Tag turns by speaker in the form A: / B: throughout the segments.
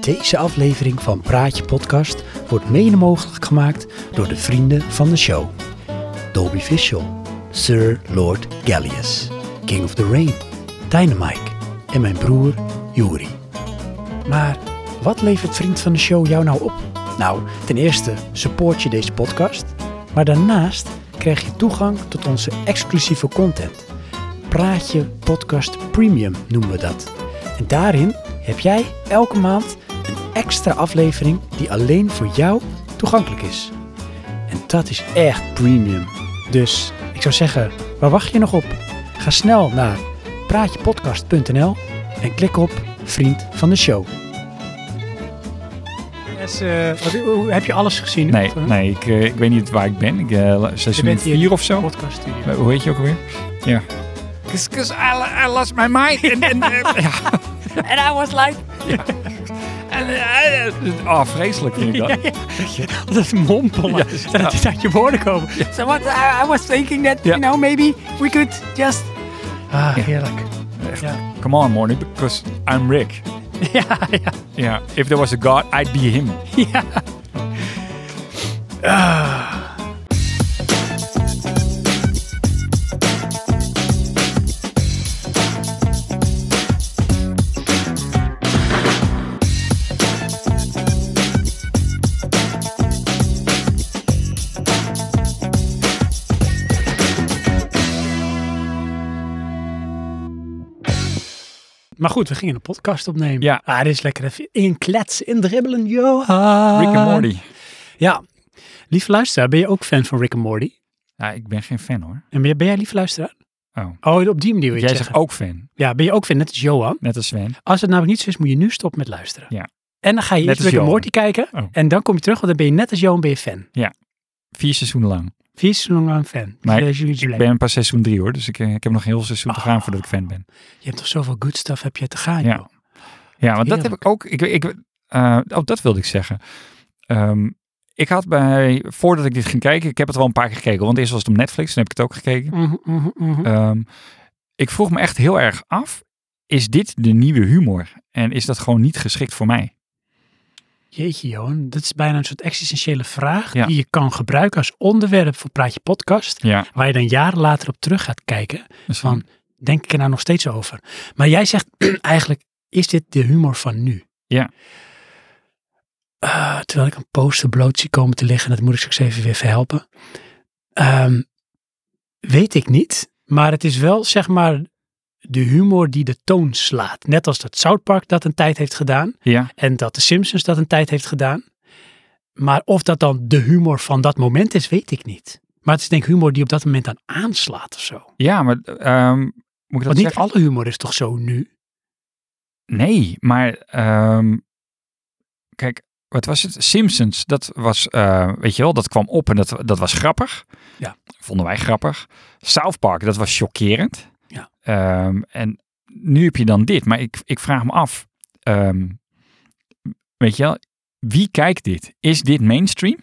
A: Deze aflevering van Praatje Podcast wordt mede mogelijk gemaakt door de vrienden van de show. Dolby Visual, Sir Lord Gallius, King of the Rain, Dynamite en mijn broer Yuri. Maar wat levert Vriend van de Show jou nou op? Nou, ten eerste support je deze podcast, maar daarnaast krijg je toegang tot onze exclusieve content. Praatje Podcast Premium noemen we dat. En daarin heb jij elke maand een extra aflevering die alleen voor jou toegankelijk is. En dat is echt premium. Dus ik zou zeggen, waar wacht je nog op? Ga snel naar praatjepodcast.nl en klik op Vriend van de Show. Yes, eh, wat- hoe- heb je alles gezien?
B: Nee,
A: Of, eh,
B: nee ik, eh, ik weet niet waar ik ben. Ik, eh,
A: Je
B: seizoen
A: bent hier
B: 4 of zo.
A: Podcast studio.
B: Eh, Hoe heet je ook alweer? Ja. Cause, cause I, I lost my mind. En, en, eh, ja.
C: En I was like,
B: En, eh, eh, oh, vreselijk vind ik dat.
A: Dat mompelen.
B: Ja,
A: dat het uit je woorden komen.
C: so what, I, I was thinking that,
B: nou- Ja.
C: you know, maybe we could just...
A: Ah, heerlijk.
B: Come on, Morning, because I'm Rick.
A: Ja, ja. Ah.
B: Ja. If there was a God, I'd be him.
A: Maar goed, we gingen een podcast opnemen.
B: Ja.
A: Ah, dit is lekker even in kletsen, in dribbelen, Johan.
B: Rick and Morty.
A: Ja. Lieve luisteraar, ben je ook fan van Rick en Morty?
B: Ja, ik ben geen fan hoor.
A: En ben, jij- ben jij lieve luisteraar?
B: Oh.
A: Oh, op die manier wil je
B: Jij
A: het
B: zegt
A: zeggen.
B: ook fan.
A: Ja, ben je ook fan, net als Johan.
B: Net als Sven.
A: Als het namelijk niet zo is, moet je nu stoppen met luisteren.
B: Ja.
A: En dan ga je
B: Net
A: eerst
B: als
A: Rick en
B: Johan.
A: Morty kijken.
B: Oh.
A: En dan kom je terug, want dan ben je net als Johan, ben je fan.
B: Vier seizoenen lang.
A: Vier seizoenen lang fan.
B: Maar
A: Deze jullie
B: Ik
A: blijven.
B: ben pas seizoen drie hoor. Dus ik, eh, ik heb nog een heel seizoen te gaan
A: Ah.
B: voordat ik fan ben.
A: Je hebt toch zoveel good stuff heb je te gaan,
B: Ja.
A: Ah, joh.
B: Ja, want dat heb
A: Heerlijk.
B: ik ook. Ik, ik, eh, oh, dat wilde ik zeggen. Ehm, ik had bij, voordat ik dit ging kijken, ik heb het wel een paar keer gekeken. Want eerst was het op Netflix, dan heb ik het ook gekeken.
A: Mhm, mhm, mhm.
B: Ehm, ik vroeg me echt heel erg af, is dit de nieuwe humor? En is dat gewoon niet geschikt voor mij?
A: Jeetje Johan, dit is bijna een soort existentiële vraag
B: Ja.
A: die je kan gebruiken als onderwerp voor Praatje Podcast.
B: Ja,
A: Waar je dan jaren later op terug gaat kijken. Van, denk ik er nou nog steeds over? Maar jij zegt eigenlijk, is dit de humor van nu?
B: Ja.
A: Eh, terwijl ik een poster bloot zie komen te liggen, dat moet ik straks even weer verhelpen. Ehm, weet ik niet, maar het is wel zeg maar de humor die de toon slaat. Net als dat South Park dat een tijd heeft gedaan.
B: ja,
A: En dat de Simpsons dat een tijd heeft gedaan. Maar of dat dan de humor van dat moment is, weet ik niet. Maar het is denk ik humor die op dat moment dan aanslaat of zo.
B: ja maar ehm, moet ik dat
A: Want niet
B: zeggen?
A: alle humor is toch zo nu?
B: Nee, maar ehm, kijk, wat was het? Simpsons, dat was, eh, weet je wel, dat kwam op en dat, dat was grappig.
A: Ja.
B: Vonden wij grappig. South Park, dat was chockerend.
A: Ja.
B: Ehm, en nu heb je dan dit, maar ik, ik vraag me af, ehm, weet je wel, wie kijkt dit? Is dit mainstream?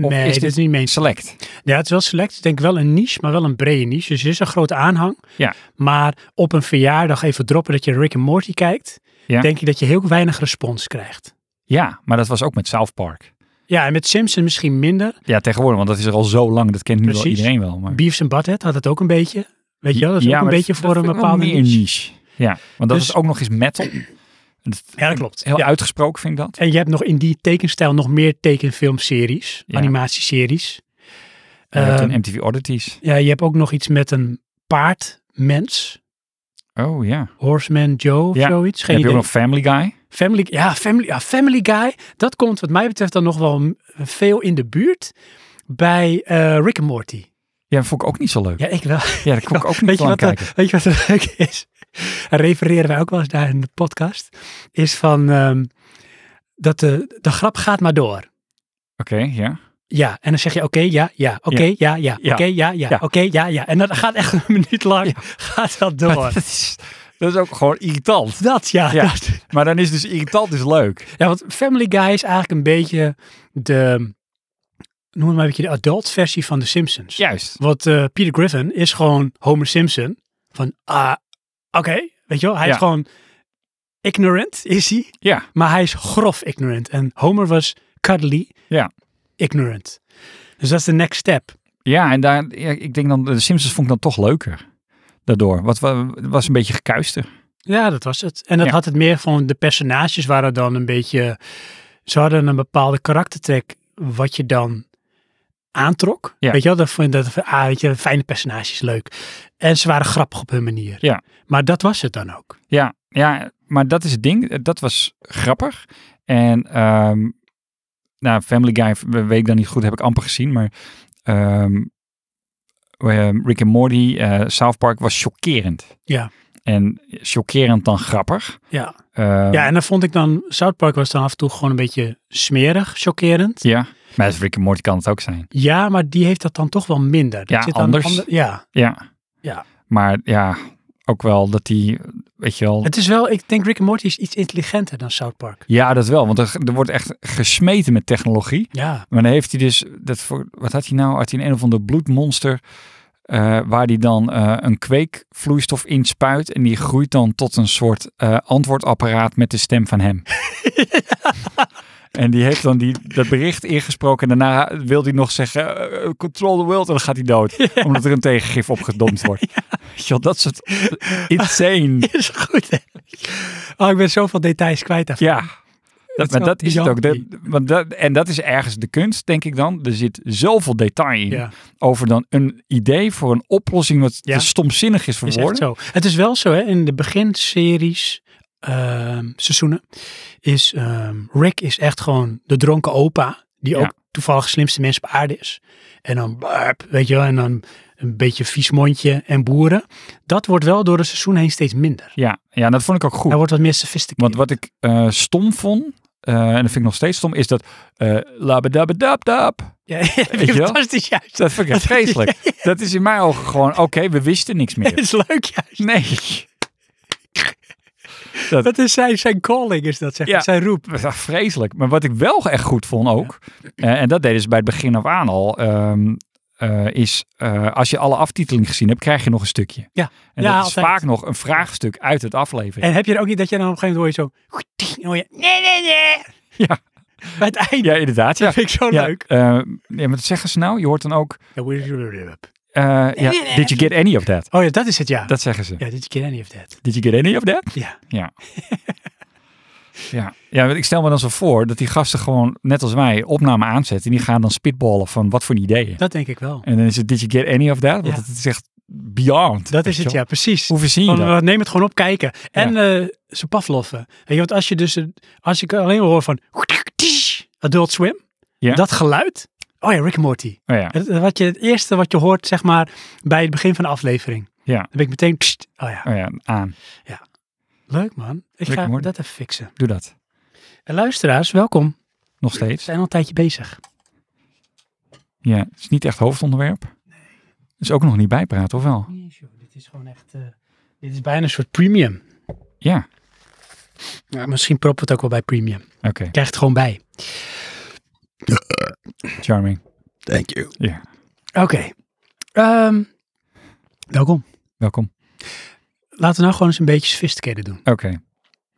B: Of
A: nee,
B: is
A: dit
B: dit-
A: is niet meens.
B: Select.
A: Ja, het is wel select. Ik denk wel een niche, maar wel een brede niche. Dus er is een grote aanhang.
B: Ja.
A: Maar op een verjaardag even droppen dat je Rick en Morty kijkt,
B: Ja.
A: denk je dat je heel weinig respons krijgt.
B: Ja, maar dat was ook met South Park.
A: Ja, en met Simpson misschien minder.
B: Ja, tegenwoordig, want dat is er al zo lang, dat kent nu wel
A: Precies.
B: iedereen wel. Maar...
A: Beavis en Butthead had het ook een beetje. Weet je wel, dat is ook
B: maar
A: een beetje
B: dat
A: voor een
B: vind ik wel
A: bepaalde
B: meer
A: niche.
B: Ja, want dat
A: Dus-
B: is ook nog eens metal. Dat-
A: Ja, dat klopt.
B: Heel
A: Ja.
B: uitgesproken vind ik dat.
A: En je hebt nog in die tekenstijl nog meer tekenfilmseries,
B: Ja.
A: animatieseries.
B: Je hebt
A: Ehm,
B: een MTV Oddities.
A: ja, je hebt ook nog iets met een paardmens.
B: Oh ja.
A: Horseman Joe of
B: Ja.
A: zoiets.
B: Geen
A: Geen
B: heb je
A: idee.
B: ook nog Family Guy?
A: Family, ja, family, ja, family Guy. Dat komt wat mij betreft dan nog wel m- veel in de buurt bij eh, Rick en Morty.
B: Ja, dat vond ik ook niet zo leuk. Ja,
A: Ja, ik wel.
B: dat kon ik ook
A: Weet
B: niet
A: je,
B: aan
A: wat eh, er,
B: kijken.
A: weet je wat er leuk is? En refereren wij ook wel eens naar in de podcast. Is van ehm, dat de, de grap gaat maar door.
B: Oké, ja.
A: Ja, en dan zeg je oké, ja, ja, oké,
B: Ja.
A: ja, ja, oké,
B: Ja.
A: ja, ja,
B: Ja.
A: oké, ja, ja. En dat gaat echt een minuut lang, gaat dat door.
B: Dat is, dat is ook gewoon irritant.
A: Dat, ja,
B: Ja.
A: dat.
B: Maar dan is dus irritant is leuk.
A: Ja, want Family Guy is eigenlijk een beetje de, noem het maar een beetje de adult versie van The Simpsons.
B: Juist.
A: Want eh, Peter Griffin is gewoon Homer Simpson van, ah, oké, weet je wel, hij
B: Ja.
A: is gewoon ignorant is hij,
B: Ja,
A: maar hij is grof ignorant. En Homer was cuddly
B: ja.
A: ignorant. Dus dat is de next step.
B: Ja, en daar, ja, ik denk dan, de Simpsons vond ik dan toch leuker. Daardoor. Wat, wa- was een beetje gekuister.
A: Ja, dat was het. En dat
B: Ja.
A: had het meer van de personages waren dan een beetje. Ze hadden een bepaalde karaktertrek wat je dan aantrok.
B: Ja.
A: Weet je wel, dat vond dat ah, weet je, fijne personages leuk. En ze waren grappig op hun manier.
B: Ja.
A: Maar dat was het dan ook.
B: Ja, ja, maar dat is het ding. Dat was grappig. En ehm, nou, Family Guy weet ik dan niet goed, heb ik amper gezien. Maar ehm, ehm, Rick and Morty, eh, South Park was chockerend.
A: Ja.
B: En chockerend dan grappig.
A: Ja.
B: Ehm,
A: ja, en dan vond ik dan, South Park was dan af en toe gewoon een beetje smerig, chockerend. Ja,
B: ja. Maar Rick and Morty kan het ook zijn.
A: maar die heeft dat dan toch wel minder. Dat
B: Ja,
A: dan
B: anders.
A: ander- ja,
B: Ja.
A: Ja.
B: Maar ja, ook wel dat die, weet je wel...
A: het is wel, ik denk Rick and Morty is iets intelligenter dan South Park.
B: Ja, dat wel. Want er, er wordt echt gesmeten met technologie.
A: Ja,
B: Maar dan heeft hij dus, dat voor, wat had hij nou? Had hij een, een of ander bloedmonster eh, waar hij dan eh, een kweekvloeistof inspuit. En die groeit dan tot een soort eh, antwoordapparaat met de stem van hem. En die heeft dan die, dat bericht ingesproken. En daarna wil hij nog zeggen, eh, control the world. En dan gaat hij dood. Omdat er een tegengif opgedomd wordt. Weet je wel, dat soort insane.
A: is goed. Hè? Oh, ik ben zoveel details kwijt daarvan.
B: Ja, dat, maar
A: wel
B: dat is het ook. Dat,
A: bizar.
B: want dat, en dat is ergens de kunst, denk ik dan. Er zit zoveel detail in.
A: Ja.
B: Over dan een idee voor een oplossing wat
A: Ja.
B: te stomzinnig is voor
A: Is echt
B: woorden.
A: zo. Het is wel zo, hè? In de beginseries, ehm, seizoenen, is ehm, Rick is echt gewoon de dronken opa, die
B: Ja.
A: ook toevallig slimste mens op aarde is. En dan, barp, weet je wel, en dan een beetje vies mondje en boeren. Dat wordt wel door het seizoen heen steeds minder.
B: Ja, ja, dat vond ik ook goed.
A: Hij wordt wat meer sophisticated.
B: Want wat ik eh, stom vond, eh, en dat vind ik nog steeds stom, is dat eh labadabadabdab.
A: ja, ja,
B: je wel?
A: fantastisch juist.
B: Dat vind ik echt vreselijk. Dat is in mijn ogen gewoon, oké, we wisten niks
A: Dat
B: meer.
A: is leuk juist.
B: Nee.
A: Dat is zijn, zijn calling, is dat zeg maar.
B: Ja.
A: Zijn roep.
B: Ja, vreselijk. Maar wat ik wel echt goed vond ook, eh, en dat deden ze bij het begin af aan al, ehm, eh, is eh, als je alle aftiteling gezien hebt, krijg je nog een stukje.
A: Ja.
B: En
A: Ja,
B: dat is
A: altijd.
B: vaak nog een vraagstuk uit het aflevering.
A: En heb je er ook niet dat je dan op een gegeven moment hoor je zo... hoor je, nee, nee, nee.
B: Ja.
A: Bij het einde.
B: Ja, inderdaad. Ja.
A: Dat vind ik zo
B: Ja,
A: Oh, leuk.
B: eh, ja, maar dat zeggen ze nou. Je hoort dan ook,
A: Ja, we- we- we- we-
B: eh, ja, did you get any of that?
A: Oh ja, dat is het, ja.
B: Dat zeggen ze.
A: Ja, dit keer any of that.
B: Did you get any of that?
A: Ja.
B: Ja. ja. ja, want ik stel me dan zo voor dat die gasten gewoon, net als wij, opname aanzetten. En die gaan dan spitballen van wat voor ideeën.
A: Dat denk ik wel.
B: En dan is het, did you get any of that? Want
A: Ja.
B: het is echt beyond.
A: Dat
B: weet
A: is
B: je
A: het,
B: wel.
A: ja, precies.
B: Hoe verzin je
A: Want,
B: dat?
A: want neem het gewoon op, kijken. En eh ze pafloffen. Weet je, want als je dus, eh, als ik alleen maar hoor van Adult Swim,
B: Ja.
A: dat geluid. Oh ja, Rick and Morty.
B: Oh ja,
A: Het, wat je, het eerste wat je hoort, zeg maar, bij het begin van de aflevering.
B: ja,
A: Dan ben ik meteen, pssst, oh ja,
B: oh ja, aan.
A: leuk man. Ik
B: Rick and
A: ga
B: Morty.
A: dat even fixen.
B: Doe dat.
A: En luisteraars, welkom.
B: Nog
A: We
B: steeds.
A: zijn al een tijdje bezig.
B: Ja, het is niet echt hoofdonderwerp. Is ook nog niet bijpraten, of wel?
A: Dit is gewoon echt, eh, dit is bijna een soort premium.
B: Ja,
A: Ja, misschien proppen we het ook wel bij premium.
B: oké.
A: Krijg het gewoon bij.
B: Charming.
A: Thank you.
B: Ja,
A: Oké. Ehm, welkom.
B: welkom.
A: Laten we nou gewoon eens een beetje sophisticated doen.
B: Oké,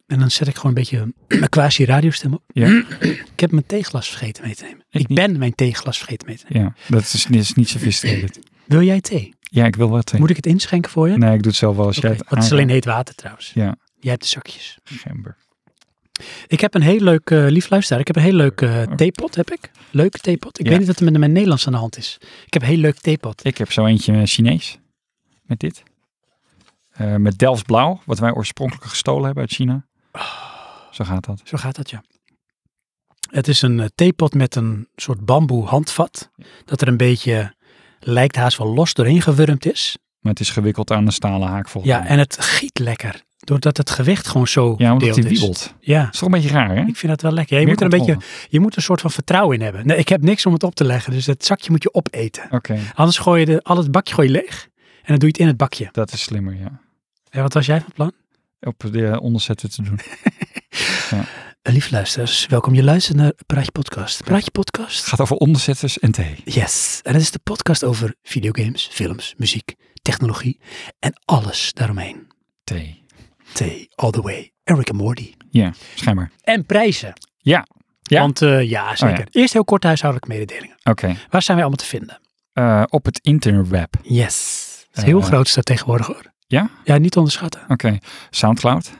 A: En dan zet ik gewoon een beetje mijn quasi radiostem op.
B: Ja.
A: ik heb mijn theeglas vergeten mee te nemen. Ik,
B: Ik niet.
A: ben mijn theeglas vergeten mee te nemen.
B: ja. Dat is, is niet sophisticated.
A: Wil jij thee?
B: Ja, ik wil wat. hè.
A: Moet ik het inschenken voor je?
B: Nee, ik doe het zelf wel als jij
A: Oké,
B: het
A: want het is alleen
B: aanraakt.
A: heet water trouwens.
B: Ja.
A: Jij hebt de zakjes.
B: Gember.
A: Ik heb een heel leuk, eh lief luisteraar, ik heb een heel leuk eh, theepot, heb ik. Leuke theepot. Ik
B: Oh. Ja.
A: weet niet wat er met mijn Nederlands aan de hand is. Ik heb een heel leuk theepot.
B: Ik heb zo eentje eh, Chinees. Met dit. Eh, met Delfts Blauw, wat wij oorspronkelijk gestolen hebben uit China.
A: Ah.
B: Zo gaat dat.
A: Zo gaat dat, ja. Het is een eh, theepot met een soort bamboe handvat. Dat er een beetje, lijkt haast wel los doorheen gewurmd is.
B: Maar het is gewikkeld aan een stalen haak volgens
A: Ja,
B: mij.
A: en het giet lekker. Doordat het gewicht gewoon zo
B: Oh. Ja, omdat hij
A: verdeeld is.
B: wiebelt.
A: Ja,
B: Dat is toch een beetje raar, hè?
A: ik vind dat wel lekker. Ja, je,
B: Meer
A: moet er een beetje,
B: controle.
A: je moet een soort van vertrouwen in hebben. Nee, ik heb niks om het op te leggen, dus dat zakje moet je opeten.
B: Oké,
A: Anders gooi je de, al het bakje gooi je leeg en dan doe je het in het bakje.
B: dat is slimmer, ja.
A: En wat was jij van plan?
B: Op de onderzetten te doen.
A: Eh, Lieve luisteraars, welkom. Je luistert naar Praatje Podcast. Praatje Podcast.
B: Het gaat over onderzetters en thee.
A: Yes, en dat is de podcast over videogames, films, muziek, technologie en alles daaromheen.
B: Thee.
A: Stay all the way. Eric en Morty.
B: Ja, schijnbaar.
A: En prijzen.
B: Ja. Ja?
A: Want eh, ja, zeker. Eerst heel kort huishoudelijke mededelingen.
B: Oké.
A: Waar zijn wij allemaal te vinden?
B: Eh, op het interweb.
A: Yes. Dat is heel
B: Eh,
A: groot is dat tegenwoordig hoor.
B: Ja?
A: Ja, niet onderschatten.
B: Oké. Soundcloud.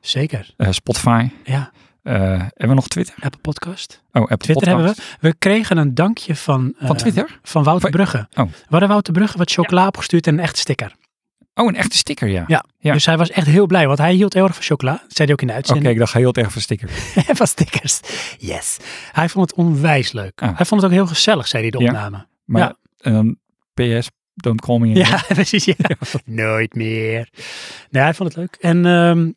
A: Zeker.
B: eh, Spotify.
A: Ja.
B: eh, hebben we nog Twitter?
A: Apple Podcast.
B: Oh, Apple
A: Twitter
B: Podcast.
A: hebben we. We kregen een dankje van, eh,
B: Van Twitter?
A: van Wouter
B: Van-
A: Brugge.
B: Oh.
A: We hadden Wouter Brugge wat chocola opgestuurd en een echt sticker.
B: Oh, een echte sticker, ja.
A: Ja.
B: Ja.
A: Dus hij was echt heel blij, want hij hield heel erg van chocola. Dat zei hij ook in de
B: Oké,
A: uitzending.
B: ik dacht heel erg van sticker.
A: van stickers. Yes. Hij vond het onwijs leuk.
B: Ah.
A: Hij vond het ook heel gezellig, zei hij de
B: Ja.
A: opname.
B: Maar
A: Ja.
B: ehm, PS, don't call me.
A: Ja, precies. Ja. Nooit meer. Nee, hij vond het leuk. En ehm,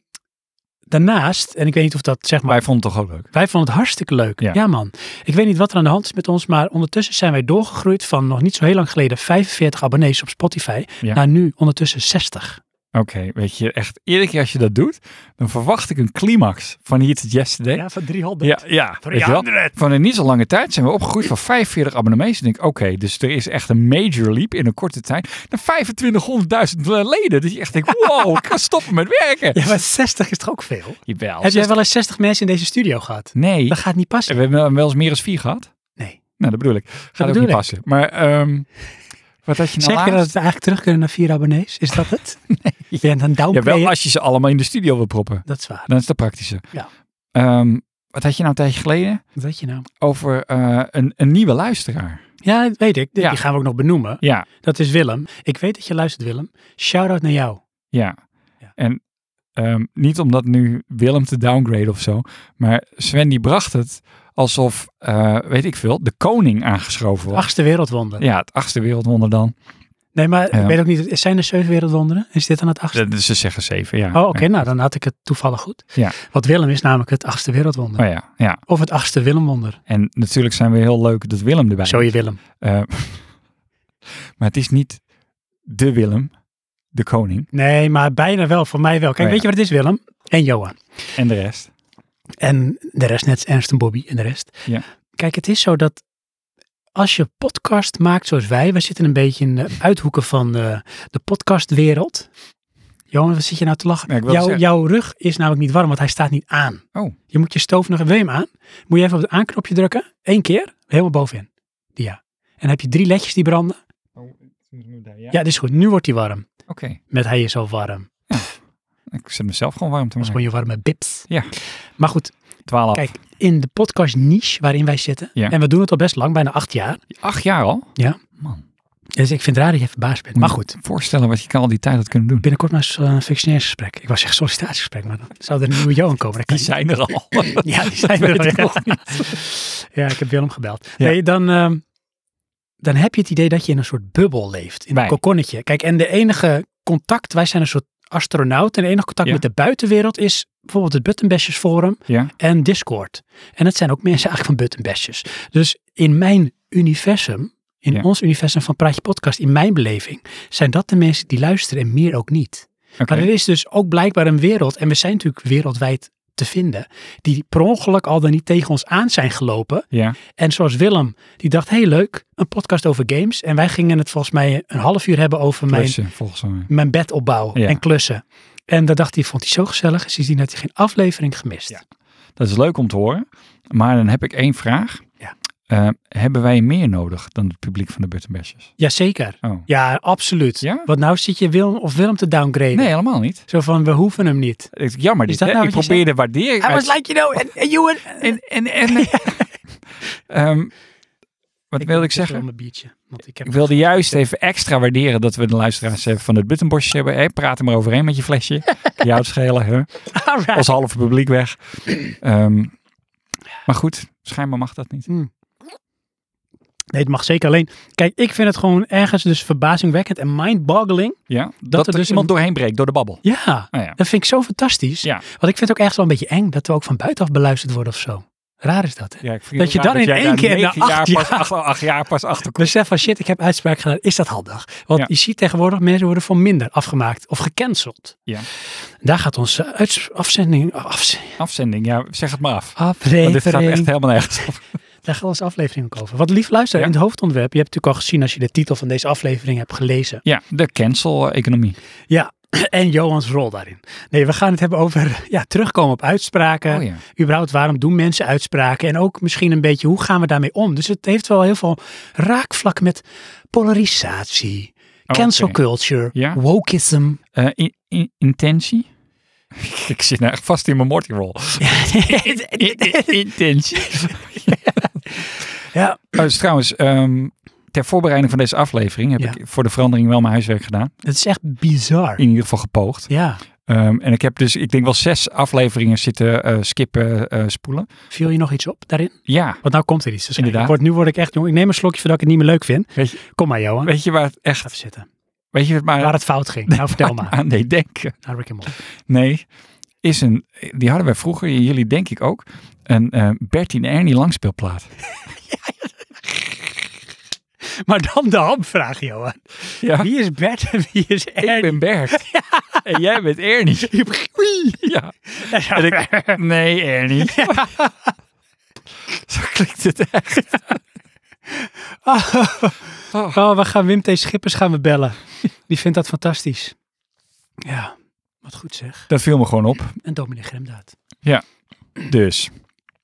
A: daarnaast, en ik weet niet of dat zeg maar...
B: Wij vonden het toch ook leuk.
A: Wij vonden het hartstikke leuk. Ja.
B: Ja.
A: man. Ik weet niet wat er aan de hand is met ons, maar ondertussen zijn wij doorgegroeid van nog niet zo heel lang geleden 45 abonnees op Spotify
B: Ja.
A: naar nu ondertussen 60.
B: Oké, weet je, echt, iedere keer als je dat doet, dan verwacht ik een climax van Here to Yesterday.
A: van 300.
B: Ja, ja. weet je wel.
A: 300.
B: Van een niet zo lange tijd zijn we opgegroeid van 45 abonnees. En ik denk, oké, dus er is echt een major leap in een korte tijd. Naar 2500.000 leden. Dat je echt denkt, wow, ik ga stoppen met werken.
A: Ja, maar 60 is toch ook veel?
B: Jawel.
A: Heb jij wel eens 60 mensen in deze studio gehad?
B: Nee,
A: Dat gaat niet
B: we
A: passen.
B: hebben wel eens meer dan vier gehad.
A: Nee.
B: Nou, dat bedoel ik. Gaat ook
A: bedoel
B: niet
A: ik.
B: passen. Maar ehm, wat had je nou
A: Zeg je
B: laatst?
A: dat we eigenlijk terug kunnen naar vier abonnees? Is dat het? nee. Ja, dan
B: Ja,
A: downplayen.
B: wel als je ze allemaal in de studio wil proppen.
A: Dat is waar.
B: Dan is dat praktischer.
A: Ja.
B: Ehm, wat had je nou een tijdje geleden?
A: Wat weet je nou?
B: Over eh, een, een nieuwe luisteraar.
A: Ja, dat weet ik. Die
B: Ja.
A: die gaan we ook nog benoemen.
B: Ja,
A: Dat is Willem. Ik weet dat je luistert, Willem. Shout-out naar jou.
B: ja.
A: Ja.
B: En ehm, niet om dat nu Willem te downgraden of zo. Maar Sven die bracht het alsof, eh, weet ik veel, de koning aangeschoven was.
A: Achtste wereldwonder.
B: Ja, het achtste wereldwonder dan.
A: Nee, maar ik
B: Ja.
A: weet ook niet. Zijn er zeven wereldwonderen? Is dit dan het achtste?
B: Dat- Ze zeggen zeven, ja.
A: Oh, oké. nou, dan had ik het toevallig goed.
B: Ja.
A: Want Willem is namelijk het achtste wereldwonder.
B: Oh ja, ja.
A: Of het achtste Willemwonder.
B: En natuurlijk zijn we heel leuk dat Willem erbij
A: Zo je Willem.
B: Eh, maar het is niet de Willem, de koning
A: Nee, maar bijna wel. Voor mij wel. Kijk,
B: Oh, ja.
A: weet je wat het is, Willem? En Johan.
B: en de rest.
A: En de rest, net als Ernst en Bobby en de rest.
B: Ja.
A: Kijk, het is zo dat als je podcast maakt zoals wij. We zitten een beetje in de uithoeken van eh, de podcastwereld. Johan, wat zit je nou te lachen?
B: Ja, ik wilde
A: jouw,
B: zeggen-
A: jouw rug is namelijk niet warm, want hij staat niet aan.
B: Oh,
A: Je moet je stoof nog, wil je hem aan? Moet je even op het aanknopje drukken. Eén keer, helemaal bovenin. Ja. En dan heb je drie ledjes die branden.
B: ja.
A: Ja, dit is goed. Nu wordt hij warm.
B: Oké,
A: Met hij is al warm.
B: ik zet mezelf gewoon warm te
A: Dat is
B: maken.
A: gewoon je warme bips.
B: Oh. Ja.
A: Maar goed,
B: 12.
A: kijk, in de podcast niche waarin wij zitten.
B: Ja.
A: En we doen het al best lang, bijna acht jaar.
B: Acht jaar al?
A: Ja.
B: Man.
A: Dus ik vind het raar dat je verbaasd bent.
B: Mm.
A: Maar goed,
B: Voorstellen wat je kan al die tijd had kunnen doen.
A: binnenkort maar eens eh, een functioneringsgesprek. Ik was echt sollicitatiegesprek, maar dan zou er een nieuwe Johan komen. Dat kan
B: Die
A: niet.
B: zijn er al.
A: Ja, die zijn
B: Dat
A: er
B: weet ik
A: ja.
B: nog
A: Ja, ik heb Willem gebeld.
B: Ja.
A: Nee, dan, ehm, dan heb je het idee dat je in een soort bubbel leeft. In een
B: Wij.
A: kokonnetje. Kijk, en de enige contact, wij zijn een soort astronaut. En de enige contact
B: Ja.
A: met de buitenwereld is bijvoorbeeld het Buttonbashers Forum
B: Ja.
A: en Discord. En dat zijn ook mensen eigenlijk van Buttonbashers. Dus in mijn universum, in
B: Ja.
A: ons universum van Praatje Podcast, in mijn beleving, zijn dat de mensen die luisteren en meer ook niet.
B: Oké.
A: Maar er is dus ook blijkbaar een wereld, en we zijn natuurlijk wereldwijd te vinden, die per ongeluk al dan niet tegen ons aan zijn gelopen.
B: Ja.
A: En zoals Willem, die dacht, hey leuk, een podcast over games. En wij gingen het volgens mij een half uur hebben over mijn,
B: Klussen, eh, volgens mij.
A: mijn bed opbouwen
B: Ja.
A: en klussen. En dat dacht hij, vond hij zo gezellig. Sindsdien had hij geen aflevering gemist.
B: Ja. Dat is leuk om te horen. Maar dan heb ik één vraag.
A: Ja.
B: Eh, hebben wij meer nodig dan het publiek van de Buttonbashers?
A: Jazeker.
B: Oh.
A: Ja, absoluut.
B: Ja?
A: Want nou zit je Willem of Willem te downgraden.
B: Nee, helemaal niet.
A: Zo van, we hoeven hem niet.
B: Ik- Jammer dit,
A: dat
B: hè?
A: nou
B: ik
A: wat je
B: probeerde waardering
D: I
B: uit
D: was like, you know, and, and you and
B: En, en, en eh, Ehm, wat wilde ik
A: drink even
B: zeggen?
A: Mijn biertje, want ik heb
B: Ik wilde juist even extra waarderen dat we de luisteraars eh, van het Buttonbosje hebben. Hé, praat er maar overheen met je flesje. Kan Jou het schelen, hè?
A: Alright.
B: Ons halve publiek weg. Ehm, maar goed, schijnbaar mag dat niet.
A: Nee, het mag zeker. Alleen, kijk, ik vind het gewoon ergens dus verbazingwekkend en mindboggling.
B: Ja, dat,
A: er
B: er
A: dus
B: dus iemand doorheen breekt door de babbel.
A: Ja,
B: Nou ja.
A: dat vind ik zo fantastisch.
B: Ja.
A: Want ik vind het ook ergens wel een beetje eng dat we ook van buitenaf beluisterd worden of zo. Raar is dat, hè?
B: Ja, ik vind
A: Dat
B: het
A: je
B: raar
A: dan in
B: jij
A: één
B: daar
A: keer
B: negen
A: na acht
B: pas,
A: jaar-
B: acht, acht jaar pas achter
A: Ik besef Dus van shit, ik heb uitspraak gedaan. Is dat handig? Want
B: Ja.
A: je ziet tegenwoordig mensen worden voor minder afgemaakt of gecanceld.
B: Ja.
A: Daar gaat onze uits- afzending, afz-
B: afzending. Ja, zeg het maar af. Want dit gaat echt
A: aflevering,
B: helemaal nergens op.
A: daar gaat onze aflevering ook over. Wat lief luisteren,
B: Ja.
A: in het hoofdontwerp, je hebt natuurlijk al gezien als je de titel van deze aflevering hebt gelezen.
B: Ja, de cancel-economie.
A: Ja, en Johans rol daarin. Nee, we gaan het hebben over ja, terugkomen op uitspraken.
B: Oh ja.
A: Überhaupt, waarom doen mensen uitspraken? En ook misschien een beetje, hoe gaan we daarmee om? Dus het heeft wel heel veel raakvlak met polarisatie,
B: Oh, Oké.
A: cancel culture,
B: Ja.
A: wokeism.
B: Eh, in- in- intentie? ik zit nou echt vast in mijn Morty rol. intentie.
A: ja,
B: Oh, dus trouwens, ehm, ter voorbereiding van deze aflevering heb
A: Ja.
B: ik voor de verandering wel mijn huiswerk gedaan.
A: het is echt bizar.
B: In ieder geval gepoogd.
A: Ja,
B: Ehm, en ik heb dus, ik denk wel zes afleveringen zitten eh, skippen, eh, spoelen.
A: viel je nog iets op daarin?
B: Ja,
A: Want nou komt er iets. Dus
B: Inderdaad.
A: ik word, nu word ik echt jong. Ik neem een slokje voordat ik het niet meer leuk vind.
B: weet je,
A: Kom maar, Johan.
B: weet je waar het echt,
A: Even zitten.
B: weet je wat maar
A: Waar het fout ging. Nou, vertel maar.
B: aan deed denken?
A: Naar Rick en Morty.
B: Nee, is een, die hadden wij vroeger, jullie denk ik ook, een eh Bertie en Ernie langspeelplaat.
A: Maar dan de hamvraag, Johan.
B: Ja,
A: Wie is Bert en wie is
B: ik
A: Ernie?
B: ben Bert. En jij bent Ernie. Ja. En ik- nee, Ernie. Zo klinkt het echt.
A: Oh, we gaan Wim T. Schippers gaan we bellen. Die vindt dat fantastisch. Ja, wat goed zeg.
B: Dat viel me gewoon op.
A: En Dominic Gremdaad.
B: Dus,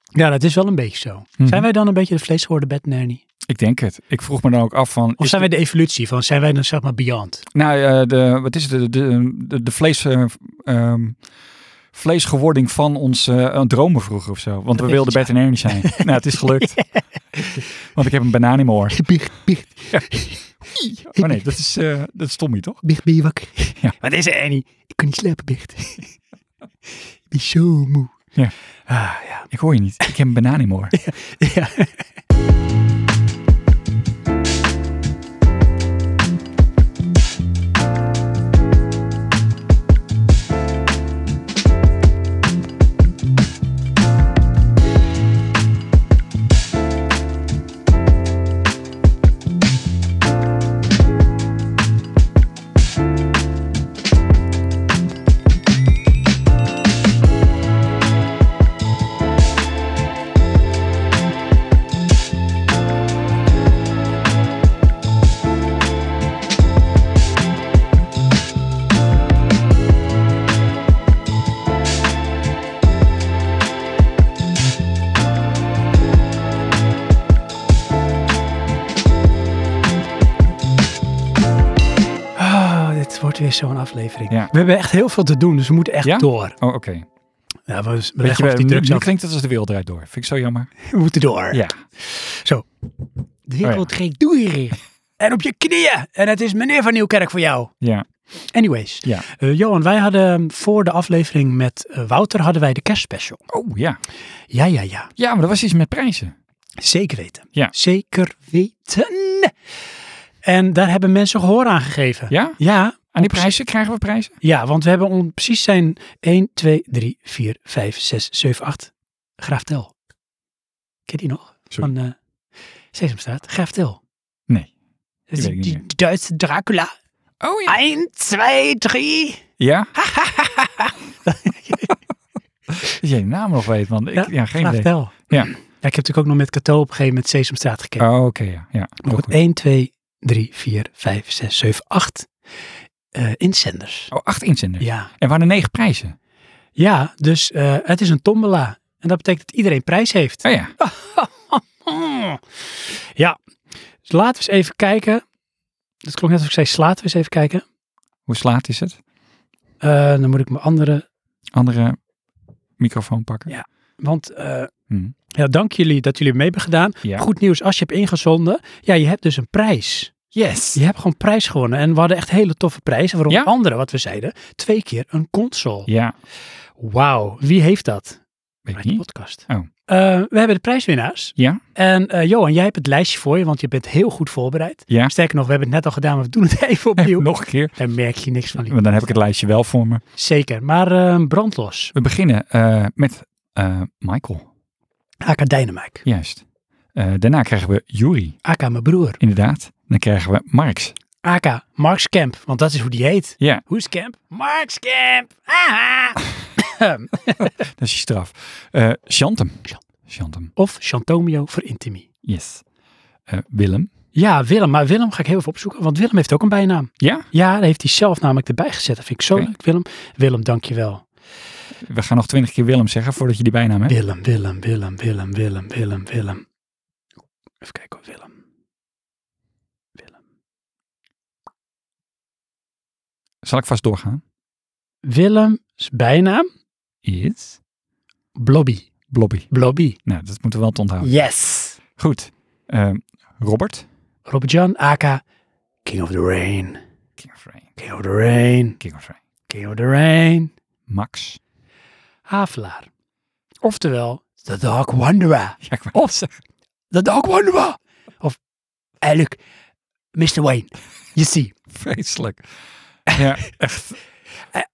A: Ja, dat is wel een beetje zo. Zijn wij dan een beetje de vleesgeworden Bert en Ernie?
B: ik denk het. Ik vroeg me dan ook af van...
A: Of
B: is
A: zijn wij
B: dit-
A: de evolutie van, zijn wij dan zeg maar beyond?
B: Nou, eh, de, wat is het? De, de, de, de vlees... eh, ehm, vleesgewording van onze eh, dromen vroeger of zo. Want we
A: is
B: wilden
A: het,
B: Bert en Ernie zijn. nou, het is gelukt. Want ik heb een banaan in mijn oor.
A: Big, big,
B: Oh nee, dat is, eh dat is Tommy, toch?
A: big, ben je wakker?
B: Ja.
A: Wat is er, Ernie? Ik kan niet slapen, Bert. ik ben zo moe.
B: Ja.
A: Ah, ja.
B: Ik hoor je niet. Ik heb een banaan in mijn oor.
A: ja. Ah, dit wordt weer zo'n aflevering.
B: Ja.
A: We hebben echt heel veel te doen, dus we moeten echt
B: Ja?
A: door.
B: Oh, oké.
A: Ja, we, we
B: Weet je,
A: leggen af die
B: nu,
A: drugs
B: nu
A: af.
B: klinkt het als de wereld draait door. Vind ik zo jammer.
A: We moeten door.
B: Ja. Oh
A: Zo. De wereld ging door. En op je knieën. En het is meneer Van Nieuwkerk voor jou.
B: Ja.
A: Anyways.
B: Ja.
A: Eh, Johan, wij hadden voor de aflevering met eh, Wouter hadden wij de kerstspecial.
B: Oh, ja.
A: Ja, ja, ja.
B: Ja, maar dat was iets met prijzen.
A: Zeker weten.
B: Ja.
A: Zeker weten. En daar hebben mensen gehoor aan gegeven.
B: Ja?
A: Ja,
B: Aan die prijzen krijgen we prijzen?
A: ja, want we hebben om precies zijn 1, 2, 3, 4, 5, 6, 7, 8. Graaf Tel. Ken je die nog?
B: Sorry.
A: Van eh, Sesamstraat. Graaf Tel.
B: Nee.
A: Dat
B: Die
A: is
B: weet ik
A: die
B: niet
A: Duitse Dracula.
B: Oh
A: 1, 2, 3.
B: Ja? Dat je je naam nog weet, man. Ik, ja, geen
A: Graaf
B: idee.
A: Tel.
B: Ja.
A: Ja, ik heb natuurlijk ook nog met Cato op een gegeven moment Sesamstraat gekeken.
B: Oh, oké, ja. ja.
A: Maar
B: heel
A: goed,
B: goed.
A: 1, 2, 3, 4, 5, 6, 7, 8 eh, inzenders.
B: Oh, acht inzenders.
A: Ja.
B: En waren negen prijzen.
A: ja, dus eh, het is een tombola. En dat betekent dat iedereen prijs heeft.
B: Oh ja.
A: Mm. Ja, dus laten we eens even kijken. Dat klonk net als ik zei, slaat we eens even kijken.
B: Hoe slaat is het?
A: Eh, dan moet ik mijn andere,
B: Andere microfoon pakken.
A: Ja. want eh,
B: Hm.
A: ja, dank jullie dat jullie mee hebben gedaan.
B: Ja.
A: Goed nieuws, als je hebt ingezonden, ja, je hebt dus een prijs.
B: Yes.
A: Je hebt gewoon prijs gewonnen. En we hadden echt hele toffe prijzen. Waaronder
B: Ja?
A: andere, wat we zeiden, twee keer een console.
B: Ja,
A: Wauw, wie heeft dat?
B: weet ik
A: de
B: niet.
A: podcast.
B: Oh.
A: Eh, we hebben de prijswinnaars.
B: Ja?
A: En eh, Johan, jij hebt het lijstje voor je, want je bent heel goed voorbereid.
B: Ja.
A: Sterker nog, we hebben het net al gedaan, maar we doen het even opnieuw.
B: Even nog een keer.
A: Daar merk je niks van. lief.
B: Want dan heb ik het lijstje wel voor me.
A: Zeker, maar eh, brandlos.
B: We beginnen eh, met eh, Michael.
A: AK Dynamite.
B: Juist. Eh, daarna krijgen we Yuri.
A: AK mijn broer.
B: Inderdaad. Dan krijgen we Marx.
A: AK Marks Camp, want dat is hoe die heet.
B: Ja,
A: Hoe is Camp? Marks Camp. Haha.
B: dat is je straf. Eh Chantem.
A: Chan-
B: Chantem.
A: of Chantomio voor Intimi.
B: Yes. Eh, Willem.
A: Ja, Willem. Maar Willem ga ik heel even opzoeken, want Willem heeft ook een bijnaam.
B: Ja,
A: Ja, daar heeft hij zelf namelijk erbij gezet. Dat vind ik zo
B: Oké.
A: leuk, Willem. Willem, dankjewel.
B: we gaan nog twintig keer Willem zeggen voordat je die bijnaam hebt.
A: Willem, Willem, Willem, Willem, Willem, Willem, Willem. Even kijken hoor, Willem.
B: Zal ik vast doorgaan?
A: Willem's bijnaam?
B: Is
A: Blobby.
B: Blobby.
A: Blobby.
B: Nou, dat moeten we wel te onthouden.
A: Yes.
B: Goed. Ehm, Robert.
A: Robert-Jan, aka King of the Rain.
B: King of Rain.
A: King of the Rain.
B: King of Rain.
A: King of the Rain.
B: Max.
A: Havelaar. Oftewel, The Dark Wanderer.
B: Ja, ik wou-
A: The Dark Wanderer. Of eigenlijk, Mr. Wayne. You see.
B: Vreselijk. Ja, echt.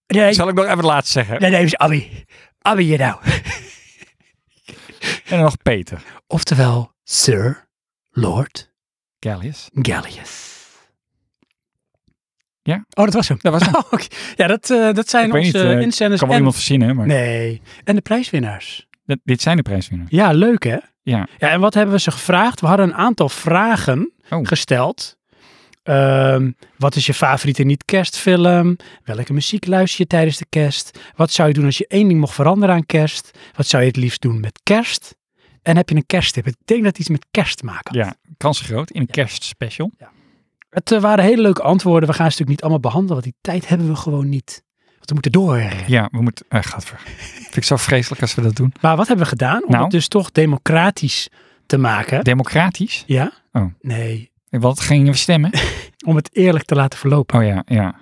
A: Nee,
B: Zal ik nog even het laatst zeggen?
A: nee, nee, is Abby. Abby, you know.
B: En dan nog Peter.
A: Oftewel, Sir Lord
B: Gallius.
A: Gallius.
B: Ja.
A: Oh, dat was hem.
B: Dat was hem.
A: Oké. Ja, dat, eh, dat zijn
B: Ik weet
A: onze
B: niet, eh,
A: inzenders.
B: Kan wel
A: en-
B: iemand verzinnen, maar
A: Nee. En de prijswinnaars.
B: dat- dit zijn de prijswinnaars.
A: Ja, leuk hè?
B: Ja.
A: Ja, en wat hebben we ze gevraagd? We hadden een aantal vragen
B: Oh.
A: gesteld. Ehm, wat is je favoriete niet-kerstfilm? Welke muziek luister je tijdens de kerst? Wat zou je doen als je één ding mocht veranderen aan kerst? Wat zou je het liefst doen met kerst? En heb je een kersttip? Ik denk dat het iets met kerst te maken had.
B: Ja, kans groot in een kerstspecial.
A: Het eh, waren hele leuke antwoorden. We gaan ze natuurlijk niet allemaal behandelen, want die tijd hebben we gewoon niet. Want we moeten door.
B: Ja, we moeten... eh gadver. Vind ik zo vreselijk als we dat doen.
A: Maar wat hebben we gedaan om
B: Nou.
A: het dus toch democratisch te maken?
B: Democratisch?
A: ja?
B: Oh.
A: Nee,
B: Wat gingen we stemmen?
A: om het eerlijk te laten verlopen.
B: Oh ja, ja.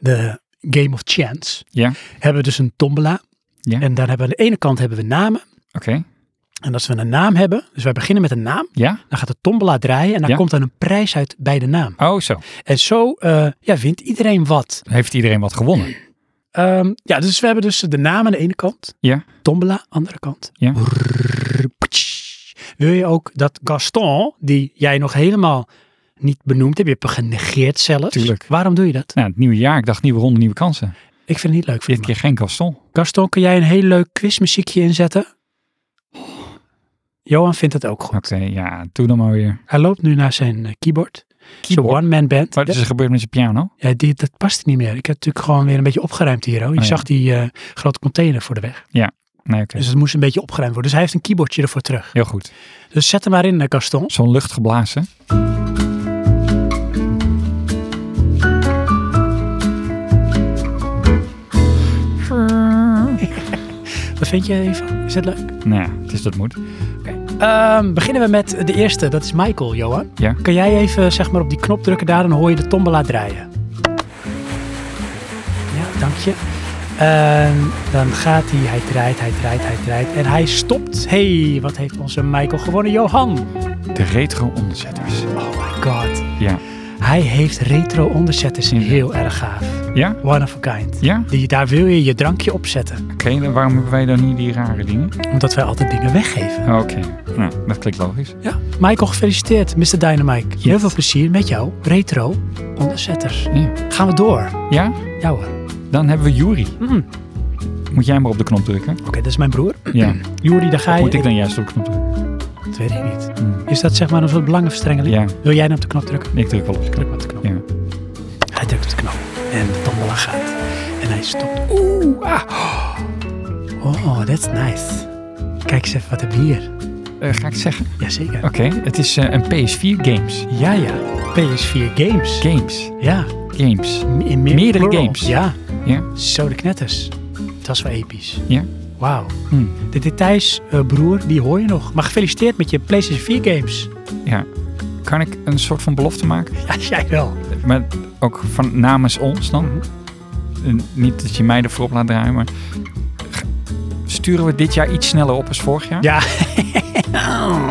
A: de Game of Chance,
B: Ja.
A: hebben we dus een tombola.
B: Ja.
A: En daar hebben we aan de ene kant hebben we namen.
B: Oké.
A: En als we een naam hebben, dus wij beginnen met een naam,
B: Ja?
A: dan gaat de tombola draaien en daar
B: Ja.
A: komt dan een prijs uit bij de naam.
B: Oh, zo.
A: En zo eh, ja, wint iedereen wat.
B: Heeft iedereen wat gewonnen?
A: Ehm, ja, dus we hebben dus de naam aan de ene kant,
B: Ja.
A: tombola andere kant.
B: Ja.
A: Brrrr, ptsch. Wil je ook dat Gaston, die jij nog helemaal niet benoemd hebt, je hebt hem genegeerd zelfs.
B: Tuurlijk.
A: Waarom doe je dat?
B: Nou, het nieuwe jaar. Ik dacht nieuwe ronde, nieuwe kansen.
A: Ik vind het niet leuk. voor
B: Dit keer geen Gaston.
A: Gaston, kun jij een heel leuk quizmuziekje inzetten? Johan vindt het ook goed.
B: Oké, ja. Doe dan maar weer.
A: Hij loopt nu naar zijn eh, keyboard. Zijn
B: Keyboard?
A: one-man band.
B: Wat is er gebeurd met zijn piano?
A: ja, die, dat past niet meer. Ik heb natuurlijk gewoon weer een beetje opgeruimd hier. hoor. Je
B: Oh, ja.
A: zag die eh, grote container voor de weg.
B: Nee, oké.
A: Dus het moest een beetje opgeruimd worden. Dus hij heeft een keyboardje ervoor terug.
B: Heel goed.
A: Dus zet hem maar in, eh, Gaston.
B: Zo'n lucht geblazen.
A: Wat vind je even? Is dat leuk?
B: Nou, het is dat moet.
A: Ehm, beginnen we met de eerste. Dat is Michael, Johan.
B: Ja.
A: Kan jij even zeg maar, op die knop drukken daar, dan hoor je de tombola draaien. Ja, dank je. Ehm, dan gaat hij, hij draait, hij draait, hij draait en hij stopt. hey, wat heeft onze Michael gewonnen? Johan!
B: De retro-onderzetters.
A: Oh my god.
B: Ja.
A: Hij heeft retro onderzetters.
B: Ja.
A: Heel erg gaaf.
B: Ja?
A: One of a kind.
B: Ja?
A: Die, daar wil je je drankje op zetten.
B: Oké, dan waarom hebben wij dan niet die rare dingen?
A: Omdat wij altijd dingen weggeven.
B: Oké, nou, dat klinkt logisch.
A: Ja. Michael, gefeliciteerd. Mr. Dynamite. Heel
B: Yes.
A: veel plezier met jou. Retro onderzetters.
B: Ja.
A: Gaan we door.
B: ja,
A: Ja hoor.
B: dan hebben we Juri.
A: Mm.
B: Moet jij maar op de knop drukken?
A: Oké, dat is mijn broer.
B: Ja.
A: Juri, daar ga
B: Of
A: je.
B: moet ik dan juist op de knop drukken?
A: Dat weet ik niet.
B: Mm.
A: Is dat zeg maar een soort belangenverstrengeling?
B: Ja.
A: Wil jij nou op de knop drukken?
B: Nee, ik druk wel op de knop.
A: Druk maar op de knop.
B: Ja.
A: Hij drukt op de knop. En de tombola gaat. En hij stopt. Oeh. ah. Oh, that's nice. Kijk eens even wat heb je hier.
B: Eh, ga ik het zeggen?
A: Jazeker.
B: Oké, het is eh, een PS4 games.
A: Ja, ja. PS4 Games.
B: Games.
A: ja.
B: Games.
A: m- In
B: Meerdere
A: plural.
B: games.
A: Ja.
B: Ja?
A: Zo de knetters. Dat is wel episch.
B: Ja?
A: Wauw.
B: Hm.
A: De details, eh, broer, die hoor je nog. Maar gefeliciteerd met je PlayStation 4 games.
B: Ja. Kan ik een soort van belofte maken?
A: Ja, jij wel.
B: Maar ook van namens ons dan? En Niet dat je mij ervoor op laat draaien, maar... G- Sturen we dit jaar iets sneller op als vorig jaar?
A: Ja.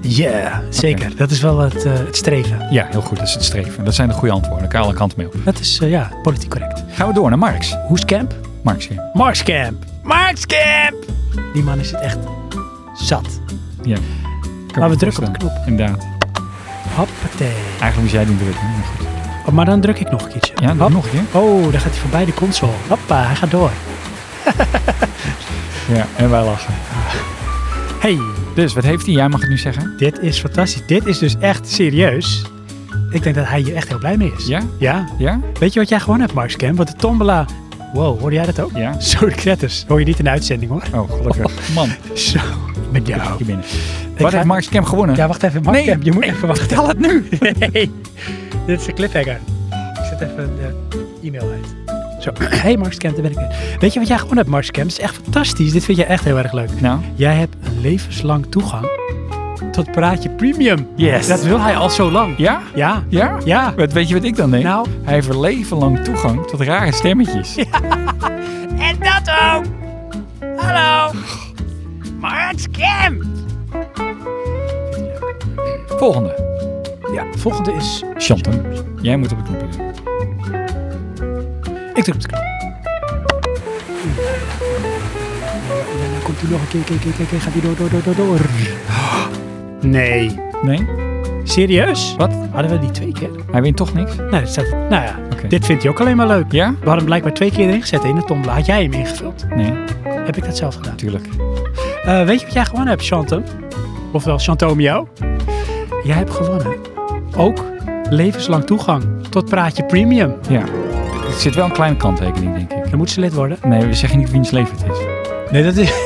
A: Ja, zeker. Dat is wel het, eh, het streven.
B: Ja, heel goed. Dat is het streven. Dat zijn de goede antwoorden. Kale kant mee op.
A: Dat is, eh, ja, politiek correct.
B: Gaan we door naar Marx.
A: Hoes Camp?
B: Marx hier.
A: Marks Camp. Marks Camp! Die man is het echt zat.
B: Ja. Kan
A: Maar
B: me
A: we drukken op de
B: voorstellen.
A: knop.
B: Inderdaad.
A: Hoppatee.
B: Eigenlijk moest jij die drukken. maar goed.
A: Oh, maar dan druk ik nog een keertje.
B: Ja, doe
A: Hop.
B: nog een keer.
A: Oh, daar gaat hij voorbij de console. Hoppa, hij gaat door.
B: Ja, en wij lachen.
A: Hey,
B: Dus wat heeft hij? Jij mag het nu zeggen.
A: Dit is fantastisch. Dit is dus echt serieus. Ik denk dat hij hier echt heel blij mee is.
B: Ja?
A: Ja.
B: Ja?
A: Weet je wat jij gewoon hebt, Mark Scam? Want de tombola... Wow, hoorde jij dat ook?
B: Ja.
A: Zo de kretters. Hoor je niet in de uitzending, hoor.
B: Oh, gelukkig. Man,
A: Zo. Met jou.
B: hier binnen.
A: Ik
B: Wat
A: ga-
B: heeft Mark Scam gewonnen?
A: Ja, wacht even, Mark
B: Nee,
A: Scam. Je moet even wachten.
B: Vertel het nu.
A: Nee, dit is een cliffhanger. Ik zet even de e-mail uit. Zo, hey Marscam, daar ben ik weer. Weet je wat jij gewoon hebt, Marscam? Het is echt fantastisch. Dit vind jij echt heel erg leuk.
B: Nou,
A: Jij hebt een levenslang toegang tot Praatje Premium.
B: Yes.
A: Dat wil hij al zo lang.
B: ja?
A: Ja.
B: Ja?
A: Ja.
B: Wat, weet je wat ik dan denk?
A: Nou.
B: Hij heeft een leven lang toegang tot rare stemmetjes.
C: En dat ook! Hallo! Mark Scam!
B: Volgende.
A: Ja, volgende is...
B: Chantem, jij moet op het knopje doen.
A: Ik druk het knop. En dan komt hij nog een keer, keer, keer, keer, keer. Gaat hij door, door, door, door, door. Nee.
B: Nee?
A: Serieus?
B: Wat?
A: Hadden we die twee keer?
B: Hij wint toch niks?
A: Nou, dat staat, nou ja,
B: Oké.
A: dit vindt hij ook alleen maar leuk.
B: Ja?
A: We hadden hem blijkbaar twee keer erin gezet in de tombola. Had jij hem ingevuld?
B: Nee,
A: Heb ik dat zelf gedaan?
B: natuurlijk.
A: Eh, weet je wat jij gewonnen hebt, Chantem? Ofwel Chantomio? Jij hebt gewonnen. Ook levenslang toegang tot Praatje Premium.
B: Ja. Er zit wel een kleine kanttekening, denk ik.
A: Dan moet ze lid worden.
B: Nee, we zeggen niet wiens leven het is.
A: Nee, dat is...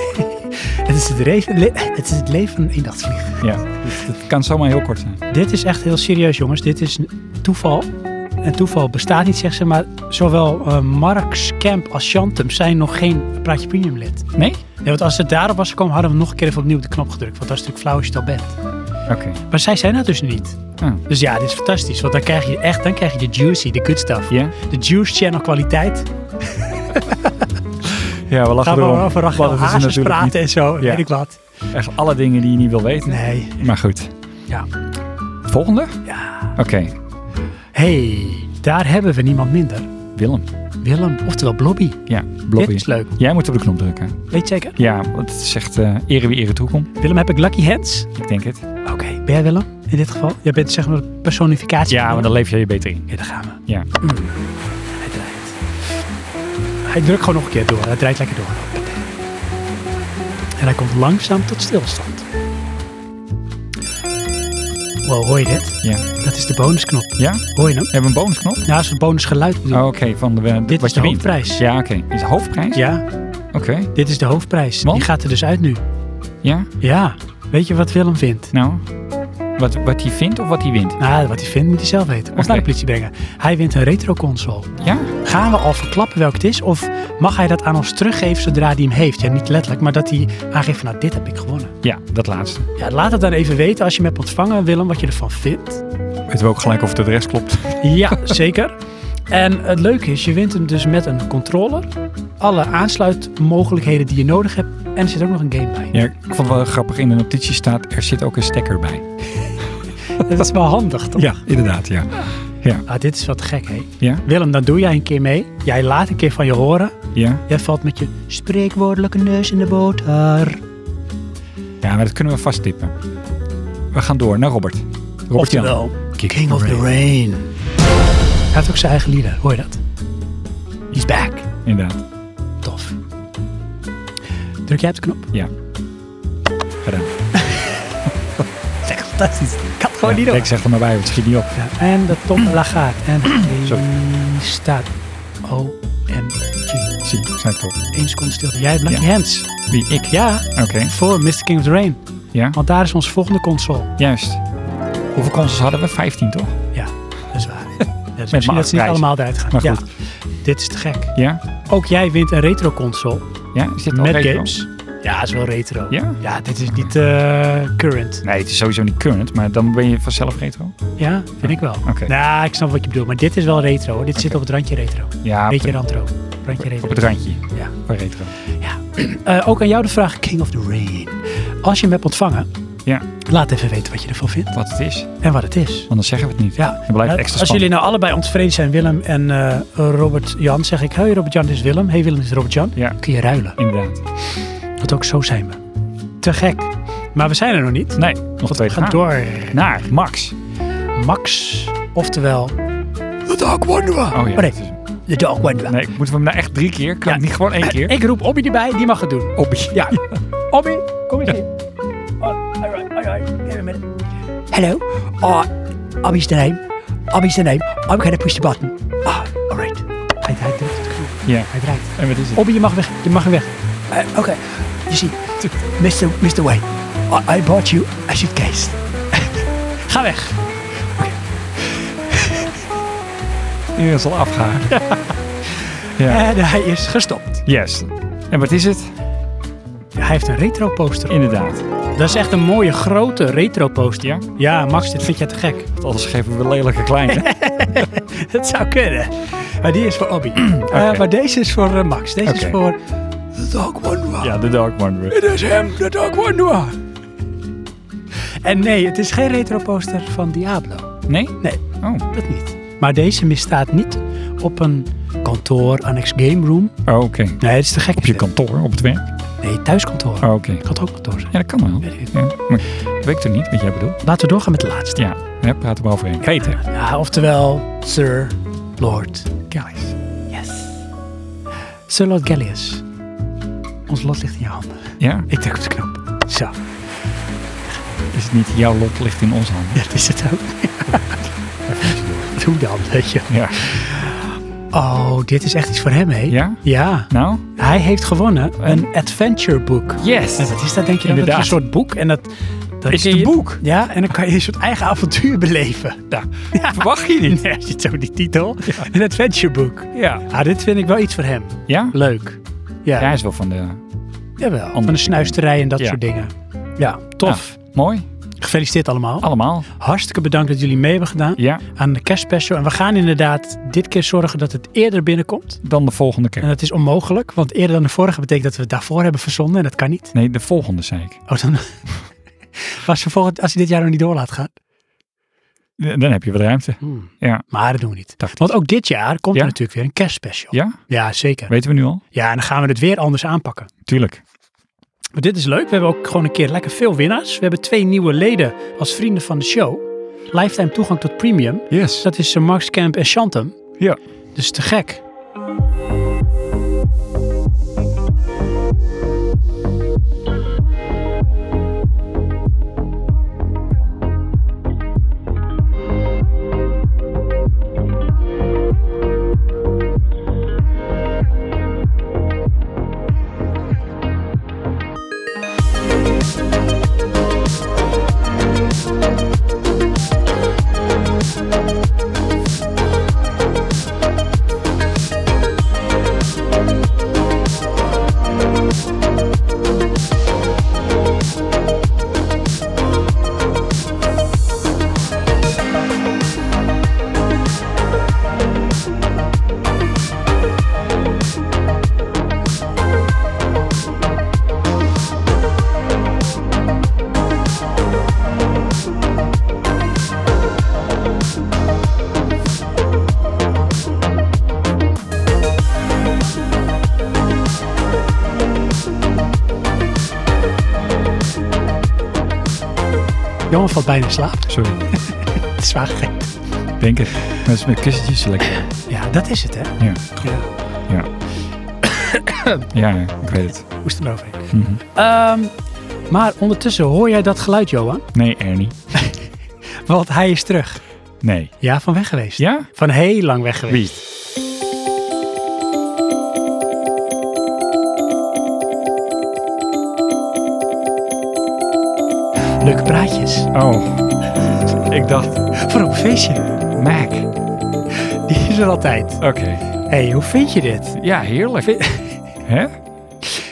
A: Het is, het, leven, le- het is het leven van een eendagsvlieg.
B: Ja, dus het kan zomaar heel kort zijn.
A: Dit is echt heel serieus, jongens. Dit is een toeval. En toeval bestaat niet, zeg ze. Maar zowel eh Mark Scamp als Chantem zijn nog geen Praatje Premium lid.
B: Nee?
A: Nee, want als het daarop was gekomen, hadden we nog een keer even opnieuw op de knop gedrukt. Want dat is natuurlijk flauw als je het al bent.
B: Oké.
A: Maar zij zijn dat dus niet.
B: Ah,
A: Dus ja, dit is fantastisch. Want dan krijg je echt, dan krijg je de juicy, de good stuff.
B: Ja?
A: De Juice Channel kwaliteit.
B: Ja, we lachen
A: Gaan we
B: erom.
A: maar over Rachel Hazes praten en zo.
B: Ja.
A: Weet ik wat.
B: Echt alle dingen die je niet wil weten.
A: Nee.
B: Maar goed.
A: Ja.
B: Volgende?
A: Ja.
B: Oké.
A: hey, daar hebben we niemand minder.
B: Willem.
A: Willem, oftewel Blobby.
B: Ja, Blobby.
A: Dit is leuk.
B: Jij moet op de knop drukken.
A: Weet je zeker?
B: Ja, want het is echt eh ere wie ere toekomt.
A: Willem, heb ik lucky hands?
B: Ik denk het.
A: Oké, ben jij Willem? In dit geval? Jij bent zeg maar de personificatie.
B: Ja,
A: van
B: maar dan
A: Willem.
B: leef je je beter in.
A: Ja, daar gaan we.
B: Ja.
A: Hij draait. Hij drukt gewoon nog een keer door. Hij draait lekker door. En hij komt langzaam tot stilstand. Wow, hoor je dit?
B: Ja.
A: Dat is de bonusknop.
B: Ja?
A: Hoor je hem?
B: Hebben we een bonusknop?
A: Ja, dat is een bonusgeluid bedoel
B: Oh,
A: ik.
B: Oké, van de, wat
A: Dit is
B: je
A: de
B: wint.
A: hoofdprijs.
B: Ja, oké. Is het hoofdprijs?
A: Ja,
B: Oké.
A: dit is de hoofdprijs.
B: Want?
A: Die gaat er dus uit nu.
B: Ja?
A: Ja, weet je wat Willem vindt?
B: Nou? Wat, wat hij vindt of wat hij wint?
A: Nou, wat hij vindt moet hij zelf weten. Of
B: Oké.
A: naar de politie brengen. Hij wint een retroconsole.
B: Ja?
A: Gaan we al verklappen welk het is? Of mag hij dat aan ons teruggeven zodra hij hem heeft? Ja, niet letterlijk, maar dat hij aangeeft van nou, dit heb ik gewonnen.
B: Ja, dat laatste.
A: Ja, laat het dan even weten als je hem hebt ontvangen, Willem, wat je ervan vindt.
B: Weten we ook gelijk of de rest klopt.
A: Ja, zeker. En het leuke is, je wint hem dus met een controller. Alle aansluitmogelijkheden die je nodig hebt. En er zit ook nog een game bij.
B: Ja, ik vond het wel grappig. In de notitie staat, er zit ook een stekker bij.
A: Dat is wel handig, toch?
B: inderdaad, ja.
A: Ah, dit is wat gek, hè?
B: Ja?
A: Willem, dan doe jij een keer mee. Jij laat een keer van je horen.
B: Ja?
A: Jij valt met je spreekwoordelijke neus in de boter.
B: Ja, maar dat kunnen we vasttippen. We gaan door naar Robert. Robert Jan.
A: Oftewel, King of the Rain. Hij heeft ook zijn eigen lieder, hoor je dat? He's back.
B: Inderdaad.
A: Tof. Druk jij op de knop?
B: Ja. Gedaan.
A: Dat is echt fantastisch. Ik had gewoon niet
B: Ja,
A: door.
B: ik zeg er maar bij, want het schiet niet op.
A: Ja, en de tombola gaat. En
B: Sorry.
A: die staat. OMG.
B: Zie, zei ik toch.
A: Eén seconde stilte. Jij hebt Lucky
B: Ja.
A: Hands.
B: Wie, ik?
A: Ja,
B: Oké.
A: voor Mr. King of the Rain.
B: Ja,
A: Want daar is onze volgende console.
B: juist. Hoeveel consoles hadden we? 15, toch?
A: Ja, dat is waar. Ja, dus misschien
B: mijn
A: dat ze niet
B: afprijs.
A: allemaal eruit gaan.
B: Maar
A: Ja,
B: goed.
A: dit is te gek.
B: Ja?
A: Ook jij wint een retro console.
B: Ja? Is dit al
A: Met
B: retro?
A: games? Ja, is wel retro.
B: Ja?
A: dit is niet eh, current.
B: Nee, het is sowieso niet current, maar dan ben je vanzelf retro.
A: Ja, vind ik wel.
B: Oké.
A: Nou, ik snap wat je bedoelt. Maar dit is wel retro. hoor. Dit zit op het randje retro.
B: Ja,
A: Beetje
B: op,
A: randro. Randje
B: op
A: retro.
B: het randje
A: Ja.
B: van retro.
A: Eh, ook aan jou de vraag, King of the Rain. Als je hem hebt ontvangen,
B: Ja,
A: laat even weten wat je ervan vindt.
B: wat het is. Want
A: En wat het is.
B: dan zeggen we het niet.
A: Ja,
B: Dan blijft
A: Nou,
B: het extra
A: als jullie
B: spannend.
A: nou allebei ontvreden zijn, Willem en eh, Robert Jan, zeg ik, hey Robert Jan, dit is Willem. Hey Willem, dit is Robert Jan.
B: Ja.
A: Kun je ruilen.
B: Inderdaad.
A: Want ook zo zijn we. Te gek. Maar we zijn er nog niet.
B: Nee, nog
A: Want
B: twee Oh
A: we
B: te
A: gaan
B: gaan.
A: door.
B: Naar Max.
A: Max, oftewel... The Dark Wanderer.
B: Oh ja.
A: Oh, nee,
B: dat is hem. Eh,
A: The Dark Wanderer.
B: Nee, moeten we hem nou echt drie keer? Kan
A: Ja.
B: het niet gewoon één keer?
A: Ik roep Obi erbij, die mag het doen.
B: Obi.
A: Ja. Obi, kom eens hier. Oh,
E: Hello. Uh, Abby's the name. Abby's the name. I'm gonna push the button. Ah, alright.
A: Hij, hij doet het goed.
B: Ja,
A: Hij draait.
B: en wat is het?
A: Obi, je mag weg. Je mag weg.
E: Uh, okay. You see, Mr. Mr. Wayne, Oh, I, I bought you a suitcase.
A: Ga weg.
B: Iedereen is al afgehaakt. Ja.
A: En hij is gestopt.
B: Yes. En wat is het?
A: Hij heeft een retro poster. op.
B: Inderdaad.
A: Dat is echt een mooie grote retro poster.
B: Ja?
A: Ja, Max, dit vind jij te gek.
B: Alles geven we lelijke kleine.
A: Dat zou kunnen. Maar die is voor Obi.
B: Oké.
A: Eh, maar deze is voor eh, Max. Deze is
B: Oké.
A: voor...
E: The dog wanderer.
B: ja, de Dark Wanderer.
A: Het is hem, de Dark Wanderer. En nee, het is geen retro poster van Diablo.
B: Nee?
A: Nee,
B: Oh.
A: dat niet. Maar deze misstaat niet op een kantoor, annex game room.
B: Oh, Oké.
A: Nee, het is te gek.
B: Op je kantoor, op het werk.
A: Nee, thuiskantoor.
B: Oh, Oké.
A: Kan het ook kantoor zijn.
B: Ja, dat kan wel.
A: Weet ik niet.
B: Ja. Maar ik weet toch niet wat jij bedoelt?
A: Laten we doorgaan met de laatste.
B: Ja, hè, praat er maar overheen. Peter.
A: Ja, oftewel Sir Lord.
B: Guys.
A: Yes. Sir Lord Gallius. Ons lot ligt in je handen.
B: Ja,
A: Ik druk op de knop. Zo,
B: is het niet jouw lot ligt in onze handen?
A: dat is het ook. Doe dan, weet je.
B: Ja.
A: Oh, dit is echt iets voor hem, hè?
B: Ja?
A: Ja.
B: Nou?
A: Hij heeft gewonnen een adventure boek.
B: Yes.
A: En wat is dat, denk je? Dat
B: Inderdaad.
A: is een soort boek. En dat, dat
B: Is
A: kun
B: het
A: je-
B: een boek?
A: Ja, en dan kan je een soort eigen avontuur beleven.
B: Nou, verwacht je niet.
A: Nee, ziet zo die titel. Een adventure boek.
B: Ja.
A: Ah, dit vind ik wel iets voor hem.
B: Ja?
A: Leuk.
B: Ja,
A: Ja,
B: hij is wel van de...
A: jawel. Van
B: andere
A: de snuisterij en dat
B: Ja.
A: soort dingen. Ja, tof.
B: Ja, mooi.
A: Gefeliciteerd allemaal.
B: Allemaal.
A: Hartstikke bedankt dat jullie mee hebben gedaan
B: Ja,
A: aan de kerstspecial. En we gaan inderdaad dit keer zorgen dat het eerder binnenkomt.
B: dan de volgende
A: En
B: keer.
A: dat is onmogelijk, want eerder dan de vorige betekent dat we het daarvoor hebben verzonden. En dat kan niet.
B: Nee, de volgende zei ik.
A: Oh, dan... Was volgend, als je dit jaar nog niet door laat gaan.
B: Ja, Dan heb je wat ruimte. Ja.
A: Maar dat doen we niet.
B: Tactisch.
A: Want ook dit jaar komt
B: Ja?
A: er natuurlijk weer een kerstspecial.
B: Ja?
A: Ja, zeker.
B: Weten we nu al?
A: Ja, en dan gaan we het weer anders aanpakken.
B: Tuurlijk.
A: Maar dit is leuk. We hebben ook gewoon een keer lekker veel winnaars. We hebben twee nieuwe leden als vrienden van de show. Lifetime toegang tot premium.
B: Yes.
A: Dat is eh, Max Camp en Shantum.
B: Ja.
A: Dus te gek. Jongen valt bijna in slaap.
B: Sorry.
A: Het is zwaar gek.
B: Ik Denk het. Dat is met kussentjes lekker.
A: Ja, dat is het hè.
B: Ja.
A: Ja.
B: Ja. ja, ja, ik weet het.
A: Moest er maar overheen.
B: Mhm.
A: Ehm, maar ondertussen hoor jij dat geluid, Johan?
B: Nee, Ernie.
A: Want hij is terug.
B: Nee.
A: Ja, van weg geweest.
B: Ja?
A: Van heel lang weg geweest.
B: Wie?
A: Leuke praatjes.
B: Oh. Ik dacht,
A: Voor op een feestje.
B: Mac.
A: Die is er altijd.
B: Oké.
A: Hé, hey, hoe vind je dit?
B: Ja, heerlijk.
A: Vind-
B: Hè?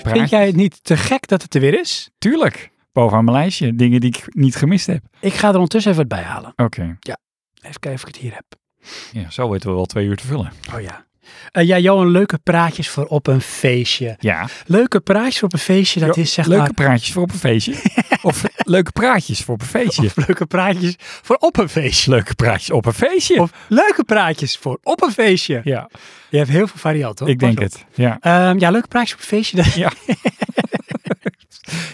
B: Praat.
A: Vind jij het niet te gek dat het er weer is?
B: Tuurlijk. Bovenaan mijn lijstje. Dingen die ik niet gemist heb.
A: Ik ga er ondertussen even wat bij halen.
B: Oké.
A: Even kijken of ik het hier heb.
B: Ja, zo weten we wel twee uur te vullen.
A: Oh ja. Eh, ja, Johan, leuke praatjes voor op een feestje.
B: Ja.
A: Leuke praatjes voor op een feestje, dat
B: Jo,
A: is zeg
B: leuke
A: maar...
B: praatjes voor op een feestje. of leuke praatjes voor op een feestje.
A: Leuke praatjes voor op een feestje.
B: Leuke praatjes op een feestje.
A: Of leuke praatjes voor op een feestje.
B: ja,
A: Je hebt heel veel varianten. hoor.
B: ik denk
A: Pas op.
B: het. Ja.
A: Ehm, ja, leuke praatjes op een feestje. dat-
B: Ja.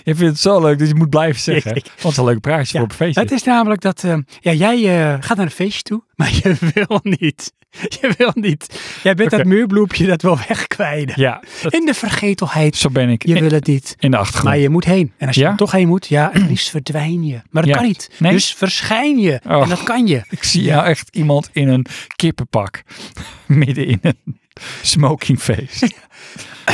B: Je vindt het zo leuk, dus je moet blijven zeggen.
A: Ik-
B: Want het is een leuk
A: Ja,
B: prijsje voor op een feestje.
A: Het is namelijk dat eh, ja, jij eh, gaat naar een feestje toe, maar je wil niet. Je wil niet. Jij bent
B: Oké.
A: dat muurbloempje dat wil wegkwijden.
B: Ja, dat-
A: In de vergetelheid.
B: zo ben ik.
A: Je
B: In,
A: wil het niet.
B: in de
A: Maar
B: achtergrond.
A: je moet heen. En als je
B: Ja?
A: er toch heen moet, ja, het liefst verdwijn je. Maar dat
B: Ja.
A: kan niet.
B: Nee.
A: Dus verschijn je.
B: Oh.
A: En dat kan je.
B: Ik zie jou echt iemand in een kippenpak. Midden in een smokingfeest.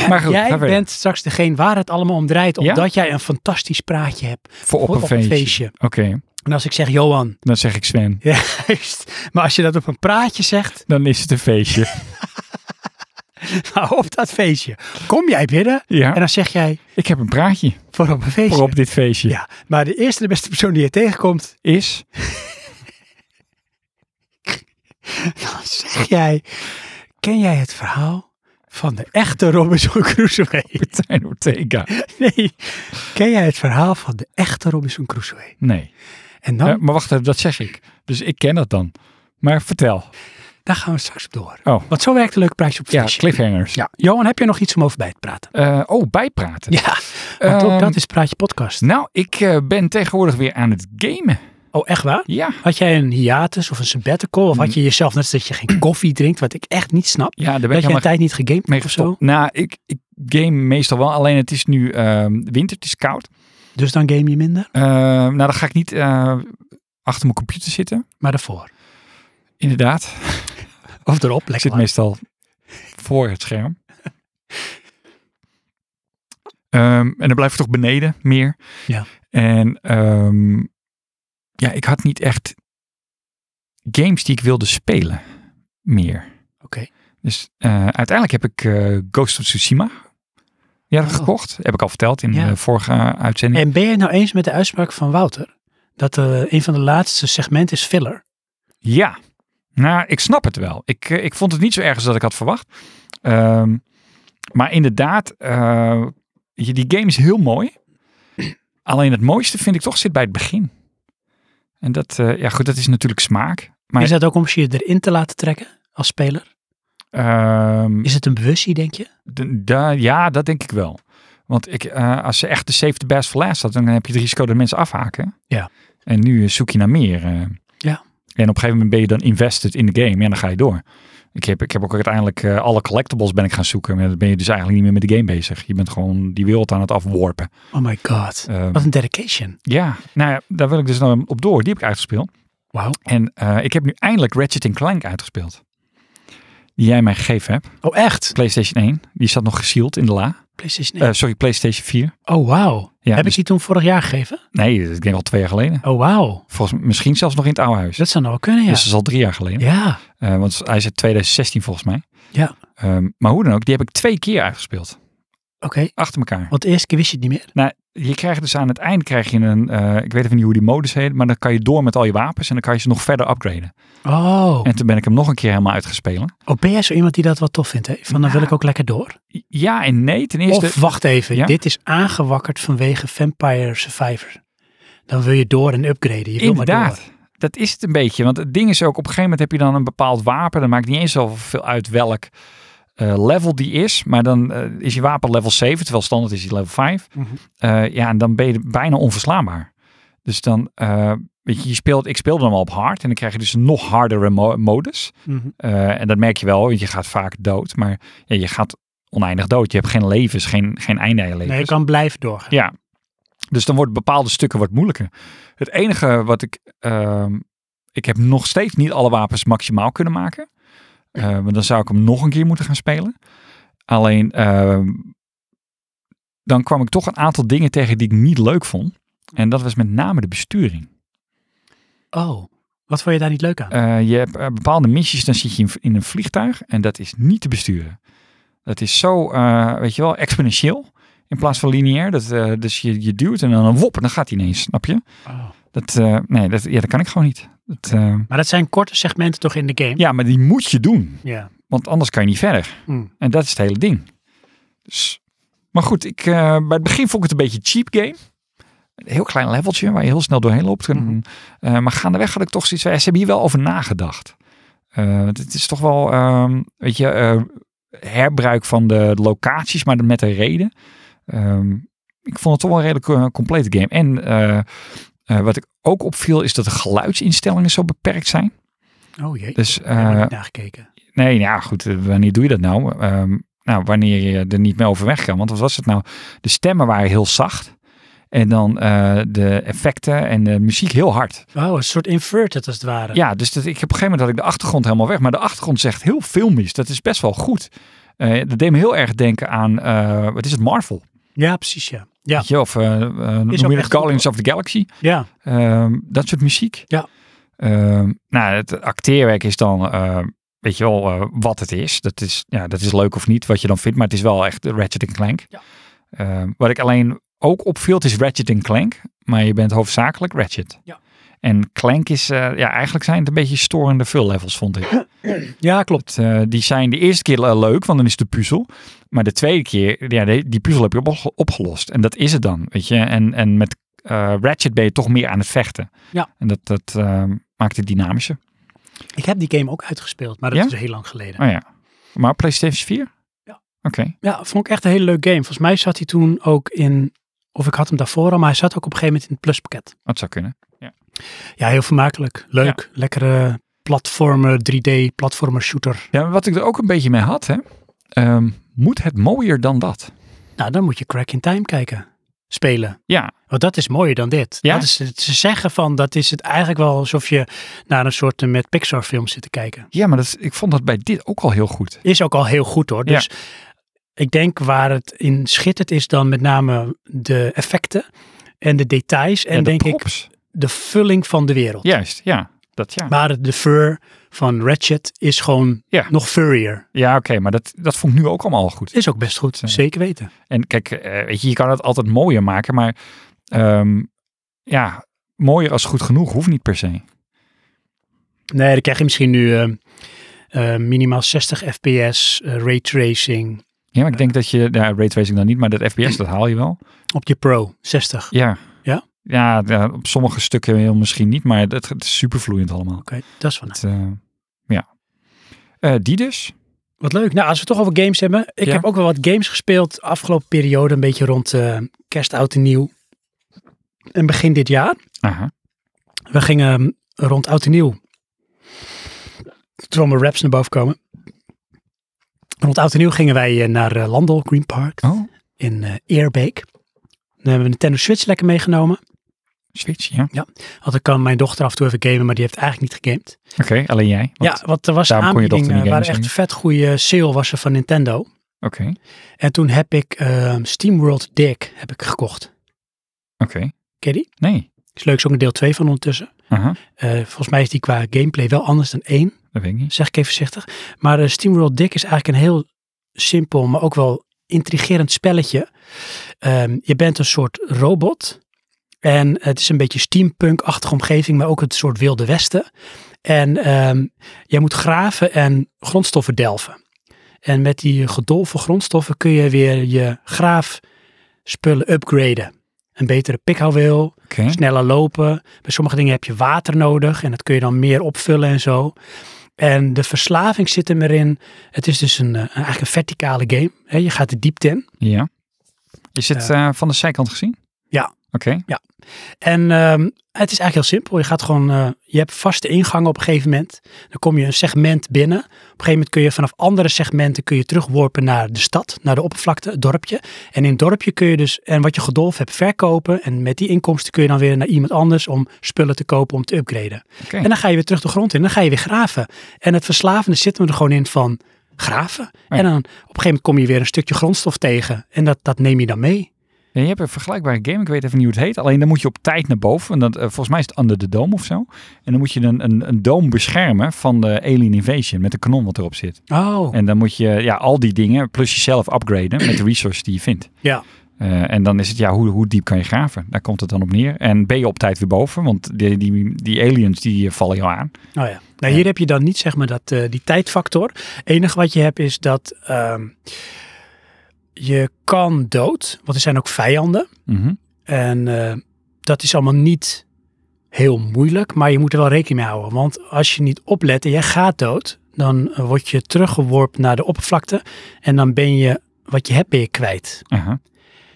B: Maar goed,
A: jij
B: ga verder.
A: bent straks degene waar het allemaal om draait,
B: Ja?
A: omdat jij een fantastisch praatje hebt.
B: voor op,
A: voor
B: een,
A: op een
B: feestje.
A: feestje.
B: Oké,
A: En als ik zeg Johan,
B: dan zeg ik Sven.
A: juist. Maar als je dat op een praatje zegt,
B: Dan is het een feestje.
A: nou, op dat feestje, kom jij binnen en
B: Ja,
A: dan zeg jij
B: ik heb een praatje
A: voor op een feestje.
B: voor op dit feestje.
A: Ja, maar de eerste de beste persoon die je tegenkomt,
B: Is,
A: dan zeg jij, ken jij het verhaal van de echte Robinson Crusoe?
B: Martijn Ortega.
A: Nee, ken jij het verhaal van de echte Robinson Crusoe?
B: Nee.
A: En dan,
B: Eh, maar wacht even, dat zeg ik. Dus ik ken dat dan. Maar vertel.
A: daar gaan we straks op door.
B: Oh.
A: Want zo werkt een leuk prijs op
B: Ja,
A: feestje.
B: cliffhangers.
A: Ja, Johan, heb je nog iets om over bij te praten?
B: Eh, oh, bijpraten.
A: Ja, want ook
B: Ehm,
A: dat is Praatje Podcast.
B: Nou, ik eh, ben tegenwoordig weer aan het gamen.
A: Oh, echt waar?
B: Ja.
A: Had jij een hiatus of een sabbatical?
B: Mm.
A: Of had je jezelf, net als dat je geen koffie drinkt, wat ik echt niet snap.
B: Ja, daar
A: dat
B: ben ik
A: je een
B: helemaal
A: tijd niet gegamed
B: mee
A: hebt of zo.
B: gestopt. Nou, ik, ik game meestal wel. Alleen het is nu ehm, winter, het is koud.
A: Dus dan game je minder,
B: Eh, nou, dan ga ik niet eh, achter mijn computer zitten.
A: maar daarvoor.
B: Inderdaad.
A: Of erop,
B: Ik zit
A: lekker.
B: meestal voor het scherm. Ehm, en dan blijf ik toch beneden meer.
A: Ja.
B: En ehm, ja, ik had niet echt games die ik wilde spelen meer.
A: Oké.
B: Dus eh, uiteindelijk heb ik eh, Ghost of Tsushima ja,
A: Oh.
B: gekocht. Heb ik al verteld in
A: Ja.
B: de vorige uitzending.
A: En ben je het nou eens met de uitspraak van Wouter? Dat eh, een van de laatste segmenten is filler.
B: Ja, nou, ik snap het wel. Ik, eh, ik vond het niet zo erg als dat ik had verwacht. Ehm, maar inderdaad, eh, je- die game is heel mooi. Alleen het mooiste vind ik toch zit bij het begin. En dat, eh, ja goed, dat is natuurlijk smaak. Maar
A: Is dat ook om ze je erin te laten trekken als speler?
B: ehm,
A: Is het een bewustzijn, denk je?
B: de- de- ja, dat denk ik wel. Want ik, eh, als ze echt de save the best for last had, dan heb je het risico dat mensen afhaken.
A: Ja.
B: En nu eh, zoek je naar meer. eh.
A: Ja.
B: En op een gegeven moment ben je dan invested in de game. Ja, dan ga je door. Ik heb, ik heb ook uiteindelijk eh, alle collectibles ben ik gaan zoeken. Maar dan ben je dus eigenlijk niet meer met de game bezig. Je bent gewoon die wereld aan het afworpen.
A: Oh my god.
B: Eh,
A: Wat een dedication.
B: ja, nou ja, daar wil ik dus dan op door. Die heb ik uitgespeeld.
A: Wauw.
B: En eh, ik heb nu eindelijk Ratchet Clank uitgespeeld. Die jij mij gegeven hebt.
A: Oh echt?
B: PlayStation 1. Die zat nog gesield in de la.
A: PlayStation
B: Eh, sorry, PlayStation 4.
A: oh wauw.
B: Ja,
A: Heb
B: dus-
A: ik die toen vorig jaar gegeven?
B: Nee, dus ik denk al twee jaar geleden.
A: Oh wauw.
B: Volgens, misschien zelfs nog in het oude huis.
A: Dat zou nou wel kunnen, ja.
B: Dus dat is al drie jaar geleden.
A: ja.
B: Eh, want hij is uit 2016 volgens mij.
A: Ja.
B: Ehm, maar hoe dan ook, die heb ik twee keer uitgespeeld.
A: Oké.
B: Achter elkaar.
A: Want de eerste keer wist je het niet meer.
B: Nou, je krijgt dus aan het eind krijg je een, eh, ik weet even niet hoe die modus heet, maar dan kan je door met al je wapens en dan kan je ze nog verder upgraden.
A: Oh.
B: En toen ben ik hem nog een keer helemaal uitgespelen.
A: oh ben jij zo iemand die dat wel tof vindt? Hè? Van dan wil ik ook lekker door.
B: Ja en nee, ten eerste...
A: Of wacht even.
B: Ja?
A: Dit is aangewakkerd vanwege Vampire Survivor. Dan wil je door en upgraden. Je wil maar door.
B: Inderdaad. Dat is het een beetje. Want het ding is ook, op een gegeven moment heb je dan een bepaald wapen. Dan maakt niet eens zoveel uit welk eh, level die is. Maar dan eh, is je wapen level 7, terwijl standaard is die level 5.
A: Mhm.
B: Eh, ja, en dan ben je bijna onverslaanbaar. Dus dan, eh, weet je, je speelt, ik speelde hem al op hard. En dan krijg je dus een nog hardere mo- modus.
A: Mhm.
B: Eh, en dat merk je wel, want je gaat vaak dood. Maar ja, je gaat oneindig dood. Je hebt geen levens, geen, geen einde aan je dus- levens.
A: Nee, je kan blijven doorgaan.
B: Ja. Dus dan worden bepaalde stukken wat moeilijker. Het enige wat ik. ehm, ik heb nog steeds niet alle wapens maximaal kunnen maken. Eh, Want dan zou ik hem nog een keer moeten gaan spelen. Alleen. ehm, dan kwam ik toch een aantal dingen tegen die ik niet leuk vond. En dat was met name de besturing.
A: Oh, wat vond je daar niet leuk aan?
B: Eh, je hebt eh, bepaalde missies, dan zit je in, in een vliegtuig en dat is niet te besturen. Dat is zo, eh, weet je wel, exponentieel in plaats van lineair. Dat, eh, dus je, je duwt en dan een wop en dan gaat hij ineens, snap je? Dat, eh, nee, dat, ja, dat kan ik gewoon niet. Dat, eh,
A: Oh. Maar dat zijn korte segmenten toch in de game?
B: ja, maar die moet je doen,
A: Ja.
B: want anders kan je niet verder.
A: Mm.
B: En dat is het hele ding. Dus, maar goed, ik, eh, bij het begin vond ik het een beetje cheap game. Een heel klein leveltje waar je heel snel doorheen loopt. En,
A: Mhm.
B: eh, maar gaandeweg had ik toch zoiets van, ja, ze hebben hier wel over nagedacht. Eh, want het is toch wel, ehm, weet je, eh, herbruik van de locaties, maar met een reden. Ehm, ik vond het toch wel een redelijk eh, complete game. En eh, eh, wat ik ook opviel is dat de geluidsinstellingen zo beperkt zijn.
E: Oh jee.
B: Dus
E: Ik heb
B: eh,
E: niet nagekeken.
B: Nee, nou ja, goed. eh, Wanneer doe je dat nou? Ehm, nou, wanneer je er niet meer overweg kan. Want wat was het nou? De stemmen waren heel zacht. En dan eh, de effecten en de muziek heel hard.
A: Wauw, een soort inverted als het ware.
B: Ja, dus dat, ik, heb op een gegeven moment had ik de achtergrond helemaal weg. Maar de achtergrond zegt heel filmisch. Dat is best wel goed. Eh, dat deed me heel erg denken aan, eh, wat is het, Marvel?
A: Ja, precies ja. Ja,
B: Weet je, of eh eh, noem
A: ook
B: je
A: echt
B: het Guardians of the Galaxy.
A: ja.
B: Ehm, dat soort muziek.
A: Ja.
B: Ehm, nou, het acteerwerk is dan, ehm, weet je wel, eh, wat het is. Dat is, ja, dat is leuk of niet, wat je dan vindt. Maar het is wel echt Ratchet Clank.
A: Ja.
B: Ehm, wat ik alleen ook opviel, het is Ratchet Clank. Maar je bent hoofdzakelijk Ratchet.
A: Ja.
B: En Clank is, eh, ja, eigenlijk zijn het een beetje storende levels vond ik.
A: ja, klopt.
B: Het, eh, die zijn de eerste keer eh, leuk, want dan is de puzzel. Maar de tweede keer, ja, die, die puzzel heb je opge- opgelost. En dat is het dan, weet je. En, en met eh, Ratchet ben je toch meer aan het vechten.
A: Ja.
B: En dat, dat eh, maakt het dynamischer.
A: Ik heb die game ook uitgespeeld, maar dat
B: Ja?
A: is dus heel lang geleden.
B: Oh ja. Maar op PlayStation 4?
A: Ja.
B: Oké.
A: Ja, vond ik echt een hele leuke game. Volgens mij zat hij toen ook in, of ik had hem daarvoor al, maar hij zat ook op een gegeven moment in het pluspakket.
B: Dat zou kunnen.
A: Ja, heel vermakelijk. Leuk. Lekkere platformer, 3D platformer shooter.
B: Ja, maar wat ik er ook een beetje mee had, hè. ehm, moet het mooier dan dat?
A: Nou, dan moet je Crack in Time kijken. Spelen.
B: Ja.
A: Want dat is mooier dan dit.
B: Ja?
A: Dat is, ze zeggen van, dat is het eigenlijk wel alsof je naar een soort eh, met Pixar film zit te kijken.
B: Ja, maar dat, is- ik vond dat bij dit ook al heel goed.
A: Is ook al heel goed hoor.
B: Ja.
A: Dus ik denk waar het in schittert is dan met name de effecten en de details. En
B: ja, de
A: denk ik
B: props.
A: de vulling van de wereld.
B: Juist, ja. Dat ja.
A: Maar de fur van Ratchet is gewoon
B: Ja.
A: nog furrier.
B: Ja, oké, maar dat, dat vond ik nu ook allemaal al goed.
A: Is ook best goed,
B: Zeker.
A: zeker weten.
B: En kijk, eh, weet je, je kan het altijd mooier maken, maar ehm, ja, mooier als goed genoeg hoeft niet per se.
A: Nee, dan krijg je misschien nu eh, eh, minimaal 60 fps, eh, raytracing
B: Ja, maar ik denk dat je, ja, raytracing dan niet, maar dat FPS, dat haal je wel.
A: op je Pro 60.
B: Ja.
A: Ja?
B: Ja, ja, op sommige stukken heel misschien niet, maar het, het is super vloeiend allemaal.
A: Oké, dat is van.
B: Het, eh, ja. Eh, die dus?
A: Wat leuk. Nou, als we het toch over games hebben. Ik
B: Ja.
A: heb ook wel wat games gespeeld afgelopen periode, een beetje rond eh, kerst, oud en nieuw. En begin dit jaar.
B: Aha.
A: We gingen eh, rond oud en nieuw. Toen raps naar boven komen. Rond oud en nieuw gingen wij eh, naar eh, Landel Green Park.
B: Oh,
A: in eh, Eerbeek. Dan hebben we Nintendo Switch lekker meegenomen.
B: Switch, ja.
A: Want ik kan mijn dochter af en toe even gamen, maar die heeft eigenlijk niet gegamed.
B: Oké, alleen jij. Want-
A: ja, want er was een
B: daarom kon
A: aanbieding,
B: je dochter
A: eh,
B: niet
A: waren
B: gamen,
A: echt vet goede sale was er van Nintendo.
B: Oké,
A: En toen heb ik ehm SteamWorld Dick heb ik gekocht.
B: oké.
A: Ken je die?
B: Nee.
A: Is leuk, is ook een deel 2 van ondertussen.
B: Aha,
A: Eh, volgens mij is die qua gameplay wel anders dan 1,
B: dat weet ik niet.
A: zeg ik even voorzichtig. Maar eh, SteamWorld Dick is eigenlijk een heel simpel, maar ook wel intrigerend spelletje. Ehm, je bent een soort robot. En het is een beetje steampunk-achtige omgeving, maar ook het soort wilde westen. En ehm jij moet graven en grondstoffen delven. En met die gedolven grondstoffen kun je weer je graafspullen upgraden. Een betere pikhouweel,
B: Oké,
A: sneller lopen. Bij sommige dingen heb je water nodig en dat kun je dan meer opvullen en zo. En de verslaving zit hem erin. Het is dus een, eh, eigenlijk een verticale game. hè. Je gaat de diepte in.
B: ja. Is het eh, van de zijkant gezien?
A: Ja.
B: Oké,
A: En ehm, het is eigenlijk heel simpel. Je gaat gewoon, eh, je hebt vaste ingangen op een gegeven moment. Dan kom je een segment binnen. Op een gegeven moment kun je vanaf andere segmenten kun je terugworpen naar de stad, naar de oppervlakte, het dorpje. En in het dorpje kun je dus, en wat je gedolven hebt, verkopen. En met die inkomsten kun je dan weer naar iemand anders om spullen te kopen, om te upgraden.
B: Oké.
A: En dan ga je weer terug de grond in. Dan ga je weer graven. En het verslavende zit er gewoon in van graven.
B: ja.
A: En dan op een gegeven moment kom je weer een stukje grondstof tegen. En dat, dat neem je dan mee.
B: Ja, je hebt een vergelijkbare game, ik weet even niet hoe het heet. Alleen dan moet je op tijd naar boven. En dat, eh, volgens mij is het Under the Dome of zo. En dan moet je een, een, een doom beschermen van de Alien Invasion met de kanon wat erop zit.
A: Oh,
B: En dan moet je ja, al die dingen, plus jezelf upgraden met de resources die je vindt.
A: ja.
B: Eh, en dan is het, ja, hoe, hoe diep kan je graven? Daar komt het dan op neer. En ben je op tijd weer boven? Want die, die, die aliens die eh, vallen jou aan.
A: Nou ja, nou, hier heb je dan niet zeg maar dat, eh, die tijdfactor. enige wat je hebt is dat ehm, je kan dood, want er zijn ook vijanden.
B: Mhm.
A: En eh, dat is allemaal niet heel moeilijk, maar je moet er wel rekening mee houden. Want als je niet oplet en jij gaat dood, dan eh, word je teruggeworpen naar de oppervlakte. En dan ben je, wat je hebt, ben je kwijt.
B: Aha. Maar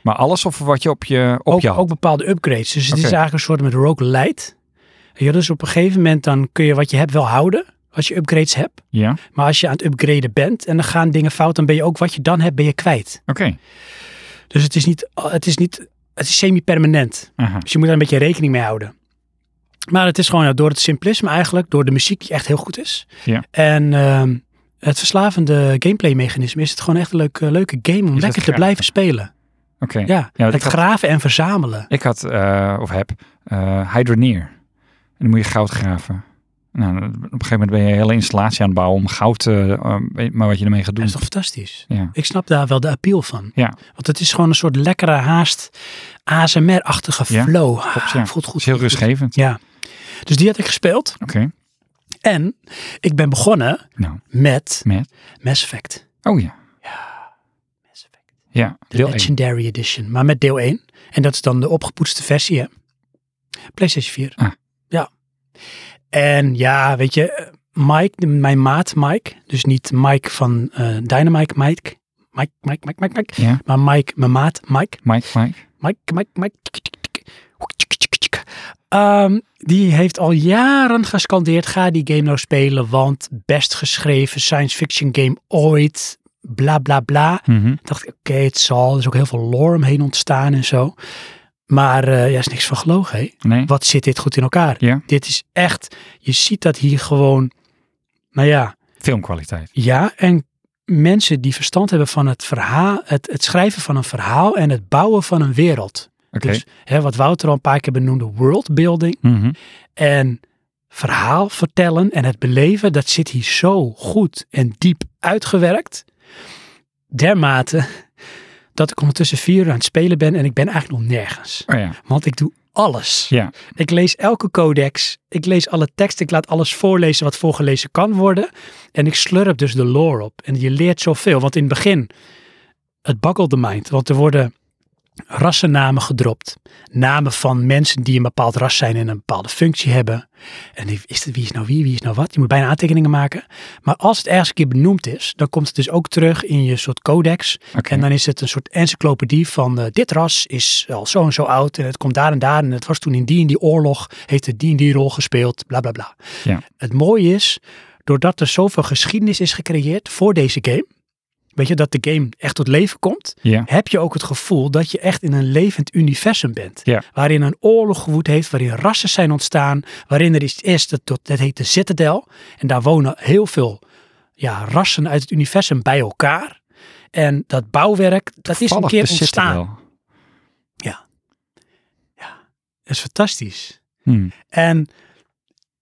B: Maar alles of wat je op je, op
A: ook,
B: je had?
A: ook bepaalde upgrades. Dus het is
B: Oké.
A: eigenlijk een soort met rogue light. Ja, dus op een gegeven moment dan kun je wat je hebt wel houden. Als je upgrades hebt.
B: Ja, oké.
A: Maar als je aan het upgraden bent en dan gaan dingen fout, dan ben je ook wat je dan hebt, ben je kwijt. Dus het is niet, het is niet, het is semi-permanent.
B: Aha.
A: Dus je moet daar een beetje rekening mee houden. Maar het is gewoon ja, door het simplisme eigenlijk, door de muziek die echt heel goed is.
B: Ja.
A: En ehm, het verslavende gameplay mechanisme is het gewoon echt een leuk, eh, leuke game om
B: het
A: lekker te
B: graven?
A: blijven spelen.
B: Oké.
A: Ja, het
B: want ik had-
A: graven en verzamelen.
B: Ik had, eh, of heb, eh hydroneer. En dan moet je goud graven. Nou, op een gegeven moment ben je een hele installatie aan het bouwen om goud, eh, eh, weet maar wat je ermee gaat
A: Dat
B: doen.
A: is toch fantastisch?
B: Ja.
A: Ik snap daar wel de appeal van.
B: Ja.
A: Want het is gewoon een soort lekkere haast ASMR-achtige
B: Ja,
A: flow. Ah,
B: klopt, ja.
A: Voelt goed.
B: Dat is heel
A: voelt goed.
B: rustgevend.
A: Ja. Dus die had ik gespeeld.
B: Oké,
A: En ik ben begonnen
B: nou,
A: met
B: met.
A: Mass Effect.
B: Oh ja,
A: Mass Effect.
B: ja,
A: De
B: deel één.
A: Legendary Edition, maar met deel 1. En dat is dan de opgepoetste versie, hè? PlayStation 4.
B: Ah.
A: Ja. En ja, weet je, eh, Mike, de- mijn maat Mike, dus niet Mike van eh Dynamite Mike, Mike, Mike, Mike, Mike, Mike,
B: Ja.
A: maar Mike, mijn maat Mike,
B: Mike, Mike.
A: Mike, Mike, Mike, tik, tik, tik, tik. Hoek, tik, tik, tik. Ehm, die heeft al jaren gescandeerd, ga die game nou spelen, want best geschreven science fiction game ooit, bla bla bla
B: Mhm.
A: dacht ik, oké, het zal. Er is ook heel veel lore omheen ontstaan en zo. Maar eh ja, is niks van gelogen, hè?
B: Nee,
A: Wat zit dit goed in elkaar?
B: Ja.
A: Dit is echt, je ziet dat hier gewoon, nou ja,
B: filmkwaliteit.
A: ja. En mensen die verstand hebben van het verhaal, het, het schrijven van een verhaal en het bouwen van een wereld.
B: Oké.
A: Dus hè, wat Wouter al een paar keer benoemde, worldbuilding
B: Mhm.
A: en verhaal vertellen en het beleven, dat zit hier zo goed en diep uitgewerkt. Dermate dat ik ondertussen vier uur aan het spelen ben en ik ben eigenlijk nog nergens.
B: Oh ja,
A: Want ik doe alles.
B: ja.
A: Ik lees elke codex, ik lees alle teksten, ik laat alles voorlezen wat voorgelezen kan worden. En ik slurp dus de lore op. En je leert zoveel, want in het begin, het buggelt de mind. Want er worden rassennamen gedropt. Namen van mensen die een bepaald ras zijn en een bepaalde functie hebben. En die- is dat, wie is nou wie, wie is nou wat? Je moet bijna aantekeningen maken. Maar als het ergens een keer benoemd is, dan komt het dus ook terug in je soort codex.
B: Oké.
A: En dan is het een soort encyclopedie van eh, dit ras is al zo en zo oud en het komt daar en daar. En het was toen in die en die oorlog, heeft het die en die rol gespeeld, bla bla bla.
B: Ja.
A: Het mooie is, doordat er zoveel geschiedenis is gecreëerd voor deze game. Weet je, dat de game echt tot leven komt
B: Ja,
A: heb je ook het gevoel dat je echt in een levend universum bent.
B: Ja.
A: Waarin een oorlog gewoed heeft, waarin rassen zijn ontstaan, waarin er iets is, dat, dat, dat heet de Citadel. En daar wonen heel veel ja, rassen uit het universum bij elkaar. En dat bouwwerk, dat is een
B: Toevallig
A: keer
B: de
A: ontstaan.
B: Citadel.
A: Dat is fantastisch.
B: Hmm.
A: En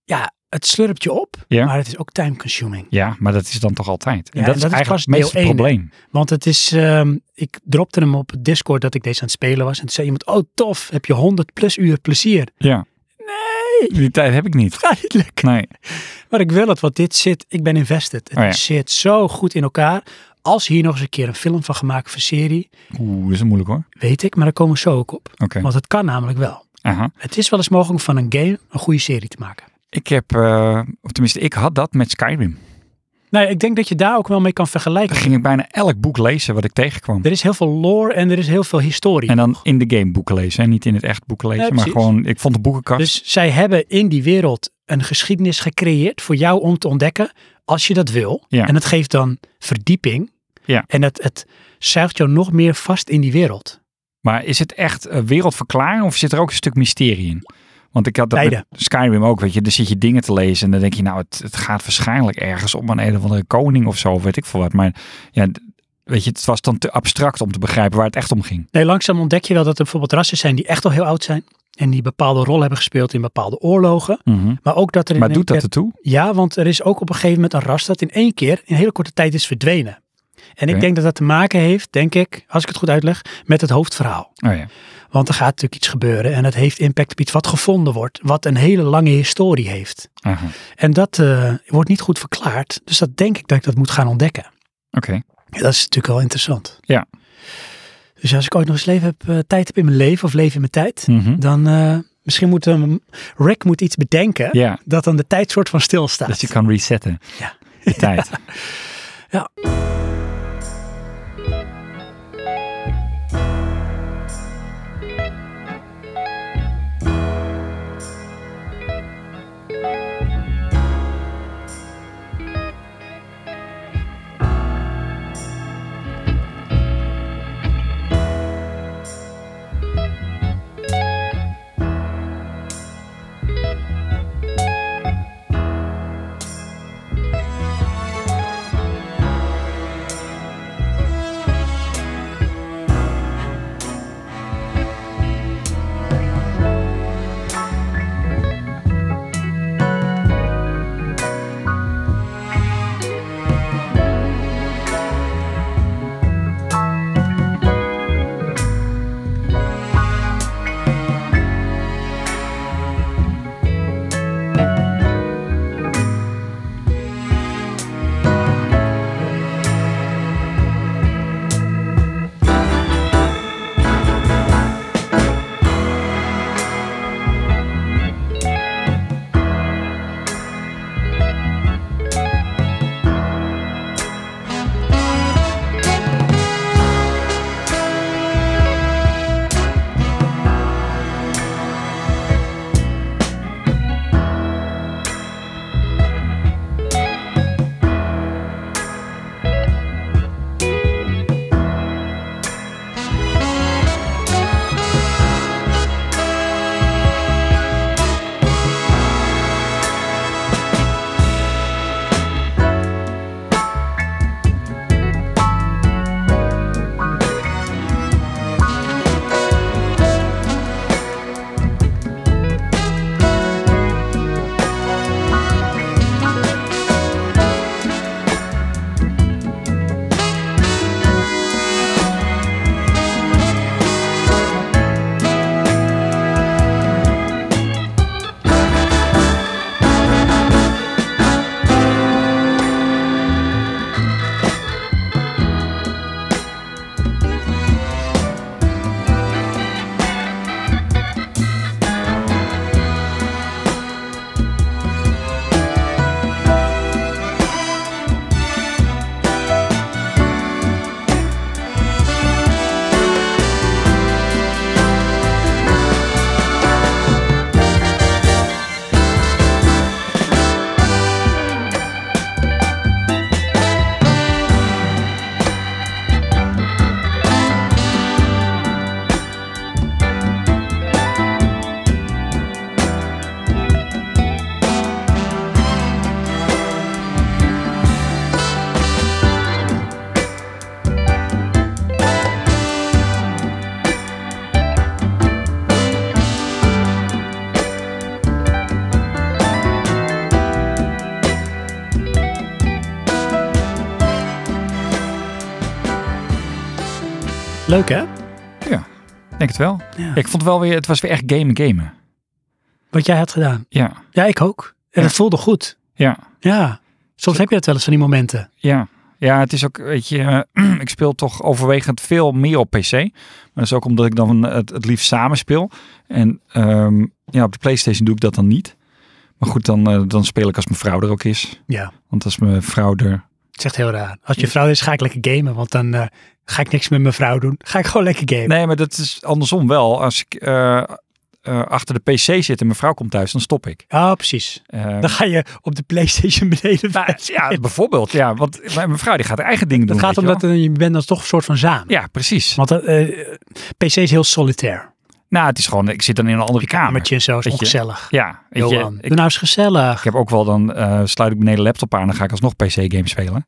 A: ja, het slurpt je op,
B: Ja.
A: maar het is ook time consuming.
B: Ja, maar dat is dan toch altijd. En
A: Ja, en
B: dat is
A: dat is
B: eigenlijk
A: pas
B: het meeste
A: deel één, hè?
B: probleem.
A: Want het is, ehm, ik dropte hem op Discord dat ik deze aan het spelen was. En toen zei iemand, oh tof, heb je 100 plus uur plezier.
B: Ja. Nee. Die tijd heb ik niet.
A: Gaat niet lukken.
B: Nee.
A: Maar ik wil het, want dit zit, ik ben invested. Het
B: Oh ja.
A: zit zo goed in elkaar. Als hier nog eens een keer een film van gemaakt of een serie,
B: Oeh, dat is moeilijk hoor.
A: weet ik, maar daar komen we zo ook op.
B: Oké.
A: Want het kan namelijk wel.
B: Aha.
A: Het is wel eens mogelijk om van een game een goede serie te maken.
B: Ik heb, eh, of tenminste, ik had dat met Skyrim.
A: Nou, ja, ik denk dat je daar ook wel mee kan vergelijken.
B: Dan ging ik bijna elk boek lezen wat ik tegenkwam.
A: Er is heel veel lore en er is heel veel historie.
B: En dan in de game boeken lezen. En niet in het echt boeken lezen.
A: Nee,
B: maar
A: precies.
B: gewoon, ik vond de boekenkast.
A: Dus zij hebben in die wereld een geschiedenis gecreëerd voor jou om te ontdekken als je dat wil.
B: Ja.
A: En dat geeft dan verdieping.
B: Ja.
A: En het, het zuigt jou nog meer vast in die wereld.
B: maar is het echt eh, wereldverklaring of zit er ook een stuk mysterie in? Want ik had dat
A: Beide.
B: met Skyrim ook, weet je. Dan zit je dingen te lezen en dan denk je, nou, het, het gaat waarschijnlijk ergens om een een of andere koning of zo, of weet ik veel wat. Maar ja, d- weet je, het was dan te abstract om te begrijpen waar het echt om ging.
A: Nee, langzaam ontdek je wel dat er bijvoorbeeld rassen zijn die echt al heel oud zijn. En die bepaalde rol hebben gespeeld in bepaalde oorlogen. Maar ook dat er in
B: Maar
A: één
B: doet dat
A: keer-
B: ertoe?
A: Ja, want er is ook op een gegeven moment een ras dat in één keer in een hele korte tijd is verdwenen. En
B: Oké.
A: ik denk dat dat te maken heeft, denk ik, als ik het goed uitleg, met het hoofdverhaal.
B: Oh ja.
A: Want er gaat natuurlijk iets gebeuren en het heeft impact op iets wat gevonden wordt, wat een hele lange historie heeft.
B: Aha.
A: En dat eh, wordt niet goed verklaard, dus dat denk ik dat ik dat moet gaan ontdekken.
B: Oké.
A: Ja, dat is natuurlijk wel interessant.
B: Ja.
A: Dus als ik ooit nog eens leven heb, eh, tijd heb in mijn leven of leven in mijn tijd,
B: Mhm.
A: dan eh, misschien moet um, Rick moet iets bedenken
B: Ja,
A: dat dan de tijd soort van stilstaat.
B: dat je kan resetten.
A: Ja.
B: De tijd.
A: Leuk hè?
B: Denk het wel.
A: Ja.
B: Ik vond wel weer, het was weer echt gamen gamen.
A: Wat jij had gedaan.
B: Ja,
A: Ja, ik ook. En het voelde goed.
B: ja,
A: Ja. Soms heb je dat wel eens van die momenten.
B: ja. Ja, het is ook, weet je, eh, ik speel toch overwegend veel meer op PC. Maar dat is ook omdat ik dan het, het liefst samen speel. En ehm, ja, op de Playstation doe ik dat dan niet. Maar goed, dan, eh, dan speel ik als mijn vrouw er ook is.
A: Ja.
B: Want als mijn vrouw er...
A: Het is echt heel raar. Als je vrouw is, ga ik lekker gamen. Want dan eh, ga ik niks met mijn vrouw doen. Ga ik gewoon lekker gamen.
B: Nee, maar dat is andersom wel. Als ik eh, eh, achter de PC zit en mijn vrouw komt thuis, dan stop ik.
A: Ah, precies.
B: Eh,
A: Dan ga je op de Playstation beneden.
B: nou, ja, bijvoorbeeld. Ja, want mijn vrouw die gaat haar eigen dingen
A: dat
B: doen.
A: gaat
B: weet je
A: omdat eh, je bent dan toch een soort van zaam.
B: wel. Ja, precies.
A: Want eh, eh, PC is heel solitair.
B: Nou, het is gewoon, ik zit dan in een andere kamer.
A: Kamertje en zo is
B: Weet je.
A: ongezellig.
B: Ja, weet je,
A: Johan,
B: ik,
A: doe nou eens gezellig.
B: ik heb ook wel dan, eh, sluit ik beneden laptop aan, dan ga ik alsnog PC-games spelen.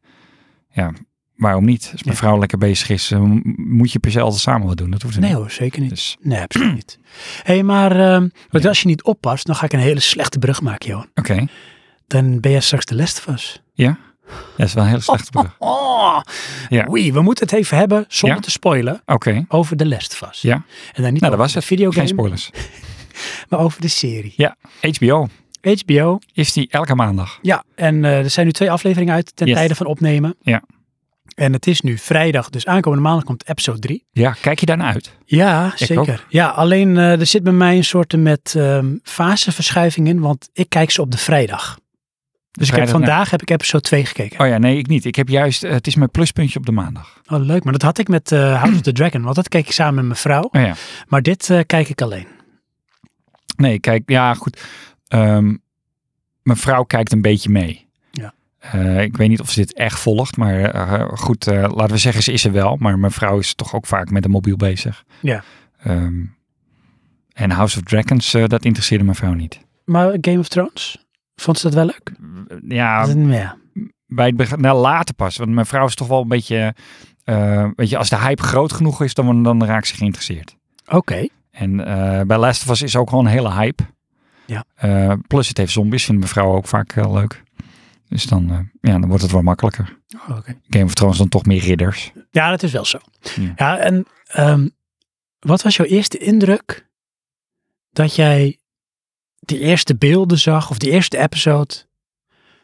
B: Ja, waarom niet? Als mijn
A: Ja.
B: vrouw lekker bezig is, eh, m- moet je per se altijd samen wat doen. Dat hoeft
A: Nee
B: niet.
A: hoor, zeker niet.
B: Dus,
A: Nee, absoluut niet. Hé, hey, maar ehm, want als je niet oppast, dan ga ik een hele slechte brug maken, Johan.
B: oké.
A: Dan ben jij straks de last of us.
B: Ja? Dat is wel een hele slechte brug.
A: Oh,
B: Ja.
A: oei, we moeten het even hebben, zonder
B: Ja?
A: te spoilen,
B: Oké.
A: over de last of us.
B: Ja.
A: En dan niet
B: Nou, dat
A: over
B: was
A: de
B: het. Geen
A: videogame,
B: spoilers.
A: maar over de serie.
B: Ja, HBO
A: HBO,
B: is die elke maandag.
A: ja. En eh, er zijn nu twee afleveringen uit ten
B: Yes.
A: tijde van opnemen.
B: Ja.
A: En het is nu vrijdag, dus aankomende maandag komt episode 3.
B: Ja, kijk je daarna uit?
A: Ja,
B: ook.
A: zeker. Ja, alleen eh, er zit bij mij een soort met ehm faseverschuiving in, want ik kijk ze op de vrijdag. Dus ik heb
B: Vrijdag
A: vandaag heb ik episode 2 gekeken.
B: na- Oh ja, nee, ik niet. Ik heb juist, eh, het is mijn pluspuntje op de maandag.
A: Oh, leuk, maar dat had ik met eh, House of the Dragon, want dat keek ik samen met mijn vrouw.
B: Oh ja.
A: Maar dit eh, kijk ik alleen.
B: Nee, kijk, ja, goed. Ehm, mijn vrouw kijkt een beetje mee.
A: Ja.
B: Eh, ik weet niet of ze dit echt volgt, maar eh, goed, eh, laten we zeggen, ze is er wel. Maar mijn vrouw is toch ook vaak met een mobiel bezig.
A: Ja.
B: Ehm, en House of Dragons, eh, dat interesseerde mijn vrouw niet.
A: Maar Game of Thrones, vond ze dat wel leuk?
B: Ja,
A: Dat- ja.
B: bij het begin, nou, later pas. Want mijn vrouw is toch wel een beetje, eh, weet je, als de hype groot genoeg is, dan, dan raakt ze geïnteresseerd.
A: Oké.
B: En eh, bij Last of Us is ook gewoon een hele hype.
A: Ja.
B: Eh, plus het heeft zombies, vindt mevrouw ook vaak eh, leuk. Dus dan, eh, ja, dan wordt het wel makkelijker.
A: Oh, oké.
B: Game of Thrones dan toch meer ridders.
A: Ja, dat is wel zo.
B: Ja.
A: Ja, en ehm, wat was jouw eerste indruk dat jij de eerste beelden zag of de eerste episode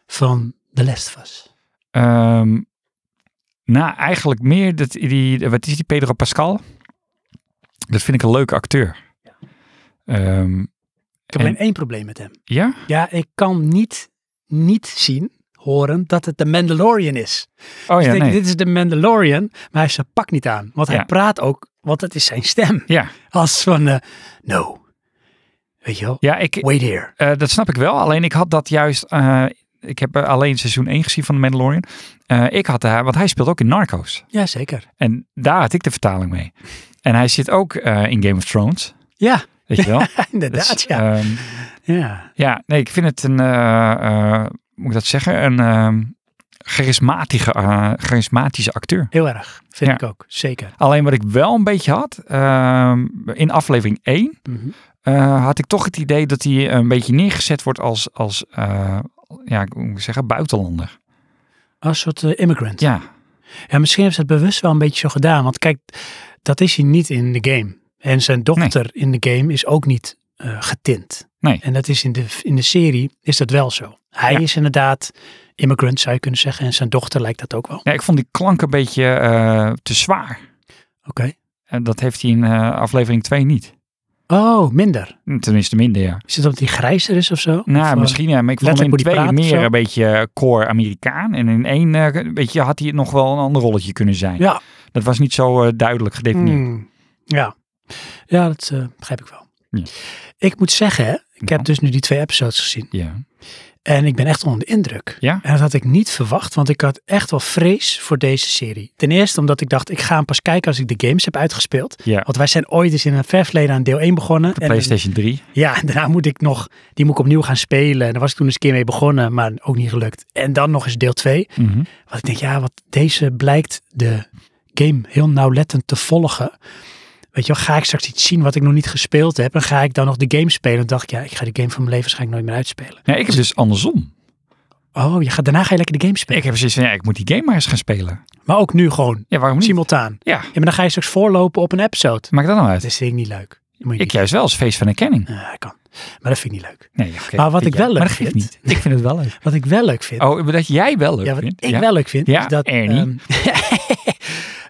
A: van The Last of Us?
B: Ehm nou, eigenlijk meer, dat, die, eh, wat is die Pedro Pascal? Dat vind ik een leuke acteur. Ehm,
A: Ik heb
B: En-
A: alleen één probleem met hem.
B: ja?
A: Ja, ik kan niet, niet zien, horen, dat het de Mandalorian is.
B: Oh
A: Dus
B: ja,
A: ik denk,
B: nee.
A: dit is de Mandalorian, maar hij heeft zijn pak niet aan. Want
B: Ja.
A: hij praat ook, want het is zijn stem.
B: Ja,
A: Als van, eh, no, weet je wel,
B: ja ik,
A: wait here.
B: Eh, dat snap ik wel. Alleen ik had dat juist. eh, ik heb eh, alleen seizoen 1 gezien van The Mandalorian. Eh, ik had daar, want hij speelt ook in Narcos.
A: Ja, zeker.
B: En daar had ik de vertaling mee. En hij zit ook eh, in Game of Thrones.
A: Ja,
B: Weet je wel?
A: inderdaad,
B: Dat is,
A: ja.
B: ehm,
A: ja.
B: ja, nee, ik vind het een. eh, eh, moet ik dat zeggen? Een ehm, charismatische, eh, charismatische acteur.
A: Heel erg, vind
B: Ja.
A: ik ook, zeker.
B: Alleen wat ik wel een beetje had. ehm, in aflevering 1
A: Mhm.
B: eh, had ik toch het idee dat hij een beetje neergezet wordt als. als eh, ja, hoe moet ik zeggen? Buitenlander.
A: Als soort eh, immigrant. Ja.
B: Ja.
A: misschien hebben ze dat bewust wel een beetje zo gedaan. Want kijk, dat is hij niet in de game. En zijn dochter in de game is ook niet eh, getint.
B: Nee.
A: En dat is in de, in de serie is dat wel zo. Hij
B: Ja.
A: is inderdaad immigrant, zou je kunnen zeggen. En zijn dochter lijkt dat ook wel. Oké.
B: Ja, ik vond die klank een beetje eh, te zwaar. En dat heeft hij in eh, aflevering 2 niet.
A: Oh, minder.
B: Tenminste minder, ja.
A: Is het omdat hij grijzer is of zo? Of,
B: Nou,
A: eh,
B: misschien ja, maar ik vond hem in
A: letterlijk hoe die
B: twee
A: praat of
B: meer
A: zo?
B: een beetje eh, core Amerikaan. En in één, eh, weet je, had hij nog wel een ander rolletje kunnen zijn.
A: Ja.
B: Dat was niet zo eh, duidelijk gedefinieerd.
A: Hmm. Ja. Ja, dat eh, begrijp ik wel.
B: Ja.
A: Ik moet zeggen, hè, ik
B: Nou.
A: heb dus nu die twee episodes gezien.
B: Ja.
A: Hmm. En ik ben echt onder de indruk.
B: Ja?
A: En dat had ik niet verwacht, want ik had echt wel vrees voor deze serie. Ten eerste omdat ik dacht, ik ga hem pas kijken als ik de games heb uitgespeeld.
B: ja.
A: Want wij zijn ooit eens in een ver verleden aan deel 1 begonnen.
B: De PlayStation 3.
A: ja, en daarna moet ik nog, die moet ik opnieuw gaan spelen. En daar was ik toen eens een keer mee begonnen, maar ook niet gelukt. En dan nog eens deel 2.
B: Mhm.
A: Want ik denk, ja, wat deze blijkt de game heel nauwlettend te volgen. Weet je wel, ga ik straks iets zien wat ik nog niet gespeeld heb? En ga ik dan nog de game spelen? Dan dacht ik, ja, ik ga de game van mijn leven waarschijnlijk nooit meer uitspelen.
B: ja, ik heb dus andersom.
A: Oh, je gaat, daarna ga je lekker de game spelen.
B: Ik heb zoiets van, ja, ik moet die game maar eens gaan spelen.
A: Maar ook nu gewoon,
B: Ja, waarom niet?
A: simultaan.
B: Ja,
A: Ja, maar dan ga je straks voorlopen op een episode.
B: maakt dat nou
A: Dat
B: uit?
A: is vind ik niet leuk. Dat moet je
B: Ik
A: niet
B: juist wel als feest van erkenning.
A: doen. Ja, dat kan. Maar dat vind ik niet leuk.
B: Nee, oké,
A: Maar wat
B: vind
A: ik wel
B: jij-
A: leuk
B: maar dat
A: vind-
B: geeft niet. Ik vind het wel leuk.
A: Wat ik wel leuk vind.
B: Oh, dat jij wel leuk
A: ja, wat
B: vindt.
A: ik
B: ja.
A: wel leuk vind.
B: Ja,
A: is dat
B: Ernie.
A: ehm,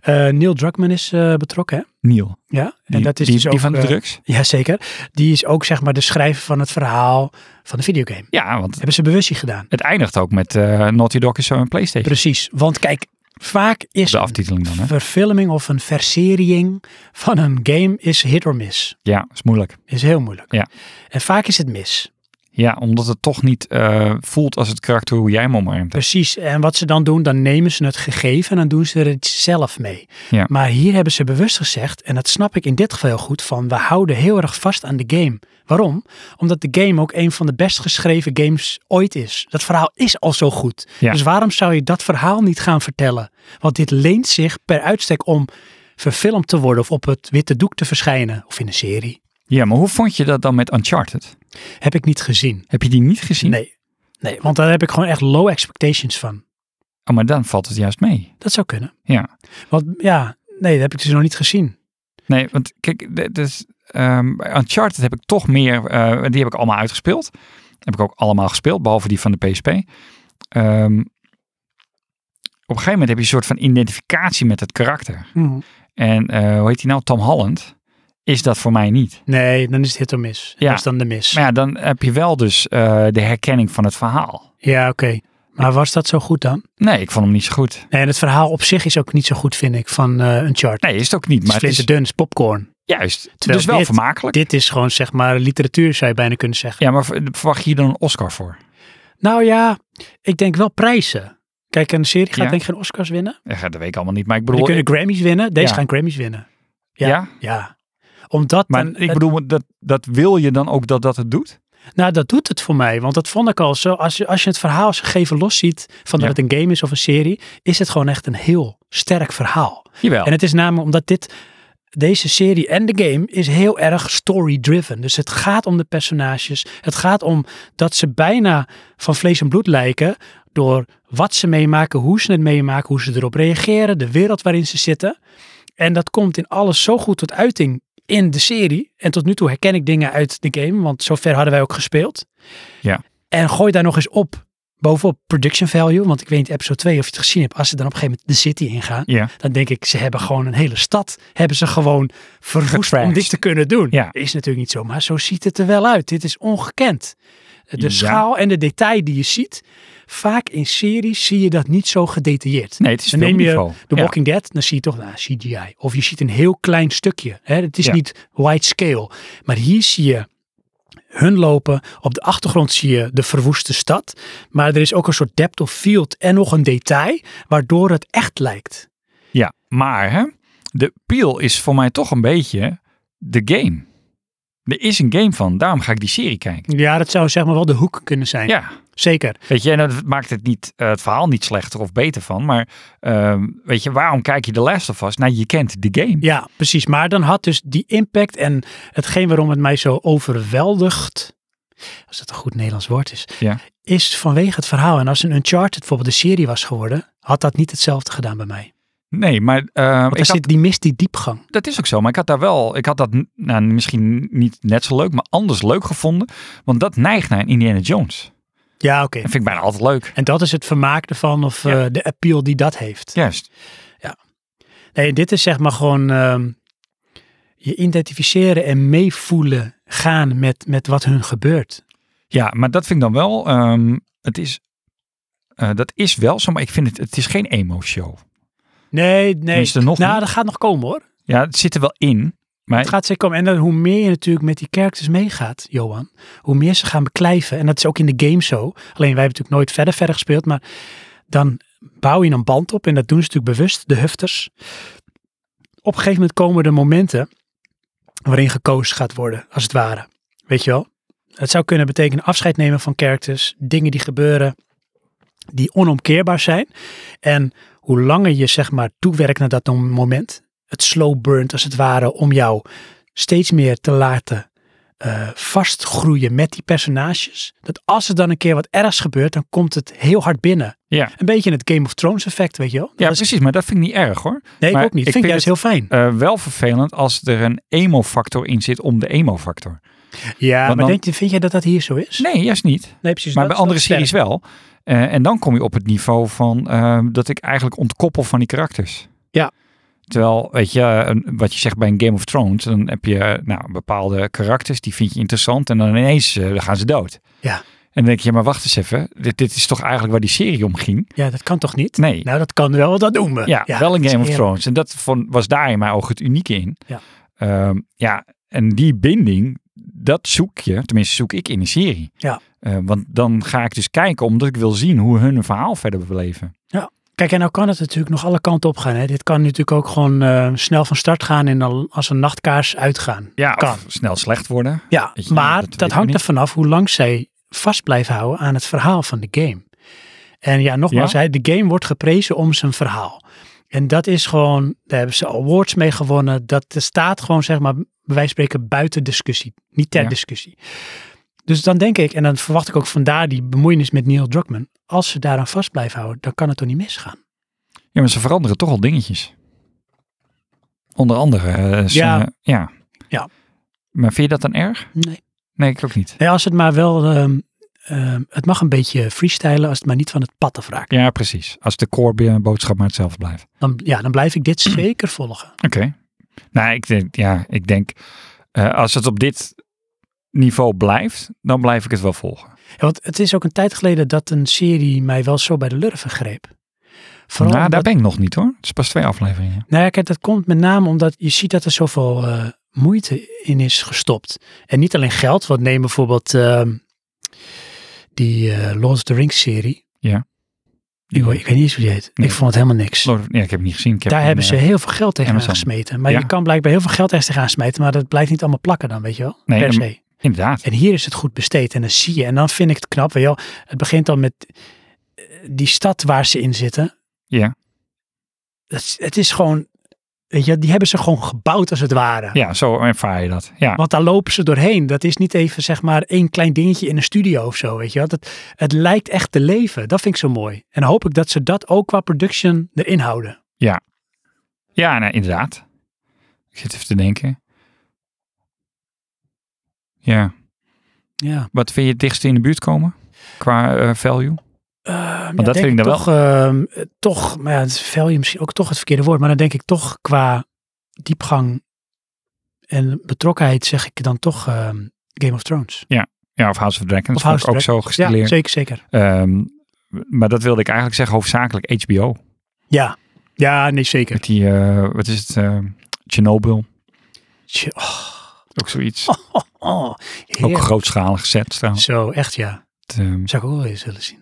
A: eh, Neil Druckmann is eh, betrokken. Hè?
B: Neil.
A: Ja. En
B: Die,
A: dat is
B: die,
A: dus
B: die
A: ook,
B: van de
A: eh,
B: drugs.
A: Jazeker. Die is ook zeg maar de schrijver van het verhaal van de videogame.
B: Ja, want
A: Hebben ze bewust hier gedaan.
B: het eindigt ook met eh, Naughty Dog is zo een Playstation.
A: Precies. Want kijk, vaak is
B: de
A: een
B: aftiteling dan, hè?
A: verfilming of een verseriering van een game is hit or miss.
B: Ja, is moeilijk.
A: Is heel moeilijk.
B: Ja.
A: En vaak is het mis.
B: Ja, omdat het toch niet eh, voelt als het karakter hoe jij hem omarmt. hebt.
A: Precies. En wat ze dan doen, dan nemen ze het gegeven en dan doen ze er iets zelf mee.
B: Ja.
A: Maar hier hebben ze bewust gezegd, en dat snap ik in dit geval heel goed, van we houden heel erg vast aan de game. Waarom? Omdat de game ook een van de best geschreven games ooit is. Dat verhaal is al zo goed.
B: Ja.
A: Dus waarom zou je dat verhaal niet gaan vertellen? Want dit leent zich per uitstek om verfilmd te worden of op het witte doek te verschijnen of in een serie.
B: Ja, maar hoe vond je dat dan met Uncharted?
A: Heb ik niet gezien.
B: Heb je die niet gezien?
A: Nee. Nee, want daar heb ik gewoon echt low expectations van.
B: Oh, maar dan valt het juist mee.
A: Dat zou kunnen.
B: Ja.
A: Want ja, nee, dat heb ik dus nog niet gezien.
B: Nee, want kijk, d- dus, ehm, bij Uncharted heb ik toch meer, eh, die heb ik allemaal uitgespeeld. Heb ik ook allemaal gespeeld, behalve die van de PSP. Ehm, op een gegeven moment heb je een soort van identificatie met het karakter. En eh, hoe heet die nou? Tom Holland is dat voor mij niet.
A: Nee, dan is het hit or miss.
B: Ja.
A: Dat is dan de mis.
B: Maar ja, dan heb je wel dus eh, de herkenning van het verhaal.
A: Ja, oké. Maar was dat zo goed dan?
B: Nee, ik vond hem niet zo goed.
A: Nee, en het verhaal op zich is ook niet zo goed, vind ik, van eh Uncharted.
B: Nee, is het ook niet.
A: het is
B: Maar het is
A: flinterdun, het is popcorn.
B: juist.
A: Terwijl
B: dus wel
A: dit-
B: vermakelijk.
A: Dit is gewoon, zeg maar, literatuur zou je bijna kunnen zeggen.
B: Ja, maar v- verwacht je hier dan een Oscar voor?
A: Nou ja, ik denk wel prijzen. Kijk, een serie gaat
B: Ja.
A: denk ik geen Oscars winnen.
B: Ja, dat weet ik allemaal niet. Maar ik
A: Die
B: bedoel,
A: kunnen Grammys winnen. Deze
B: Ja.
A: gaan Grammys winnen.
B: ja?
A: Ja. Omdat
B: maar
A: dan-
B: ik bedoel, dat, dat wil je dan ook dat dat het doet?
A: Nou, dat doet het voor mij. Want dat vond ik al zo. Als je, als je het verhaal als gegeven los ziet van dat
B: Ja.
A: het een game is of een serie, is het gewoon echt een heel sterk verhaal.
B: Jawel.
A: En het is namelijk omdat dit, deze serie en de game is heel erg story-driven. Dus het gaat om de personages. Het gaat om dat ze bijna van vlees en bloed lijken door wat ze meemaken, hoe ze het meemaken, hoe ze erop reageren, de wereld waarin ze zitten. En dat komt in alles zo goed tot uiting in de serie. En tot nu toe herken ik dingen uit de game, want zover hadden wij ook gespeeld.
B: Ja.
A: En gooi daar nog eens op, bovenop production value, want ik weet niet episode 2 of je het gezien hebt, als ze dan op een gegeven moment de city ingaan,
B: Ja.
A: dan denk ik, ze hebben gewoon een hele stad, hebben ze gewoon verwoest om
B: Getrashed.
A: dit te kunnen doen.
B: Ja.
A: Is natuurlijk niet zo, maar zo ziet het er wel uit. Dit is ongekend. De
B: Ja.
A: schaal en de detail die je ziet, vaak in series zie je dat niet zo gedetailleerd.
B: Nee, het is
A: Dan neem je
B: filmniveau.
A: The
B: Ja.
A: Walking Dead, dan zie je toch nou, CGI. Of je ziet een heel klein stukje. Hè? Het is
B: Ja.
A: niet wide scale. Maar hier zie je hun lopen. Op de achtergrond zie je de verwoeste stad. Maar er is ook een soort depth of field en nog een detail, waardoor het echt lijkt.
B: Ja, maar hè, de peel is voor mij toch een beetje de game. Er is een game van, daarom ga ik die serie kijken.
A: Ja, dat zou zeg maar wel de hoek kunnen zijn.
B: Ja,
A: Zeker.
B: weet je, en dat maakt het, niet, eh, het verhaal niet slechter of beter van. Maar ehm, weet je, waarom kijk je The Last of Us? Nou, je kent de game.
A: Ja, precies. Maar dan had dus die impact en hetgeen waarom het mij zo overweldigt, als dat een goed Nederlands woord is,
B: Ja.
A: is vanwege het verhaal. En als een Uncharted bijvoorbeeld een serie was geworden, had dat niet hetzelfde gedaan bij mij.
B: Nee, maar ehm,
A: Want
B: ik
A: er
B: had-
A: zit, die mist die diepgang.
B: dat is ook zo. Maar ik had daar wel, ik had dat n- nou, misschien niet net zo leuk, maar anders leuk gevonden. Want dat neigt naar een Indiana Jones.
A: Ja, oké.
B: Dat vind ik bijna altijd leuk.
A: En dat is het vermaak ervan of
B: Ja.
A: eh, de appeal die dat heeft.
B: Juist.
A: Nee, dit is zeg maar gewoon ehm, je identificeren en meevoelen gaan met, met wat hun gebeurt.
B: Ja, maar dat vind ik dan wel. ehm, het is, eh, dat is wel zo, maar ik vind het, het is geen emo-show.
A: Nee, nee.
B: Tenminste, nog
A: Nou,
B: niet.
A: dat gaat nog komen hoor.
B: Ja, het zit er wel in. Maar
A: Het gaat zeker komen. En dan hoe meer je natuurlijk met die characters meegaat, Johan, hoe meer ze gaan beklijven. En dat is ook in de game zo. Alleen wij hebben natuurlijk nooit verder verder gespeeld, maar dan bouw je een band op. En dat doen ze natuurlijk bewust, de hufters. Op een gegeven moment komen er momenten waarin gekozen gaat worden, als het ware. Weet je wel? Het zou kunnen betekenen afscheid nemen van characters, dingen die gebeuren, die onomkeerbaar zijn. En hoe langer je zeg maar toewerkt naar dat moment, het slow burnt als het ware om jou steeds meer te laten eh, vastgroeien met die personages. Dat als er dan een keer wat ergs gebeurt, dan komt het heel hard binnen.
B: Ja.
A: Een beetje het Game of Thrones effect, weet je wel.
B: Ja,
A: Dat is-
B: precies. Maar dat vind ik niet erg hoor.
A: nee, ik
B: maar
A: ook niet.
B: ik
A: vind ik
B: vind
A: juist heel fijn.
B: Eh, wel vervelend als er een emo-factor in zit om de emo-factor.
A: Ja, maar
B: dan-
A: denk, je- vind jij dat dat hier zo is?
B: Nee, juist niet.
A: Nee, precies.
B: maar
A: dat
B: bij
A: is
B: andere
A: wel sterk.
B: series wel. Eh, en dan kom je op het niveau van eh, dat ik eigenlijk ontkoppel van die karakters.
A: Ja.
B: Terwijl, weet je, een- wat je zegt bij een Game of Thrones, dan heb je eh, nou, bepaalde karakters, die vind je interessant. En dan ineens eh, dan gaan ze dood.
A: Ja.
B: En dan denk je, ja, maar wacht eens even. Dit, dit is toch eigenlijk waar die serie om ging?
A: Ja, dat kan toch niet?
B: Nee.
A: Nou, dat kan wel, want dat doen we.
B: Ja, wel een
A: dat is
B: Game of
A: eerlijk.
B: Thrones. En dat vond, was daar in mijn ogen het unieke in.
A: Ja.
B: Ehm, ja, en die binding, dat zoek je, tenminste zoek ik in een serie.
A: Ja.
B: Eh, want dan ga ik dus kijken, omdat ik wil zien hoe hun een verhaal verder beleven.
A: Kijk, en nou kan het natuurlijk nog alle kanten op gaan. Hè? Dit kan natuurlijk ook gewoon eh, snel van start gaan en dan als een nachtkaars uitgaan.
B: Ja,
A: Kan.
B: of snel slecht worden.
A: Ja,
B: Weet je,
A: maar
B: dat
A: dat,
B: weet ik
A: hangt
B: niet.
A: er vanaf hoe lang zij vast blijven houden aan het verhaal van de game. En ja, nogmaals,
B: Ja?
A: hij, de game wordt geprezen om zijn verhaal. En dat is gewoon, daar hebben ze awards mee gewonnen. Dat staat gewoon, zeg maar, bij wijze van spreken buiten discussie. Niet ter
B: Ja.
A: discussie. Dus dan denk ik, en dan verwacht ik ook vandaar die bemoeienis met Neil Druckmann. Als ze daaraan vast blijven houden, dan kan het toch niet misgaan.
B: Ja, maar ze veranderen toch al dingetjes. Onder andere. eh, ze-
A: Ja.
B: ja.
A: Ja.
B: Maar vind je dat dan erg?
A: Nee.
B: Nee, ik ook niet.
A: Nee, als het maar wel, ehm, ehm, het mag een beetje freestylen als het maar niet van het pad afraakt.
B: Ja, precies. Als de core boodschap maar hetzelfde blijft.
A: Dan, ja, dan blijf ik dit zeker volgen.
B: Oké. Nou, ik denk, ja, ik denk eh, als het op dit niveau blijft, dan blijf ik het wel volgen.
A: Ja, want het is ook een tijd geleden dat een serie mij wel zo bij de lurven greep. Vooral
B: nou, daar
A: omdat-
B: ben ik nog niet hoor. Het is pas twee afleveringen.
A: nou ja, kijk, dat komt met name omdat je ziet dat er zoveel eh, moeite in is gestopt. En niet alleen geld, want neem bijvoorbeeld ehm, die eh, Lord of the Rings serie.
B: Ja.
A: Die, hoor- ik weet niet eens hoe die heet.
B: Nee.
A: Ik vond het helemaal niks.
B: Lord of- nee, ik heb het niet gezien. Ik heb
A: Daar
B: hem,
A: hebben ze
B: eh,
A: heel veel geld tegen
B: Amazon.
A: gesmeten. Maar
B: Ja.
A: je kan blijkbaar heel veel geld tegen gaan smeten, maar dat blijft niet allemaal plakken dan, weet je wel?
B: Nee,
A: per
B: en-
A: se.
B: inderdaad.
A: En hier is het goed besteed en dan zie je. En dan vind ik het knap. Weet je wel, het begint al met eh, die stad waar ze in zitten.
B: Ja.
A: Dat is- het is gewoon, weet je, die hebben ze gewoon gebouwd als het ware.
B: Ja, zo ervaar je dat. Ja,
A: Want daar lopen ze doorheen. Dat is niet even zeg maar één klein dingetje in een studio of zo. Weet je wel. Dat, het lijkt echt te leven. Dat vind ik zo mooi. En dan hoop ik dat ze dat ook qua production erin houden.
B: ja nou, inderdaad. Ik zit even te denken. Ja,
A: Ja.
B: wat vind je het dichtst in de buurt komen? Qua eh, value?
A: Ehm, ja,
B: dat
A: denk
B: vind ik dan
A: toch, ehm, eh, toch, maar ja, het is value misschien ook toch het verkeerde woord. Maar dan denk ik toch qua diepgang en betrokkenheid zeg ik dan toch ehm, Game of Thrones.
B: Ja, of House of Dragons.
A: Of
B: vond
A: House
B: ik ook
A: of
B: zo
A: Ja,
B: gestileerd.
A: zeker, zeker.
B: Ehm, maar dat wilde ik eigenlijk zeggen, hoofdzakelijk HBO.
A: Ja, ja nee, zeker.
B: Met die, eh, wat is het, eh Chernobyl.
A: Tje, Oh,
B: Ook zoiets.
A: oh, oh,
B: ook
A: heerlijk.
B: grootschalig gezet trouwens.
A: Zo, echt ja.
B: Het, eh,
A: Zou ik ook wel eens willen zien.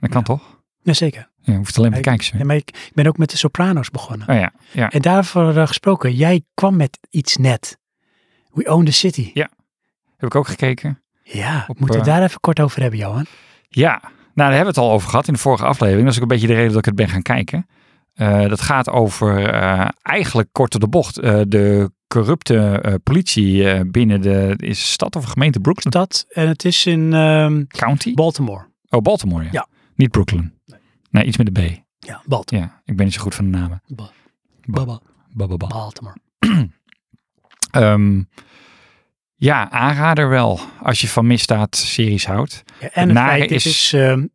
B: dat kan toch?
A: Ja, zeker.
B: Je hoeft alleen maar te
A: Ja,
B: kijken.
A: Ja, maar ik, ik ben ook met de Sopranos begonnen.
B: Oh ja, ja.
A: En daarvoor eh, gesproken, jij kwam met iets net. We own the city.
B: Heb ik ook gekeken.
A: Ja, we
B: Op,
A: moeten we
B: eh,
A: daar even kort over hebben, Johan.
B: Ja, nou daar hebben we het al over gehad in de vorige aflevering. Dat is ook een beetje de reden dat ik het ben gaan kijken. Eh, dat gaat over eh, eigenlijk kort door de bocht. eh, de corrupte eh, politie eh, binnen de is stad of gemeente Brooklyn
A: Dat, en het is in ehm,
B: County.
A: Baltimore.
B: oh, Baltimore. Ja.
A: Ja.
B: Niet Brooklyn. Nee. iets met de B.
A: Ja, Baltimore.
B: Ja, ik ben niet zo goed van de namen.
A: Ba-
B: Ba-
A: Ba- ba-
B: ba- ba- ba.
A: Baltimore.
B: Ehm, ja, aanrader wel. Als je van misdaadseries houdt.
A: Ja, en het
B: nare
A: feit, dit
B: is-
A: is ehm,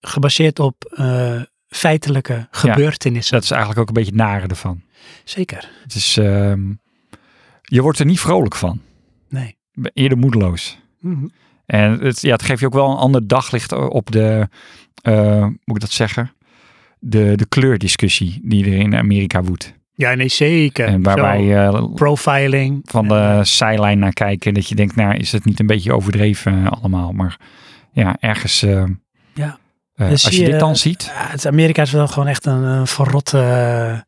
A: gebaseerd op eh, feitelijke gebeurtenissen.
B: Dus Dat is eigenlijk ook een beetje het nare ervan.
A: Zeker.
B: Het is, ehm, je wordt er niet vrolijk van.
A: Nee.
B: Eerder moedeloos. En het, ja, het geeft je ook wel een ander daglicht op de, eh, hoe moet ik dat zeggen? De, de kleurdiscussie die er in Amerika woedt.
A: Ja, nee, zeker.
B: en waarbij
A: Zo,
B: je
A: profiling.
B: van de zijlijn naar kijken. Dat je denkt, nou is het niet een beetje overdreven eh, allemaal. Maar ja, ergens... eh,
A: Ja.
B: eh,
A: Dan
B: als
A: zie
B: je dit
A: je-
B: dan ziet,
A: Ja, het Amerika is wel gewoon echt een, een verrot eh,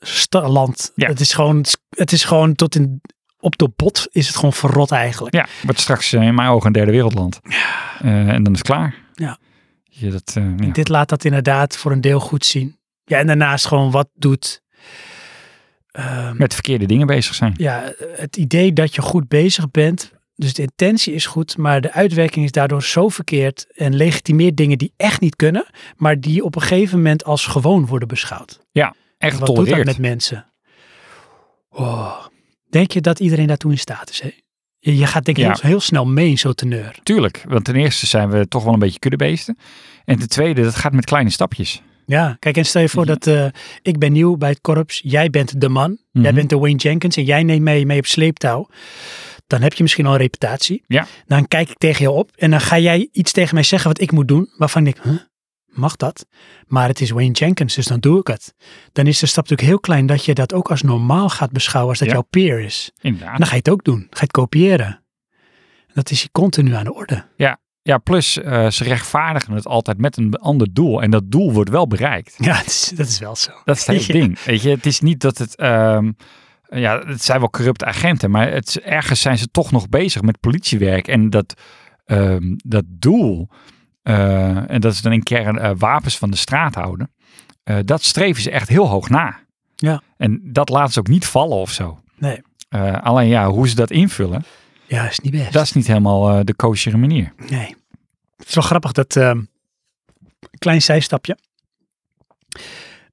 A: sta- land.
B: Ja.
A: Het, is gewoon, het is gewoon tot in... Op de bot is het gewoon verrot eigenlijk.
B: Ja, wordt straks eh, in mijn ogen een derde wereldland. Eh, en dan is het klaar.
A: Ja.
B: Je, dat, eh, ja.
A: Dit laat dat inderdaad voor een deel goed zien. Ja, en daarnaast gewoon wat doet... ehm,
B: Met verkeerde dingen bezig zijn.
A: ja, het idee dat je goed bezig bent, Dus de intentie is goed, maar de uitwerking is daardoor zo verkeerd en legitimeert dingen die echt niet kunnen, maar die op een gegeven moment als gewoon worden beschouwd.
B: Echt
A: Wat doet dat
B: getolereerd.
A: met mensen? Oh. Denk je dat iedereen daartoe in staat is? Hè? Je, je gaat denk ik
B: Ja.
A: heel, heel snel mee in zo'n teneur.
B: Tuurlijk, want ten eerste zijn we toch wel een beetje kuddebeesten. En ten tweede, dat gaat met kleine stapjes.
A: Ja, kijk en stel je voor
B: Ja.
A: dat eh, ik ben nieuw bij het korps, jij bent de man,
B: Mhm.
A: jij bent de Wayne Jenkins en jij neemt mij mee op sleeptouw. Dan heb je misschien al een reputatie.
B: Ja.
A: Dan kijk ik tegen jou op en dan ga jij iets tegen mij zeggen wat ik moet doen, waarvan ik, huh, mag dat? Maar het is Wayne Jenkins, dus dan doe ik het. Dan is de stap natuurlijk heel klein dat je dat ook als normaal gaat beschouwen als dat
B: Ja.
A: jouw peer is.
B: Inderdaad.
A: En dan ga je het ook doen, ga je het kopiëren. Dat is hier continu aan de orde.
B: Ja, plus eh, ze rechtvaardigen het altijd met een ander doel. En dat doel wordt wel bereikt.
A: Ja, dat is, dat is wel zo.
B: Dat is het hele
A: Ja.
B: ding. Weet je, het is niet dat het... ehm, ja, het zijn wel corrupte agenten. Maar het, is- ergens zijn ze toch nog bezig met politiewerk. En dat, ehm, dat doel... eh, en dat is dan in kern eh, wapens van de straat houden. eh, dat streven ze echt heel hoog na.
A: Ja.
B: En dat laten ze ook niet vallen of zo.
A: Nee.
B: Eh, alleen ja, hoe ze dat invullen,
A: Ja, is niet best.
B: dat is niet helemaal eh, de koosjere manier.
A: Nee. Het is wel grappig dat. ehm, klein zijstapje.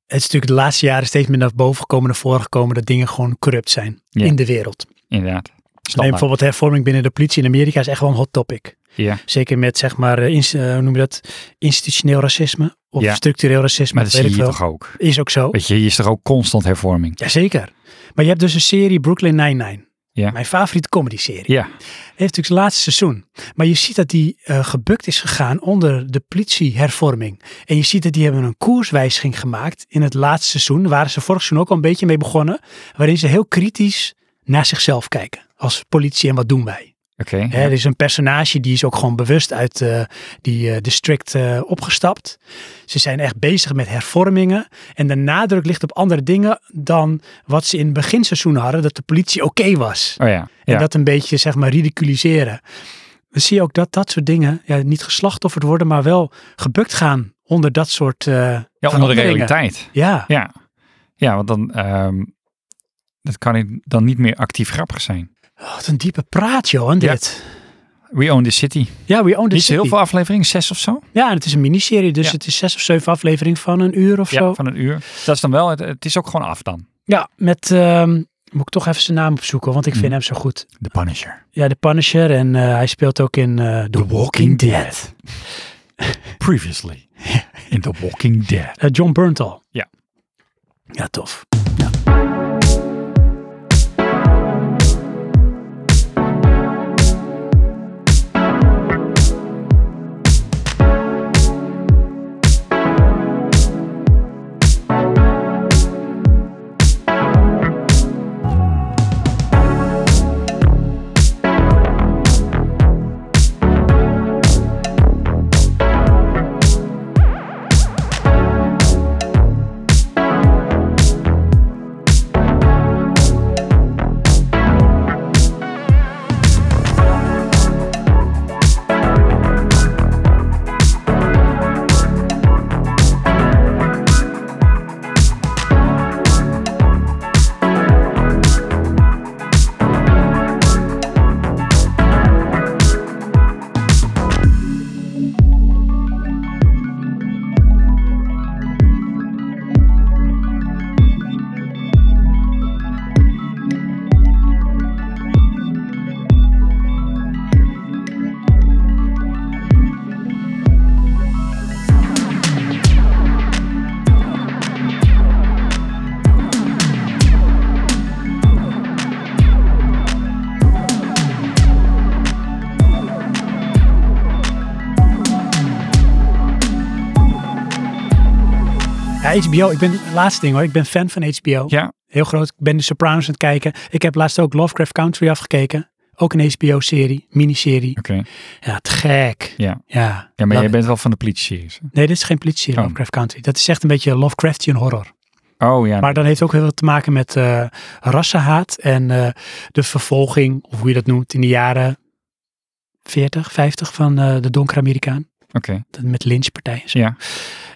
A: Het is natuurlijk de laatste jaren steeds meer naar boven gekomen, naar voren gekomen dat dingen gewoon corrupt zijn
B: Ja.
A: in de wereld.
B: Inderdaad.
A: Neem
B: Standaard.
A: bijvoorbeeld hervorming binnen de politie in Amerika is echt wel een hot topic.
B: Ja.
A: Zeker met zeg maar, eh, ins- eh, hoe noem je dat? Institutioneel racisme of
B: Ja.
A: structureel racisme.
B: Maar dat
A: weet
B: zie
A: ik
B: je hier
A: wel.
B: toch ook.
A: Is ook zo.
B: Weet je, hier is toch ook constant hervorming.
A: Jazeker. Maar je hebt dus een serie Brooklyn Nine-Nine.
B: Ja.
A: Mijn favoriete comedy serie.
B: Ja,
A: heeft natuurlijk zijn laatste seizoen. Maar je ziet dat die eh, gebukt is gegaan onder de politiehervorming. En je ziet dat die hebben een koerswijziging gemaakt in het laatste seizoen. Daar waren ze vorig seizoen ook al een beetje mee begonnen. Waarin ze heel kritisch naar zichzelf kijken. Als politie en wat doen wij.
B: oké.
A: Hè, er is een personage die is ook gewoon bewust uit eh, die eh, district eh, opgestapt. Ze zijn echt bezig met hervormingen. En de nadruk ligt op andere dingen dan wat ze in het beginseizoen hadden. Dat de politie oké was.
B: Oh ja.
A: En
B: ja.
A: dat een beetje, zeg maar, ridiculiseren. Dan zie je ook dat dat soort dingen ja, niet geslachtofferd worden, maar wel gebukt gaan onder dat soort. eh,
B: ja, onder de
A: veranderingen.
B: realiteit.
A: Ja,
B: Ja. Ja, want dan, ehm, dat kan ik dan niet meer actief grappig zijn.
A: Oh, wat een diepe praat, Johan.
B: Ja.
A: Dit.
B: We own the city.
A: Ja, we own the
B: niet zo
A: city.
B: heel veel afleveringen, zes of zo?
A: Ja, en het is een miniserie, dus
B: Ja.
A: het is zes of zeven afleveringen van een uur of zo.
B: Van een uur. Dat is dan wel, het, het is ook gewoon af dan.
A: Ja, met. ehm, moet ik toch even zijn naam opzoeken, want ik vind
B: Mm.
A: hem zo goed.
B: The Punisher.
A: Ja, de Punisher en eh, hij speelt ook in eh, The, Walking, Dead.
B: Previously. In The Walking Dead.
A: Eh, John Berntal.
B: Ja.
A: Ja, tof. Ja, HBO, ik ben, laatste ding hoor, ik ben fan van HBO.
B: Ja.
A: Heel groot, ik ben de Sopranos aan het kijken. Ik heb laatst ook Lovecraft Country afgekeken. Ook een HBO-serie, miniserie.
B: Oké.
A: Ja, te gek.
B: Ja.
A: Ja,
B: Ja, maar
A: Love
B: jij
A: it.
B: bent wel van de politie-series. hè?
A: Nee, dit is geen politie-serie,
B: Oh.
A: Lovecraft Country. Dat is echt een beetje Lovecraftian horror.
B: Oh ja.
A: Maar dan heeft ook heel veel te maken met eh, rassenhaat en eh, de vervolging, of hoe je dat noemt, in de jaren 40, 50 van eh, de donkere Amerikaan.
B: Oké.
A: Dat- Met lynchpartijen. en zo.
B: Ja.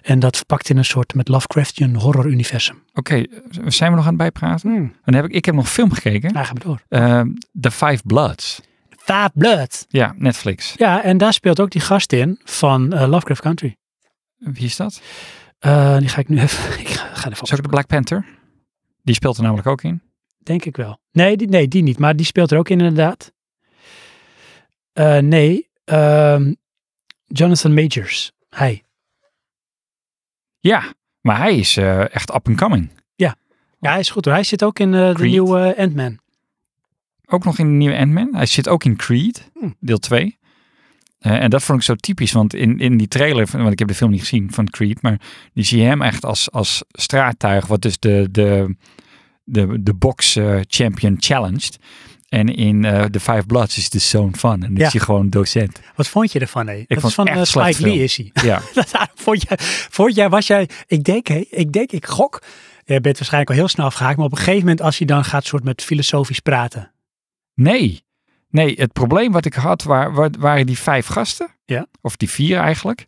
A: En dat verpakt in een soort met Lovecraftian horror-universum.
B: Oké, Hmm. zijn we nog aan het bijpraten? Dan heb ik, ik heb nog film gekeken.
A: Nou, ga maar door.
B: Ehm, The Five Bloods.
A: Five Blood.
B: Ja, Netflix.
A: Ja, en daar speelt ook die gast in van eh, Lovecraft Country.
B: Wie is dat?
A: Eh, die ga ik nu even... Ik ga, ga even
B: Is ook de Black Panther? Die speelt er namelijk ook in.
A: Denk ik wel. Nee die, nee, die niet. Maar die speelt er ook in, inderdaad. Eh, nee. ehm, Jonathan Majors. Hij.
B: Ja, maar hij is eh, echt up and coming.
A: Ja, hij is goed hoor. Hij zit ook in eh, de
B: Creed.
A: nieuwe eh, Ant-Man.
B: Ook nog in de nieuwe Ant-Man. Hij zit ook in Creed,
A: Hm.
B: deel 2. Eh, en dat vond ik zo typisch, want in, in die trailer, van- want ik heb de film niet gezien van Creed, maar die zie je hem echt als, als straattuig, wat dus de, de, de, de box eh, champion challenged. En in eh The Five Bloods is de zoon van. En
A: Ja.
B: die is hij gewoon docent.
A: Wat vond je ervan, hé? dat
B: vond het
A: is van
B: echt
A: eh,
B: slecht
A: Spike Lee
B: film.
A: is hij.
B: Ja,
A: Daarom vond, jij, vond jij, was jij, ik denk, hé, ik denk, ik gok. Je bent waarschijnlijk al heel snel afgehaakt, maar op een gegeven moment als hij dan gaat soort met filosofisch praten.
B: Nee. Nee, het probleem wat ik had wa- wa- waren die vijf gasten.
A: Ja.
B: Of die vier eigenlijk.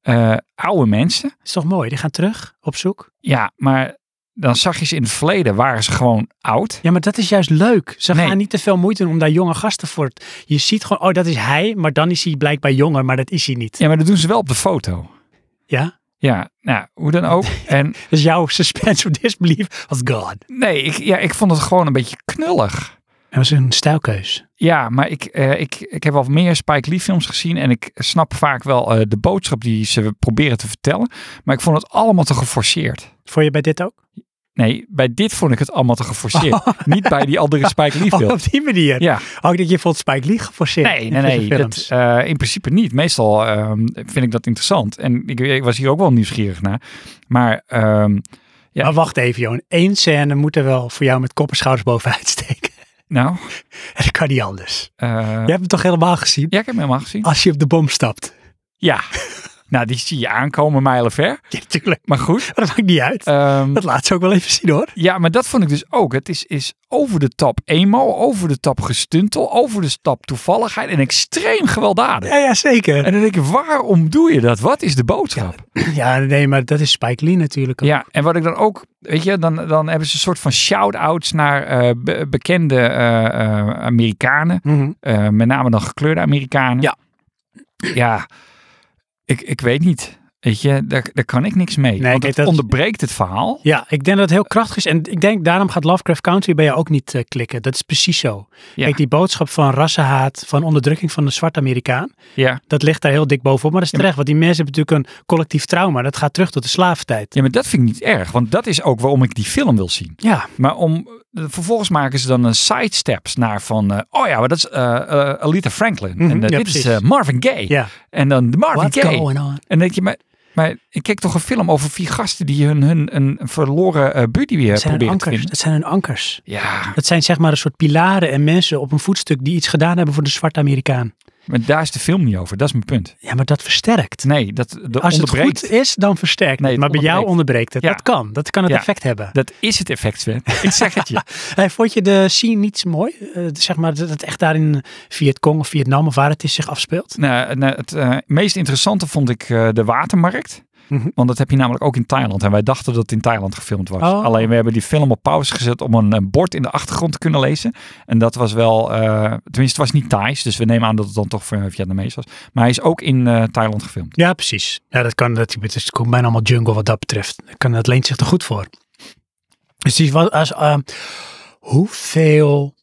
B: Eh, oude mensen.
A: Is toch mooi? Die gaan terug op zoek.
B: Ja, maar dan zag je ze in het verleden waren ze gewoon oud.
A: Ja, maar dat is juist leuk. Ze
B: Nee.
A: gaan niet te veel moeite doen om daar jonge gasten voor. t- Je ziet gewoon, oh, dat is hij, maar dan is hij blijkbaar jonger, maar dat is hij niet.
B: Ja, maar dat doen ze wel op de foto.
A: Ja?
B: Ja, nou, hoe dan ook. En
A: Dus jouw suspense of disbelief was God.
B: nee, ik, ja, ik vond het gewoon een beetje knullig.
A: Dat was een stijlkeus.
B: Ja, maar ik, eh, ik, ik heb al meer Spike Lee films gezien en ik snap vaak wel eh, de boodschap die ze proberen te vertellen. Maar ik vond het allemaal te geforceerd.
A: Vond je bij dit ook?
B: Nee, bij dit vond ik het allemaal te geforceerd. Niet bij die andere Spike Lee
A: Oh,
B: film.
A: op die manier.
B: Ja,
A: Ook dat je vond Spike Lee geforceerd.
B: nee,
A: in
B: nee, nee.
A: deze
B: dat,
A: films.
B: eh, in principe niet. Meestal ehm, vind ik dat interessant. En ik, ik was hier ook wel nieuwsgierig naar. Maar ehm, ja.
A: Maar wacht even, Johan. Eén scène moet er wel voor jou met kop en schouders bovenuit steken.
B: nou,
A: En dat kan niet anders.
B: eh,
A: Je hebt hem toch helemaal gezien?
B: ja, ik heb hem helemaal gezien.
A: Als je op de bom stapt.
B: Ja, nou die zie je aankomen mijlenver.
A: Ja, natuurlijk.
B: Maar goed.
A: Maar dat maakt niet uit.
B: ehm,
A: dat laat ze ook wel even zien hoor.
B: ja, maar dat vond ik dus ook. Het is, is over de top emo, over de top gestuntel, over de top toevalligheid en extreem gewelddadig.
A: Ja, ja zeker.
B: En dan denk ik, waarom doe je dat? Wat is de boodschap?
A: Ja, nee, maar dat is Spike Lee natuurlijk. ook.
B: Ja, en wat ik dan ook, weet je, dan, dan hebben ze een soort van shout-outs naar eh, be- bekende eh, eh, Amerikanen.
A: Mhm.
B: Eh, met name dan gekleurde Amerikanen.
A: Ja.
B: Ja, ik, ik weet niet. Weet je, daar, daar kan ik niks
A: Nee,
B: mee. want
A: kijk,
B: het
A: dat is-
B: onderbreekt het verhaal.
A: Ja, ik denk dat het heel krachtig is. En ik denk, daarom gaat Lovecraft Country bij jou ook niet eh, klikken. Dat is precies zo.
B: Ja.
A: Kijk, die boodschap van rassenhaat, van onderdrukking van de zwarte Amerikaan,
B: Ja.
A: dat ligt daar heel dik bovenop. Maar dat is
B: Ja, maar-
A: terecht, want die mensen hebben natuurlijk een collectief trauma. Dat gaat terug tot de slaventijd.
B: ja, maar dat vind ik niet erg. Want dat is ook waarom ik die film wil zien.
A: Ja,
B: Maar om, vervolgens maken ze dan een sidesteps naar van... eh, oh ja, maar dat is eh eh, Aretha Franklin.
A: Mhm,
B: en eh,
A: ja,
B: dit is
A: precies.
B: eh, Marvin Gaye.
A: ja.
B: En dan de Marvin
A: What's
B: Gaye.
A: going on?
B: En dan denk je, maar, maar ik keek toch een film over vier gasten die hun, hun een verloren eh buddy weer
A: Het zijn hun
B: proberen te
A: ankers.
B: vinden.
A: Het zijn hun ankers.
B: Ja,
A: Dat zijn zeg maar een soort pilaren en mensen op een voetstuk die iets gedaan hebben voor de zwarte Amerikaan.
B: maar daar is de film niet over. Dat is mijn punt.
A: Ja, maar dat versterkt.
B: Nee, dat de
A: Als het
B: onderbreekt.
A: goed is, dan versterkt
B: Nee,
A: het.
B: het
A: Maar bij jou
B: onderbreekt.
A: onderbreekt het.
B: Ja.
A: Dat kan. Dat kan het
B: Ja.
A: effect hebben.
B: Dat is het effect, Sven. Ik zeg het je.
A: Hey, vond je de scene niet zo mooi? Eh, zeg maar dat het echt daar in Vietcong of Vietnam of waar het is zich afspeelt?
B: nou, nou, het eh, meest interessante vond ik eh, de watermarkt.
A: Mhm.
B: Want dat heb je namelijk ook in Thailand. En wij dachten dat het in Thailand gefilmd was.
A: Oh.
B: Alleen we hebben die film op pauze gezet om een, eh, bord in de achtergrond te kunnen lezen. En dat was wel, eh, tenminste het was niet Thais. Dus we nemen aan dat het dan toch eh, Vietnamees was. Maar hij is ook in eh, Thailand gefilmd.
A: Ja, precies. Ja, dat kan. Dat, het is bijna allemaal jungle wat dat betreft. Dat Kan, dat leent zich er goed voor. Dus die was als ehm, hoeveel,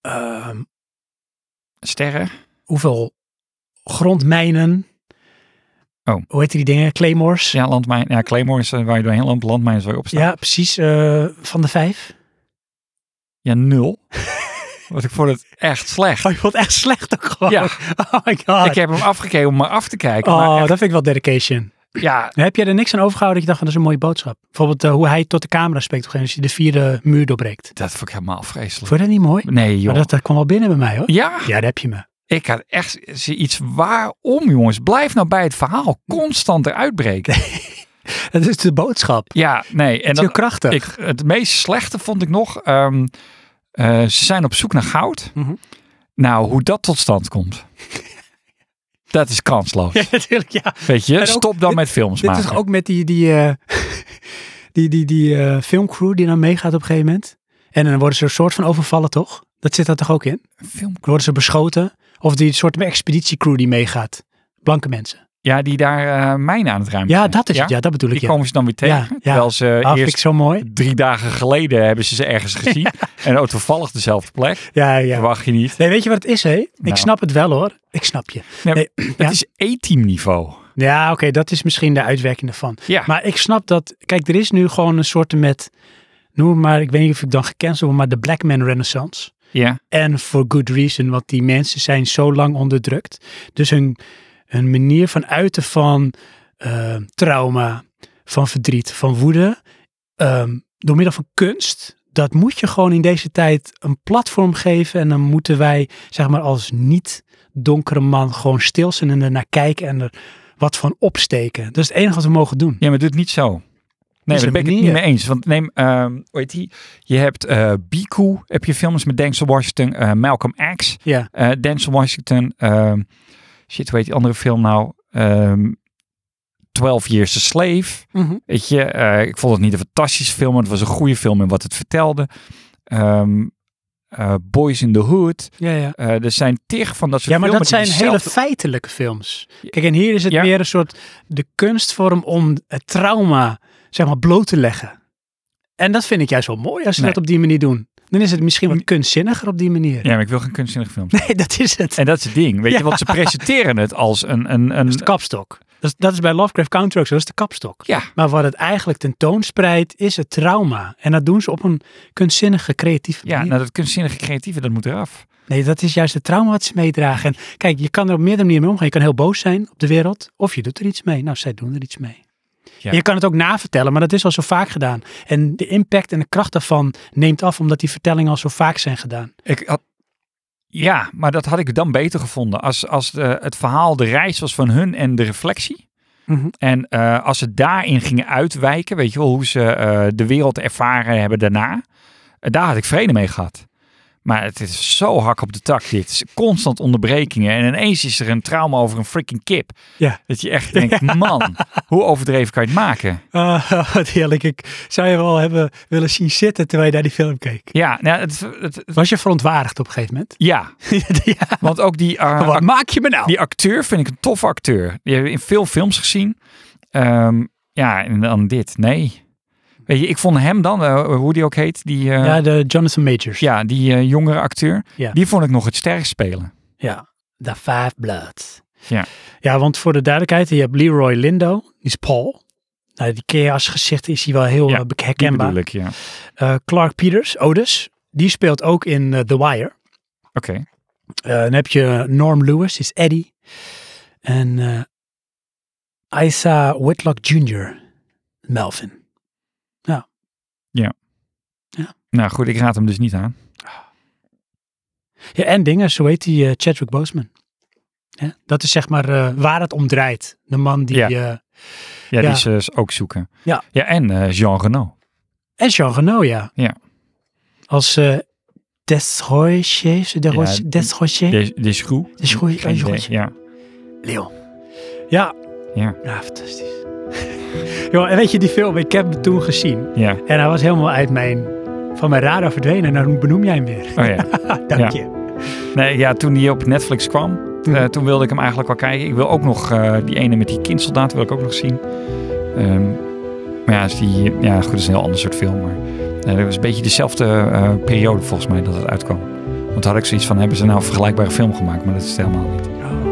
A: ehm,
B: Sterren.
A: hoeveel grondmijnen.
B: Oh.
A: Hoe heet die dingen? Claymores.
B: Dus Ja, landmijn. Ja, Claymore is eh, waar je doorheen loopt. Landmijn is waar je op staat. Ja,
A: Ja, precies. eh, van de vijf.
B: nul. Want ik vond het echt slecht.
A: Oh, je vond het echt slecht ook gewoon.
B: Ja.
A: Oh my god.
B: Ik heb hem afgekeken om maar af te kijken.
A: oh,
B: Maar
A: dat
B: echt,
A: vind ik wel dedication.
B: ja,
A: Heb jij er niks aan overgehouden dat je dacht, dat is een mooie boodschap? Bijvoorbeeld eh, hoe hij tot de camera spreekt op een gegeven moment als hij de vierde muur doorbreekt.
B: dat vond ik helemaal vreselijk.
A: Vond je dat niet mooi?
B: Nee, joh.
A: Maar dat, dat kwam wel binnen bij mij hoor.
B: Ja,
A: Ja, daar heb je me.
B: ik had echt iets waarom, jongens. Blijf nou bij het verhaal constant eruit breken.
A: Dat is de boodschap.
B: Ja, nee. En
A: Het is heel
B: dan,
A: krachtig.
B: ik, het meest slechte vond ik nog, ehm, eh, ze zijn op zoek naar goud.
A: Mhm.
B: Nou, hoe dat tot stand komt, dat is kansloos.
A: Ja, natuurlijk, ja.
B: Weet je,
A: En ook-
B: stop dan
A: dit-
B: met films
A: Dit
B: maken.
A: is toch ook met die, die, eh, die, die, die eh, filmcrew die dan meegaat op een gegeven moment. En dan worden ze een soort van overvallen, toch? Dat zit daar toch ook in?
B: Film.
A: Dan worden ze beschoten. Of die soort expeditiecrew die meegaat. Blanke mensen.
B: Ja, die daar eh, mijnen aan het ruimen.
A: Ja,
B: zijn.
A: dat is het. Ja, dat bedoel ik.
B: Die
A: Ja.
B: komen ze dan weer tegen.
A: Ja, ja.
B: Terwijl ze
A: Ah, vind ik
B: eerst
A: zo mooi.
B: drie dagen geleden hebben ze ze ergens gezien. En ook toevallig dezelfde plek.
A: Ja, ja.
B: Verwacht je niet.
A: Nee, weet je wat het is, hè? Ik
B: Nou.
A: snap het wel, hoor. Ik snap je.
B: Nee,
A: Nee, ja.
B: Het is E-team niveau.
A: Ja, oké, dat is misschien de uitwerking ervan.
B: Ja.
A: Maar ik snap dat, kijk, er is nu gewoon een soort met, noem het maar, ik weet niet of ik dan gecanceld word, maar de Black Man Renaissance.
B: Ja.
A: En for good reason, want die mensen zijn zo lang onderdrukt. Dus hun, hun manier van uiten van eh, trauma, van verdriet, van woede, ehm, door middel van kunst, dat moet je gewoon in deze tijd een platform geven. En dan moeten wij, zeg maar, als niet-donkere man gewoon stil zijn en ernaar kijken en er wat van opsteken. Dat is het enige wat we mogen doen.
B: Ja, maar doe het niet zo. Nee,
A: Is
B: daar
A: een
B: ben ik het niet
A: manier.
B: mee eens. Want neem, ehm hoe heet die? Je hebt eh Biku, heb je films met Denzel Washington, eh, Malcolm X.
A: Ja,
B: Eh, Denzel Washington, ehm, shit, hoe heet die andere film nou? Ehm 12 Years a Slave.
A: Mhm.
B: Weet je, eh, ik vond het niet een fantastische film, maar het was een goede film in wat het vertelde. Ehm, eh, Boys in the Hood.
A: ja, ja.
B: Eh, er zijn tig van dat soort
A: Ja, maar
B: filmen
A: dat zijn
B: die
A: hele
B: diezelfde-
A: feitelijke films. Kijk, en hier is het
B: Ja.
A: meer een soort de kunstvorm om het trauma, zeg maar, bloot te leggen. En dat vind ik juist wel mooi als ze
B: Nee.
A: dat op die manier doen. Dan is het misschien wat kunstzinniger op die manier.
B: Ja, maar ik wil geen kunstzinnige film.
A: Nee, dat is het.
B: En dat is het ding, weet
A: Ja.
B: je, want ze presenteren het als een... een,
A: Dat
B: een
A: is de kapstok. Dat is, dat is bij Lovecraft Country ook zo, dat is de kapstok.
B: ja,
A: Maar wat het eigenlijk tentoonspreidt, is het trauma. En dat doen ze op een kunstzinnige, creatieve
B: ja,
A: manier.
B: nou dat kunstzinnige creatieve, dat moet eraf.
A: Nee, dat is juist het trauma wat ze meedragen. En kijk, je kan er op meerdere manieren mee omgaan. Je kan heel boos zijn op de wereld, of je doet er iets mee. Nou, zij doen er iets mee.
B: Ja.
A: En Je kan het ook navertellen, maar dat is al zo vaak gedaan. En de impact en de kracht daarvan neemt af, omdat die vertellingen al zo vaak zijn gedaan.
B: Ik had, ja, maar dat had ik dan beter gevonden. Als, als eh, het verhaal de reis was van hun en de reflectie.
A: Mhm.
B: En eh, als ze daarin gingen uitwijken, weet je wel, hoe ze eh, de wereld ervaren hebben daarna. eh, daar had ik vrede mee gehad. Maar het is zo hak op de tak dit. Het is Constant onderbrekingen. En ineens is er een trauma over een freaking kip.
A: Ja.
B: Dat je echt denkt, man, hoe overdreven kan je het maken?
A: Ah, wat heerlijk. Ik zou je wel hebben willen zien zitten terwijl je naar die film keek.
B: Ja, nou, het, het- het-
A: Was je verontwaardigd op een gegeven moment?
B: ja.
A: ja.
B: want ook die eh,
A: Wat maak je me nou?
B: Die acteur vind ik een toffe acteur. Die hebben we in veel films gezien. Ehm, ja, en dan dit. Nee. Weet je, ik vond hem dan, eh, hoe die ook heet, die, eh, ja.
A: ja, de Jonathan Majors.
B: die eh, jongere acteur,
A: Ja.
B: die vond ik nog het sterkst spelen.
A: Ja, The Five Bloods.
B: Ja.
A: Ja, want voor de duidelijkheid, je hebt Leroy Lindo, die is Paul. Nou, die ken je als gezicht, is hij wel heel
B: Ja,
A: eh, bek-
B: Die
A: herkenbaar.
B: bedoel ik, ja.
A: Eh, Clark Peters, Otis, die speelt ook in eh, The Wire.
B: Oké.
A: Eh, dan heb je Norm Lewis, die is Eddie. En eh Isa Whitlock Jr., Melvin.
B: Nou goed, ik raad hem dus niet aan.
A: Ja, en dingen, zo heet die eh, Chadwick Boseman. Ja, dat is zeg maar eh, waar het om draait. De man die...
B: Ja.
A: eh,
B: Ja,
A: Ja.
B: die ze dus ook zoeken.
A: Ja.
B: ja en eh, Jean Renault.
A: En Jean Reno, ja.
B: Ja.
A: Als eh Desrochers, Desrochers,
B: Ja,
A: Desrochers,
B: De, de Schroe.
A: Deschroe-
B: Geen idee,
A: Deschroe.
B: Ja.
A: Leon. Ja.
B: Ja.
A: Ja, fantastisch. Joh, en weet je die film, ik heb hem toen gezien.
B: ja.
A: En hij was helemaal uit mijn, van mijn radar verdwenen. En dan benoem jij hem weer.
B: Oh ja.
A: Dank je.
B: Nee, ja, toen die op Netflix kwam,
A: Hm.
B: eh, toen wilde ik hem eigenlijk wel kijken. Ik wil ook nog eh, die ene met die kindsoldaat wil ik ook nog zien. Ehm, maar ja, is die, ja, goed, dat is een heel ander soort film. Maar eh, dat was een beetje dezelfde eh, periode volgens mij dat het uitkwam. Want toen had ik zoiets van, hebben ze nou een vergelijkbare film gemaakt? Maar dat is het helemaal niet.
A: Oh.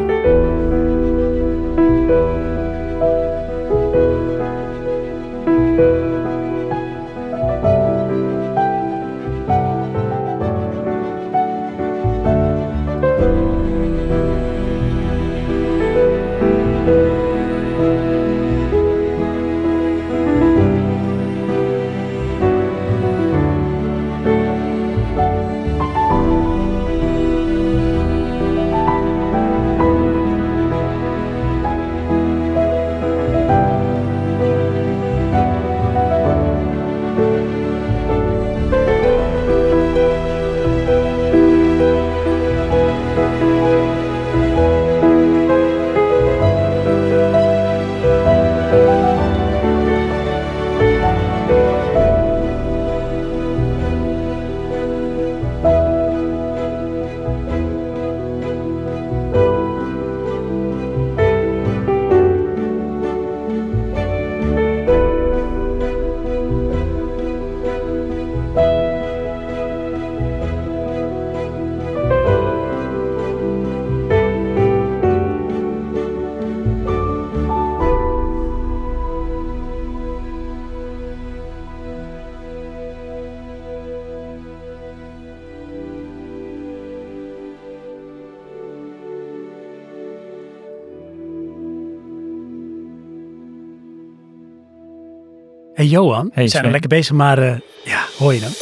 A: Hey Johan, we zijn
B: Sven.
A: al lekker bezig, maar eh, ja, hoor je hem?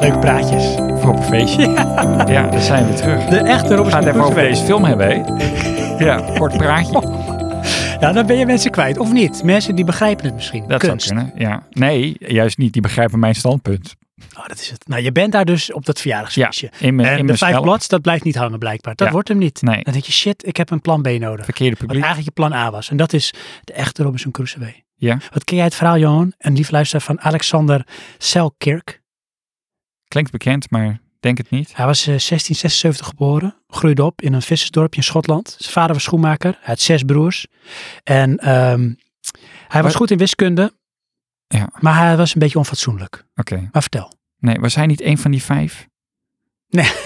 A: Leuke praatjes.
B: Voor op een feestje. Ja, daar zijn we terug.
A: De echte
B: We
A: Robert
B: gaan het even
A: Snoeker
B: over
A: geweest.
B: deze film hebben, hè? Ja, kort
A: Oh,
B: praatje.
A: Ja, dan ben je mensen kwijt, of niet? Mensen die begrijpen het misschien.
B: Dat
A: Kunst.
B: zou kunnen, ja. Nee, juist niet. Die begrijpen mijn standpunt.
A: Oh, dat is het. Nou, je bent daar dus op dat
B: Ja,
A: verjaardagsfeestje.
B: in mijn in
A: en de
B: mijn
A: vijf
B: schelp.
A: blads, dat blijft niet hangen blijkbaar. Dat
B: Ja.
A: wordt hem niet.
B: Nee.
A: Dan denk je, shit, ik heb een plan B nodig.
B: Verkeerde
A: Wat
B: publiek.
A: eigenlijk je plan A was. En dat is de echte Robinson Crusoe.
B: Ja.
A: Wat ken jij het verhaal, Johan? Een lief luisteraar van Alexander Selkirk.
B: Klinkt bekend, maar denk het niet.
A: Hij was eh, 1676 geboren, groeide op in een vissersdorpje in Schotland. Zijn vader was schoenmaker, hij had zes broers. En ehm, hij was
B: Wat-
A: goed in wiskunde,
B: Ja.
A: maar hij was een beetje onfatsoenlijk.
B: Oké.
A: Maar vertel.
B: Nee, was hij niet een van die vijf?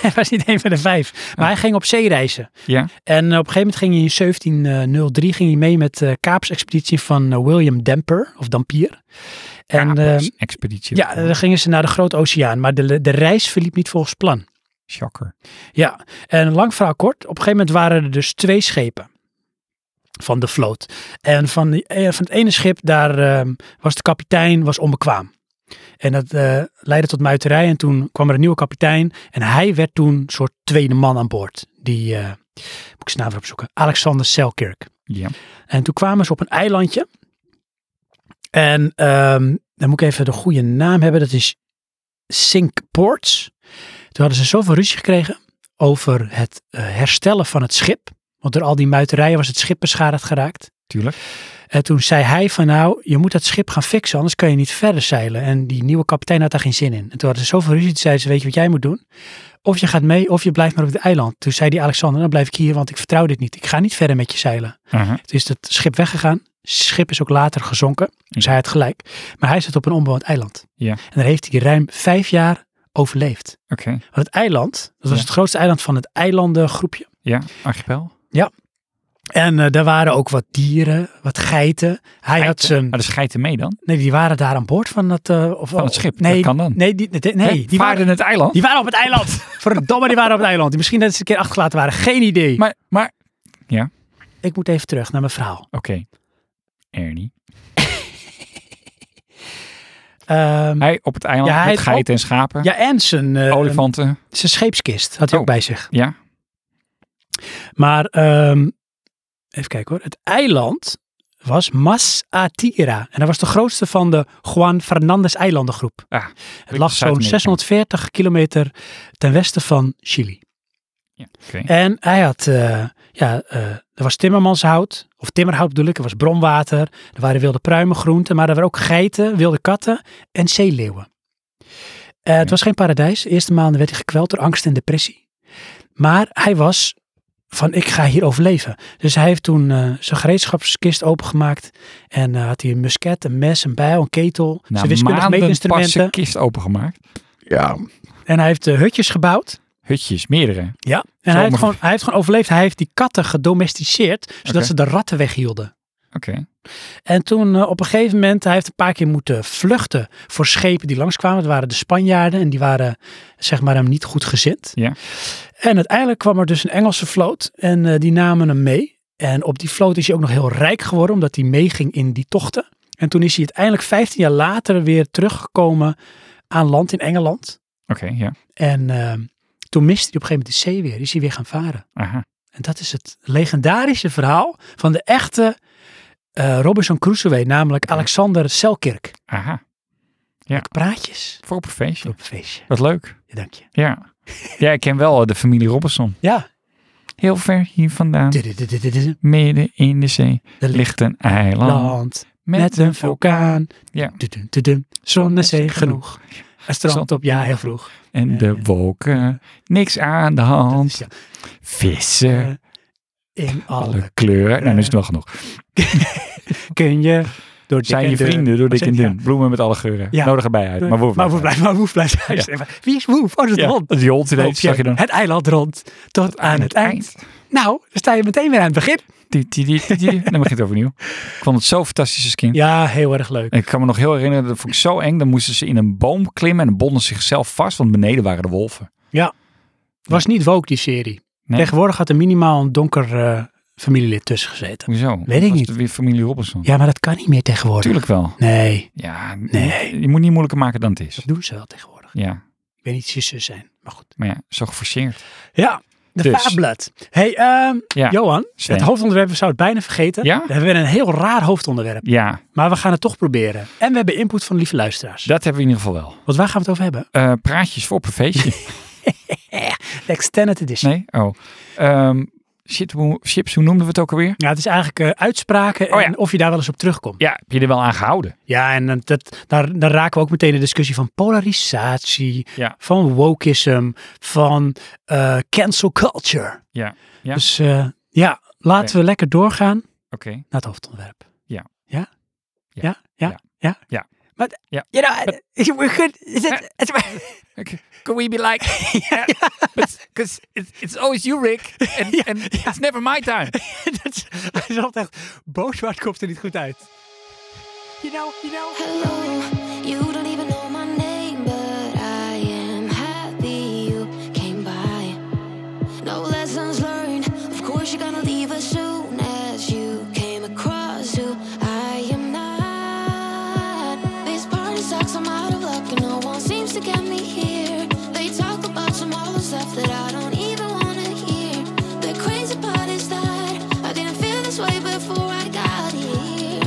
A: Hij was niet een van de vijf, maar hij ging op zeereizen.
B: Ja.
A: En eh, op een gegeven moment ging hij in 1703 ging hij mee met de Kaapsexpeditie van eh, William Damper, of Dampier. En,
B: En
A: ehm,
B: expeditie.
A: Ja, dan gingen ze naar de Grote Oceaan, maar de, de reis verliep niet volgens plan.
B: Shocker.
A: Ja, en lang verhaal kort, op een gegeven moment waren er dus twee schepen van de vloot. En van, die, eh, van het ene schip, daar ehm, was de kapitein was onbekwaam. En dat eh, leidde tot muiterij en toen kwam er een nieuwe kapitein en hij werd toen een soort tweede man aan boord. Die, eh, moet ik zijn naam weer opzoeken, Alexander Selkirk.
B: Ja.
A: En toen kwamen ze op een eilandje. En ehm, dan moet ik even de goede naam hebben. Dat is Sinkports. Toen hadden ze zoveel ruzie gekregen over het eh, herstellen van het schip. Want door al die muiterijen was het schip beschadigd geraakt.
B: Tuurlijk.
A: En toen zei hij van nou, je moet dat schip gaan fixen, anders kan je niet verder zeilen. En die nieuwe kapitein had daar geen zin in. En toen hadden ze zoveel ruzie, toen zeiden ze, weet je wat jij moet doen? Of je gaat mee, of je blijft maar op het eiland. Toen zei die Alexander, dan blijf ik hier, want ik vertrouw dit niet. Ik ga niet verder met je zeilen.
B: Aha.
A: Het is het schip weggegaan. Het schip is ook later gezonken. Dus hij had gelijk. Maar hij zit op een onbewoond eiland.
B: Ja.
A: En daar heeft hij ruim vijf jaar overleefd.
B: Oké.
A: Want het eiland, dat was
B: Ja.
A: het grootste eiland van het eilandengroepje.
B: Ja, archipel.
A: En eh, daar waren ook wat dieren, wat geiten. Hij had
B: Geiten.
A: zijn...
B: Maar de scheiden mee dan?
A: Nee, die waren daar aan boord van het... eh, of,
B: Van het schip.
A: Nee,
B: Dat kan dan.
A: Nee, die, nee,
B: Hè?
A: nee die,
B: Vaarden
A: waren,
B: het eiland?
A: die waren op het eiland. Verdomme, die waren op het eiland. Die misschien dat ze een keer achtergelaten waren. Geen idee.
B: Maar, maar...
A: ik moet even terug naar mijn verhaal.
B: Oké. Ernie.
A: Ehm,
B: Hij op het eiland
A: Ja, hij
B: met
A: had
B: geiten en schapen.
A: ja, en zijn, eh,
B: Olifanten.
A: zijn scheepskist had hij ook
B: Oh.
A: bij zich.
B: Ja.
A: Maar ehm, even kijken hoor. Het eiland was Masatira. En dat was de grootste van de Juan Fernandez eilandengroep.
B: Ah,
A: het lag zo'n
B: Zuid-Amerika.
A: 640 kilometer ten westen van Chili.
B: ja. Oké.
A: En hij had, eh, ja, eh, er was timmermanshout, of timmerhout bedoel ik, er was bronwater, er waren wilde pruimengroenten, maar er waren ook geiten, wilde katten en zeeleeuwen. Eh, het
B: Ja.
A: was geen paradijs. De eerste maanden werd hij gekweld door angst en depressie. Maar hij was van, ik ga hier overleven. Dus hij heeft toen eh, zijn gereedschapskist opengemaakt en eh, had hij een musket, een mes, een bijl, een ketel,
B: Na
A: zijn wiskundige
B: maanden pas
A: meetinstrumenten.
B: zijn kist opengemaakt.
A: En hij heeft eh, hutjes gebouwd.
B: Hutjes, meerdere.
A: Ja, en hij heeft,
B: maar-
A: gewoon, hij heeft gewoon overleefd. Hij heeft die katten gedomesticeerd, zodat
B: Oké.
A: ze de ratten weghielden.
B: Oké.
A: En toen eh, op een gegeven moment, hij heeft een paar keer moeten vluchten voor schepen die langskwamen. Dat waren de Spanjaarden en die waren zeg maar hem niet goed gezind.
B: Ja.
A: En uiteindelijk kwam er dus een Engelse vloot en eh, die namen hem mee. En op die vloot is hij ook nog heel rijk geworden, omdat hij meeging in die tochten. En toen is hij uiteindelijk 15 jaar later weer teruggekomen aan land in Engeland.
B: Oké, ja.
A: En eh, toen miste hij op een gegeven moment de zee weer, is hij weer gaan varen.
B: Aha.
A: En dat is het legendarische verhaal van de echte eh, Robinson Crusoe, namelijk Alexander Selkirk.
B: Aha.
A: Praatjes
B: Voor op een feestje.
A: op een feestje.
B: Wat leuk.
A: Ja, dank je.
B: Ja. Ja, ik ken wel eh, de familie Robinson.
A: Ja.
B: Heel ver hier vandaan,
A: Dudududududu.
B: midden in de zee,
A: Er ligt
B: ligt een eiland
A: land met een vulkaan.
B: Ja.
A: Dudum, dudum. Zon en zee genoeg. Het strand
B: Zand.
A: op, ja, heel vroeg.
B: en de wolken. Niks aan de
A: Dat
B: hand.
A: is, Dus ja,
B: Vissen,
A: in alle
B: alle kleuren. Nou, dan is het wel genoeg.
A: kun je door dik
B: Zijn
A: en
B: je
A: dun.
B: vrienden door dik en
A: Ja.
B: dun. Bloemen met alle geuren.
A: Ja.
B: Nodig erbij uit. Maar woef.
A: Maar woef blijft, maar woef blijft. Wie is woef? Oh, dat is
B: Ja,
A: rond.
B: dat die hond
A: Loop
B: ineens, zag je dan.
A: Het eiland rond, tot aan het eind. Nou, dan sta je meteen weer aan het begin.
B: Die, die, die, die, die. Dan begint het overnieuw. Ik vond het zo fantastisch als kind.
A: Ja, heel erg leuk.
B: En Ik kan me nog heel herinneren, dat vond ik zo eng. Dan moesten ze in een boom klimmen en dan bonden ze zichzelf vast, want beneden waren de wolven.
A: Was niet woke die serie.
B: Nee.
A: Tegenwoordig had er minimaal een donker eh, familielid tussen gezeten.
B: Hoezo?
A: Weet ik
B: Was
A: niet.
B: het weer familie Robinson.
A: Ja, maar dat kan niet meer tegenwoordig.
B: Tuurlijk wel.
A: Nee,
B: Ja,
A: Nee.
B: Je moet niet moeilijker maken dan het
A: dat
B: is.
A: doen ze wel tegenwoordig.
B: Ja,
A: Ik weet niet of ze zus zijn, maar goed.
B: maar ja, zo geforceerd.
A: Ja, de
B: Dus.
A: Fabblad. Hey, ehm,
B: Ja,
A: Johan,
B: Sven.
A: het hoofdonderwerp we zouden het bijna vergeten.
B: Ja?
A: We hebben een heel raar hoofdonderwerp,
B: ja,
A: maar we gaan het toch proberen. En we hebben input van lieve luisteraars.
B: dat hebben we in ieder geval wel.
A: Want waar gaan we het over hebben?
B: Eh, praatjes voor op een feestje.
A: De Extended Edition.
B: nee? Oh. Ehm, shit, hoe, chips, hoe noemden we het ook alweer?
A: Ja, het is eigenlijk eh, uitspraken
B: Oh ja.
A: en of je daar wel eens op terugkomt.
B: Ja, heb je er wel aan gehouden?
A: Ja, en dan- dat, daar, daar raken we ook meteen de discussie van polarisatie,
B: Ja.
A: van wokeism, van eh, cancel culture.
B: Ja. Ja.
A: Dus eh, ja, laten
B: Oké.
A: we lekker doorgaan naar
B: Oké.
A: het hoofdonderwerp.
B: Ja.
A: Ja?
B: Ja.
A: Ja? Ja?
B: Ja.
A: Ja?
B: Ja.
A: Maar,
B: Ja.
A: you know, eh, we're good. Is it, it's,
B: Okay. Can we be like, because it's, it's always you, Rick, and, and it's never my time.
A: dat is, hij is altijd echt boos, maar het komt er niet goed uit. You know, you know.
F: Hello, you don't even know my name, but I am happy you came by. No lessons learned, of course, you're gonna leave as soon as you came across who I am not. This party sucks, I'm out of luck, and no one seems to get me here. They talk about some other stuff that I don't even wanna hear. The crazy part is that I didn't feel this way before I got here.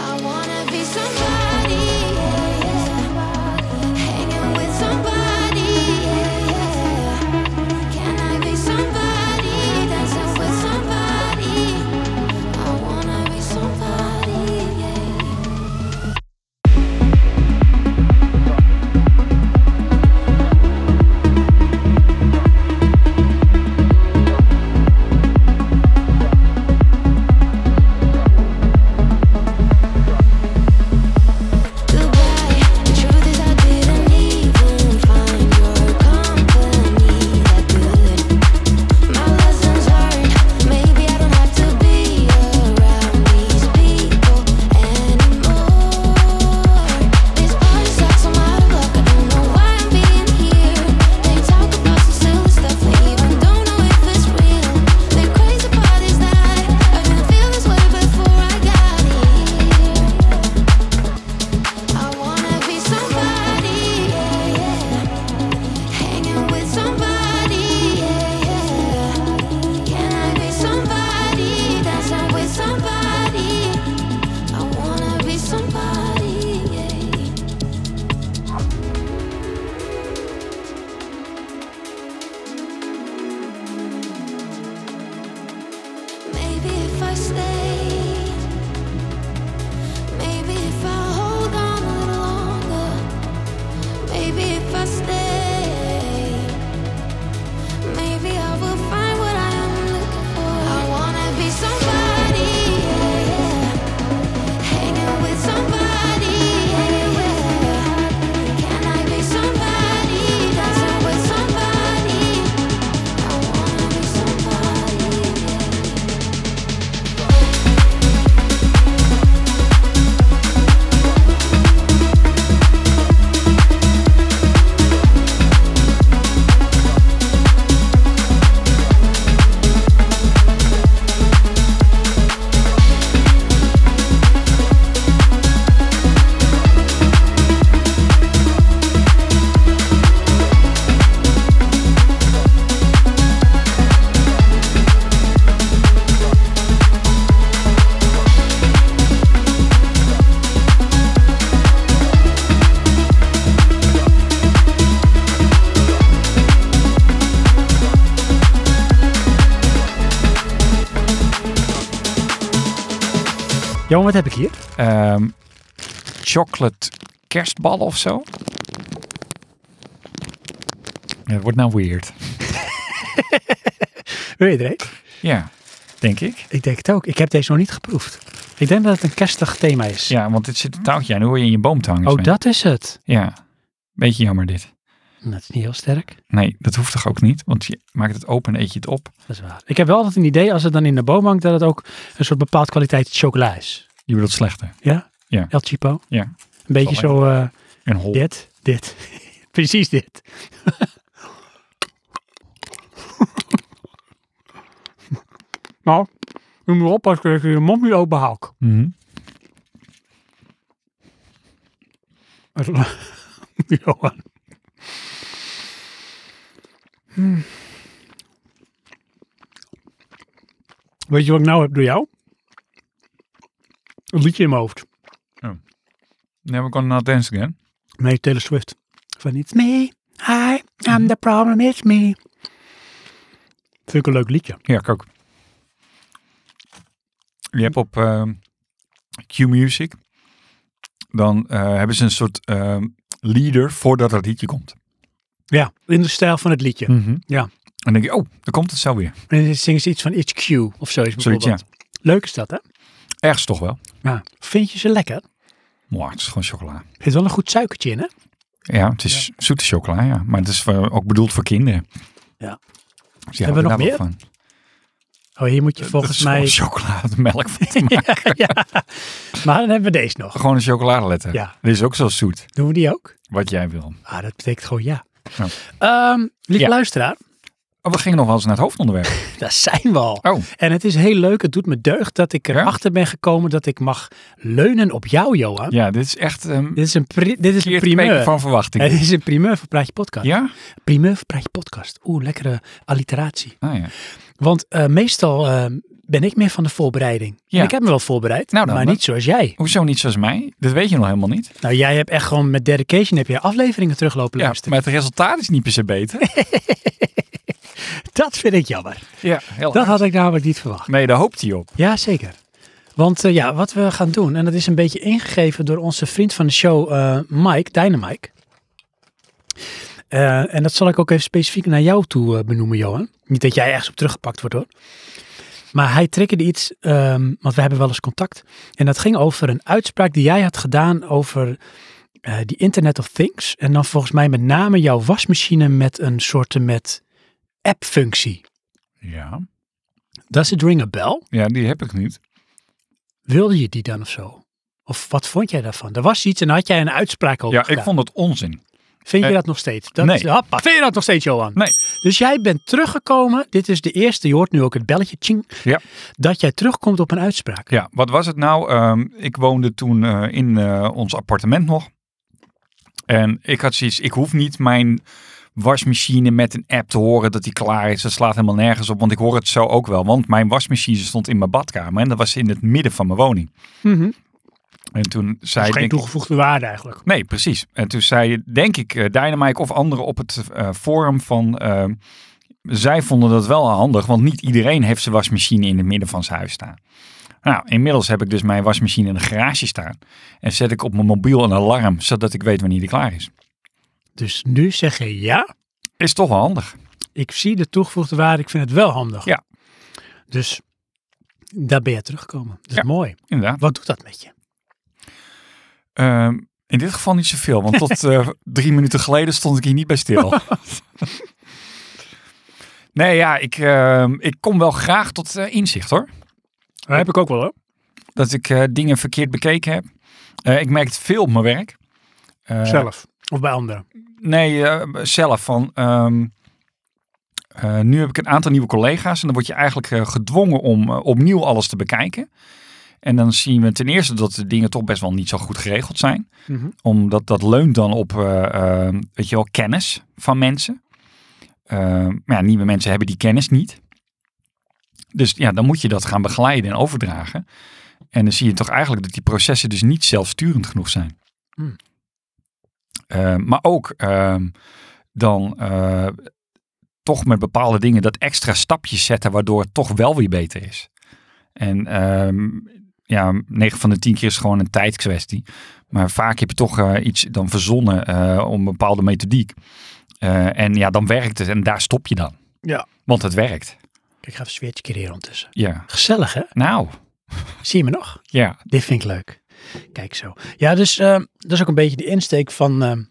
F: I wanna be somebody, yeah, yeah. hanging with somebody, yeah, yeah. Can I be somebody, dancing with somebody? I wanna be somebody, yeah. Goodbye. The truth is I didn't even find your company that good. My lessons learned. Maybe I don't have to be around these people anymore. This party sucks. I'm out of luck. I don't know why I'm being here. They talk about some silly stuff. They even don't know if it's real. The crazy part is that I didn't feel this way before I got here. I wanna be somebody, yeah, yeah. Hanging with somebody, yeah, yeah. Can I be somebody? Dancing with somebody. I wanna be somebody, yeah. Maybe if I stay. Maybe if I hold on a little longer. Maybe if I stay. Maybe I will find what I am looking for. I wanna be somebody, yeah, yeah. hanging with somebody, yeah, yeah. Can I be somebody, dancing with somebody? I wanna be somebody. yeah.
A: Johan, wat heb ik hier?
B: Ehm, chocolate kerstbal of zo. Ja, het wordt nou weird.
A: Wil je het, Rick?
B: Ja, denk ik.
A: Ik denk het ook. Ik heb deze nog niet geproefd. Ik denk dat het een kerstig thema is.
B: Ja, want dit zit een touwtje aan. Dan hoor je in je boom te hangen.
A: oh,
B: Sven.
A: dat is het.
B: Ja, beetje jammer dit.
A: Dat is niet heel sterk.
B: Nee, dat hoeft toch ook niet? Want je maakt het open en eet je het op.
A: Dat is waar. Ik heb wel altijd een idee als het dan in de boom hangt dat het ook een soort bepaald kwaliteit chocola is.
B: Je bedoelt slechter.
A: Ja?
B: Ja.
A: El Chipo.
B: Ja.
A: Een beetje
B: Zal
A: zo eh,
B: En hol.
A: dit, dit. Precies dit. Nou, je moet oppassen dat je je mond niet open houdt.
B: Mhm.
A: Johan. Hmm. Weet je wat ik nou heb door jou? Een liedje in mijn hoofd.
B: Never gonna not dance again.
A: Nee, Taylor Swift. Van It's me, I am the problem, it's me. Vind ik een leuk liedje.
B: Ja, ik ook. Je hebt op ehm, Q-Music, dan eh, hebben ze een soort ehm, leader voordat het liedje komt.
A: Ja, in de stijl van het liedje. Ja.
B: En dan denk je, oh, daar komt het zo weer.
A: En dan zingen ze iets van It's Q of zoiets
B: Zoiets,
A: bijvoorbeeld. Leuk is dat, hè?
B: Ergens toch wel.
A: Ja. Vind je ze lekker?
B: Maar het is gewoon chocola.
A: Er zit wel een goed suikertje in, hè?
B: Ja, het is zoete chocola, ja. Maar het is voor- ook bedoeld voor kinderen.
A: Ja.
B: Dus ja,
A: Hebben we
B: daar
A: nog
B: wat Van.
A: Oh, hier moet je volgens mij...
B: chocolademelk van te maken.
A: ja. Maar dan hebben we deze nog.
B: Gewoon een chocoladeletter.
A: Ja.
B: Dit is ook zo zoet,
A: Doen we die ook?
B: wat jij wil.
A: Ah, dat betekent gewoon ja.
B: Ja.
A: Ehm, lieve
B: Ja.
A: luisteraar,
B: Oh, we gingen nog wel eens naar het hoofdonderwerp.
A: daar zijn we al.
B: Oh,
A: En het is heel leuk, het doet me deugd dat ik
B: Ja?
A: erachter ben gekomen dat ik mag leunen op jou, Johan.
B: ja, dit is echt ehm,
A: Dit is een, pri- dit is een
B: verkeerd teken
A: primeur.
B: van verwachting.
A: Het is een primeur voor Praatje Podcast.
B: Ja?
A: Primeur voor Praatje Podcast. Oeh, lekkere alliteratie.
B: Ah, ja.
A: Want eh, meestal eh, ben ik meer van de voorbereiding.
B: Ja.
A: En Ik heb me wel voorbereid,
B: Nou dan,
A: maar
B: dan.
A: niet zoals jij.
B: Hoezo niet zoals mij? Dat weet je nog helemaal niet.
A: Nou, jij hebt echt gewoon met dedication heb je afleveringen teruglopen
B: Ja,
A: luisteren.
B: maar het resultaat is niet per se beter.
A: Dat vind ik jammer.
B: ja, heel
A: Dat had ik namelijk niet verwacht.
B: Nee, daar hoopt hij op.
A: Ja, zeker. Want eh, ja, wat we gaan doen, en dat is een beetje ingegeven door onze vriend van de show, eh, Mike, Dynamike. Eh en dat zal ik ook even specifiek naar jou toe eh, benoemen, Johan. Niet dat jij ergens op teruggepakt wordt hoor. Maar hij triggerde iets, ehm, want we hebben wel eens contact. En dat ging over een uitspraak die jij had gedaan over eh, die Internet of Things. En dan volgens mij met name jouw wasmachine met een soort met app-functie.
B: Ja.
A: Does it ring a bell?
B: ja, die heb ik niet.
A: Wilde je die dan of zo? Of wat vond jij daarvan? Er was iets en had jij een uitspraak over
B: Ja, ik
A: gedaan.
B: vond het onzin.
A: Vind je
B: eh,
A: dat nog steeds? Dat
B: nee.
A: is- hoppa, vind je dat nog steeds, Johan?
B: Nee.
A: Dus jij bent teruggekomen. Dit is de eerste, je hoort nu ook het belletje, tjing,
B: Ja.
A: dat jij terugkomt op een uitspraak.
B: Ja, wat was het nou? Ehm, ik woonde toen eh, in eh, ons appartement nog. En ik had zoiets, ik hoef niet mijn wasmachine met een app te horen dat die klaar is. Dat slaat helemaal nergens op, want ik hoor het zo ook wel. Want mijn wasmachine stond in mijn badkamer en dat was in het midden van mijn woning.
A: Mhm.
B: En toen
A: Dat
B: zei
A: is geen
B: ik, denk ik,
A: toegevoegde waarde eigenlijk.
B: Nee, precies. En toen zei, denk ik, eh, Dynamite of anderen op het eh, forum van... eh, zij vonden dat wel handig, want niet iedereen heeft zijn wasmachine in het midden van zijn huis staan. Nou, inmiddels heb ik dus mijn wasmachine in de garage staan. En zet ik op mijn mobiel een alarm, zodat ik weet wanneer die klaar is.
A: Dus nu zeg je ja,
B: Is toch wel handig.
A: ik zie de toegevoegde waarde, ik vind het wel handig.
B: Ja.
A: Dus daar ben je teruggekomen. Dat is
B: Ja.
A: mooi.
B: Inderdaad.
A: Wat doet dat met je?
B: Ehm, in dit geval niet zoveel, want tot eh, drie minuten geleden stond ik hier niet bij stil. nee, ja, ik, ehm, ik kom wel graag tot eh, inzicht hoor.
A: Dat heb ik ook wel hoor.
B: dat ik eh, dingen verkeerd bekeken heb. Eh, ik merk het veel op mijn werk. Eh,
A: Zelf. Of bij anderen.
B: Nee, eh, zelf. Van, ehm, eh, nu heb ik een aantal nieuwe collega's en dan word je eigenlijk eh, gedwongen om eh, opnieuw alles te bekijken. En dan zien we ten eerste dat de dingen toch best wel niet zo goed geregeld zijn.
A: Mhm.
B: Omdat dat leunt dan op, eh, eh, weet je wel, kennis van mensen. Eh, maar ja, nieuwe mensen hebben die kennis niet. Dus ja, dan moet je dat gaan begeleiden en overdragen. En dan zie je toch eigenlijk dat die processen dus niet zelfsturend genoeg zijn.
A: Hmm.
B: Eh, maar ook ehm, dan eh, toch met bepaalde dingen dat extra stapjes zetten waardoor het toch wel weer beter is. En ehm, ja, 9 van de 10 keer is het gewoon een tijdkwestie. Maar vaak heb je toch eh, iets dan verzonnen eh, om een bepaalde methodiek. Eh, en ja, dan werkt het en daar stop je dan.
A: Ja.
B: Want het werkt.
A: Kijk, ik ga even een sfeertje creëren ondertussen.
B: Ja.
A: Gezellig hè?
B: Nou,
A: Zie je me nog?
B: ja.
A: Dit vind ik leuk. Kijk zo. Ja, dus ehm, dat is ook een beetje de insteek van, ehm,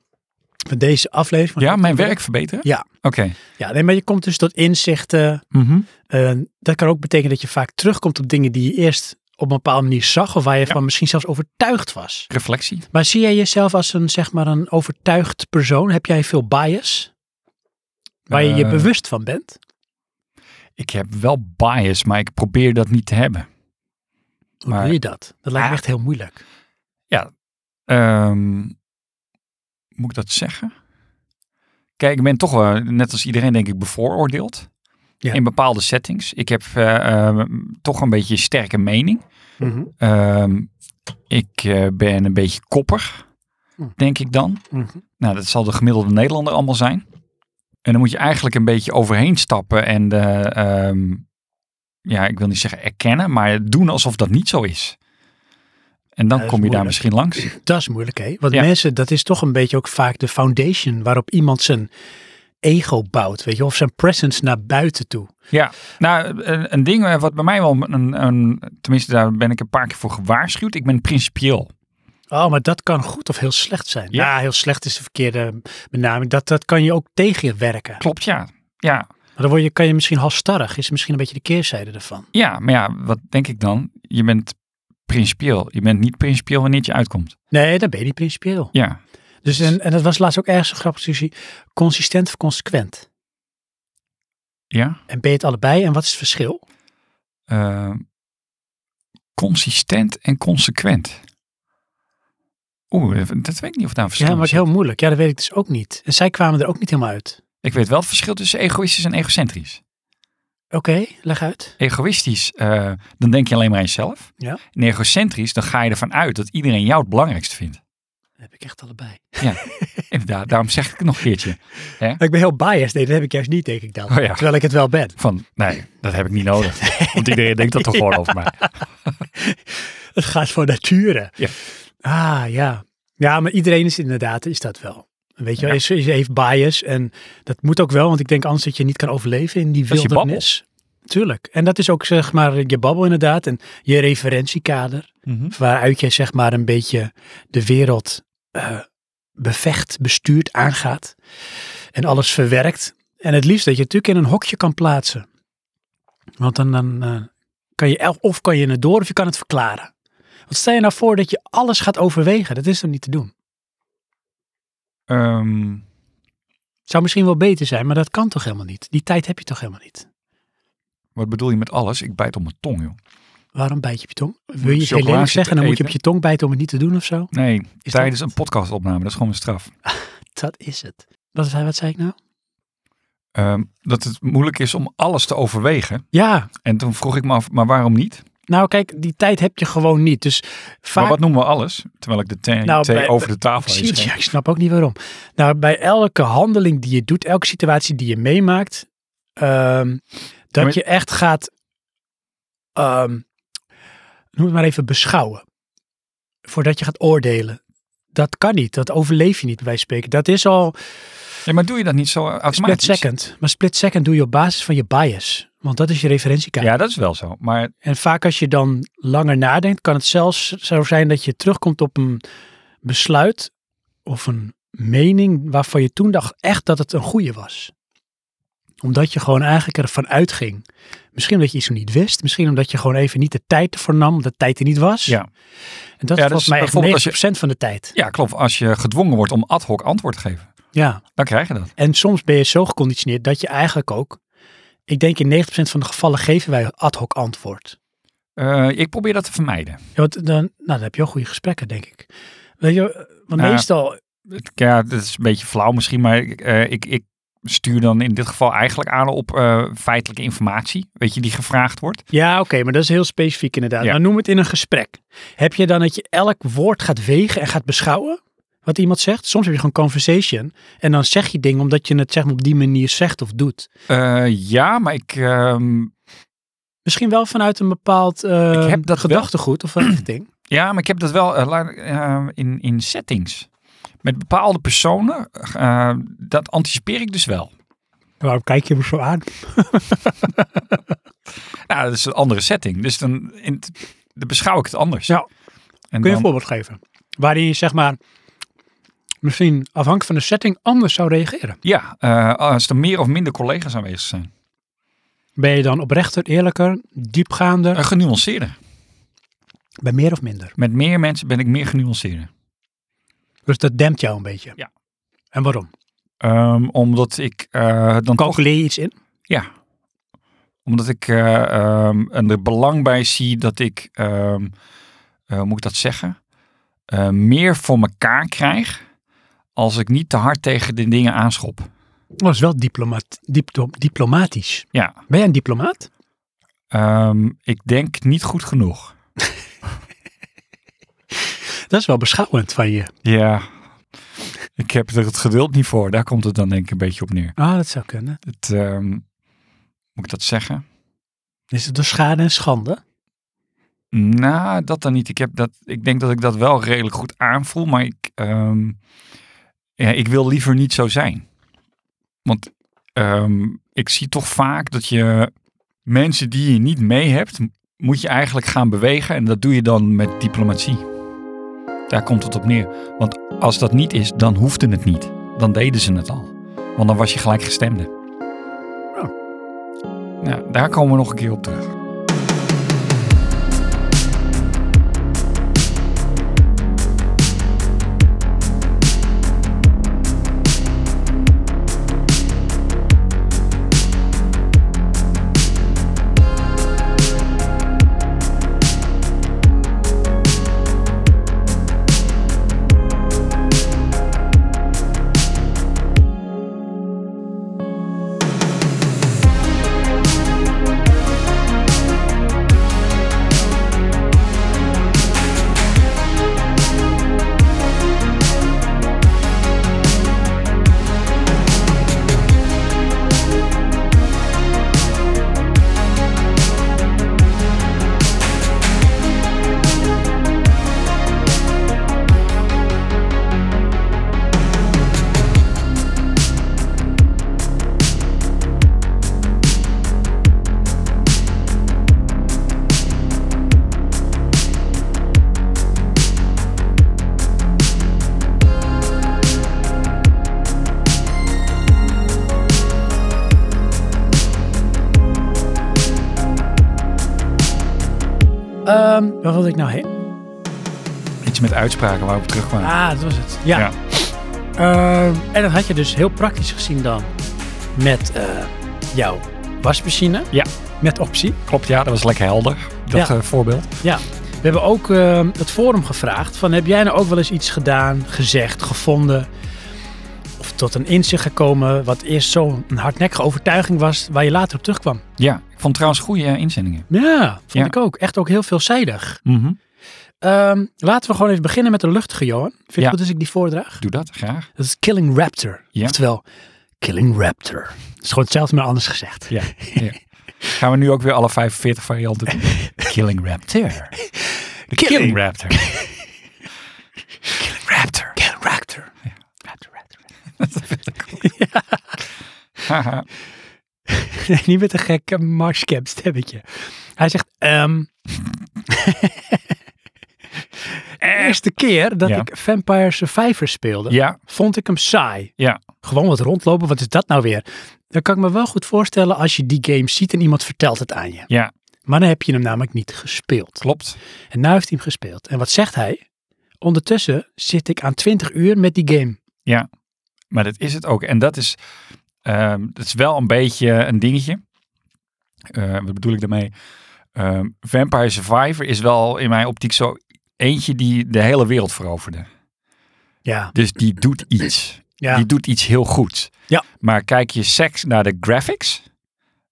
A: van deze aflevering.
B: Ja, mijn werk verbeteren?
A: Ja.
B: Oké.
A: Ja, nee, maar je komt dus tot inzichten.
B: Mhm.
A: Eh, dat kan ook betekenen dat je vaak terugkomt op dingen die je eerst op een bepaalde manier zag. Of waar je van misschien zelfs overtuigd was.
B: Reflectie.
A: Maar zie jij jezelf als een, zeg maar, een overtuigd persoon? Heb jij veel bias? Waar je je
B: Eh,
A: bewust van bent?
B: ik heb wel bias, maar ik probeer dat niet te hebben.
A: Hoe
B: Maar-
A: doe je dat? Dat lijkt me
B: Ah.
A: echt heel moeilijk.
B: Ehm, moet ik dat zeggen? Kijk, ik ben toch wel, net als iedereen denk ik, bevooroordeeld.
A: Ja.
B: In bepaalde settings. Ik heb eh, ehm, toch een beetje een sterke mening. Ehm, ik eh, ben een beetje koppig,
A: Hm.
B: denk ik dan.
A: Mhm.
B: Nou, dat zal de gemiddelde Nederlander allemaal zijn. En dan moet je eigenlijk een beetje overheen stappen en, eh, ehm, ja, ik wil niet zeggen erkennen, maar doen alsof dat niet zo is. En dan
A: Ja, dat is
B: kom je daar
A: moeilijk.
B: misschien langs.
A: Dat is moeilijk, hè? Want
B: Ja.
A: mensen, dat is toch een beetje ook vaak de foundation waarop iemand zijn ego bouwt, weet je, of zijn presence naar buiten toe.
B: Ja, nou, een, een ding eh, wat bij mij wel een, een, tenminste daar ben ik een paar keer voor gewaarschuwd. Ik ben principieel.
A: Oh, maar dat kan goed of heel slecht zijn.
B: Ja.
A: Ja, heel slecht is de verkeerde benaming. Dat, dat kan je ook tegenwerken.
B: Klopt, ja. Ja,
A: Maar dan word je, kan je misschien halstarrig, is misschien een beetje de keerzijde ervan.
B: ja, maar ja, wat denk ik dan? Je bent principieel. Je bent niet principieel wanneer het je uitkomt.
A: Nee, dan ben je niet principieel.
B: Ja.
A: Dus en, en dat was laatst ook ergens een grappige discussie. Consistent of consequent?
B: Ja.
A: En ben je het allebei en wat is het verschil?
B: eh, consistent en consequent. Oeh, dat weet ik niet of daar een verschil
A: Ja, maar
B: is.
A: het is heel moeilijk. Ja, dat weet ik dus ook niet. En zij kwamen er ook niet helemaal uit.
B: Ik weet wel het verschil tussen egoïstisch en egocentrisch.
A: Oké, leg uit.
B: Egoïstisch, eh, dan denk je alleen maar aan jezelf.
A: Ja.
B: En egocentrisch, dan ga je ervan uit dat iedereen jou het belangrijkste vindt.
A: Dat heb ik echt allebei.
B: Inderdaad, daarom zeg ik het nog een keertje.
A: Ik ben heel biased. Nee, dat heb ik juist niet, denk ik dan.
B: Oh ja.
A: Terwijl ik het wel ben.
B: Van, nee, dat heb ik niet nodig. Want iedereen denkt dat toch gewoon over mij.
A: Het gaat voor nature.
B: Ja.
A: Ah, ja. Ja, maar iedereen is inderdaad, is dat wel. Weet je, wel, is, is, heeft bias en dat moet ook wel, want ik denk anders dat je niet kan overleven in die
B: Dat is je
A: wildernis. Tuurlijk. En dat is ook zeg maar je babbel inderdaad en je referentiekader, waaruit je zeg maar een beetje de wereld eh, bevecht, bestuurt, aangaat en alles verwerkt. En het liefst dat je het natuurlijk in een hokje kan plaatsen. Want dan, dan eh, kan je, el- of kan je het door of je kan het verklaren. Wat stel je nou voor dat je alles gaat overwegen? Dat is dan niet te doen.
B: Ehm,
A: Zou misschien wel beter zijn, maar dat kan toch helemaal niet? Die tijd heb je toch helemaal niet?
B: wat bedoel je met alles? Ik bijt op mijn tong, joh.
A: Waarom bijt je op je tong? Wil je iets heel
B: chocola
A: lelijk
B: zitten
A: zeggen en dan moet je op
B: eten.
A: je tong bijten om het niet te doen of zo?
B: Nee,
A: dat
B: tijdens
A: het?
B: een podcastopname. Dat is gewoon een straf.
A: Dat is het. Wat, zei- wat zei ik nou?
B: Ehm, dat het moeilijk is om alles te overwegen.
A: Ja,
B: En toen vroeg ik me af, maar waarom niet?
A: nou kijk, die tijd heb je gewoon niet. Dus
B: Maar
A: vaak
B: wat noemen we alles? Terwijl ik de thee,
A: Nou,
B: thee
A: bij-
B: over de tafel
A: Ik zie het,
B: heen
A: ja, ik snap ook niet waarom. Nou, bij elke handeling die je doet, elke situatie die je meemaakt, ehm, dat
B: maar-
A: je echt gaat, ehm, noem het maar even, beschouwen. Voordat je gaat oordelen. Dat kan niet, dat overleef je niet bij wijze van spreken. Dat is al
B: schreef. Ja, maar doe je dat niet zo
A: split
B: automatisch?
A: second. Maar split second doe je op basis van je bias. Want dat is je referentiekader.
B: Ja, dat is wel zo. Maar
A: En vaak als je dan langer nadenkt, kan het zelfs zo zijn dat je terugkomt op een besluit of een mening waarvan je toen dacht echt dat het een goede was. Omdat je gewoon eigenlijk ervan uitging. Misschien omdat je iets nog niet wist. Misschien omdat je gewoon even niet de tijd ervoor nam, omdat de tijd er niet was.
B: ja.
A: En dat
B: Ja,
A: is
B: dat
A: volgens
B: is
A: mij echt 90%
B: bijvoorbeeld als je-
A: van de tijd.
B: ja, klopt. Als je gedwongen wordt om ad hoc antwoord te geven,
A: Ja.
B: dan krijg je dat.
A: En soms ben je zo geconditioneerd dat je eigenlijk ook... Ik denk in 90% van de gevallen geven wij ad hoc antwoord.
B: Eh, ik probeer dat te vermijden.
A: Ja, want dan, nou, dan heb je al goede gesprekken, denk ik. Weet je, want
B: Ja.
A: meestal,
B: Het- Ja, dat is een beetje flauw misschien, maar ik, eh, ik, ik stuur dan in dit geval eigenlijk aan op eh, feitelijke informatie, weet je, die gevraagd wordt.
A: ja, oké, maar dat is heel specifiek inderdaad.
B: Ja.
A: Maar noem het in een gesprek. Heb je dan dat je elk woord gaat wegen en gaat beschouwen? Wat iemand zegt? Soms heb je gewoon conversation. En dan zeg je dingen omdat je het zeg maar, op die manier zegt of doet.
B: Eh, ja, maar ik, ehm,
A: Misschien wel vanuit een bepaald eh,
B: Ik heb dat wel.
A: gedachtegoed of een richting.
B: ja, maar ik heb dat wel eh, la- eh, in, in settings. Met bepaalde personen, eh, dat anticipeer ik dus wel.
A: Waarom kijk je me zo aan?
B: Nou, dat is een andere setting. Dus dan, in het- dan beschouw ik het anders.
A: Ja. Kun
B: En
A: je
B: dan,
A: een voorbeeld geven? Waarin je zeg maar misschien afhankelijk van de setting anders zou reageren.
B: ja, eh, als er meer of minder collega's aanwezig zijn.
A: Ben je dan oprechter, eerlijker, diepgaander?
B: Eh, genuanceerder.
A: Bij meer of minder.
B: Met meer mensen ben ik meer genuanceerder.
A: Dus dat dempt jou een beetje.
B: Ja.
A: En waarom?
B: Ehm, omdat ik eh, dan toch...
A: Calculeer je iets in?
B: Ja. Omdat ik eh, ehm, en er belang bij zie dat ik, ehm, eh, hoe moet ik dat zeggen, Eh, meer voor mekaar krijg als ik niet te hard tegen de dingen aanschop.
A: Dat is wel diplomaat, diplo- diplomatisch.
B: Ja.
A: Ben jij een diplomaat?
B: Ehm, ik denk niet goed genoeg.
A: Dat is wel beschouwend van je.
B: Ja. Ik heb er het geduld niet voor. Daar komt het dan denk ik een beetje op neer.
A: Ah, dat zou kunnen.
B: Het, ehm, moet ik dat zeggen?
A: Is het door schade en schande?
B: Nou, dat dan niet. Ik, heb dat, ik denk dat ik dat wel redelijk goed aanvoel, maar ik, ehm, ja, ik wil liever niet zo zijn. Want ehm, ik zie toch vaak dat je mensen die je niet mee hebt, m- moet je eigenlijk gaan bewegen. En dat doe je dan met diplomatie. Daar komt het op neer. Want als dat niet is, dan hoefde het niet. Dan deden ze het al. Want dan was je gelijkgestemde. Nou, daar komen we nog een keer op terug.
A: Ehm, waar wilde ik nou heen?
B: Iets met uitspraken waar we op terugkwamen.
A: Ah, dat was het. Ja.
B: Ja.
A: Ehm, en dat had je dus heel praktisch gezien dan met eh, jouw wasmachine.
B: Ja.
A: Met optie.
B: Klopt, ja, dat was lekker helder. Dat
A: Ja.
B: eh, voorbeeld.
A: We hebben ook ehm, het forum gevraagd van heb jij nou ook wel eens iets gedaan, gezegd, gevonden of tot een inzicht gekomen wat eerst zo'n hardnekkige overtuiging was waar je later op terugkwam.
B: Ja, ik vond trouwens goede eh, inzendingen.
A: Ja, vond
B: Ja.
A: ik ook. Echt ook heel veelzijdig.
B: Mhm.
A: Ehm, laten we gewoon even beginnen met de luchtige, Johan. Vind je
B: Ja.
A: het goed als ik die voordraag?
B: Doe dat, graag.
A: Dat is Killing Raptor.
B: Ja.
A: Oftewel, Killing Raptor. Dat is gewoon hetzelfde, maar anders gezegd.
B: Ja. ja. Gaan we nu ook weer alle 45 varianten doen? Killing Raptor. De Killing,
A: Killing
B: Raptor. Killing Raptor.
A: Killing Raptor. Raptor, Raptor.
B: Haha.
A: Nee, niet met een gekke Mars Camp stemmetje. Hij zegt, ehm, eerste keer dat
B: Ja.
A: ik Vampire Survivor speelde,
B: ja,
A: vond ik hem saai.
B: ja.
A: Gewoon wat rondlopen, wat is dat nou weer? Dan kan ik me wel goed voorstellen als je die game ziet en iemand vertelt het aan je.
B: Ja.
A: Maar dan heb je hem namelijk niet gespeeld.
B: Klopt.
A: En nu heeft hij hem gespeeld. En wat zegt hij? Ondertussen zit ik aan 20 uur met die game.
B: Maar dat is het ook. En dat is, ehm, dat is wel een beetje een dingetje. Eh, wat bedoel ik daarmee? Ehm, Vampire Survivor is wel in mijn optiek zo eentje die de hele wereld veroverde.
A: Ja,
B: Dus die doet iets.
A: ja.
B: Die doet iets heel goeds.
A: Ja.
B: Maar kijk je seks naar de graphics,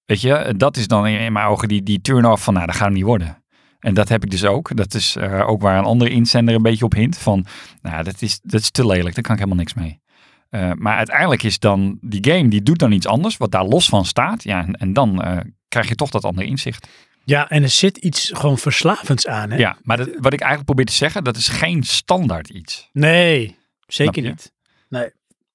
B: weet je, dat is dan in, in mijn ogen die, die turn-off van, nou, dat gaat hem niet worden. En dat heb ik dus ook. Dat is eh, ook waar een andere inzender een beetje op hint van, nou, dat is, dat is te lelijk, daar kan ik helemaal niks mee. Eh, maar uiteindelijk is dan die game, die doet dan iets anders, wat daar los van staat. Ja, en, en dan eh, krijg je toch dat andere inzicht.
A: ja, en er zit iets gewoon verslavends aan. Hè?
B: Ja, maar dat- wat ik eigenlijk probeer te zeggen, dat is geen standaard iets.
A: Nee, zeker
B: Snap je?
A: niet.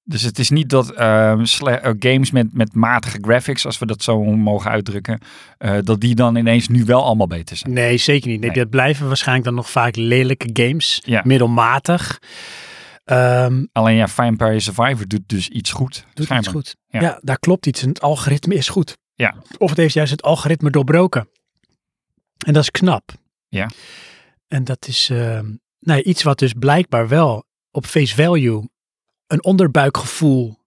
B: Dus het is niet dat ehm, sle- eh, games met, met matige graphics, als we dat zo mogen uitdrukken, eh, dat die dan ineens nu wel allemaal beter zijn.
A: Nee, zeker niet. Nee,
B: Nee.
A: Dat blijven waarschijnlijk dan nog vaak lelijke games.
B: Ja.
A: Middelmatig. Ehm
B: Alleen ja, Vampire Survivor doet dus iets goed.
A: doet iets
B: schijnbaar.
A: goed.
B: Ja.
A: Ja. daar klopt iets. En het algoritme is goed.
B: Ja.
A: Of het heeft juist het algoritme doorbroken. En dat is knap.
B: Ja.
A: En dat is ehm, nou ja, iets wat dus blijkbaar wel op face value een onderbuikgevoel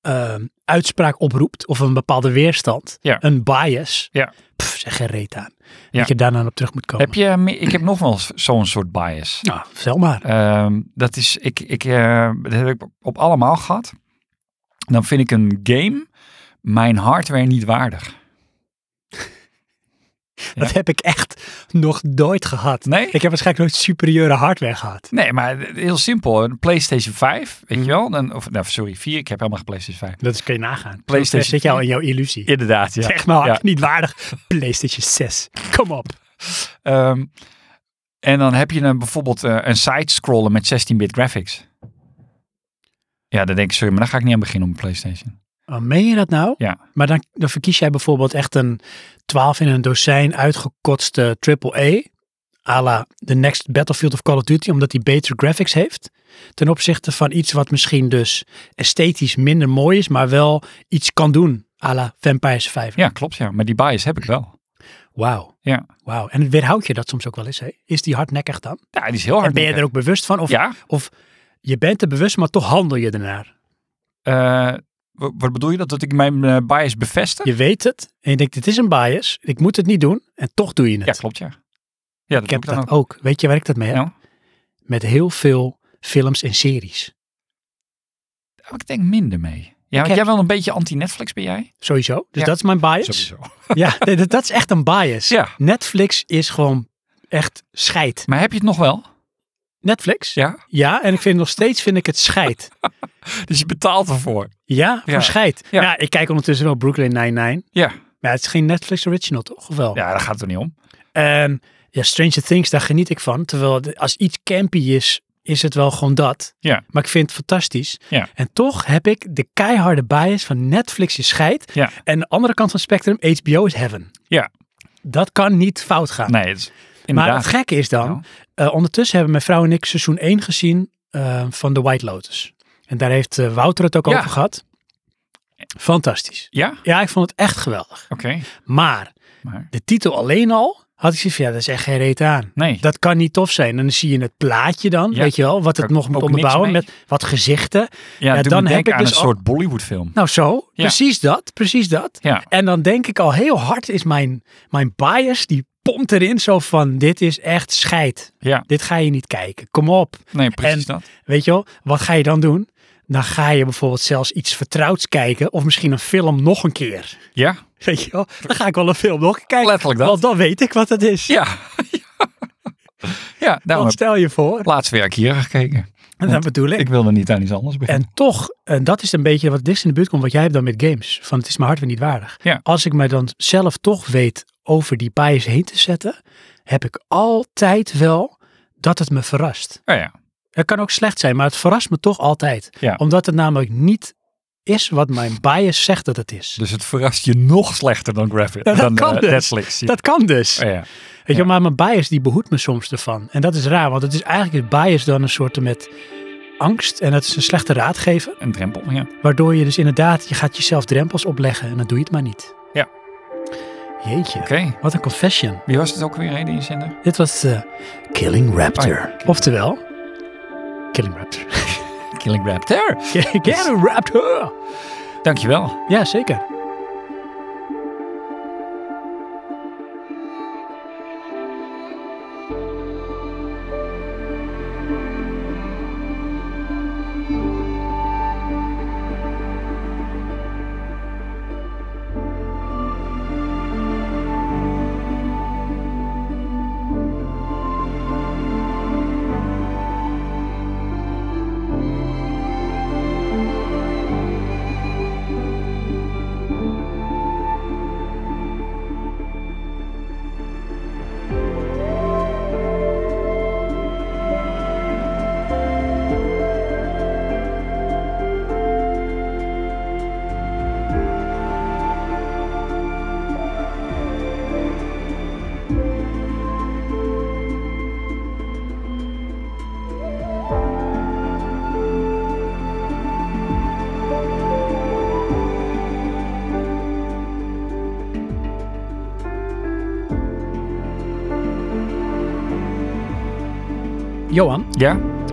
A: ehm, uitspraak oproept of een bepaalde weerstand,
B: Ja.
A: een bias,
B: Ja.
A: pff, zeg geen reet aan.
B: Ja.
A: Dat je daarna op terug moet komen.
B: Heb je, me- ik heb nog wel zo'n soort bias.
A: Nou, vertel maar.
B: Ehm, dat is, ik, ik, eh, dat heb ik op allemaal gehad. Dan vind ik een game mijn hardware niet waardig.
A: Dat heb ik echt nog nooit gehad.
B: Nee?
A: Ik heb waarschijnlijk nooit superieure hardware gehad.
B: Nee, maar heel simpel. Een PlayStation 5, weet je wel? Dan, of, nou, sorry, 4. Ik heb helemaal geen PlayStation 5.
A: Dat is, kun je nagaan.
B: PlayStation
A: PlayStation zit je al in jouw illusie.
B: Inderdaad, ja.
A: Zeg maar hard,
B: Ja.
A: niet waardig. PlayStation 6. Kom op.
B: Ehm, en dan heb je dan bijvoorbeeld eh, een side-scroller met 16-bit graphics. Ja, dan denk ik, sorry, maar daar ga ik niet aan beginnen op een PlayStation.
A: Oh, meen je dat nou?
B: Ja.
A: Maar dan, dan verkies jij bijvoorbeeld echt een 12 in een dozijn uitgekotste AAA. à la The Next Battlefield of Call of Duty, omdat die betere graphics heeft. Ten opzichte van iets wat misschien dus esthetisch minder mooi is, maar wel iets kan doen. à la Vampire Survivor.
B: Ja, klopt, ja. Maar die bias heb ik wel.
A: Wauw.
B: Ja,
A: Wauw. En weerhoud je dat soms ook wel eens, hè? Is die hardnekkig dan?
B: ja die is heel hard.
A: en ben je er ook bewust van? Of,
B: Ja.
A: of je bent er bewust, maar toch handel je ernaar.
B: Eh, wa- wat bedoel je dat? Dat ik mijn eh, bias bevestig?
A: Je weet het en je denkt, dit is een bias. Ik moet het niet doen en toch doe je het.
B: Ja, klopt, ja. Ja, dat
A: Ik heb
B: doe ik dan
A: dat
B: ook.
A: ook. Weet je waar ik dat mee heb?
B: Nou?
A: Met heel veel films en series.
B: Daar heb ik denk minder mee. Ja, want
A: heb-
B: jij wel een beetje anti-Netflix ben jij?
A: Sowieso. Dus
B: Ja.
A: dat is mijn bias. Ja, nee, dat, dat is echt een bias.
B: Ja.
A: Netflix is gewoon echt scheid.
B: Maar heb je het nog wel?
A: Netflix?
B: Ja.
A: Ja, en ik vind nog steeds vind ik het scheid.
B: Dus je betaalt ervoor.
A: Ja, voor
B: Ja.
A: scheid.
B: Ja.
A: Ja. ik kijk ondertussen wel Brooklyn Nine-Nine.
B: Ja.
A: Maar het is geen Netflix original, toch? Of wel?
B: Ja, daar gaat het er niet om.
A: Ehm, ja, Stranger Things, daar geniet ik van. Terwijl de- als iets campy is, is het wel gewoon dat.
B: Ja.
A: Maar ik vind het fantastisch.
B: Ja.
A: En toch heb ik de keiharde bias van Netflix je scheid.
B: Ja.
A: En de andere kant van het spectrum, HBO is heaven.
B: Ja.
A: Dat kan niet fout gaan.
B: Nee, het is
A: maar
B: inderdaad.
A: het gekke is dan,
B: Ja.
A: eh, ondertussen hebben mijn vrouw en ik seizoen 1 gezien eh, van The White Lotus. En daar heeft eh, Wouter het ook
B: Ja.
A: over gehad. Fantastisch.
B: Ja? Oké.
A: Ja, ik vond het echt geweldig. Maar
B: Maar...
A: de titel alleen al had ik zoiets van, ja, dat is echt geen reet aan.
B: Nee.
A: Dat kan niet tof zijn. En dan zie je het plaatje dan,
B: Ja.
A: weet je wel, wat het
B: Ook-
A: nog moet
B: ook niks
A: onderbouwen
B: mee.
A: met wat gezichten.
B: Ja,
A: Ja,
B: doe
A: dan
B: me
A: heb
B: denken
A: ik
B: aan
A: dus
B: een
A: al-
B: soort Bollywood-film.
A: Nou zo,
B: Ja.
A: precies dat, precies dat.
B: Ja.
A: En dan denk ik al heel hard is mijn, mijn bias, die pompt erin zo van, dit is echt scheid.
B: Ja,
A: Dit ga je niet kijken, kom op.
B: nee, precies dat.
A: Weet je wel, wat ga je dan doen? Dan ga je bijvoorbeeld zelfs iets vertrouwds kijken of misschien een film nog een keer.
B: Ja?
A: Weet je wel, dan ga ik wel een film nog een keer kijken.
B: Letterlijk dat.
A: Want dan weet ik wat het is.
B: Ja. ja, daarom
A: Want
B: heb ik
A: stel je voor,
B: laatst weer hier gekeken.
A: en dat
B: want
A: bedoel ik.
B: Ik wilde niet aan iets anders beginnen.
A: En toch, en dat is een beetje wat het dichtst in de buurt komt, wat jij hebt dan met games. Van het is mijn hardware niet waardig.
B: Ja.
A: Als ik mij dan zelf toch weet over die bias heen te zetten, heb ik altijd wel dat het me verrast.
B: Oh ja.
A: Het kan ook slecht zijn, maar het verrast me toch altijd.
B: Ja.
A: Omdat het namelijk niet is wat mijn bias zegt dat het is.
B: Dus het verrast je nog slechter dan, graphic,
A: Nou, dat
B: dan
A: kan
B: eh,
A: dus.
B: Netflix. Ja.
A: Dat kan dus.
B: Oh ja.
A: Weet je,
B: Ja.
A: maar mijn bias die behoedt me soms ervan. En dat is raar, want het is eigenlijk is bias dan een soort met angst. En dat is een slechte raadgever.
B: Een drempel, ja.
A: Waardoor je dus inderdaad, je gaat jezelf drempels opleggen en dan doe je het maar niet.
B: Ja.
A: Jeetje.
B: Oké.
A: Wat een confession.
B: Wie was het ook weer, hè, die inzender?
A: Dit was eh, Killing Raptor. Oftewel, Killing Raptor.
B: Killing Raptor.
A: Killing Raptor.
B: Dankjewel.
A: Ja, zeker. Johan,
B: Ja?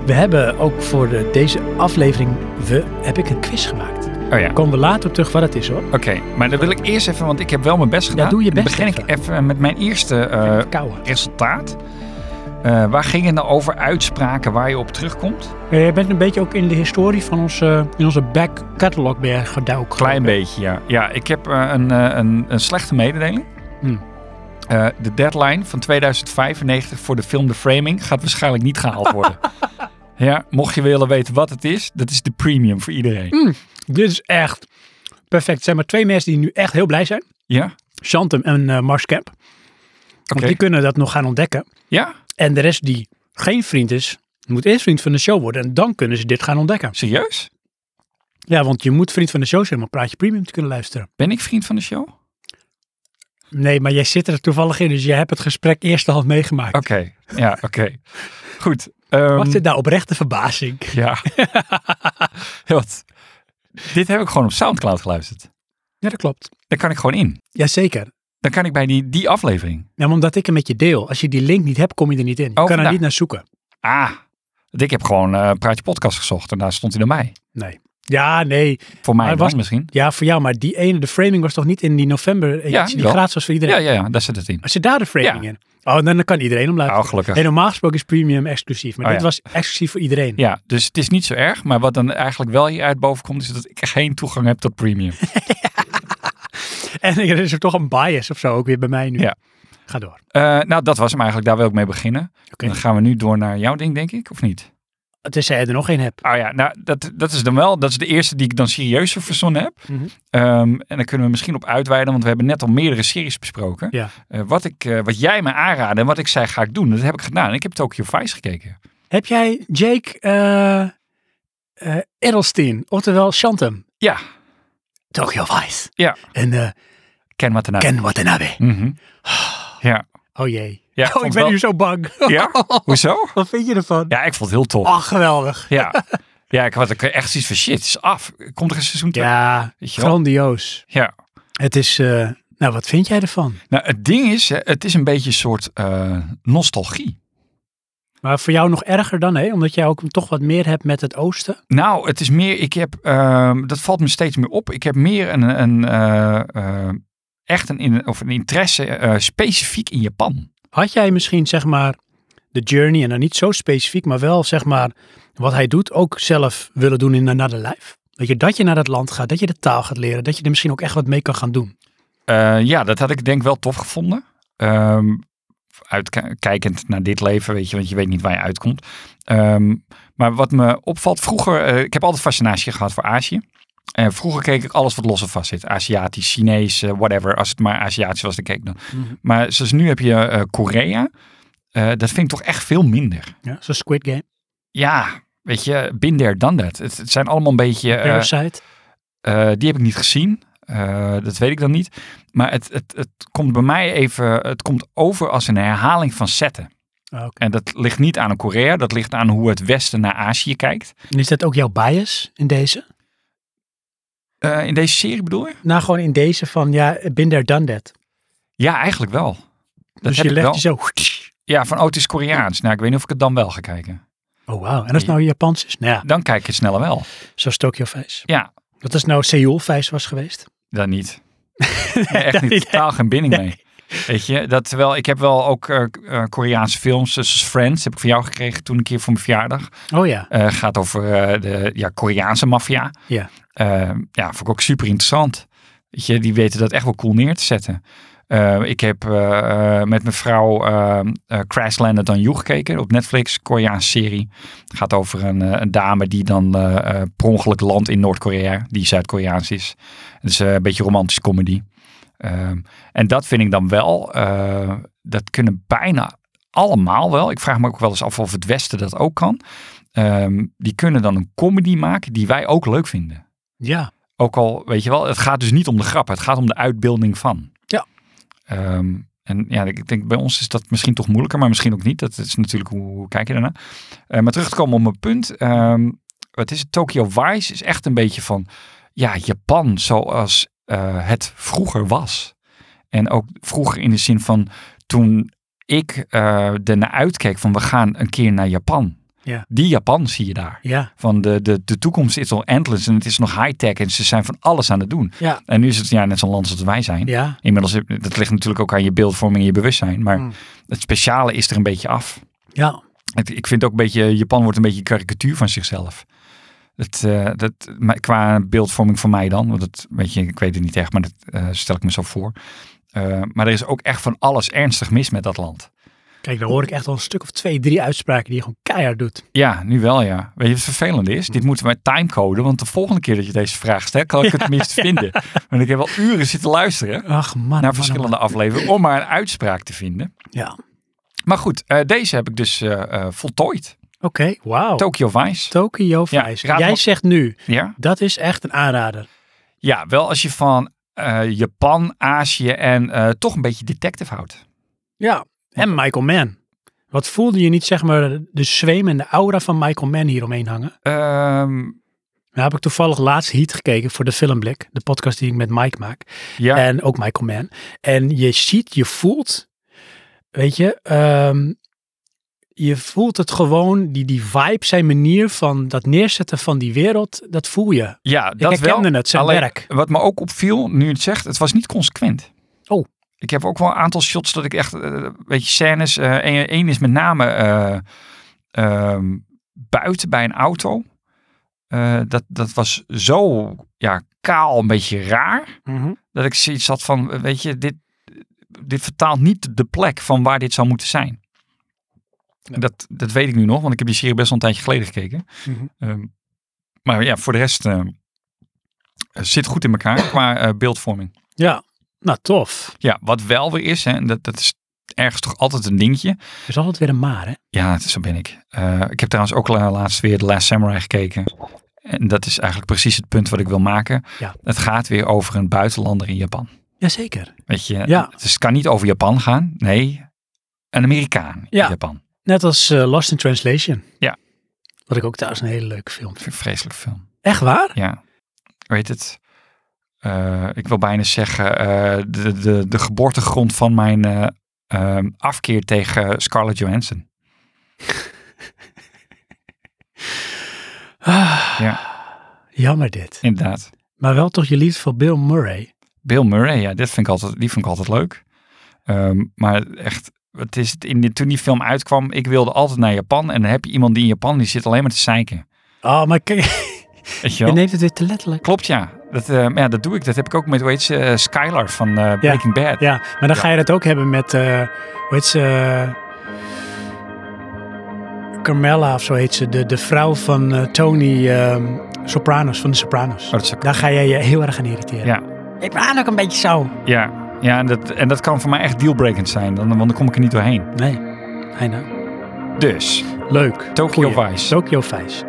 A: we hebben ook voor de, deze aflevering, we, heb ik een quiz gemaakt.
B: Oh ja, oké.
A: Komen we later op terug waar dat is hoor.
B: Maar dan wil ik eerst even, want ik heb wel mijn best gedaan.
A: doe je
B: Dan
A: best
B: begin ik even met mijn eerste eh,
A: Kouwen.
B: resultaat. Eh, waar ging het nou over jij waar je op terugkomt?
A: Eh, Je bent een beetje ook in de historie van onze, in onze back catalog weer geduikt.
B: Klein beetje, ja. Ja, ik heb eh, een, eh, een, een slechte mededeling.
A: Hmm.
B: Eh, de deadline van 2095 voor de film The Framing gaat waarschijnlijk niet gehaald worden. ja, mocht je willen weten wat het is, dat is de premium voor iedereen.
A: Dit is echt perfect. Er zijn maar twee mensen die nu echt heel blij zijn.
B: Ja? Oké.
A: Shantum en eh, Mars Camp. Want die kunnen dat nog gaan ontdekken.
B: Ja?
A: En de rest die geen vriend is, moet eerst vriend van de show worden. En dan kunnen ze dit gaan ontdekken.
B: Serieus?
A: Ja, want je moet vriend van de show zijn om een praatje premium te kunnen luisteren.
B: Ben ik vriend van de show? Oké.
A: Nee, maar jij zit er toevallig in. Dus jij hebt het gesprek eerste hand meegemaakt.
B: Ja, oké. Goed. ehm,
A: Wat zit nou oprechte verbazing?
B: Ja. Wat? Dit heb ik gewoon op Soundcloud geluisterd.
A: Ja, dat klopt.
B: Daar kan ik gewoon in.
A: Jazeker.
B: Dan kan ik bij die, die aflevering.
A: Ja, maar omdat ik hem met je deel. Als je die link niet hebt, kom je er niet in. Je
B: Oh,
A: kan er
B: vandaar.
A: niet naar zoeken.
B: Ah, want ik heb gewoon eh Praatje Podcast gezocht en daar stond hij naar mij.
A: Nee. Ja, nee.
B: Voor mij
A: Maar
B: was
A: was-
B: misschien.
A: Ja, voor jou. Maar die ene, de framing was toch niet in die november editie
B: Ja,
A: die
B: jawel.
A: gratis was voor
B: Ja,
A: iedereen?
B: ja, ja, daar zit het in.
A: Als je daar de framing
B: Ja.
A: in. Oh, dan, dan kan iedereen om luisteren.
B: Oh, gelukkig.
A: En normaal gesproken is premium exclusief. Maar
B: Oh,
A: dit
B: ja.
A: was exclusief voor iedereen.
B: Ja, dus het is niet zo erg. Maar wat dan eigenlijk wel hieruit boven komt, is dat ik geen toegang heb tot premium.
A: En er is er toch een bias of zo ook weer bij mij nu.
B: Ja.
A: Ga door.
B: Eh, nou, dat was hem eigenlijk. Daar wil ik mee beginnen.
A: Oké.
B: Dan gaan we nu door naar jouw ding, denk ik, of niet?
A: Tenzij je er nog één hebt.
B: Ah ja, nou, dat, dat is dan wel. Dat is de eerste die ik dan serieus verzonnen heb.
A: Mhm.
B: Ehm, en daar kunnen we misschien op uitweiden, want we hebben net al meerdere series besproken.
A: Ja.
B: Eh, wat, ik, eh, wat jij me aanraadde en wat ik zei ga ik doen, dat heb ik gedaan. Ik heb Tokyo Vice gekeken.
A: Heb jij Jake eh eh, Edelstein, oftewel Shantum,
B: Ja,
A: Tokyo Vice
B: ja.
A: en eh,
B: Ken wat ernaar.
A: Ken Watanabe?
B: Mhm. Ja.
A: Oh jee.
B: Ja,
A: oh,
B: vond
A: ik ben
B: wel-
A: nu zo bang.
B: ja, hoezo?
A: Wat vind je ervan?
B: Ja, ik vond het heel tof.
A: Ach, geweldig.
B: Ja, ja ik had ook echt zoiets van shit, het is af. Komt er een seizoen twee?
A: Ja,
B: Weet je wel?
A: grandioos.
B: ja.
A: Het is, eh, nou wat vind jij ervan?
B: Nou, het ding is, hè, het is een beetje een soort eh, nostalgie.
A: Maar voor jou nog erger dan, hè? Omdat jij ook toch wat meer hebt met het oosten.
B: Nou, het is meer, ik heb, ehm, dat valt me steeds meer op. Ik heb meer een, een eh, eh, echt een, in, of een interesse eh, specifiek in Japan.
A: Had jij misschien, zeg maar, de journey, en dan niet zo specifiek, maar wel, zeg maar, wat hij doet, ook zelf willen doen in een another life? Dat je, dat je naar dat land gaat, dat je de taal gaat leren, dat je er misschien ook echt wat mee kan gaan doen.
B: Eh, ja, dat had ik denk wel tof gevonden. Ehm, uitkijkend naar dit leven, weet je, want je weet niet waar je uitkomt. Ehm, maar wat me opvalt, vroeger, eh, ik heb altijd fascinatie gehad voor Azië. En vroeger keek ik alles wat los en vast zit. Aziatisch, Chinees, eh, whatever. Als het maar Aziatisch was, dan keek ik dan.
A: Mhm.
B: Maar zoals nu heb je eh, Korea. Eh, dat vind ik toch echt veel minder.
A: Ja, zo'n Squid Game,
B: Ja, weet je, binder dan dat. Het, het zijn allemaal een beetje... eh,
A: Parasite.
B: eh, die heb ik niet gezien. Eh, dat weet ik dan niet. Maar het, het, het komt bij mij even. Het komt over als een herhaling van zetten.
A: Ah, oké.
B: En dat ligt niet aan Korea. Dat ligt aan hoe het Westen naar Azië kijkt.
A: En is dat ook jouw bias in deze?
B: Eh, in deze serie bedoel je?
A: Nou, gewoon in deze van, ja, been there, done that.
B: Ja, eigenlijk wel. Dat
A: dus
B: heb
A: je
B: ik
A: legt
B: wel.
A: je zo...
B: Ja, van oh, het is Koreaans. Nou, ik weet niet of ik het dan wel ga kijken.
A: Oh, wauw. En als het nou Japans is? Nou ja,
B: Dan kijk ik het sneller wel.
A: zoals Tokyo Vice.
B: Ja,
A: Dat is nou Seoul Vice was geweest.
B: dan niet. Nee, echt
A: dat
B: niet.
A: niet.
B: Totaal geen binding mee. Weet je, dat terwijl ik heb wel ook eh, eh, Koreaanse films, zoals Friends, heb ik van jou gekregen toen een keer voor mijn verjaardag.
A: Oh ja.
B: Eh, gaat over eh, de ja, Koreaanse maffia.
A: Ja.
B: Eh, ja, vond ik ook super interessant. Weet je, die weten dat echt wel cool neer te zetten. Eh, ik heb eh, eh, met mijn vrouw eh, eh, Crash Landed on You gekeken op Netflix, Koreaanse serie. Het gaat over een, eh, een dame die dan eh eh, per ongeluk landt in Noord-Korea, die Zuid-Koreaans is. Het is eh, een beetje romantische comedy. Ehm, en dat vind ik dan wel, eh, dat kunnen bijna allemaal wel. Ik vraag me ook wel eens af of het Westen dat ook kan. Ehm, die kunnen dan een comedy maken die wij ook leuk vinden.
A: Ja.
B: Ook al, weet je wel, het gaat dus niet om de grap, het gaat om de uitbeelding van.
A: Ja.
B: Ehm, en ja, ik denk bij ons is dat misschien toch moeilijker, maar misschien ook niet. Dat is natuurlijk hoe, hoe kijk je daarna. Eh, maar terug te komen op mijn punt. ehm, wat is het? Tokyo Vice is echt een beetje van, ja, Japan zoals eh, het vroeger was. En ook vroeger in de zin van toen ik eh ernaar uitkeek van we gaan een keer naar Japan.
A: Ja.
B: Die Japan zie je daar.
A: Ja.
B: Van de, de, de toekomst is al endless en het is nog high-tech en ze zijn van alles aan het doen.
A: Ja.
B: En nu is het ja, net zo'n land als wij zijn.
A: Ja.
B: Inmiddels, heb- dat ligt natuurlijk ook aan je beeldvorming en je bewustzijn. Maar
A: Mm.
B: het speciale is er een beetje af.
A: Ja.
B: Het- ik vind ook een beetje, Japan wordt een beetje een karikatuur van zichzelf. Het, eh, dat, maar qua beeldvorming voor mij dan, want het, weet je, ik weet het niet echt, maar dat eh, stel ik me zo voor. Eh, maar er is ook echt van alles ernstig mis met dat land.
A: Kijk, daar hoor ik echt al een stuk of twee, drie uitspraken die je gewoon keihard doet.
B: Ja, nu wel ja. Weet je wat het vervelende
A: Hm.
B: is? Dit moeten we timecoden, want de volgende keer dat je deze vraag stelt, kan ik het tenminste vinden. Want ik heb al uren zitten luisteren
A: Ach man. man, oh,
B: naar
A: man.
B: verschillende afleveringen om maar een uitspraak te vinden.
A: Ja. Oké,
B: Maar goed, eh, deze heb ik dus eh, eh, voltooid.
A: wauw.
B: Tokyo Vice.
A: Tokyo
B: Ja,
A: Vice.
B: raad
A: Jij
B: maar-
A: zegt nu,
B: ja?
A: dat is echt een aanrader.
B: ja, wel als je van eh, Japan, Azië en eh, toch een beetje detective houdt.
A: Ja. En Michael Mann. Wat voelde je niet, zeg maar, de zweem en de aura van Michael Mann hieromheen hangen?
B: Ehm,
A: Nou heb ik toevallig laatst Heat gekeken voor de Filmblik. De podcast die ik met Mike maak.
B: ja,
A: En ook Michael Mann. En je ziet, je voelt, weet je, ehm, je voelt het gewoon, die, die vibe, zijn manier van dat neerzetten van die wereld, dat voel je.
B: ja, dat
A: ik
B: wel.
A: herkende het, zijn
B: Alleen,
A: werk.
B: Wat me ook opviel, nu je het zegt, het was niet consequent.
A: Oh.
B: Ik heb ook wel een aantal shots dat ik echt, eh, weet je, scènes. eh, Eén één is met name eh, ehm, buiten bij een auto. Eh, dat, dat was zo ja, kaal, een beetje raar.
A: Mhm.
B: Dat ik zoiets had van, weet je, dit, dit vertaalt niet de plek van waar dit zou moeten zijn. Dat, dat weet ik nu nog, want ik heb die serie best wel een tijdje geleden gekeken.
A: Mhm.
B: Ehm, maar ja, voor de rest eh, zit goed in elkaar qua eh, beeldvorming.
A: Ja, nou tof.
B: Ja, wat wel weer is, hè, en dat, dat is ergens toch altijd een dingetje.
A: Er is altijd weer een maar, hè?
B: Ja, het- zo ben ik. Eh, ik heb trouwens ook la- laatst weer The Last Samurai gekeken. En dat is eigenlijk precies het punt wat ik wil maken.
A: Ja.
B: Het gaat weer over een buitenlander in Japan.
A: Jazeker.
B: Weet je,
A: Ja.
B: dus het kan niet over Japan gaan. Nee, een Amerikaan in
A: Ja.
B: Japan.
A: Net als eh, Lost in Translation.
B: Ja.
A: Wat ik ook thuis een hele leuke film vind.
B: V- Vreselijk film.
A: Echt waar?
B: Ja. Weet het? Eh, ik wil bijna zeggen, eh, de, de, de geboortegrond van mijn eh, ehm, afkeer tegen Scarlett Johansson.
A: Jammer dit.
B: Inderdaad.
A: Maar wel toch je liefde voor Bill Murray.
B: Bill Murray, ja, dit vind ik altijd, die vind ik altijd leuk. Ehm, maar echt, het is, in die, toen die film uitkwam, ik wilde altijd naar Japan. En dan heb je iemand die in Japan, die zit alleen maar te zeiken.
A: Oh, maar kijk,
B: Weet je
A: je
B: wel?
A: neemt het weer te letterlijk.
B: Klopt, ja. Dat, eh, maar ja, dat doe ik. Dat heb ik ook met, hoe heet ze, eh, Skylar van eh, Breaking Bad.
A: Ja, maar dan ga je dat ook hebben met, eh, hoe heet ze? eh, Carmella of zo heet ze. De, de vrouw van eh, Tony ehm, Sopranos, van de Sopranos.
B: Oh, dat is ook-
A: Daar ga jij je heel erg aan irriteren.
B: Ja.
A: Ik ben ook een beetje zo.
B: ja. ja en, dat, en dat kan voor mij echt dealbrekend zijn. Dan, want dan kom ik er niet doorheen.
A: Nee, hij nou.
B: Dus,
A: Leuk.
B: Tokyo
A: Goeie.
B: Vice.
A: Tokyo Vice.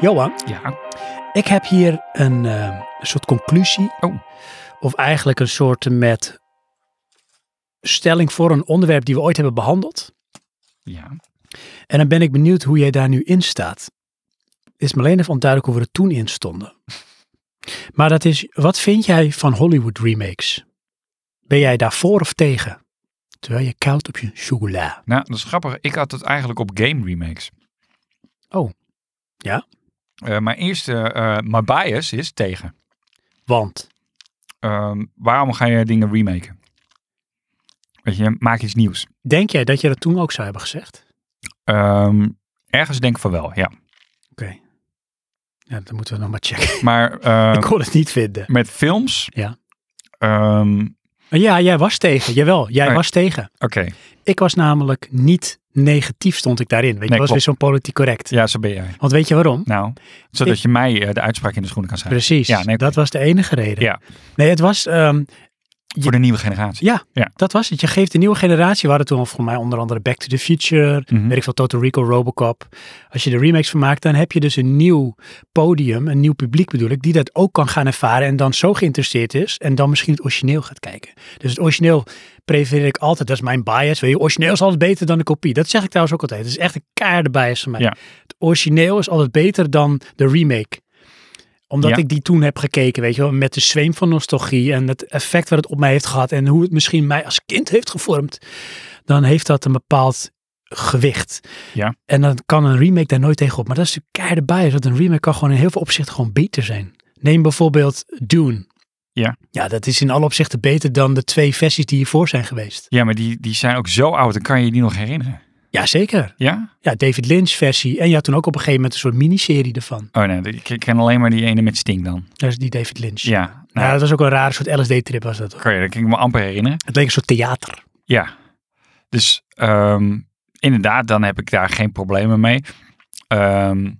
A: Johan,
B: Ja.
A: ik heb hier een eh, soort conclusie.
B: Oh.
A: Of eigenlijk een soort met stelling voor een onderwerp die we ooit hebben behandeld.
B: Ja.
A: En dan ben ik benieuwd hoe jij daar nu in staat. Het is me alleen even onduidelijk hoe we er toen in stonden. Maar dat is, wat vind jij van Hollywood remakes? Ben jij daarvoor of tegen? Terwijl je koud op je chocola.
B: Nou, dat is grappig. Ik had het eigenlijk op game remakes.
A: Oh. Ja?
B: Eh, mijn eerste, eh mijn bias is tegen.
A: Want,
B: Ehm, waarom ga je dingen remaken? Weet je, maak iets nieuws.
A: denk jij dat je dat toen ook zou hebben gezegd?
B: Ehm, ergens denk ik van wel, ja.
A: Oké. Ja, dan moeten we nog maar checken.
B: Maar ehm,
A: Ik kon het niet vinden.
B: met films.
A: Ja.
B: ehm,
A: Maar ja, jij was tegen. Jawel, jij
B: Nee.
A: was tegen.
B: Oké,
A: Ik was namelijk niet negatief stond ik daarin. Weet je,
B: Nee,
A: dat was weer
B: klopt.
A: zo'n politiek correct.
B: ja, zo ben jij.
A: Want weet je waarom?
B: Nou, zodat
A: Ik-
B: je mij eh, de uitspraak in de schoenen kan schrijven.
A: Precies,
B: Ja, nee,
A: dat was de enige reden.
B: Ja.
A: Nee, het was, ehm,
B: Voor de nieuwe generatie.
A: ja,
B: Ja.
A: dat was het. Je geeft de nieuwe generatie, we hadden toen al volgens mij onder andere Back to the Future,
B: Mhm.
A: weet ik veel, Total Rico, Robocop. Als je de remakes van maakt, dan heb je dus een nieuw podium, een nieuw publiek bedoel ik, die dat ook kan gaan ervaren en dan zo geïnteresseerd is en dan misschien het origineel gaat kijken. Dus het origineel prefereer ik altijd, dat is mijn bias, weet je, origineel is altijd beter dan de kopie. Dat zeg ik trouwens ook altijd, dat is echt een keiharde bias van mij.
B: Ja.
A: Het origineel is altijd beter dan de remake omdat
B: Ja.
A: ik die toen heb gekeken, weet je wel, met de zweem van nostalgie en het effect wat het op mij heeft gehad en hoe het misschien mij als kind heeft gevormd, dan heeft dat een bepaald gewicht.
B: Ja.
A: En dan kan een remake daar nooit tegen op. Maar dat is natuurlijk keiharde bias, want een remake kan gewoon in heel veel opzichten gewoon beter zijn. Neem bijvoorbeeld Dune.
B: Ja.
A: Ja, dat is in alle opzichten beter dan de twee versies die hiervoor zijn geweest.
B: Ja, maar die, die zijn ook zo oud, dan kan je je die nog herinneren.
A: Jazeker.
B: Ja?
A: Ja, David Lynch versie. En je had toen ook op een gegeven moment een soort miniserie ervan.
B: Oh nee, ik ik ken alleen maar die ene met Sting dan.
A: Dat is die David Lynch.
B: Ja,
A: Nou,
B: nou,
A: dat was ook een rare soort LSD-trip was dat.
B: kan je, dat kan ik me amper herinneren.
A: Het leek een soort theater.
B: Ja, dus ehm, inderdaad, dan heb ik daar geen problemen mee. Ehm,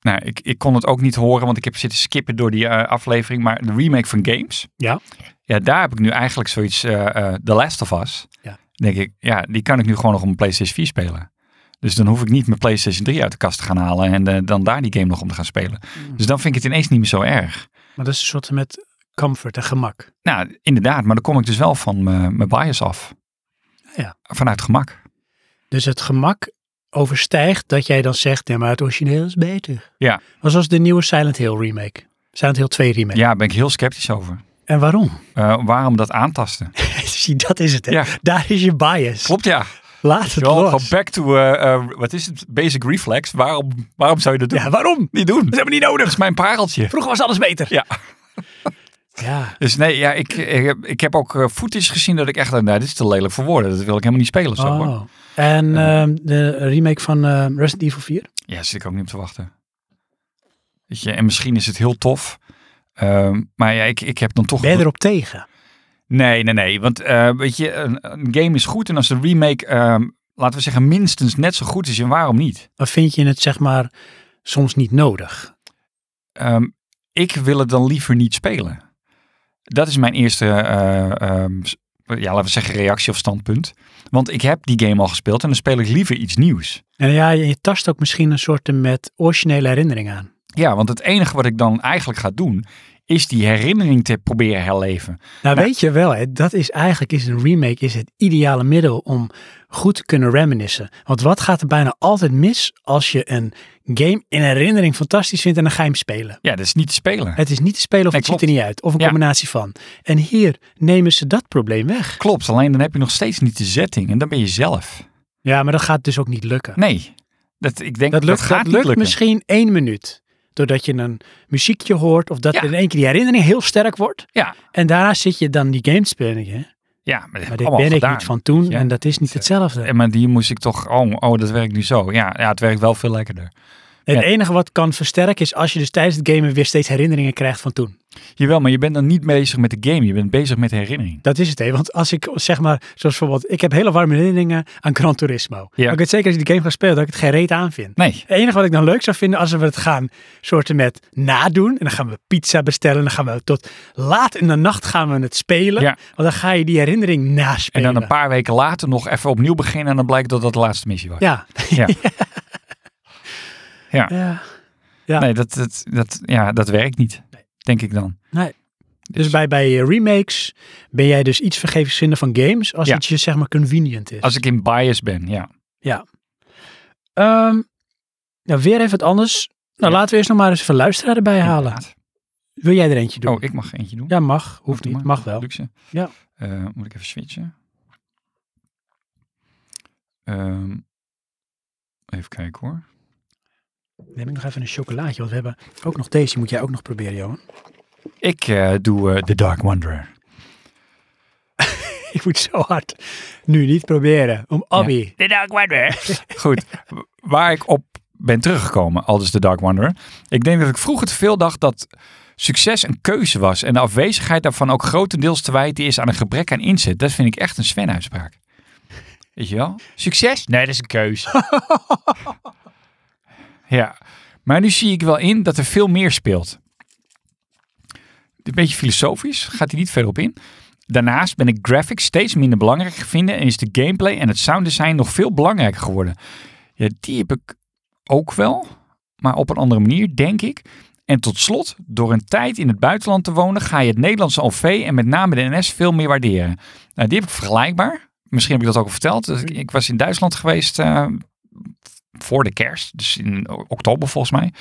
B: nou, ik, ik kon het ook niet horen, want ik heb zitten skippen door die eh, aflevering. Maar de remake van Games,
A: Ja.
B: ja, daar heb ik nu eigenlijk zoiets, eh, eh, The Last of Us.
A: Ja.
B: Denk ik, ja, die kan ik nu gewoon nog op mijn PlayStation 4 spelen. Dus dan hoef ik niet mijn PlayStation 3 uit de kast te gaan halen en eh, dan daar die game nog om te gaan spelen.
A: Mm.
B: Dus dan vind ik het ineens niet meer zo erg.
A: Maar dat is een soort met comfort en gemak.
B: Nou, inderdaad, maar dan kom ik dus wel van mijn mijn bias af.
A: Ja.
B: Vanuit gemak.
A: Dus het gemak overstijgt dat jij dan zegt, nee, maar het origineel is beter.
B: Ja.
A: Maar zoals de nieuwe Silent Hill remake. Silent Hill 2 remake.
B: Ja, daar ben ik heel sceptisch over.
A: En waarom?
B: Eh, waarom dat aantasten?
A: Zie, dat is het. Hè?
B: Ja.
A: Daar is je bias.
B: Klopt ja.
A: Laat het
B: Gewoon
A: los.
B: back to, eh, eh, wat is het? Basic reflex. Waarom, waarom zou je dat doen?
A: Ja, waarom?
B: Niet doen. Dat
A: hebben we niet nodig.
B: is mijn pareltje.
A: Vroeger was alles beter.
B: Ja.
A: Ja.
B: Dus nee, ja, ik, ik, heb, ik heb ook eh, footage gezien dat ik echt dacht, nou, dit is te lelijk voor woorden. Dat wil ik helemaal niet spelen zo hoor.
A: Oh. En ehm, de remake van ehm, Resident Evil 4?
B: Ja, daar zit ik ook niet op te wachten. Weet je, en misschien is het heel tof. Ehm, maar ja, ik, ik heb dan toch...
A: Ben je erop tegen?
B: Nee, nee, nee. Want eh, weet je, een, een game is goed. En als de remake, ehm, laten we zeggen, minstens net zo goed is, en waarom niet?
A: Of vind je het zeg maar soms niet nodig?
B: Ehm, ik wil het dan liever niet spelen. Dat is mijn eerste, eh, ehm, s- ja, laten we zeggen, reactie of standpunt. Want ik heb die game al gespeeld en dan speel ik liever iets nieuws.
A: En ja, je, je tast ook misschien een soort met originele herinnering aan.
B: Ja, want het enige wat ik dan eigenlijk ga doen, is die herinnering te proberen herleven.
A: Nou, weet je wel, hè, dat is eigenlijk is een remake is het ideale middel om goed te kunnen reminiscen. Want wat gaat er bijna altijd mis als je een game in herinnering fantastisch vindt en dan ga je hem spelen?
B: Ja, dat is niet te spelen.
A: Het is niet te spelen of
B: Nee,
A: het ziet er
B: klopt.
A: niet uit. Of een
B: Ja.
A: combinatie van. En hier nemen ze dat probleem weg.
B: Klopt, alleen dan heb je nog steeds niet de setting en dan ben je zelf.
A: Ja, maar dat gaat dus ook niet lukken.
B: Nee, dat, ik denk
A: dat
B: dat,
A: lukt,
B: gaat
A: dat
B: niet
A: lukt
B: lukken.
A: misschien één minuut. Doordat je een muziekje hoort of dat
B: Ja.
A: in één keer die herinnering heel sterk wordt.
B: Ja,
A: En daarna zit je dan die game te spelen. hè.
B: ja, maar dat heb
A: Maar
B: ik
A: dit
B: allemaal
A: ben ik
B: gedaan.
A: niet van toen
B: Ja.
A: en dat is niet hetzelfde.
B: En maar die moest ik toch, oh, oh, dat werkt nu zo. Ja, ja, het werkt wel veel lekkerder.
A: Het
B: Ja.
A: enige wat kan versterken is als je dus tijdens het gamen weer steeds herinneringen krijgt van toen.
B: Jawel, maar je bent dan niet bezig met de game. Je bent bezig met de herinnering.
A: Dat is het, hè. Want als ik zeg maar, zoals bijvoorbeeld, ik heb hele warme herinneringen aan Gran Turismo.
B: Ja.
A: Maar Ik weet zeker als ik die game ga spelen dat ik het geen reet aan vind.
B: Nee.
A: Het enige wat ik dan leuk zou vinden als we het gaan soorten met nadoen. En dan gaan we pizza bestellen. En dan gaan we tot laat in de nacht gaan we het spelen.
B: Ja.
A: Want dan ga je die herinnering
B: En
A: naspelen.
B: dan een paar weken later nog even opnieuw beginnen. En dan blijkt dat dat de laatste missie was.
A: Ja,
B: Ja. ja.
A: Ja.
B: Nee, dat, dat, dat, ja, dat werkt niet. Denk ik dan.
A: Nee. Dus bij, bij eh, remakes ben jij dus iets vergevingszinder van games als
B: Ja.
A: iets je zeg maar convenient is.
B: Als ik in bias ben, ja.
A: Ehm, nou, weer even wat anders. Nou, laten we eerst nog maar eens even luisteraar erbij halen.
B: Inderdaad.
A: Wil jij er eentje doen?
B: Oh, ik mag eentje doen.
A: Ja, mag. Hoeft
B: Doe
A: niet.
B: maar.
A: Mag wel.
B: Luxe.
A: Ja.
B: Eh, moet ik even switchen? Ehm, even kijken hoor.
A: Neem ik nog even een chocolaatje, want we hebben ook nog deze. Die moet jij ook nog proberen, Johan.
B: Ik eh, doe eh, The Dark Wanderer.
A: Ik moet zo hard nu niet proberen. Om Abby.
C: De Dark Wanderer.
B: Goed. W- Waar ik op ben teruggekomen, al dus The Dark Wanderer. Ik denk dat ik vroeger te veel dacht dat succes een keuze was. En de afwezigheid daarvan ook grotendeels te wijten is aan een gebrek aan inzet. Dat vind ik echt een Sven-uitspraak. Weet je wel? Succes? Nee, dat is een keuze. ja. Maar nu zie ik wel in dat er veel meer speelt. Een beetje filosofisch, gaat hij niet verder op in. Daarnaast ben ik graphics steeds minder belangrijk vinden en is de gameplay en het sounddesign nog veel belangrijker geworden. Ja, die heb ik ook wel, maar op een andere manier, denk ik. En tot slot, door een tijd in het buitenland te wonen, ga je het Nederlandse OV en met name de NS veel meer waarderen. Nou, die heb ik vergelijkbaar. Misschien heb ik dat ook al verteld. Dus ik, ik was in Duitsland geweest eh, voor de kerst, dus in o- oktober volgens mij.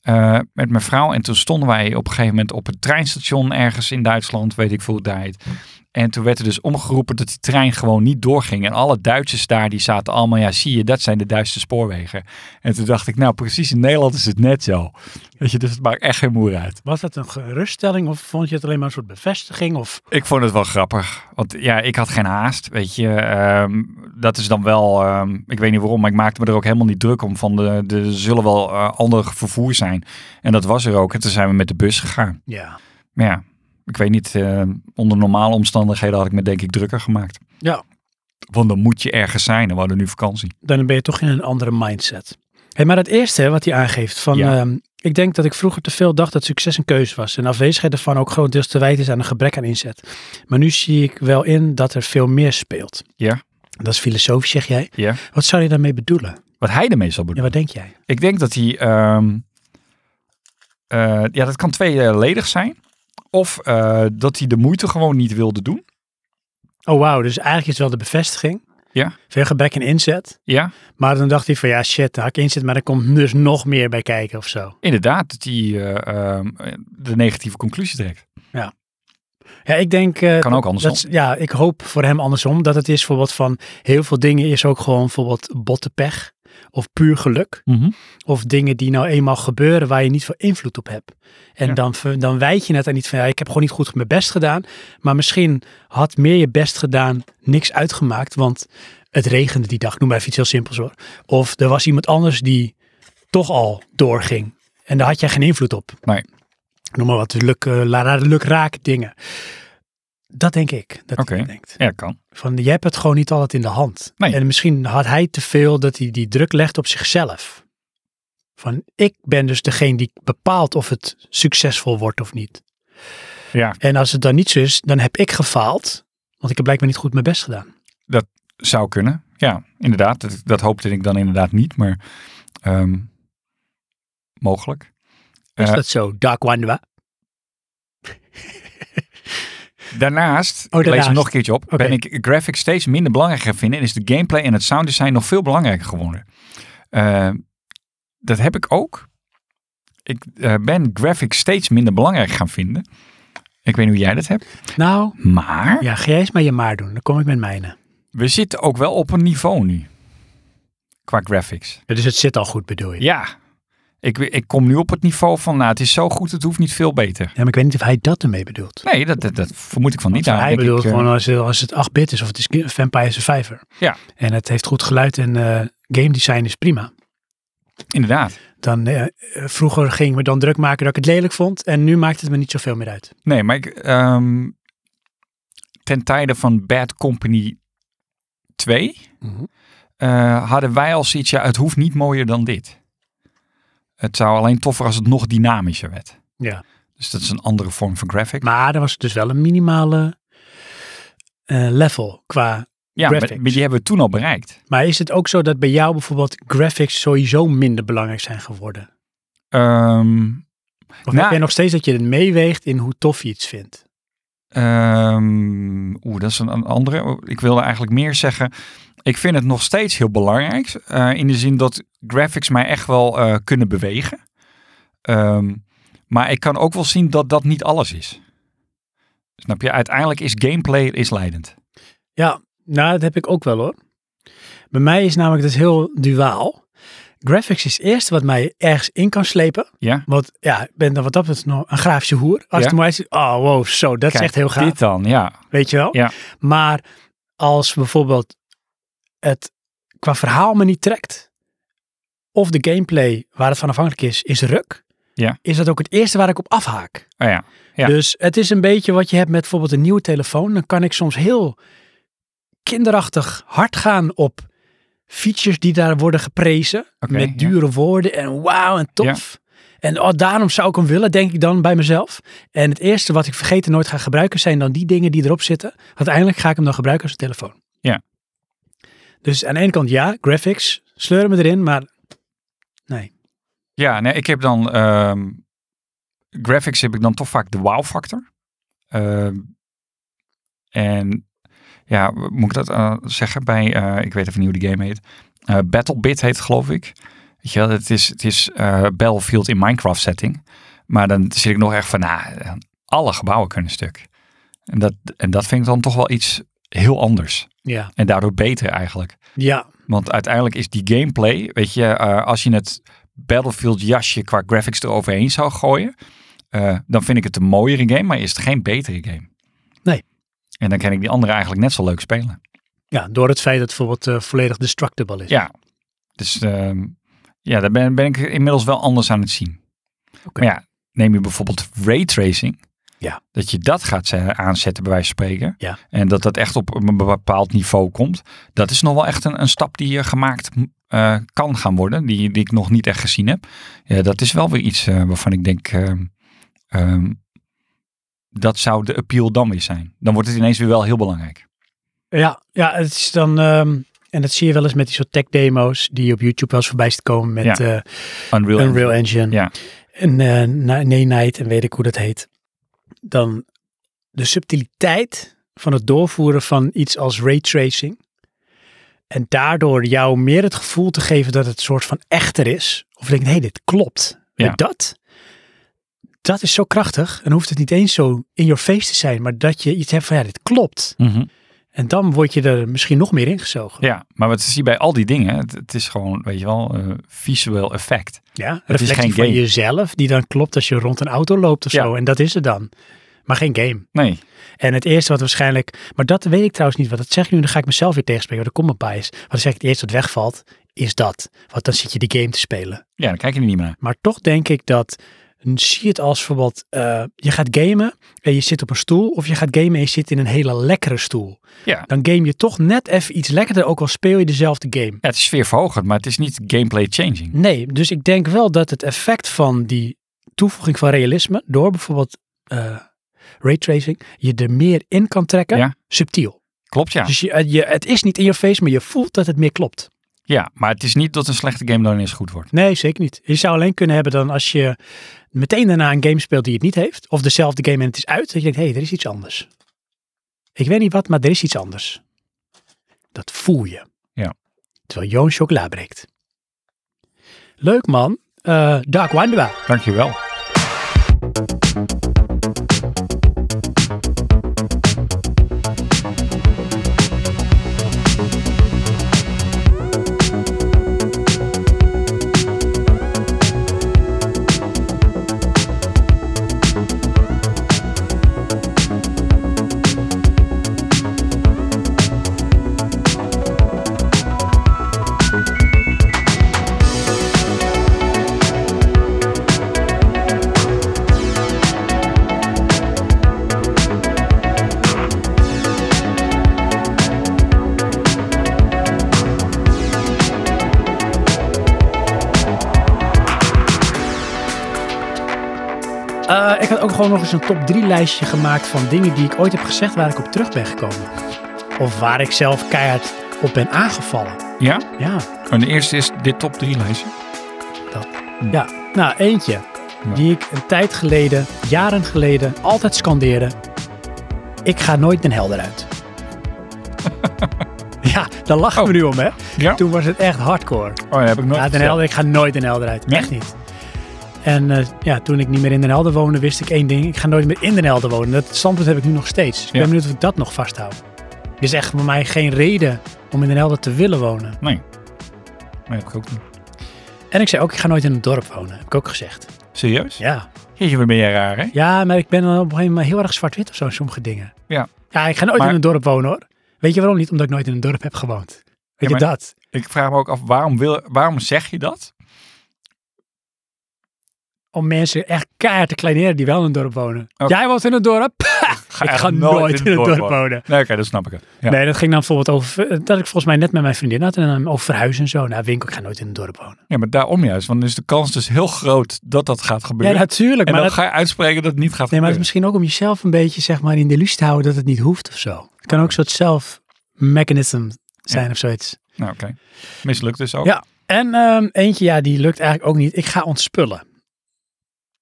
B: eh, met mijn vrouw. En toen stonden wij op een gegeven moment op een treinstation ergens in Duitsland, weet ik veel hoe het daar heet. En toen werd er dus omgeroepen dat die trein gewoon niet doorging. En alle Duitsers daar, die zaten allemaal, ja zie je, dat zijn de Duitse spoorwegen. En toen dacht ik, nou precies in Nederland is het net zo. Weet je, dus het maakt echt geen moer uit.
A: Was dat een geruststelling of vond je het alleen maar een soort bevestiging? Of
B: Ik vond het wel grappig. Want ja, ik had geen haast, weet je. Ehm, dat is dan wel, ehm, ik weet niet waarom, maar ik maakte me er ook helemaal niet druk om. Van, de, de- er zullen wel eh, ander vervoer zijn. En dat was er ook. En toen zijn we met de bus gegaan.
A: ja.
B: Maar ja, ik weet niet, eh, onder normale omstandigheden had ik me denk ik drukker gemaakt.
A: Ja.
B: Want dan moet je ergens zijn. En we hadden nu vakantie.
A: Dan ben je toch in een andere mindset. Hey, maar het eerste hè, wat hij aangeeft van.
B: Ja.
A: ehm, ik denk dat ik vroeger te veel dacht dat succes een keuze was. En afwezigheid ervan ook grotendeels te wijten is aan een gebrek aan inzet. Maar nu zie ik wel in dat er veel meer speelt.
B: Ja.
A: Dat is filosofisch, zeg jij.
B: Ja.
A: Wat zou je daarmee bedoelen?
B: Wat hij ermee zal
A: Ja,
B: bedoelen.
A: wat denk jij?
B: Ik denk dat hij... ehm, eh, ja, dat kan tweeledig zijn. Of eh, dat hij de moeite gewoon niet wilde doen.
A: Oh, wauw. Dus eigenlijk is het wel de bevestiging.
B: Ja.
A: Veel gebrek aan inzet.
B: Ja,
A: Maar dan dacht hij van ja, shit, daar had ik inzet, maar er komt dus nog meer bij kijken of zo.
B: inderdaad. Dat hij eh, ehm, de negatieve conclusie trekt.
A: Ja, ik denk. eh,
B: Kan ook andersom.
A: dat- ja, ik hoop voor hem andersom. Dat het is bijvoorbeeld van heel veel dingen is ook gewoon bijvoorbeeld botte pech. Of puur geluk.
B: Mhm.
A: Of dingen die nou eenmaal gebeuren waar je niet veel invloed op hebt. En
B: Ja.
A: dan, ver- dan wijd je het aan niet van ja, ik heb gewoon niet goed mijn best gedaan. Maar misschien had meer je best gedaan niks uitgemaakt. Want het regende die dag. Noem maar even iets heel simpels hoor. Of er was iemand anders die toch al doorging. En daar had jij geen invloed op
B: Nee.
A: noem maar wat, luk, eh, la- la- lukraak dingen. Dat denk ik, dat
B: Oké.
A: hij dat denkt.
B: Ja, dat kan.
A: Van, je hebt het gewoon niet altijd in de hand.
B: Nee.
A: En misschien had hij te veel dat hij die druk legt op zichzelf. Van, ik ben dus degene die bepaalt of het succesvol wordt of niet.
B: Ja.
A: En als het dan niet zo is, dan heb ik gefaald. Want ik heb blijkbaar niet goed mijn best gedaan.
B: Zou kunnen. Ja, inderdaad. Dat, dat hoopte ik dan inderdaad niet. Maar ehm, mogelijk.
A: Is
B: Eh,
A: dat zo? Dark Wanda.
B: Daarnaast, ik lees
A: Oh, daarnaast.
B: hem nog een keertje op,
A: Oké.
B: ben ik graphics steeds minder belangrijk gaan vinden en is de gameplay en het sounddesign nog veel belangrijker geworden. Eh, dat heb ik ook. Ik eh, ben graphics steeds minder belangrijk gaan vinden. Ik weet niet hoe jij dat hebt.
A: Nou,
B: Maar
A: ja, ga jij eens maar je maar doen. Dan kom ik met mijne.
B: we zitten ook wel op een niveau nu. Qua graphics.
A: Ja, Dus het zit al goed, bedoel je?
B: Ja. Ik, ik kom nu op het niveau van, nou het is zo goed, het hoeft niet veel beter.
A: Ja, maar ik weet niet of hij dat ermee bedoelt.
B: Nee, dat, dat, dat vermoed ik van niet.
A: Want
B: Daarom
A: hij
B: denk
A: bedoelt
B: ik, eh,
A: gewoon als, als het 8-bit is of het is Vampire Survivor.
B: Ja.
A: En het heeft goed geluid en eh, game design is prima.
B: Inderdaad.
A: Dan, eh, eh, vroeger ging ik me dan druk maken dat ik het lelijk vond. En nu maakt het me niet zoveel meer uit.
B: Nee, maar ik, ehm, ten tijde van Bad Company 2
A: Mhm.
B: eh, hadden wij al zoiets, ja, het hoeft niet mooier dan dit. Het zou alleen toffer als het nog dynamischer werd.
A: Ja.
B: Dus dat is een andere vorm van graphic.
A: Maar er was dus wel een minimale eh, level qua
B: Ja, maar,
A: Graphics.
B: maar die hebben we toen al bereikt.
A: Maar is het ook zo dat bij jou bijvoorbeeld graphics sowieso minder belangrijk zijn geworden?
B: Ehm,
A: Of
B: Nou-
A: heb jij nog steeds dat je het meeweegt in hoe tof je iets vindt?
B: ehm, Oeh, dat is een, een andere. Ik wilde eigenlijk meer zeggen. Ik vind het nog steeds heel belangrijk. eh, in de zin dat graphics mij echt wel eh, kunnen bewegen. Ehm, maar ik kan ook wel zien dat dat niet alles is. Snap je? Uiteindelijk is gameplay is leidend.
A: Ja, nou dat heb ik ook wel hoor. Bij mij is namelijk dat heel duaal. Graphics is het eerste wat mij ergens in kan slepen.
B: Ja?
A: Want ja, ik ben dan wat dat betreft nog een grafische hoer. Als
B: Ja.
A: het mooi is, oh wow, zo, dat is
B: Kijk,
A: echt heel gaaf.
B: Dit dan, ja.
A: Weet je wel?
B: Ja.
A: Maar als bijvoorbeeld het qua verhaal me niet trekt, of de gameplay waar het van afhankelijk is, is ruk,
B: Ja.
A: is dat ook het eerste waar ik op afhaak.
B: Oh ja. Ja.
A: Dus het is een beetje wat je hebt met bijvoorbeeld een nieuwe telefoon. Dan kan ik soms heel kinderachtig hard gaan op features die daar worden geprezen.
B: Oké, ja.
A: met dure woorden en wauw en tof. En oh, daarom zou ik hem willen, denk ik dan bij mezelf. En het eerste wat ik vergeet en nooit ga gebruiken zijn dan die dingen die erop zitten. Uiteindelijk ga ik hem dan gebruiken als een telefoon.
B: Ja.
A: Dus aan de ene kant ja, graphics, sleuren me erin, maar nee.
B: Ja, nee, ik heb dan ehm, graphics heb ik dan toch vaak de wow factor. Ehm, en ja, moet ik dat eh, zeggen bij, eh, ik weet even niet hoe die game heet. Eh Battlebit heet het, geloof ik. Weet je wel, het is, het is eh, Battlefield in Minecraft setting. Maar dan zit ik nog echt van, nou, alle gebouwen kunnen stuk. En dat, en dat vind ik dan toch wel iets heel anders.
A: Ja.
B: En daardoor beter eigenlijk.
A: Ja,
B: Want uiteindelijk is die gameplay, weet je, eh, als je het Battlefield jasje qua graphics eroverheen zou gooien, eh, dan vind ik het een mooiere game, maar is het geen betere game.
A: Nee.
B: En dan kan ik die andere eigenlijk net zo leuk spelen.
A: ja door het feit dat het bijvoorbeeld eh, volledig destructible is.
B: Ja. Dus ehm, ja, daar ben, ben ik inmiddels wel anders aan het zien.
A: Oké.
B: Maar ja, neem je bijvoorbeeld raytracing.
A: Ja.
B: Dat je dat gaat eh, aanzetten bij wijze van spreken.
A: Ja.
B: En dat dat echt op een bepaald niveau komt. Dat is nog wel echt een, een stap die eh, gemaakt eh, kan gaan worden. Die, die ik nog niet echt gezien heb. Ja, dat is wel weer iets eh, waarvan ik denk... ehm, ehm, dat zou de appeal dan weer zijn. Dan wordt het ineens weer wel heel belangrijk.
A: Ja, ja het is dan. ehm, en dat zie je wel eens met die soort tech-demo's die je op YouTube wel eens voorbij ziet komen met
B: Ja.
A: eh,
B: Unreal,
A: Unreal Engine.
B: Ja.
A: En eh, na- nee Night en weet ik hoe dat heet. Dan de subtiliteit van het doorvoeren van iets als raytracing. En daardoor jou meer het gevoel te geven dat het soort van echter is. Of denk, nee, dit klopt.
B: Ja.
A: Met Dat, dat is zo krachtig. En dan hoeft het niet eens zo in your face te zijn. Maar dat je iets hebt van, ja, dit klopt.
B: Mhm.
A: En dan word je er misschien nog meer ingezogen.
B: Ja, maar wat zie je bij al die dingen? Het, het is gewoon, weet je wel, eh, visueel effect.
A: Ja,
B: Het is
A: reflectie
B: geen
A: van
B: game.
A: jezelf die dan klopt als je rond een auto loopt of
B: Ja.
A: zo. En dat is het dan. Maar geen game.
B: Nee,
A: En het eerste wat waarschijnlijk... Maar dat weet ik trouwens niet. Want dat zeg ik nu, dan ga ik mezelf weer tegenspreken. Want er komt een bias. Want dan zeg ik het eerste wat wegvalt, is dat. Want dan zit je die game te spelen.
B: ja, dan kijk je er niet meer naar.
A: Maar toch denk ik dat... Zie het als bijvoorbeeld, eh, je gaat gamen en je zit op een stoel. Of je gaat gamen en je zit in een hele lekkere stoel.
B: Ja.
A: Dan game je toch net even iets lekkerder, ook al speel je dezelfde game.
B: Ja, het is sfeerverhogend, maar het is niet gameplay changing.
A: Nee, dus ik denk wel dat het effect van die toevoeging van realisme door bijvoorbeeld eh raytracing je er meer in kan trekken,
B: Ja.
A: subtiel.
B: Klopt, ja.
A: Dus je, je, het is niet in je face, maar je voelt dat het meer klopt.
B: Ja, maar het is niet dat een slechte game dan eens goed wordt.
A: Nee, zeker niet. Je zou alleen kunnen hebben dan als je meteen daarna een game speelt die het niet heeft, of dezelfde game en het is uit, dat je denkt, hé, hey, er is iets anders. Ik weet niet wat, maar er is iets anders. Dat voel je.
B: Ja.
A: Terwijl Joon chocola breekt. Leuk man. Eh, Dark Wanda.
B: Dankjewel.
A: Eh, ik had ook gewoon nog eens een top 3 lijstje gemaakt van dingen die ik ooit heb gezegd waar ik op terug ben gekomen. Of waar ik zelf keihard op ben aangevallen.
B: Ja?
A: Ja,
B: En de eerste is dit top 3 lijstje. Hm.
A: ja. nou eentje die ik een tijd geleden, jaren geleden, altijd scandeerde. Ik ga nooit den helder uit. ja, daar lachen we
B: Oh.
A: nu om hè.
B: Ja?
A: Toen was het echt hardcore.
B: Oh, ja, heb ik nooit
A: Ja, Den
B: verteld.
A: Helder, ik ga nooit Den Helder uit.
B: Nee?
A: Echt niet. En eh, ja, toen ik niet meer in Den Helder woonde, wist ik één ding. Ik ga nooit meer in Den Helder wonen. Dat standpunt heb ik nu nog steeds. Dus ik
B: Ja.
A: ben benieuwd of ik dat nog vasthoud. Er is echt voor mij geen reden om in Den Helder te willen wonen.
B: Nee. Nee, heb ik ook niet.
A: En ik zei ook, ik ga nooit in een dorp wonen. Heb ik ook gezegd.
B: Serieus?
A: Ja,
B: Jeetje, wat ben jij raar, hè?
A: ja maar ik ben dan op een gegeven moment heel erg zwart-wit of zo in sommige dingen.
B: Ja.
A: Ja, ik ga nooit
B: Maar-
A: in een dorp wonen hoor. Weet je waarom niet? Omdat ik nooit in een dorp heb gewoond. Weet
B: Ja,
A: je
B: maar-
A: dat?
B: Ik vraag me ook af, waarom, wil, waarom zeg je dat?
A: Om mensen echt keihard te kleineren die wel in een dorp wonen.
B: Oké.
A: Jij woont in een dorp? ik
B: echt
A: ga nooit in een dorp wonen.
B: Nee, oké, dat snap ik. Ja.
A: Nee, dat ging dan bijvoorbeeld over eh, dat ik volgens mij net met mijn vriendin had en dan over verhuizen en zo. Nou, winkel, ik ga nooit in een dorp wonen.
B: ja, maar daarom juist. Want dan is de kans dus heel groot dat dat gaat
A: Ja,
B: gebeuren.
A: natuurlijk.
B: en
A: Maar
B: dan
A: dat,
B: ga je uitspreken dat het niet gaat
A: nee, maar het is
B: gebeuren.
A: misschien ook om jezelf een beetje zeg maar in de illusie te houden dat het niet hoeft of zo. Het kan ook een soort zelfmechanism zijn of zoiets.
B: Nou, oké. Mislukt dus ook.
A: Ja. En ehm, eentje, ja, die lukt eigenlijk ook niet. Ik ga ontspullen.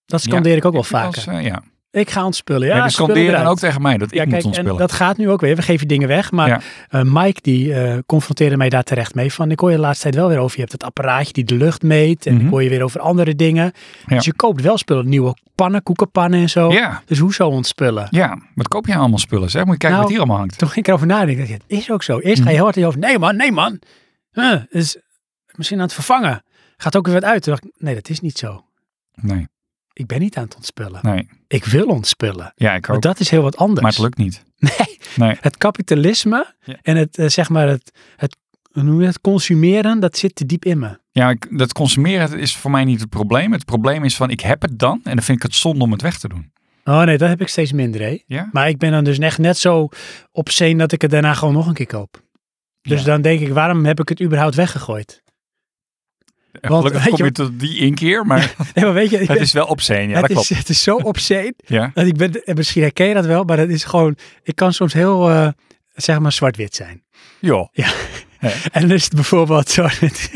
A: Dat scandeer ik ook wel
B: vind
A: vaker.
B: als, eh, ja.
A: Ik ga ontspullen. Ja,
B: ja, dus
A: spullen
B: scanderen dan
A: eruit.
B: ook tegen mij dat ik
A: Ja,
B: moet
A: kijk, en
B: ontspullen.
A: dat gaat nu ook weer. We geven dingen weg. Maar
B: Ja.
A: eh, Mike die eh, confronteerde mij daar terecht mee. Van ik hoor je de laatste tijd wel weer over. Je hebt het apparaatje die de lucht meet. En
B: Mhm.
A: ik hoor je weer over andere dingen.
B: Ja.
A: Dus je koopt wel spullen. Nieuwe pannen, koekenpannen en zo.
B: Ja,
A: Dus hoezo ontspullen?
B: ja. Wat koop jij allemaal spullen? Zeg, moet je kijken
A: Nou,
B: wat hier allemaal hangt.
A: Toen ging ik erover nadenken. Ik dacht, Het is ook zo. Eerst
B: Mhm.
A: ga je heel hard in je hoofd. Nee man, nee man. Huh, is misschien aan het vervangen. Gaat ook weer wat uit. Toen dacht ik, nee dat is niet zo.
B: Nee,
A: Ik ben niet aan het ontspullen.
B: nee.
A: Ik wil ontspullen.
B: Ja, ik
A: Maar
B: ook.
A: dat is heel wat anders.
B: Maar het lukt niet.
A: Nee.
B: Nee.
A: Het kapitalisme
B: Ja.
A: en het, eh, zeg maar, het, het, hoe noem je het consumeren, dat zit te diep in me.
B: Ja, ik- dat consumeren dat is voor mij niet het probleem. Het probleem is van, ik heb het dan en dan vind ik het zonde om het weg te doen.
A: Oh nee, dat heb ik steeds minder, hè.
B: Ja?
A: Maar ik ben dan dus echt net zo op zee dat ik het daarna gewoon nog een keer koop. Dus
B: Ja.
A: dan denk ik, waarom heb ik het überhaupt weggegooid?
B: En
A: Want,
B: Gelukkig
A: weet je
B: kom je tot die inkeer, maar
A: Nee, maar weet je,
B: het is wel obscene.
A: het
B: Ja, dat
A: is,
B: klopt.
A: het is zo obscene.
B: Ja.
A: dat ik ben, en misschien herken je dat wel, maar dat is gewoon, ik kan soms heel, eh, zeg maar, zwart-wit zijn.
B: Joh.
A: Ja.
B: Ja.
A: En dan is het bijvoorbeeld zo met,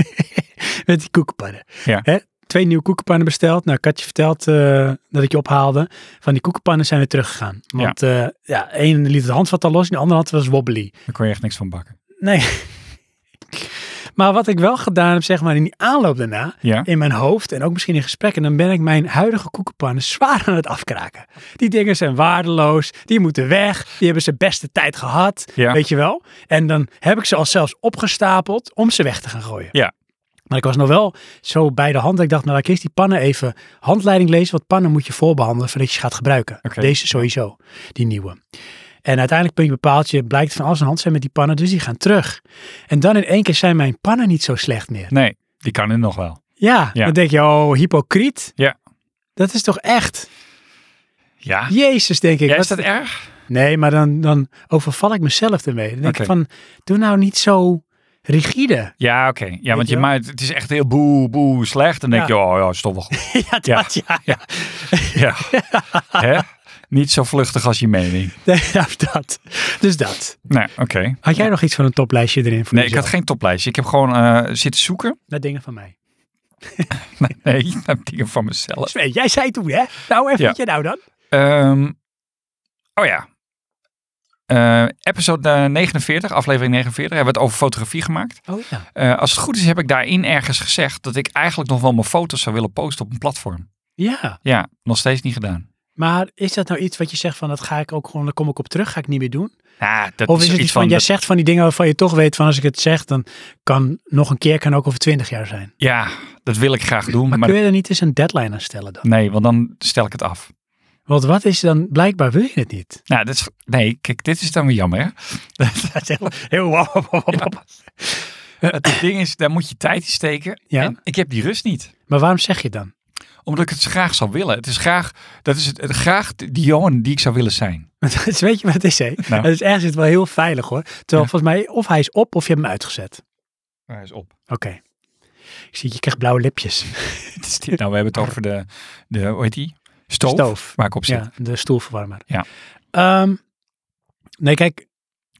A: met die koekenpannen.
B: Ja.
A: Hè? Twee nieuwe koekenpannen besteld. Nou, ik had je verteld eh, dat ik je ophaalde. Van die koekenpannen zijn weer teruggegaan. Want eh ja, één liet het handvat al los en de andere hand was wobbly.
B: Daar kon je echt niks van bakken.
A: Nee. maar wat ik wel gedaan heb, zeg maar, in die aanloop daarna,
B: Ja.
A: in mijn hoofd en ook misschien in gesprekken, dan ben ik mijn huidige koekenpannen zwaar aan het afkraken. Die dingen zijn waardeloos, die moeten weg, die hebben zijn beste tijd gehad,
B: Ja.
A: weet je wel. En dan heb ik ze al zelfs opgestapeld om ze weg te gaan gooien.
B: Ja.
A: Maar ik was nog wel zo bij de hand. dat Ik dacht, nou laat ik eerst die pannen even handleiding lezen. Want pannen moet je voorbehandelen voordat je ze gaat gebruiken.
B: Oké.
A: Deze sowieso, die nieuwe. En uiteindelijk puntje bepaaltje blijkt van alles aan de hand zijn met die pannen. Dus die gaan terug. En dan in één keer zijn mijn pannen niet zo slecht meer.
B: Nee, die kan het nog wel.
A: Ja,
B: Ja.
A: dan denk je, oh, hypocriet.
B: Ja.
A: Dat is toch echt?
B: Ja.
A: Jezus, denk ik.
B: Ja,
A: wat-
B: is dat erg?
A: Nee, maar dan, dan overval ik mezelf ermee. Dan denk ik
B: Oké.
A: van, doe nou niet zo rigide.
B: Ja, oké. Ja, want
A: je
B: je
A: wel?
B: maakt, het is echt heel boe, boe, slecht. Dan denk je, oh ja, is toch wel goed.
A: ja, dat ja. ja.
B: Ja. Hè? Niet zo vluchtig als je mening.
A: Nee, ja, dat. Dus dat.
B: Nee, oké.
A: Had jij nog iets van een toplijstje erin? Voor
B: Nee, ik had geen toplijstje. Ik heb gewoon eh, zitten zoeken.
A: Naar dingen van mij.
B: Nee, nee, naar dingen van mezelf.
A: Sven, jij zei toen, hè? Nou, even
B: Ja.
A: wat je nou dan?
B: Ehm, oh ja. Eh, episode eh, 49, aflevering 49, hebben we het over fotografie gemaakt.
A: Oh ja.
B: Eh, als het goed is, heb ik daarin ergens gezegd dat ik eigenlijk nog wel mijn foto's zou willen posten op een platform.
A: Ja,
B: Ja, nog steeds niet gedaan.
A: maar is dat nou iets wat je zegt van, dat ga ik ook gewoon, daar kom ik op terug, ga ik niet meer doen?
B: Ja, dat
A: Of is het
B: iets
A: iets van,
B: van.
A: jij
B: dat-
A: zegt van die dingen waarvan je toch weet van, als ik het zeg, dan kan nog een keer, kan ook over twintig jaar zijn.
B: ja, dat wil ik graag doen.
A: Maar,
B: Maar,
A: kun je er niet eens een deadline aan stellen dan?
B: nee, want dan stel ik het af.
A: Want wat is dan, blijkbaar wil je het niet.
B: Nou, dat is, nee, kijk, dit is dan weer jammer. Hè?
A: Dat is heel, heel wauw, wauw, wauw, wauw.
B: Het ding is, daar moet je tijd in steken.
A: Ja.
B: En ik heb die rust niet.
A: Maar waarom zeg je het dan?
B: Omdat ik het graag zou willen. Het is graag, dat is het, het- graag die Johan die ik zou willen zijn.
A: Want dat is- weet je wat het is, hè?
B: Nou.
A: Dat is ergens is het wel heel veilig, hoor. Terwijl volgens mij, of hij is op, of je hebt hem uitgezet.
B: Hij is op.
A: Oké. Ik zie, je krijgt blauwe lipjes.
B: Wat is dit? Nou, we hebben het over de, de hoe heet die? Stoof,
A: Stoof.
B: Waar ik op zit.
A: Ja, de stoelverwarmer.
B: Ja.
A: Ehm, nee, kijk,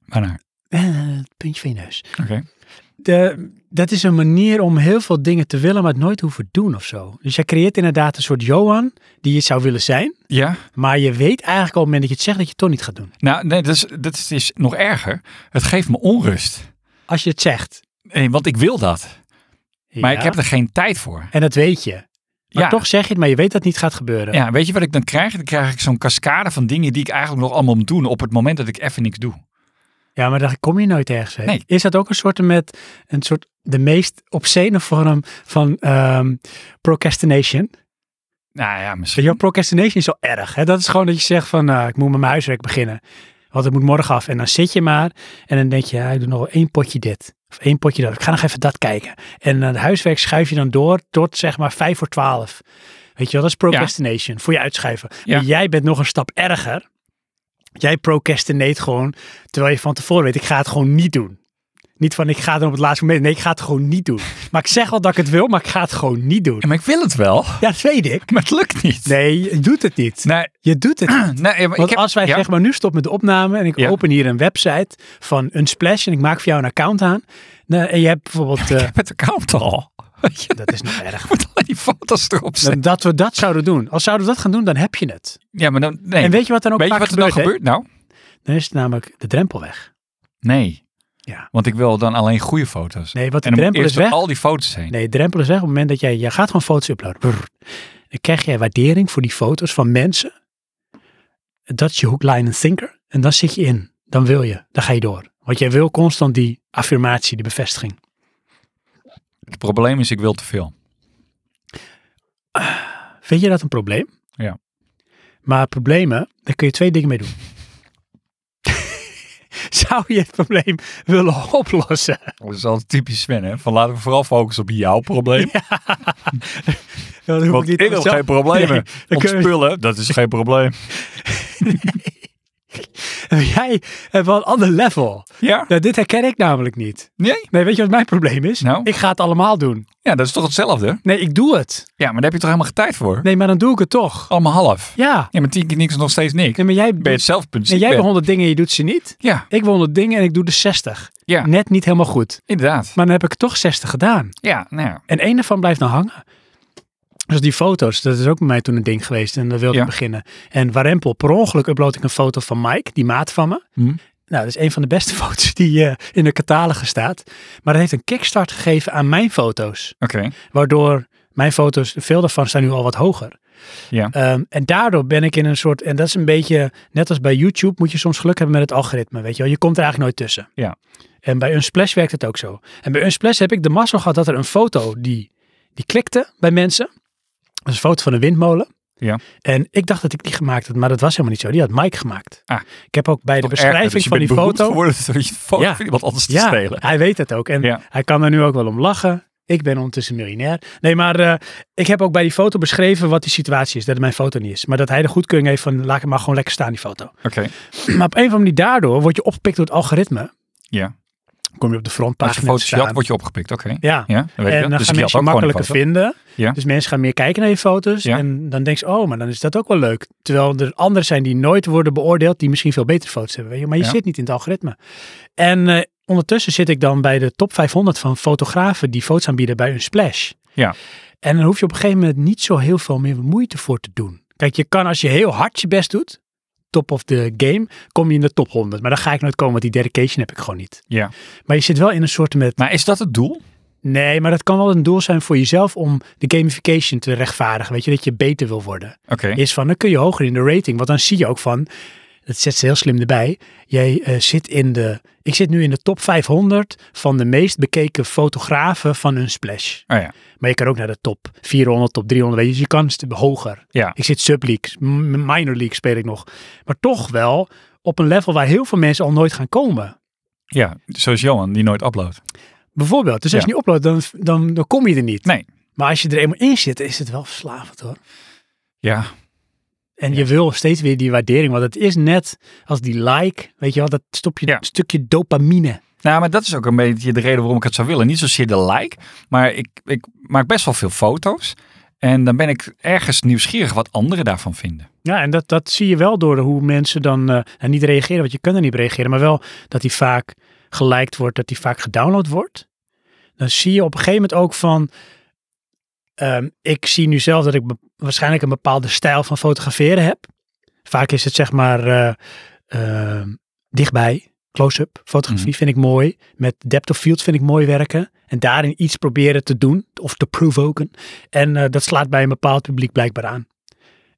B: Waarnaar?
A: eh, het puntje van je neus.
B: Ah, nou, Oké.
A: De, dat is een manier om heel veel dingen te willen, maar het nooit hoeven doen of zo. Dus jij creëert inderdaad een soort Johan die je zou willen zijn.
B: Ja,
A: Maar je weet eigenlijk al op het moment dat je het zegt dat je het toch niet gaat doen.
B: nou, nee, dat is, dat is, is nog erger. Het geeft me onrust.
A: Als je het zegt.
B: Nee, want ik wil dat. Maar
A: Ja.
B: ik heb er geen tijd voor.
A: En dat weet je. Maar
B: Ja.
A: toch zeg je het, maar je weet dat het niet gaat gebeuren.
B: Ja, weet je wat ik dan krijg? Dan krijg ik zo'n cascade van dingen die ik eigenlijk nog allemaal moet doen op het moment dat ik even niks doe.
A: Ja, maar daar kom je nooit ergens heen.
B: Nee.
A: Is dat ook een soort met een soort de meest obscene vorm van ehm, procrastination?
B: Nou ja, misschien.
A: Jouw procrastination is wel erg. Hè? Dat is gewoon dat je zegt van eh, ik moet met mijn huiswerk beginnen. Want het moet morgen af. En dan zit je maar en dan denk je, ja, ik doe nog wel één potje dit. Of één potje dat. Ik ga nog even dat kijken. En eh, het huiswerk schuif je dan door tot zeg maar vijf voor twaalf. Weet je wel, dat is procrastination. Voor je uitschuiven.
B: Ja.
A: Maar jij bent nog een stap erger. Jij procrastinate gewoon terwijl je van tevoren weet, ik ga het gewoon niet doen. Niet van ik ga het dan op het laatste moment. Nee, ik ga het gewoon niet doen. Maar ik zeg wel dat ik het wil, maar ik ga het gewoon niet doen.
B: Ja, Maar ik wil het wel,
A: Ja, dat weet ik.
B: maar het lukt niet.
A: Nee, je doet het niet.
B: Nee, Eh,
A: Je doet het.
B: nee, ja, maar ik
A: Want
B: heb-
A: als wij
B: ja,
A: zeg maar nu stop met de opname en ik
B: Ja.
A: open hier een website van een splash en ik maak voor jou een account aan. Nou, en je hebt bijvoorbeeld, eh,
B: Ik heb het account al. Weet je,
A: dat is nog erg.
B: Ik moet alleen die foto's erop zetten.
A: Dat- Dat we dat zouden doen. Als zouden we dat gaan doen, dan heb je het.
B: Ja, maar dan, nee.
A: En weet je wat dan ook
B: Weet je
A: vaak
B: wat er dan
A: hè?
B: gebeurt nou?
A: Dan is het namelijk de drempel weg.
B: Nee.
A: Ja.
B: Want ik wil dan alleen goede foto's.
A: Nee, want de
B: en dan moet
A: drempel is
B: eerst door
A: weg.
B: al die foto's heen.
A: Nee, de drempel is weg op het moment dat jij, jij gaat gewoon foto's uploaden. Brrr. Dan krijg jij waardering voor die foto's van mensen. Dat is je hook, line en sinker. En dan zit je in. Dan wil je. Dan ga je door. Want jij wil constant die affirmatie, die bevestiging.
B: Het probleem is, ik wil te veel.
A: Vind je dat een probleem?
B: Ja.
A: Maar problemen, daar kun je twee dingen mee doen. Zou je het probleem willen oplossen?
B: Dat is altijd typisch Sven, hè? Van laten we vooral focussen op jouw probleem.
A: Dan Nou, hoef
B: want ik
A: niet
B: wil
A: zelf-
B: geen problemen.
A: Nee, dan
B: Want
A: kun je-
B: spullen, dat is geen probleem.
A: Jij hebt wel een ander level.
B: Ja?
A: Nou, dit herken ik namelijk niet.
B: Nee?
A: Nee, weet je wat mijn probleem is?
B: Nou?
A: Ik ga het allemaal doen.
B: Ja, dat is toch hetzelfde?
A: Nee, ik doe het.
B: Ja, maar daar heb je toch helemaal geen tijd voor?
A: Nee, maar dan doe ik het toch.
B: Allemaal half.
A: Ja.
B: Ja, maar tien keer niks is nog steeds niks.
A: Nee, maar jij,
B: Ben je het zelf punt
A: nee,
B: ziek
A: jij wil 100
B: bent.
A: dingen en je doet ze niet.
B: Ja,
A: Ik wil 100 dingen en ik doe de 60.
B: Ja.
A: Net niet helemaal goed.
B: inderdaad.
A: Maar dan heb ik toch 60 gedaan.
B: Ja, nou ja.
A: En één daarvan blijft nou hangen. Dus die foto's, dat is ook bij mij toen een ding geweest. En daar wilde
B: Ja.
A: ik beginnen. En waarempel, per ongeluk upload ik een foto van Mike, die maat van me.
B: Hm.
A: Nou, dat is een van de beste foto's die eh, in de catalogus staat. Maar dat heeft een kickstart gegeven aan mijn foto's.
B: Oké.
A: Waardoor mijn foto's, veel daarvan staan nu al wat hoger.
B: Ja.
A: Ehm, en daardoor ben ik in een soort, en dat is een beetje, net als bij YouTube, moet je soms geluk hebben met het algoritme. Weet je wel, je komt er eigenlijk nooit tussen.
B: Ja.
A: En bij Unsplash werkt het ook zo. En bij Unsplash heb ik de mazzel gehad dat er een foto die, die klikte bij mensen. Dat is een foto van een windmolen.
B: Ja.
A: En ik dacht dat ik die gemaakt had, maar dat was helemaal niet zo. Die had Mike gemaakt.
B: Ah.
A: Ik heb ook bij de
B: Toch erger,
A: beschrijving
B: dus je
A: van
B: bent
A: die
B: beroemd
A: foto.
B: geworden door je foto
A: Ja.
B: van iemand anders te
A: Ja,
B: spelen.
A: hij weet het ook. En
B: Ja.
A: hij kan er nu ook wel om lachen. Ik ben ondertussen miljonair. Nee, maar eh, ik heb ook bij die foto beschreven wat die situatie is. Dat het mijn foto niet is. Maar dat hij de goedkeuring heeft van laat ik hem maar gewoon lekker staan, die foto.
B: Oké.
A: Maar op een of andere manier daardoor word je opgepikt door het algoritme.
B: Ja.
A: Kom je op de
B: Als je
A: frontpagina te
B: foto's jat,
A: staan.
B: word je opgepikt. Oké.
A: Ja.
B: Ja, dan weet ik
A: En dan
B: dat. Dus
A: gaan
B: ik had
A: mensen
B: ook gewoon een
A: makkelijker
B: foto.
A: vinden.
B: Ja.
A: Dus mensen gaan meer kijken naar je foto's.
B: Ja.
A: En dan denk je, oh, maar dan is dat ook wel leuk. Terwijl er anderen zijn die nooit worden beoordeeld, die misschien veel betere foto's hebben. Weet je? Maar je
B: Ja.
A: zit niet in het algoritme. En eh, ondertussen zit ik dan bij de top 500 van fotografen die foto's aanbieden bij hun splash.
B: Ja.
A: En dan hoef je op een gegeven moment niet zo heel veel meer moeite voor te doen. Kijk, je kan als je heel hard je best doet, top of the game, kom je in de top 100. Maar dan ga ik nooit komen, want die dedication heb ik gewoon niet.
B: Ja.
A: Maar je zit wel in een soort met
B: Maar is dat het doel?
A: Nee, maar dat kan wel een doel zijn voor jezelf om de gamification te rechtvaardigen. Weet je, dat je beter wil worden.
B: Oké.
A: Is van, dan kun je hoger in de rating. Want dan zie je ook van, dat zet ze heel slim erbij. Jij eh, zit in de, ik zit nu in de top 500 van de meest bekeken fotografen van hun splash.
B: Oh ja.
A: Maar je kan ook naar de top 400, top 300, weet je. Dus je kan st- hoger.
B: Ja.
A: Ik zit subleagues, m- minor league speel ik nog. Maar toch wel op een level waar heel veel mensen al nooit gaan komen.
B: Ja. Zoals Johan, die nooit uploadt.
A: Bijvoorbeeld. Dus als
B: Ja.
A: je niet uploadt, dan, dan, dan kom je er niet.
B: Nee.
A: Maar als je er eenmaal in zit, is het wel verslavend hoor.
B: Ja.
A: En je wil steeds weer die waardering, want het is net als die like, weet je wel, dat stop je
B: Ja.
A: een stukje dopamine.
B: Nou, maar dat is ook een beetje de reden waarom ik het zou willen. Niet zozeer de like, maar ik, ik maak best wel veel foto's. En dan ben ik ergens nieuwsgierig wat anderen daarvan vinden.
A: Ja, en dat, nou, dat zie je wel door hoe mensen dan eh, en niet reageren, want je kunt er niet op reageren, maar wel dat die vaak geliked wordt, dat die vaak gedownload wordt. Dan zie je op een gegeven moment ook van, ehm, ik zie nu zelf dat ik be- waarschijnlijk een bepaalde stijl van fotograferen heb. Vaak is het zeg maar eh, ehm, dichtbij, close-up fotografie vind ik mooi. Met depth of field vind ik mooi werken. En daarin iets proberen te doen of te provoken. En eh, dat slaat bij een bepaald publiek blijkbaar aan.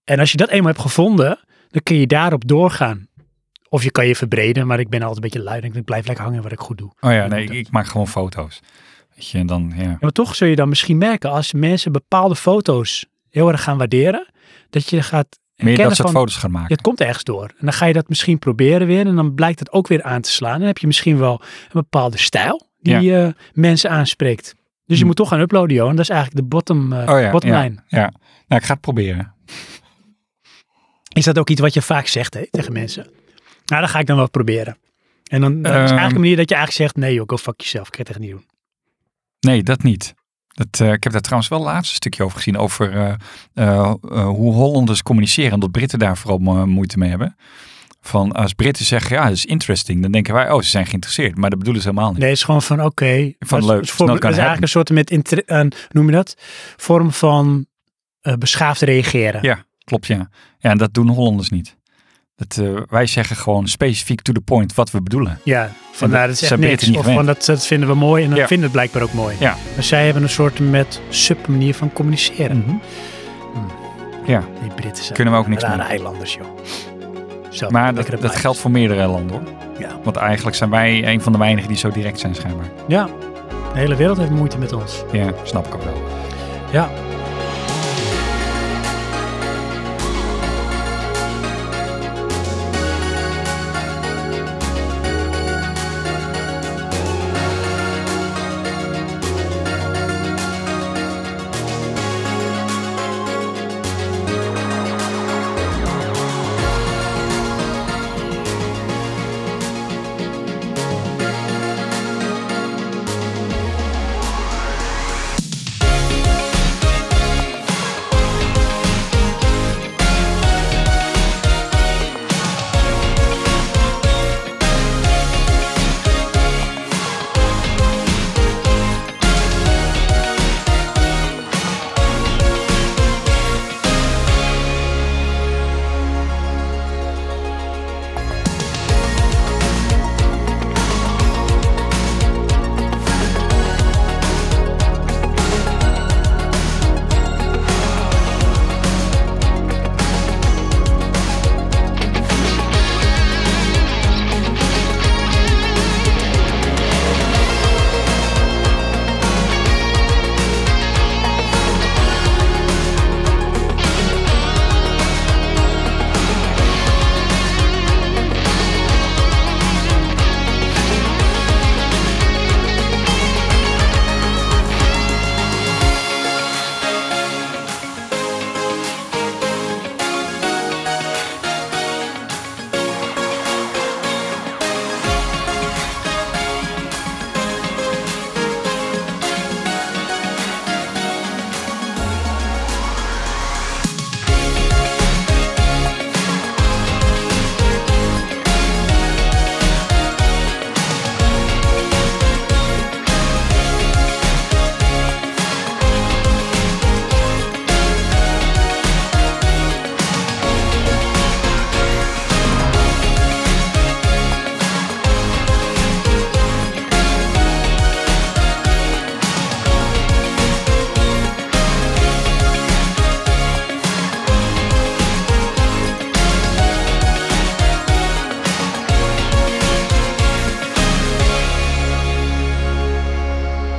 A: En als je dat eenmaal hebt gevonden, dan kun je daarop doorgaan. Of je kan je verbreden, maar ik ben altijd een beetje lui. en Ik blijf lekker hangen wat ik goed doe.
B: Oh ja,
A: Je
B: nee, ik,
A: moet
B: ik maak gewoon foto's. Weet je, en dan, ja.
A: Ja, maar toch zul je dan misschien merken als mensen bepaalde foto's heel erg gaan waarderen, dat je gaat
B: Meer
A: herkennen
B: dat soort
A: van,
B: foto's gaan
A: ja,
B: maken.
A: het komt ergens door. En dan ga je dat misschien proberen weer en dan blijkt het ook weer aan te slaan. En dan heb je misschien wel een bepaalde stijl die eh, mensen aanspreekt. Dus je
B: Hm.
A: moet toch gaan uploaden, joh. En dat is eigenlijk de bottom, eh
B: Oh ja,
A: bottom
B: ja,
A: line.
B: ja. Nou, ik ga het proberen.
A: Is dat ook iets wat je vaak zegt hè, tegen mensen? Nou, dat ga ik dan wel proberen. En dan dat is eigenlijk
B: Ehm.
A: een manier dat je eigenlijk zegt, nee joh, go fuck jezelf. Ik ga het echt niet doen.
B: Nee, dat niet. Dat, eh, ik heb daar trouwens wel het laatste stukje over gezien. Over eh, eh, eh, hoe Hollanders communiceren. En dat Britten daar vooral mo- moeite mee hebben. Van als Britten zeggen, ja, dat is interesting. Dan denken wij, oh, ze zijn geïnteresseerd. Maar dat bedoelen ze helemaal niet.
A: Nee, het is gewoon van oké. dat is-
B: leuk,
A: dat is
B: it's
A: voor-
B: not
A: dat is eigenlijk
B: gonna happen.
A: een soort met, inter- een, noem je dat? Vorm van eh, beschaafd reageren.
B: Ja. Klopt, ja. Ja, en dat doen Hollanders niet. Dat, eh, wij zeggen gewoon specifiek to the point wat we bedoelen.
A: Ja, van nou,
B: En dat
A: dat is echt
B: zijn Britten
A: niks.
B: niet
A: Of
B: gewend.
A: van dat, dat vinden we mooi en dan
B: Ja.
A: vinden het blijkbaar ook mooi.
B: Ja.
A: Maar zij hebben een soort met submanier van communiceren.
B: Ja,
A: Die Britten zijn
B: Mhm. kunnen we ook niks
A: rare
B: mee.
A: eilanders, joh. Zo,
B: Maar
A: lekkere
B: dat, dat
A: plaatjes.
B: geldt voor meerdere landen hoor.
A: Ja.
B: Want eigenlijk zijn wij een van de weinigen die zo direct zijn schijnbaar.
A: Ja, de hele wereld heeft moeite met ons.
B: Ja, snap ik ook wel.
A: Ja.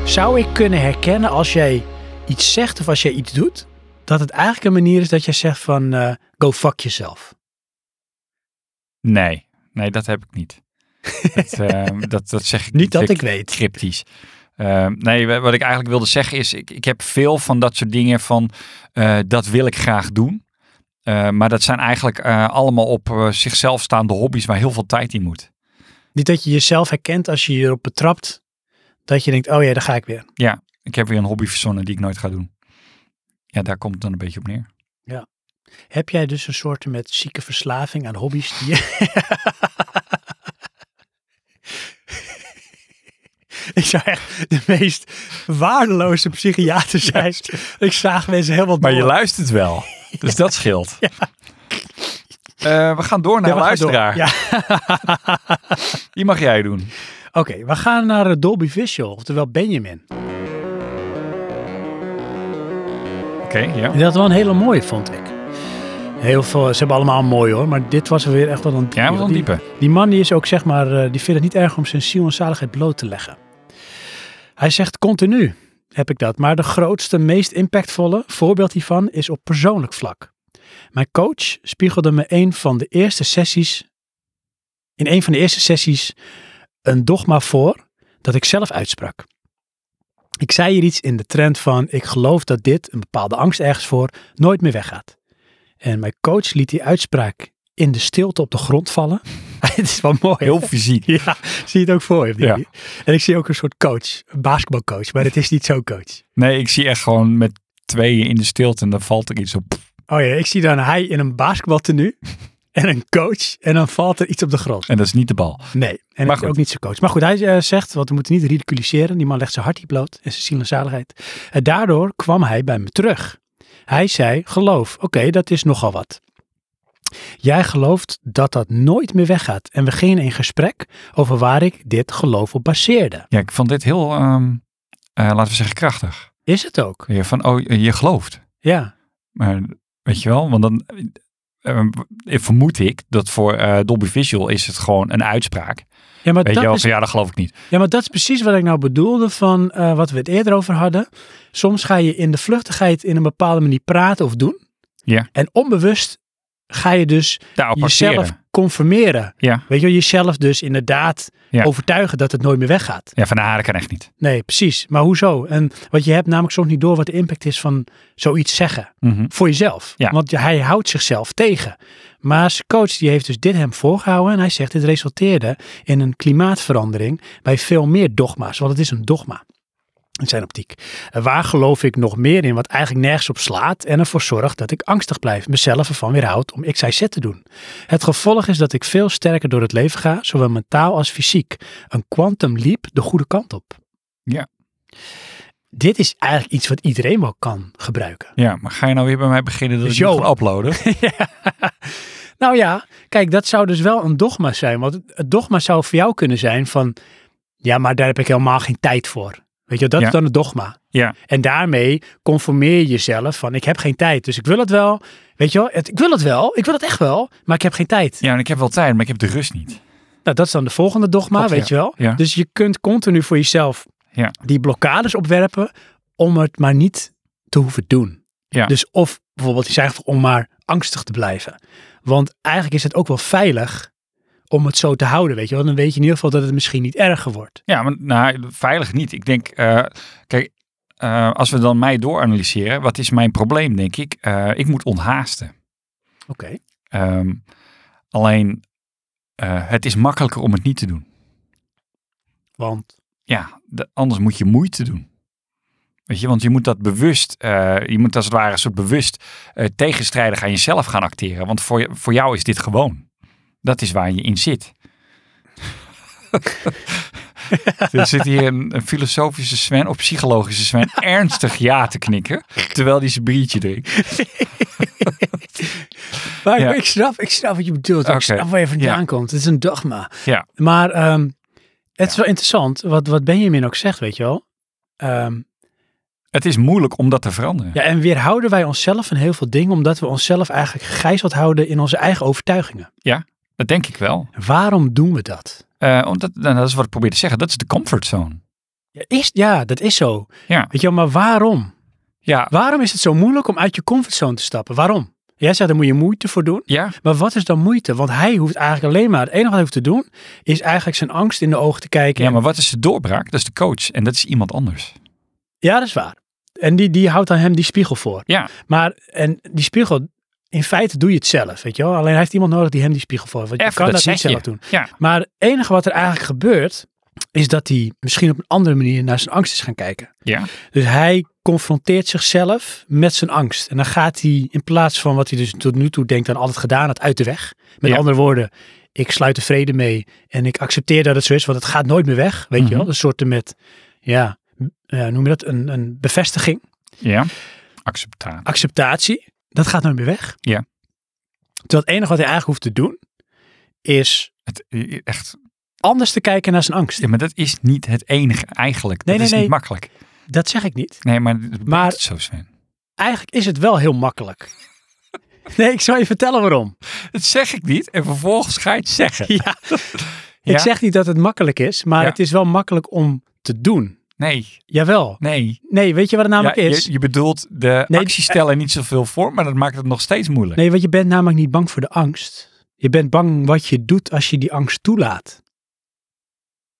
A: Zou ik kunnen herkennen als jij iets zegt of als jij iets doet, dat het eigenlijk een manier is dat jij zegt van eh, go fuck jezelf?
B: Nee, nee, dat heb ik niet. dat, ehm, dat, dat zeg ik
A: Niet dat ik
B: Ik-
A: weet.
B: cryptisch. Ehm, nee, wa- wat ik eigenlijk wilde zeggen is, ik, ik heb veel van dat soort dingen van, eh, dat wil ik graag doen. Eh, maar dat zijn eigenlijk eh, allemaal op eh, zichzelf staande hobby's waar heel veel tijd in moet.
A: Niet dat je jezelf herkent als je je erop betrapt, dat je denkt, oh ja, daar ga ik weer.
B: Ik heb weer een hobby verzonnen die ik nooit ga doen. Ja, daar komt het dan een beetje op neer.
A: Heb jij dus een soort met zieke verslaving aan hobby's die je... Ik zou echt de meest waardeloze psychiater zijn. Ik zag mensen helemaal
B: Maar je
A: door.
B: luistert wel. Dus dat scheelt. Eh, we gaan door naar
A: Ja, we gaan door.
B: luisteraar.
A: Ja.
B: Die mag jij doen.
A: Oké, we gaan naar eh, Dolby Visual, oftewel Benjamin.
B: Oké, ja.
A: En dat wel een hele mooie, vond ik. Heel veel, ze hebben allemaal mooi hoor, maar dit was er weer echt wel een
B: Ja, wel een diepe.
A: Die, die man die is ook zeg maar, eh, die vindt het niet erg om zijn ziel en zaligheid bloot te leggen. Hij zegt continu heb ik dat, maar de grootste, meest impactvolle voorbeeld hiervan is op persoonlijk vlak. Mijn coach spiegelde me een van de eerste sessies, in een van de eerste sessies, een dogma voor dat ik zelf uitsprak. Ik zei hier iets in de trend van: ik geloof dat dit, een bepaalde angst ergens voor, nooit meer weggaat. En mijn coach liet die uitspraak in de stilte op de grond vallen. Het is wel mooi.
B: Heel fysiek.
A: Ja, zie je het ook voor je? op die
B: Ja.
A: manier? En ik zie ook een soort coach, een basketbalcoach, maar het is niet zo'n coach.
B: Nee, ik zie echt gewoon met tweeën in de stilte en dan valt er iets op.
A: Oh ja, ik zie dan hij in een basketbaltenu en een coach en dan valt er iets op de grond.
B: En dat is niet de bal.
A: Nee, en
B: Maar
A: ik
B: goed.
A: ook niet zijn coach. Maar goed, hij eh, zegt, want we moeten niet ridiculiseren, die man legt zijn hart niet bloot en zijn ziel en zaligheid. En daardoor kwam hij bij me terug. Hij zei, geloof, oké, dat is nogal wat. Jij gelooft dat dat nooit meer weggaat. En we gingen in gesprek over waar ik dit geloof op baseerde.
B: Ja, ik vond dit heel, ehm, eh, laten we zeggen, krachtig.
A: Is het ook?
B: Je Van, oh, je gelooft.
A: Ja.
B: Maar weet je wel, want dan eh, eh, vermoed ik dat voor eh, Dolby Visual is het gewoon een uitspraak.
A: Ja maar,
B: Weet je
A: dat
B: wel,
A: is,
B: van, ja, dat geloof ik niet.
A: ja, maar dat is precies wat ik nou bedoelde van eh, wat we het eerder over hadden. Soms ga je in de vluchtigheid in een bepaalde manier praten of doen.
B: Ja.
A: En onbewust ga je dus
B: Daarop
A: jezelf
B: parkeren.
A: conformeren.
B: Ja.
A: Weet je, wel, jezelf dus inderdaad
B: Ja.
A: overtuigen dat het nooit meer weggaat.
B: Ja, van nou, dat kan echt niet.
A: Nee, precies. Maar hoezo? En wat je hebt namelijk soms niet door wat de impact is van zoiets zeggen.
B: Mhm.
A: Voor jezelf.
B: Ja.
A: Want hij houdt zichzelf tegen. Maar zijn coach die heeft dus dit hem voorgehouden. En hij zegt dit resulteerde in een klimaatverandering bij veel meer dogma's. Want het is een dogma. In zijn optiek. En waar geloof ik nog meer in wat eigenlijk nergens op slaat en ervoor zorgt dat ik angstig blijf, mezelf ervan weerhoud om X, Y, Z te doen. Het gevolg is dat ik veel sterker door het leven ga, zowel mentaal als fysiek. Een quantum leap de goede kant op.
B: Ja.
A: Dit is eigenlijk iets wat iedereen wel kan gebruiken.
B: Ja, maar ga je nou weer bij mij beginnen dat ik
A: Zo.
B: niet kan uploaden?
A: Nou ja, kijk, dat zou dus wel een dogma zijn. Want het dogma zou voor jou kunnen zijn van... Ja, maar daar heb ik helemaal geen tijd voor. Weet je, dat
B: Ja.
A: is dan het dogma.
B: Ja,
A: En daarmee conformeer je jezelf van ik heb geen tijd. Dus ik wil het wel. Weet je wel, het, ik wil het wel. Ik wil het echt wel. Maar ik heb geen tijd.
B: ja en ik heb wel tijd, maar ik heb de rust niet.
A: Nou, dat is dan de volgende dogma,
B: Klopt,
A: weet
B: ja.
A: je wel.
B: Ja.
A: Dus je kunt continu voor jezelf
B: Ja.
A: die blokkades opwerpen om het maar niet te hoeven doen.
B: Ja.
A: Dus of bijvoorbeeld, je zegt om maar angstig te blijven. Want eigenlijk is het ook wel veilig om het zo te houden, weet je wel. Dan weet je in ieder geval dat het misschien niet erger wordt.
B: Ja, maar nou, veilig niet. Ik denk, eh, kijk, eh, als we dan mij dooranalyseren, wat is mijn probleem, denk ik? Eh, ik moet onthaasten.
A: Oké.
B: Ehm, alleen, eh, het is makkelijker om het niet te doen.
A: Want,
B: Ja, de- anders moet je moeite doen. Weet je, want je moet dat bewust, eh, je moet als het ware een soort bewust eh, tegenstrijdig aan jezelf gaan acteren. Want voor, je- voor jou is dit gewoon. Dat is waar je in zit. er zit hier een, een filosofische Sven, of psychologische Sven, ernstig ja te knikken. Terwijl hij zijn biertje drinkt.
A: maar
B: Ja.
A: ik, snap, ik snap wat je bedoelt.
B: Oké.
A: Ik snap waar je vandaan
B: Ja.
A: komt. Het is een dogma.
B: Ja,
A: Maar ehm, het is wel interessant, wat, wat Benjamin ook zegt, weet je wel. Ehm,
B: het is moeilijk om dat te veranderen.
A: Ja, en weerhouden wij onszelf van heel veel dingen omdat we onszelf eigenlijk gegijzeld houden in onze eigen overtuigingen.
B: Dat denk ik wel.
A: Waarom doen we dat?
B: Eh, omdat, nou, dat is wat ik probeer te zeggen. Dat is de comfortzone.
A: Ja, is, ja dat is zo.
B: Ja.
A: Weet je wel, maar waarom?
B: Ja.
A: Waarom is het zo moeilijk om uit je comfortzone te stappen? Waarom? Jij zegt, daar moet je moeite voor doen.
B: Ja.
A: Maar wat is dan moeite? Want hij hoeft eigenlijk alleen maar, het enige wat hij hoeft te doen, is eigenlijk zijn angst in de ogen te kijken.
B: ja, maar wat is de doorbraak? Dat is de coach en dat is iemand anders.
A: Ja, dat is waar. En die, die houdt aan hem die spiegel voor.
B: Ja.
A: Maar, en die spiegel, in feite doe je het zelf, weet je wel. Alleen hij heeft iemand nodig die hem die spiegel voor. heeft, Want je
B: Even,
A: kan
B: dat
A: dat niet
B: zeg je.
A: zelf doen.
B: Ja.
A: Maar het enige wat er eigenlijk gebeurt, is dat hij misschien op een andere manier naar zijn angst is gaan kijken.
B: Ja.
A: Dus hij confronteert zichzelf met zijn angst. En dan gaat hij, in plaats van wat hij dus tot nu toe denkt aan altijd gedaan had, uit de weg. Met
B: Ja.
A: andere woorden, ik sluit de vrede mee en ik accepteer dat het zo is, want het gaat nooit meer weg. Weet
B: Mhm.
A: je wel, een soort met, ja, eh, noem je dat, een, een bevestiging
B: Ja. Acceptatie.
A: acceptatie, dat gaat nooit meer weg.
B: Ja.
A: Terwijl het enige wat hij eigenlijk hoeft te doen, is
B: Het, eh, echt.
A: anders te kijken naar zijn angst.
B: Ja, maar dat is niet het enige eigenlijk.
A: Nee,
B: dat
A: nee,
B: is
A: nee.
B: niet makkelijk.
A: Dat zeg ik niet.
B: Nee, maar, het
A: Maar-
B: maar zo zijn.
A: Eigenlijk is het wel heel makkelijk. Nee, ik zal je vertellen waarom.
B: Dat zeg ik niet. En vervolgens ga je het zeggen.
A: Ja.
B: Ja?
A: Ik zeg niet dat het makkelijk is, maar
B: Ja.
A: het is wel makkelijk om te doen.
B: Nee,
A: Jawel.
B: nee.
A: Nee, weet je wat het namelijk
B: Ja,
A: is?
B: je, je bedoelt de
A: Nou, Nee,
B: acties stellen niet zoveel voor, maar dat maakt het nog steeds moeilijk.
A: Nee, want je bent namelijk niet bang voor de angst. Je bent bang wat je doet als je die angst toelaat.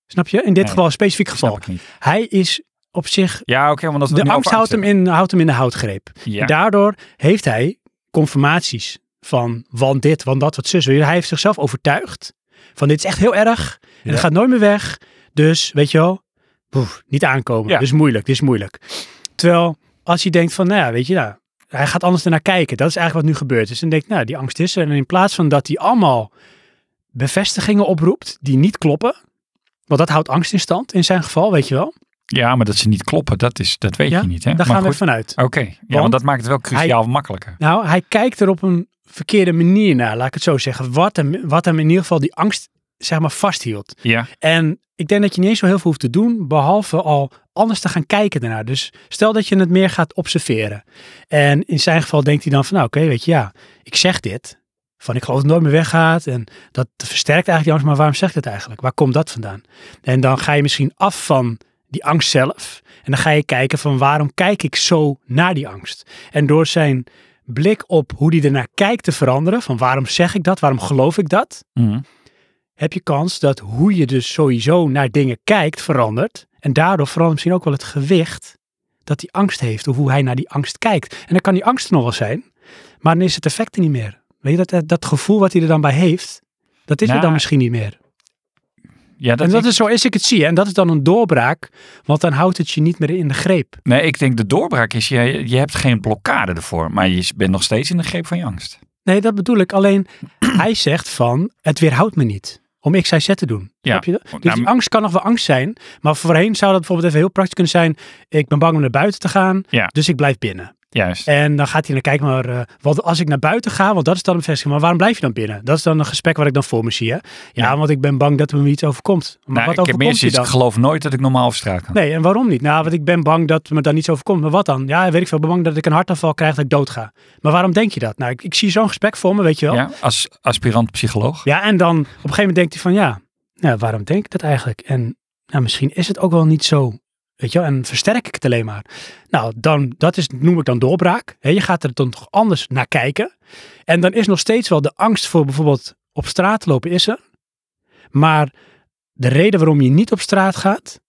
A: Snap je? In dit
B: Nee.
A: geval, een specifiek
B: Dat snap
A: geval.
B: ik niet.
A: Hij is op zich
B: Ja, oké, want dat we
A: De
B: het nu
A: angst
B: over
A: houdt hem, in, houdt hem in de houtgreep.
B: hebben. Ja.
A: Daardoor heeft hij confirmaties van want dit, want dat, wat zus. Hij heeft zichzelf overtuigd van dit is echt heel erg en
B: Ja.
A: het gaat nooit meer weg. Dus, weet je wel, boef, niet aankomen.
B: Ja.
A: Dit is moeilijk, dit is moeilijk. Terwijl als je denkt van, nou ja, weet je, nou, hij gaat anders ernaar kijken. Dat is eigenlijk wat nu gebeurd is. En denkt, nou, die angst is er. En in plaats van dat hij allemaal bevestigingen oproept die niet kloppen, want dat houdt angst in stand in zijn geval, weet je wel.
B: ja, maar dat ze niet kloppen, dat, is, dat weet
A: Ja,
B: je niet. Hè?
A: Daar
B: maar
A: gaan we
B: goed.
A: vanuit.
B: Oké, ja, want
A: Want
B: dat maakt het wel cruciaal makkelijker.
A: Nou, hij kijkt er op een verkeerde manier naar, laat ik het zo zeggen. Wat hem, wat hem in ieder geval die angst, zeg maar, vasthield.
B: Ja,
A: En ik denk dat je niet eens zo heel veel hoeft te doen, behalve al anders te gaan kijken daarnaar. Dus stel dat je het meer gaat observeren. En in zijn geval denkt hij dan van, nou, oké, weet je, ja, ik zeg dit. Van, ik geloof dat het nooit meer weggaat. En dat versterkt eigenlijk die angst, maar waarom zeg ik dat eigenlijk? Waar komt dat vandaan? En dan ga je misschien af van die angst zelf. En dan ga je kijken van, waarom kijk ik zo naar die angst? En door zijn blik op hoe hij ernaar kijkt te veranderen, van waarom zeg ik dat, waarom geloof ik dat?
B: Mhm.
A: heb je kans dat hoe je dus sowieso naar dingen kijkt verandert. En daardoor verandert misschien ook wel het gewicht dat die angst heeft of hoe hij naar die angst kijkt. En dan kan die angst er nog wel zijn, maar dan is het effect er niet meer. Weet je, dat, dat gevoel wat hij er dan bij heeft, dat is
B: Nou,
A: er dan misschien niet meer.
B: ja dat
A: en dat
B: ik-
A: is zo is ik het zie. En dat is dan een doorbraak, want dan houdt het je niet meer in de greep.
B: Nee, ik denk de doorbraak is, je, je hebt geen blokkade ervoor, maar je bent nog steeds in de greep van je angst.
A: Nee, dat bedoel ik. Alleen hij zegt van, het weerhoudt me niet om x, y, z te doen.
B: Ja.
A: Snap je dat? Dus
B: Nou,
A: die angst kan nog wel angst zijn. Maar voorheen zou dat bijvoorbeeld even heel praktisch kunnen zijn. Ik ben bang om naar buiten te gaan,
B: Ja.
A: dus ik blijf binnen.
B: Juist.
A: En dan gaat hij naar kijken, maar eh, wat als ik naar buiten ga, want dat is dan een bevestiging. Maar waarom blijf je dan binnen? Dat is dan een gesprek waar ik dan voor me zie. Hè? Ja,
B: Ja.
A: want ik ben bang dat er me iets overkomt. Maar
B: Nou,
A: wat
B: ik heb meer
A: overkomt je
B: zoiets,
A: dan?
B: ik geloof nooit dat ik normaal over straat kan.
A: Nee, en waarom niet? Nou, want ik ben bang dat me dan iets overkomt. Maar wat dan? Ja, weet ik veel. Ik ben bang dat ik een hartaanval krijg, dat ik doodga. Maar waarom denk je dat? Nou, ik, ik zie zo'n gesprek voor me, weet je wel.
B: Ja, als aspirant psycholoog.
A: Ja, en dan op een gegeven moment denkt hij van ja, nou, waarom denk ik dat eigenlijk? En nou, misschien is het ook wel niet zo, weet je wel, en versterk ik het alleen maar. Nou, dan, dat is, noem ik dan doorbraak. Hè, je gaat er dan toch anders naar kijken. En dan is nog steeds wel de angst voor bijvoorbeeld op straat lopen is er. Maar de reden waarom je niet op straat gaat,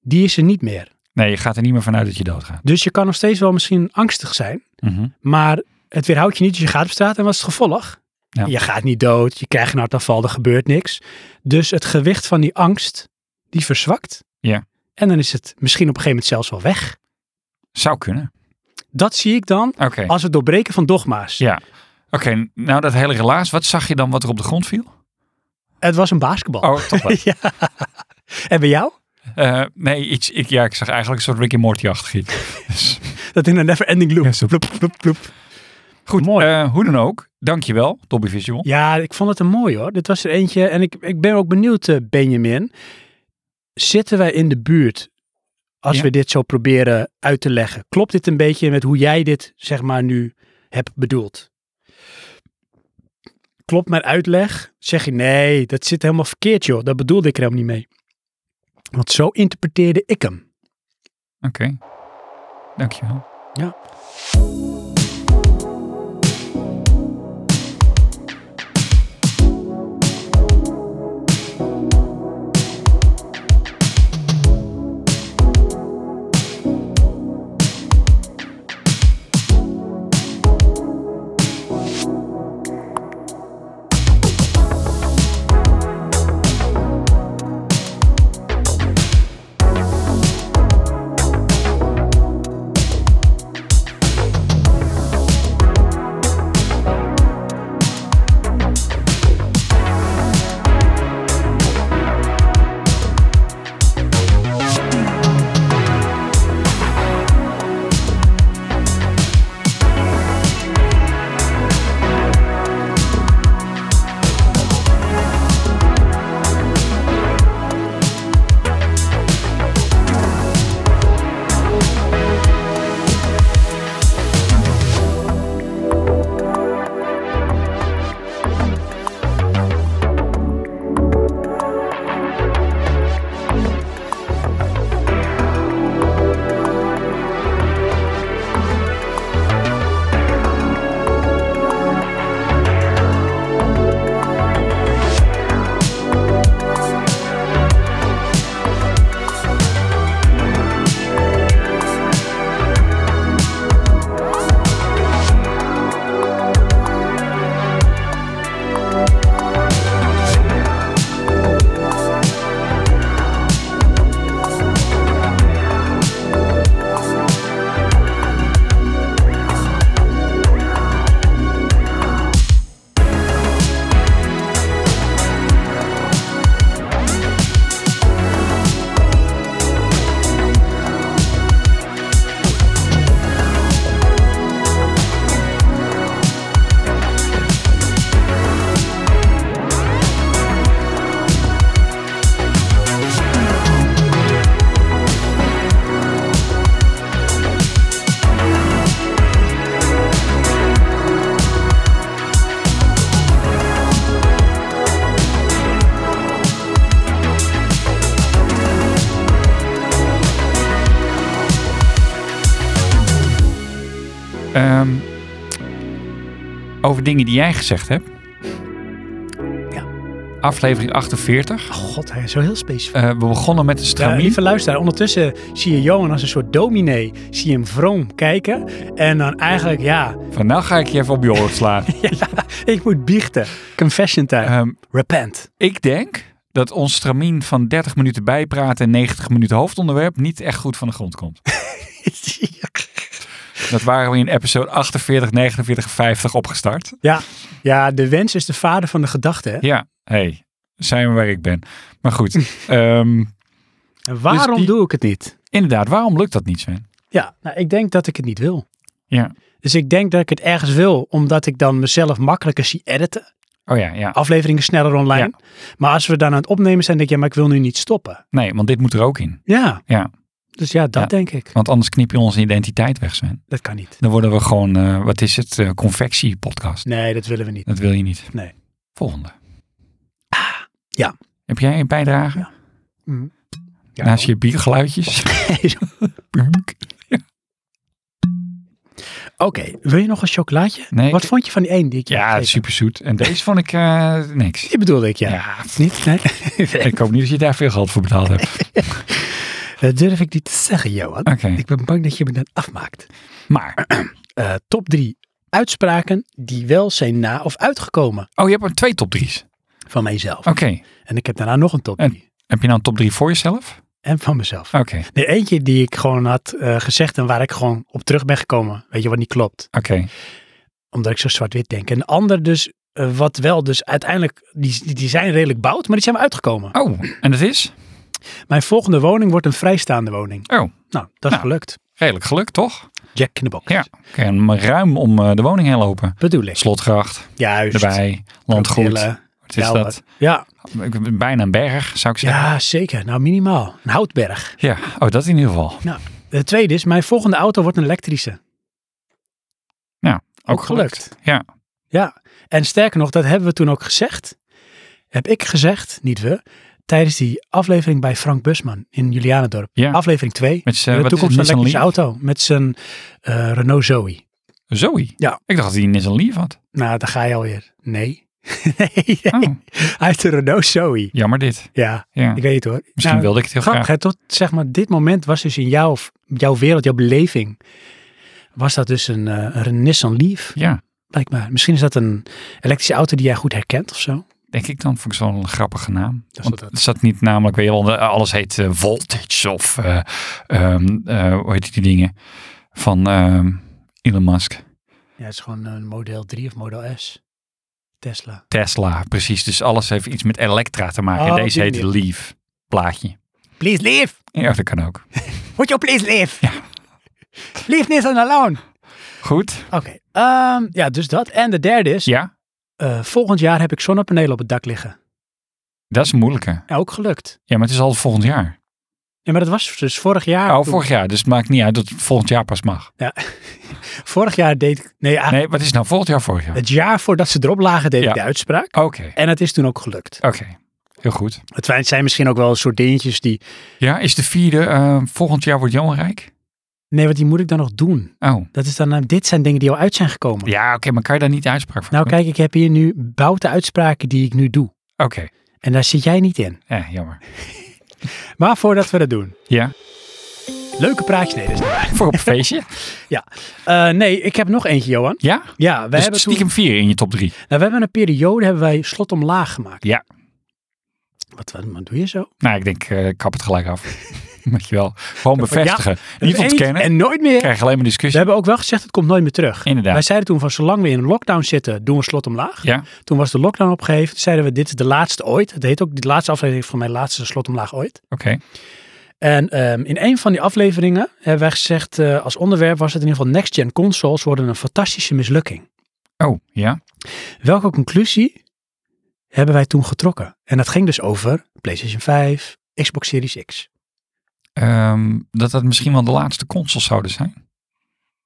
A: die is er niet meer.
B: Nee, je gaat er niet meer vanuit dat je doodgaat.
A: Dus je kan nog steeds wel misschien angstig zijn.
B: Mhm.
A: Maar het weerhoudt je niet, dus je gaat op straat en wat is het gevolg?
B: Ja.
A: Je gaat niet dood, je krijgt een hartaanval, er gebeurt niks. Dus het gewicht van die angst, die verzwakt.
B: Ja.
A: En dan is het misschien op een gegeven moment zelfs wel weg.
B: Zou kunnen.
A: Dat zie ik dan
B: Oké.
A: als het doorbreken van dogma's.
B: Ja. Oké, nou dat hele relaas, wat zag je dan wat er op de grond viel?
A: Het was een basketbal.
B: Oh, toch wel.
A: ja. En bij jou?
B: Eh, nee, iets, ik, ja, ik zag eigenlijk een soort Rick en Morty-achtig iets. Dus,
A: Dat in een never ending loop.
B: Ja, zo.
A: Ploep, ploep, ploep.
B: goed,
A: Mooi.
B: eh, hoe dan ook. Dankjewel, Dobby Visual.
A: Ja, ik vond het een mooi hoor. Dit was er eentje. En ik, ik ben ook benieuwd, eh, Benjamin. Zitten wij in de buurt als
B: Ja.
A: we dit zo proberen uit te leggen? Klopt dit een beetje met hoe jij dit, zeg maar, nu hebt bedoeld? Klopt mijn uitleg? Zeg je nee, dat zit helemaal verkeerd, joh. Dat bedoelde ik er helemaal niet mee. Want zo interpreteerde ik hem.
B: Oké. Dankjewel.
A: Ja.
B: Ehm, over dingen die jij gezegd hebt.
A: Ja.
B: Aflevering 48.
A: Oh god, hij is zo heel specifiek.
B: Eh, we begonnen met de
A: Ja,
B: stramien.
A: lieve luisteraar, ondertussen zie je Johan als een soort dominee, zie je hem vroom kijken. En dan eigenlijk, ja,
B: Van nou ga ik je even op je oor slaan.
A: ik moet biechten. Confession time.
B: Ehm,
A: Repent.
B: ik denk dat ons stramien van 30 minuten bijpraten en 90 minuten hoofdonderwerp niet echt goed van de grond komt. Dat waren we in episode 48, 49, 50 opgestart.
A: ja, ja, de wens is de vader van de gedachte. hè?
B: Ja, hey, zijn we waar ik ben. Maar goed, ehm,
A: En waarom
B: Dus die-
A: doe ik het niet?
B: inderdaad, waarom lukt dat niet, Sven?
A: Ja, nou, ik denk dat ik het niet wil.
B: Ja.
A: Dus ik denk dat ik het ergens wil, omdat ik dan mezelf makkelijker zie editen.
B: Oh ja, ja.
A: Afleveringen sneller online. Maar als we dan aan het opnemen zijn, denk ik, ja, maar ik wil nu niet stoppen.
B: Nee, want dit moet er ook in.
A: Ja.
B: Ja.
A: Dus ja, dat
B: Ja.
A: denk ik.
B: Want anders knip je onze identiteit weg, Sven.
A: Dat kan niet.
B: Dan worden we gewoon, eh, wat is het, eh, confectiepodcast.
A: Nee, dat willen we niet.
B: Dat wil je niet.
A: Nee. Ah,
B: Volgende.
A: ja.
B: Heb jij een bijdrage?
A: Ja. Mhm. Ja,
B: Naast Nou, je biergeluidjes? Punk.
A: Oké, wil je nog een chocolaatje?
B: Nee,
A: Wat
B: ik-
A: vond je van die één die ik je heb
B: ja, het is
A: gegeven?
B: super zoet. En deze vond ik eh, niks.
A: Die bedoelde ik, ja. Niet? Nee?
B: Ik hoop niet dat je daar veel geld voor betaald hebt.
A: dat Eh, durf ik niet te zeggen, Johan.
B: Oké.
A: Ik ben bang dat je me dan afmaakt.
B: Maar,
A: Eh, top drie uitspraken die wel zijn na of uitgekomen
B: oh, je hebt er twee top drie's.
A: van mijzelf.
B: Oké.
A: En ik heb daarna nog een top
B: En-
A: drie.
B: Heb je nou een top drie voor jezelf?
A: En van mezelf.
B: Oké.
A: De eentje die ik gewoon had eh, gezegd en waar ik gewoon op terug ben gekomen. Weet je wat niet klopt?
B: Oké.
A: Omdat ik zo zwart-wit denk. En de ander dus, eh, wat wel dus uiteindelijk, die, die zijn redelijk bout, maar die zijn wel uitgekomen.
B: Oh, en dat is?
A: Mijn volgende woning wordt een vrijstaande woning.
B: Oh,
A: Nou, dat is
B: Nou.
A: gelukt.
B: redelijk geluk, toch?
A: Jack in de box.
B: Ja. Oké, en maar ruim om eh, de woning heen lopen.
A: Bedoel ik.
B: Slotgracht,
A: Juist.
B: erbij, landgoed.
A: Krokodillen,
B: Wat is
A: kelder.
B: dat?
A: Ja.
B: Nou, Ik- Bijna een berg, zou ik zeggen.
A: ja, zeker. Nou, minimaal. Een houtberg.
B: Ja. Oh, dat in ieder geval.
A: Nou, de tweede is, mijn volgende auto wordt een elektrische.
B: Ook gelukt. Ja.
A: Ja. En sterker nog, dat hebben we toen ook gezegd. Heb ik gezegd, niet we, tijdens die aflevering bij Frank Busman in Julianendorp.
B: Ja.
A: Aflevering 2.
B: Met zijn
A: De
B: wat is het,
A: toekomst van een
B: Nissan
A: elektrische
B: Leaf?
A: auto. Met zijn eh, Renault Zoe.
B: Zoe?
A: Ja.
B: Ik dacht dat hij een Nissan Leaf had.
A: Nou, daar ga je alweer. Nee. nee.
B: Oh,
A: Hij heeft een Renault Zoe.
B: jammer dit.
A: Ja,
B: Ja.
A: ik weet het hoor.
B: Misschien
A: Nou,
B: wilde ik het heel
A: Grappig,
B: graag.
A: hè? Tot zeg maar, dit moment was dus in jouw, jouw wereld, jouw beleving, was dat dus een, eh, een Nissan Leaf,
B: Ja,
A: blijkbaar. Misschien is dat een elektrische auto die jij goed herkent of zo.
B: denk ik dan. Vond ik zo'n grappige naam.
A: is
B: Want
A: wat-
B: het zat niet namelijk, weet je wel, alles heet eh, Voltage of eh, ehm, eh, hoe heet die dingen van ehm, Elon Musk.
A: Ja, het is gewoon een Model 3 of Model S. Tesla.
B: Tesla, precies. Dus alles heeft iets met Elektra te maken.
A: Oh,
B: Deze
A: die
B: heet Leaf. Plaatje.
A: Please leave.
B: Ja, dat kan ook.
A: Would you please leave?
B: Ja.
A: Leave Nissan alone.
B: Goed.
A: Oké. ehm, ja, dus dat. En de derde is,
B: Ja,
A: eh, volgend jaar heb ik zonnepanelen op het dak liggen.
B: dat is een moeilijke.
A: Ja, ook gelukt.
B: Ja, maar het is al volgend jaar.
A: Ja, maar dat was dus vorig jaar.
B: Oh,
A: toen-
B: vorig jaar. Dus het maakt niet uit dat het volgend jaar pas mag.
A: Ja. vorig jaar deed ik... Nee, eigenlijk
B: Nee, wat is nou volgend jaar vorig jaar?
A: Ah. Het jaar voordat ze erop lagen, deed
B: Ja.
A: ik de uitspraak.
B: Oké,
A: En het is toen ook gelukt.
B: oké. Heel goed.
A: Het zijn- zijn misschien ook wel een soort dingetjes die...
B: Ja, is de vierde eh, volgend jaar wordt Johan Rijk?
A: Nee, want die moet ik dan nog doen.
B: Oh.
A: Dat is dan, eh, dit zijn dingen die al uit zijn gekomen.
B: Ja, oké, maar kan je daar niet uitspraak van
A: Nou
B: doen?
A: kijk, ik heb hier nu bouten uitspraken die ik nu doe.
B: Oké,
A: En daar zit jij niet in.
B: ja, jammer.
A: Maar voordat we dat doen.
B: Ja,
A: Leuke praatjes. Nee, dat is niet waar.
B: voor op een feestje.
A: Ja. Eh, nee, ik heb nog eentje, Johan.
B: Ja?
A: Ja, we,
B: dus
A: hebben, toen,
B: stiekem vier in je top drie.
A: nou, we hebben een periode hebben wij slot omlaag gemaakt.
B: Ja.
A: Wat, wat, wat doe je zo?
B: Nou, ik denk, eh, ik kap het gelijk af. Weet je wel. Gewoon bevestigen. niet
A: Eén
B: ontkennen.
A: En nooit meer.
B: Krijg je alleen maar
A: We
B: discussie.
A: hebben ook wel gezegd, het komt nooit meer terug.
B: Inderdaad.
A: Wij zeiden toen van zolang we in een lockdown zitten, doen we slot omlaag.
B: Ja,
A: Toen was de lockdown opgeheven. Toen zeiden we, dit is de laatste ooit. Het heet ook, die laatste aflevering van mijn laatste slot omlaag ooit.
B: oké.
A: En ehm, in een van die afleveringen hebben wij gezegd, eh, als onderwerp was het in ieder geval next-gen consoles worden een fantastische mislukking.
B: Oh, ja.
A: Welke conclusie hebben wij toen getrokken? En dat ging dus over PlayStation 5, Xbox Series X.
B: Ehm, dat dat misschien wel de laatste consoles zouden zijn.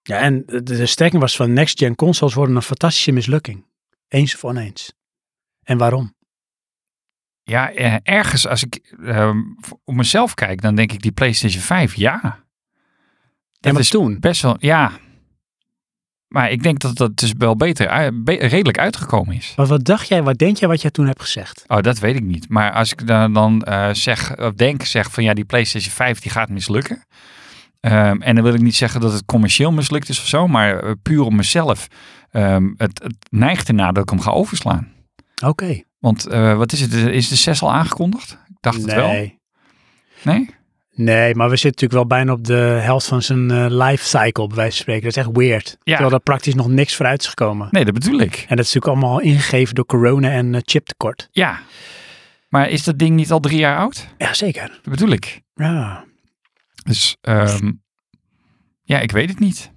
A: Ja, en de, de strekking was van next-gen consoles worden een fantastische mislukking. Eens of oneens. En waarom?
B: Ja, eh, ergens als ik ehm, voor- op mezelf kijk, dan denk ik die PlayStation 5, ja.
A: En
B: Dat
A: wat
B: is
A: toen?
B: best wel, ja. Maar ik denk dat dat dus wel beter, eh, be- redelijk uitgekomen is.
A: Maar wat dacht jij, wat denk jij wat jij toen hebt gezegd?
B: Oh, dat weet ik niet. Maar als ik dan, dan eh, zeg, of denk, zeg van ja, die PlayStation 5 die gaat mislukken. Ehm, en dan wil ik niet zeggen dat het commercieel mislukt is of zo, maar eh, puur op mezelf. Ehm, het, het neigt ernaar dat ik hem ga overslaan.
A: Oké.
B: Want eh, wat is het? Is de 6 al aangekondigd? Ik dacht het wel.
A: Nee.
B: Nee?
A: Nee, maar we zitten natuurlijk wel bijna op de helft van zijn eh, life cycle, bij wijze van spreken. Dat is echt weird. Terwijl er praktisch nog niks vooruit is gekomen.
B: Nee, dat bedoel ik.
A: En dat is natuurlijk allemaal ingegeven door corona en eh, chiptekort.
B: Ja. Maar is dat ding niet al drie jaar oud?
A: Jazeker.
B: Dat bedoel ik.
A: Ja.
B: Dus ehm, ja, ik weet het niet.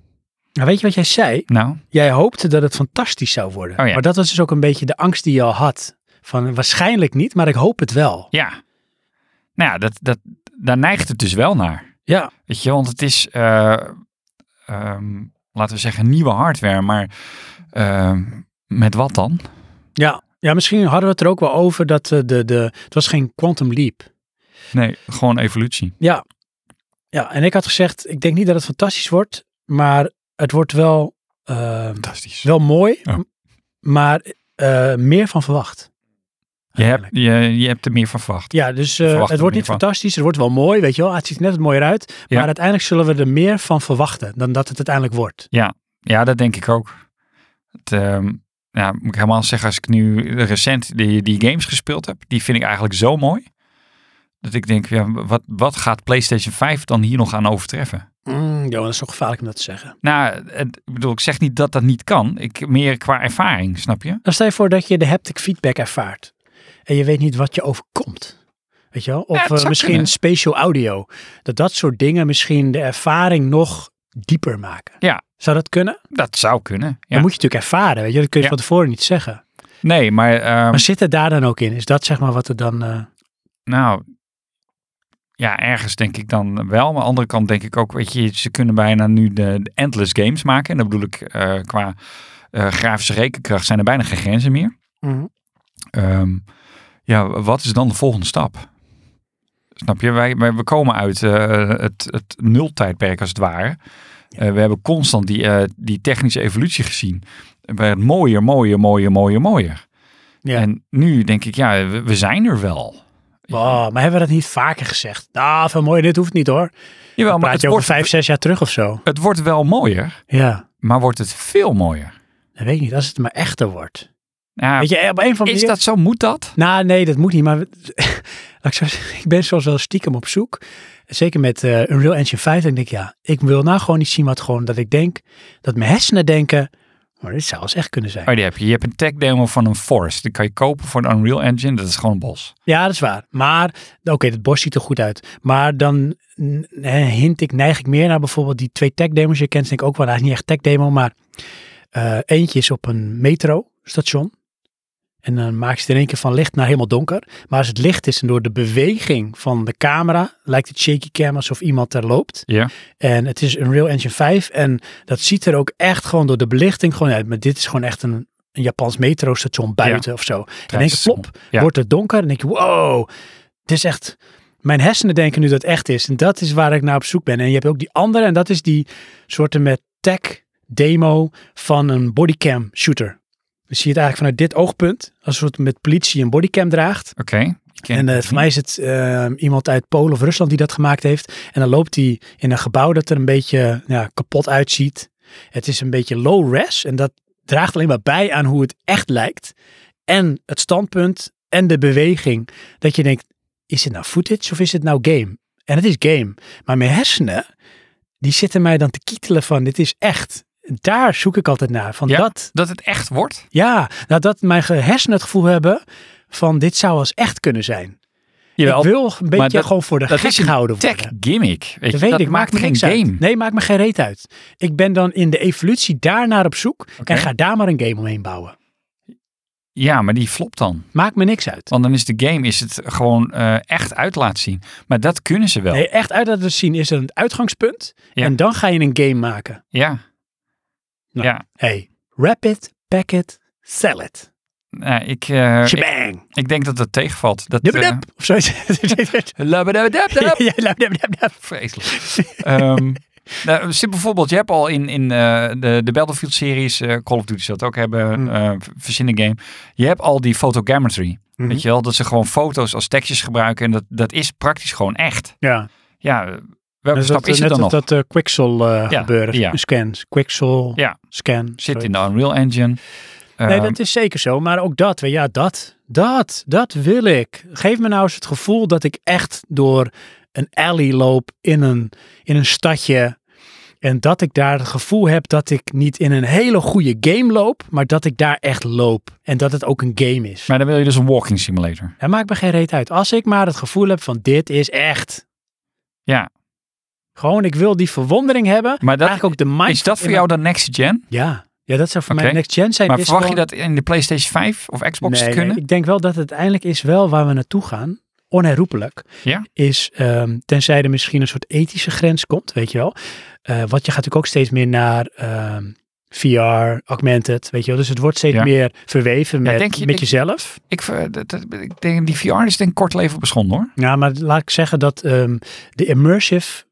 A: Nou, weet je wat jij zei?
B: Nou,
A: Jij hoopte dat het fantastisch zou worden.
B: Oh ja.
A: Maar dat was dus ook een beetje de angst die je al had. Van waarschijnlijk niet, maar ik hoop het wel.
B: ja. Nou ja, dat, dat, daar neigt het dus wel naar.
A: Ja.
B: Weet je, want het is, eh, ehm, laten we zeggen, nieuwe hardware, maar ehm, met wat dan?
A: Ja. Ja, misschien hadden we het er ook wel over dat eh, de, de, het was geen quantum leap.
B: Nee, gewoon evolutie.
A: Ja. Ja, en ik had gezegd, ik denk niet dat het fantastisch wordt, maar het wordt wel, eh,
B: Fantastisch.
A: wel mooi,
B: Ja.
A: m- maar eh, meer van verwacht.
B: Je hebt, je, je hebt er meer van verwacht.
A: Ja, dus eh,
B: Verwacht
A: het
B: er
A: wordt
B: meer
A: niet
B: van.
A: fantastisch, het wordt wel mooi, weet je wel. Ah, Het ziet er net wat mooier uit,
B: Ja.
A: maar uiteindelijk zullen we er meer van verwachten dan dat het uiteindelijk wordt.
B: Ja, dat denk ik ook. Het, ehm, ja, moet ik helemaal zeggen, als ik nu recent die, die games gespeeld heb, die vind ik eigenlijk zo mooi. Dat ik denk, ja, wat, wat gaat PlayStation 5 dan hier nog aan overtreffen?
A: Mm, Johan, dat is toch gevaarlijk om dat te zeggen.
B: Nou, het, ik bedoel, ik zeg niet dat dat niet kan. Ik, meer qua ervaring, snap je?
A: Dan stel je voor dat je de haptic feedback ervaart en je weet niet wat je overkomt. Weet je wel?
B: Ja,
A: Of
B: dat
A: eh,
B: zou
A: misschien
B: kunnen.
A: spatial audio. Dat dat soort dingen misschien de ervaring nog dieper maken.
B: Ja.
A: Zou dat kunnen?
B: Dat zou kunnen. Ja.
A: Dan moet je natuurlijk ervaren, weet je. Dat kun je
B: Ja.
A: van tevoren niet zeggen.
B: Nee, maar, ehm,
A: Maar zit het daar dan ook in? Is dat zeg maar wat er dan... eh,
B: nou, ja, ergens denk ik dan wel. Maar aan de andere kant denk ik ook, weet je, ze kunnen bijna nu de, de endless games maken. En dat bedoel ik, eh, qua eh, grafische rekenkracht zijn er bijna geen grenzen meer. Ehm, ja, wat is dan de volgende stap? Snap je? Wij, wij we komen uit eh, het, het nultijdperk als het ware. Eh, we hebben constant die, eh, die technische evolutie gezien. Het werd mooier, mooier, mooier, mooier, mooier.
A: Ja.
B: En nu denk ik, ja, we, we zijn er wel.
A: Wow, maar hebben we dat niet vaker gezegd? Nou, veel mooier, dit hoeft niet hoor.
B: Jawel,
A: Dan
B: maar
A: praat
B: het
A: je over
B: wordt,
A: vijf, zes jaar terug of zo.
B: het wordt wel mooier,
A: Ja,
B: maar wordt het veel mooier.
A: dat weet ik niet. Als het maar echter wordt.
B: Ja,
A: Weet je, op een van
B: is dat zo? Moet dat?
A: Nou, nee, dat moet niet. Maar we- laat ik, zo zeggen, ik ben soms wel stiekem op zoek. Zeker met eh, Unreal Engine 5. En ik denk, ja, ik wil nou gewoon niet zien wat gewoon dat ik denk. Dat mijn hersenen denken, maar dit zou eens echt kunnen zijn.
B: Oh, die heb je. je hebt een tech demo van een Forest. Die kan je kopen voor een Unreal Engine. Dat is gewoon een bos.
A: Ja, dat is waar. Maar, oké, dat bos ziet er goed uit. Maar dan mm, eh, hint ik, neig ik meer naar bijvoorbeeld die twee tech demos. Je kent ze denk ik ook wel, nou, niet echt tech demo, maar eh, eentje is op een metrostation. En dan maak je het in één keer van licht naar helemaal donker. Maar als het licht is en door de beweging van de camera lijkt het shaky cam alsof iemand er loopt.
B: Ja.
A: En het is een Real Engine 5 en dat ziet er ook echt gewoon door de belichting gewoon uit. Maar dit is gewoon echt een, een Japans metrostation buiten of zo. En denk ik,
B: Treinstation.
A: plop,
B: Ja.
A: wordt het donker. En denk je, wow, het is echt... Mijn hersenen denken nu dat het echt is. En dat is waar ik naar op zoek ben. En je hebt ook die andere. En dat is die soorten met tech demo van een bodycam shooter. Dus zie je het eigenlijk vanuit dit oogpunt. Als een soort met politie een bodycam draagt.
B: Oké. Ik ken
A: En eh,
B: het
A: voor mij is het eh, iemand uit Polen of Rusland die dat gemaakt heeft. En dan loopt hij in een gebouw dat er een beetje nou ja, kapot uitziet. Het is een beetje low res en dat draagt alleen maar bij aan hoe het echt lijkt. En het standpunt en de beweging. Dat je denkt, is het nou footage of is het nou game? En het is game. Maar mijn hersenen, die zitten mij dan te kietelen van dit is echt. Daar zoek ik altijd naar. Van
B: Ja.
A: dat,
B: Dat het echt wordt?
A: ja, nou dat mijn ge- hersenen het gevoel hebben van dit zou als echt kunnen zijn.
B: Jawel,
A: Ik wil een beetje
B: dat-
A: gewoon voor de
B: dat
A: gek
B: is een
A: gehouden worden.
B: tech gimmick. Weet je,
A: dat weet
B: dat
A: ik,
B: maakt
A: me
B: geen
A: niks
B: game.
A: Uit. Nee, maakt me geen reet uit. Ik ben dan in de evolutie daarnaar op zoek
B: Oké.
A: en ga daar maar een game omheen bouwen.
B: Ja, maar die flopt dan.
A: Maakt me niks uit.
B: Want dan is de game is het gewoon eh, echt uit laten zien. Maar dat kunnen ze wel.
A: Nee, echt uit dat te zien is er een uitgangspunt
B: Ja.
A: en dan ga je een game maken.
B: Ja.
A: Nou.
B: Ja,
A: Hey, wrap it, pack it, sell it.
B: nou, ik, eh, ik,
A: Shebang.
B: ik denk dat dat tegenvalt. Dat,
A: Dub
B: eh,
A: dub. Of zoiets.
B: labbadabadabdab.
A: Ja, dub, dub, dub.
B: Vreselijk. Ehm, Nou, zit bijvoorbeeld, je hebt al in, in eh, de, de Battlefield-series, eh, Call of Duty zal het ook hebben,
A: Mm.
B: eh, verzinnen game. Je hebt al die photogrammetry.
A: Mhm.
B: Weet je wel, dat ze gewoon foto's als tekstjes gebruiken en dat, dat is praktisch gewoon echt.
A: Ja,
B: Ja, eh, welke
A: net
B: stap
A: Dus dat,
B: is het
A: net
B: dan nog?
A: als dat eh, Quixel eh,
B: Ja,
A: gebeurt.
B: ja.
A: Scans. Quixel,
B: Ja.
A: scan.
B: Zit in de Unreal Engine.
A: Nee,
B: Ehm,
A: dat is zeker zo. Maar ook dat, weet je, ja, dat, dat, dat wil ik. Geef me nou eens het gevoel dat ik echt door een alley loop in een, in een stadje. En dat ik daar het gevoel heb dat ik niet in een hele goede game loop, maar dat ik daar echt loop. En dat het ook een game is.
B: Maar dan wil je dus een walking simulator.
A: Daar maakt me geen reet uit. Als ik maar het gevoel heb van dit is echt.
B: Ja.
A: Gewoon, ik wil die verwondering hebben.
B: Maar dat,
A: Eigenlijk ook de mind.
B: is dat voor jou dan next gen?
A: Ja. ja, dat zou voor mij
B: Oké.
A: next gen zijn.
B: Maar
A: Is
B: verwacht je
A: gewoon-
B: dat in de PlayStation 5 of Xbox
A: Nee,
B: te
A: nee,
B: kunnen?
A: ik denk wel dat het uiteindelijk is wel waar we naartoe gaan. Onherroepelijk.
B: Ja.
A: Is ehm, tenzij er misschien een soort ethische grens komt, weet je wel. Eh, want je gaat natuurlijk ook steeds meer naar ehm, VR, augmented, weet je wel. Dus het wordt steeds
B: Ja.
A: meer verweven
B: Ja,
A: met,
B: denk je-
A: met
B: denk-
A: jezelf.
B: Ik, ver- dat- dat- ik denk, die VR is denk ik kort leven beschonden hoor.
A: Ja, maar laat ik zeggen dat ehm, de immersive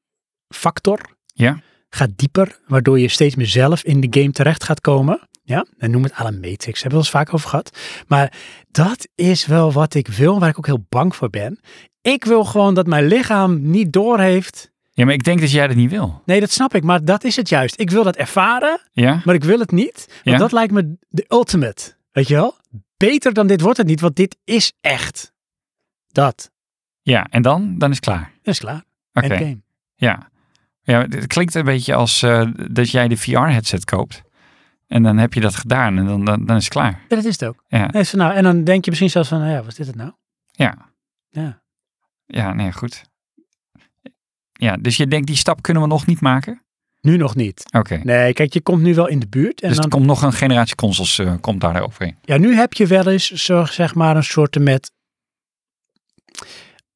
A: factor
B: Ja.
A: gaat dieper, waardoor je steeds meer zelf in de game terecht gaat komen. Ja, en noem het à la Matrix, hebben we wel eens vaak over gehad. Maar dat is wel wat ik wil, waar ik ook heel bang voor ben. Ik wil gewoon dat mijn lichaam niet doorheeft.
B: Ja, maar ik denk dat jij dat niet wil.
A: Nee, dat snap ik, maar dat is het juist. Ik wil dat ervaren,
B: Ja?
A: maar ik wil het niet. Want
B: Ja.
A: dat lijkt me de ultimate, weet je wel? Beter dan dit wordt het niet, want dit is echt. Dat.
B: Ja, en dan? Dan is het klaar.
A: Dat is klaar.
B: Oké,
A: Endgame.
B: ja. Ja, het klinkt een beetje als eh, dat jij de VR-headset koopt. En dan heb je dat gedaan en dan, dan, dan is het klaar.
A: Ja, dat is het ook.
B: Ja.
A: Nee, is van, nou, en dan denk je misschien zelfs van, nou ja, was dit het nou?
B: Ja.
A: Ja.
B: Ja, nee, goed. Ja, dus je denkt die stap kunnen we nog niet maken?
A: Nu nog niet.
B: Oké.
A: Nee, kijk, je komt nu wel in de buurt. En
B: dus
A: dan,
B: er komt nog een generatie consoles eh, komt daar overheen.
A: ja, nu heb je wel eens zo, zeg maar een soort met...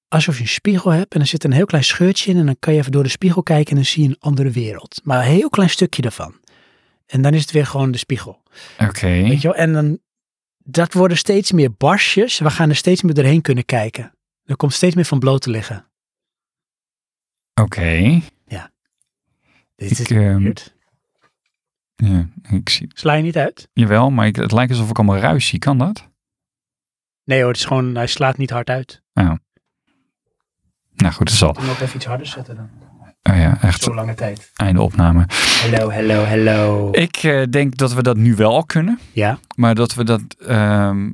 A: Alsof je een spiegel hebt en er zit een heel klein scheurtje in. En dan kan je even door de spiegel kijken en dan zie je een andere wereld. Maar een heel klein stukje daarvan. En dan is het weer gewoon de spiegel.
B: Oké.
A: Weet je wel? En dan, dat worden steeds meer barsjes. We gaan er steeds meer doorheen kunnen kijken. Er komt steeds meer van bloot te liggen.
B: Oké.
A: Dit
B: Ik,
A: is
B: ehm,
A: weird.
B: Ja, ik zie.
A: Sla je niet uit?
B: Jawel, maar ik, het lijkt alsof ik allemaal ruis zie. Kan dat?
A: Nee hoor, het is gewoon, hij slaat niet hard uit.
B: Nou goed, dat zal.
G: Moet nog even iets harder zetten dan.
B: Oh ja, echt
G: Zo lange tijd.
B: einde opname.
G: Hello, hello, hello.
B: Ik eh, denk dat we dat nu wel al kunnen.
A: Ja.
B: Maar dat we dat ehm,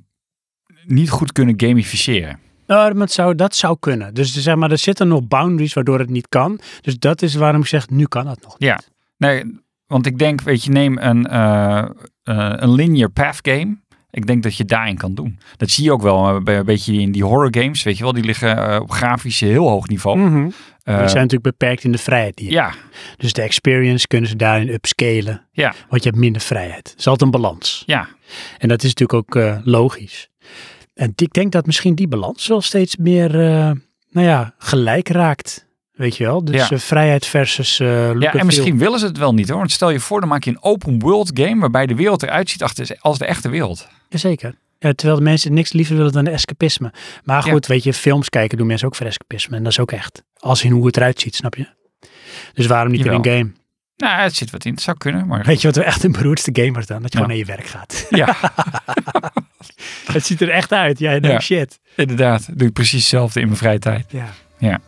B: niet goed kunnen gamificeren.
A: Nou, dat zou, dat zou kunnen. Dus zeg maar, er zitten nog boundaries waardoor het niet kan. Dus dat is waarom ik zeg, nu kan dat nog.
B: Ja. Nee, want ik denk, weet je, neem een, eh, eh, een linear path game. Ik denk dat je daarin kan doen. Dat zie je ook wel eh, bij een beetje in die horror games. Weet je wel, die liggen eh, op grafisch heel hoog niveau.
A: Hmm,
G: Mhm.
B: Eh,
A: Die zijn natuurlijk beperkt in de vrijheid. Die je
B: ja,
A: hebt. Dus de experience kunnen ze daarin upscalen.
B: Ja.
A: Want je hebt minder vrijheid. Het is altijd een balans.
B: ja.
A: En dat is natuurlijk ook eh, logisch. En ik denk dat misschien die balans wel steeds meer, eh, nou ja, gelijk raakt. Weet je wel? Dus
B: Ja.
A: eh, vrijheid versus eh
B: Ja,
A: look
B: en
A: and feel.
B: misschien willen ze het wel niet hoor. Want stel je voor, dan maak je een open world game waarbij de wereld eruit ziet achter- als de echte wereld.
A: Jazeker. Ja, terwijl de mensen niks liever willen dan escapisme. Maar
B: Ja.
A: goed, weet je, films kijken doen mensen ook voor escapisme. En dat is ook echt. Als in hoe het eruit ziet, snap je? Dus waarom niet in
B: Jawel.
A: een game?
B: Nou, het zit wat in. Het zou kunnen, maar
A: Weet je wat we echt een beroerdste gamers dan? Dat je
B: Ja.
A: gewoon naar je werk gaat.
B: ja,
A: het ziet er echt uit. Ja,
B: Ja.
A: denkt shit.
B: inderdaad. Doe ik precies hetzelfde in mijn vrije tijd.
A: Ja.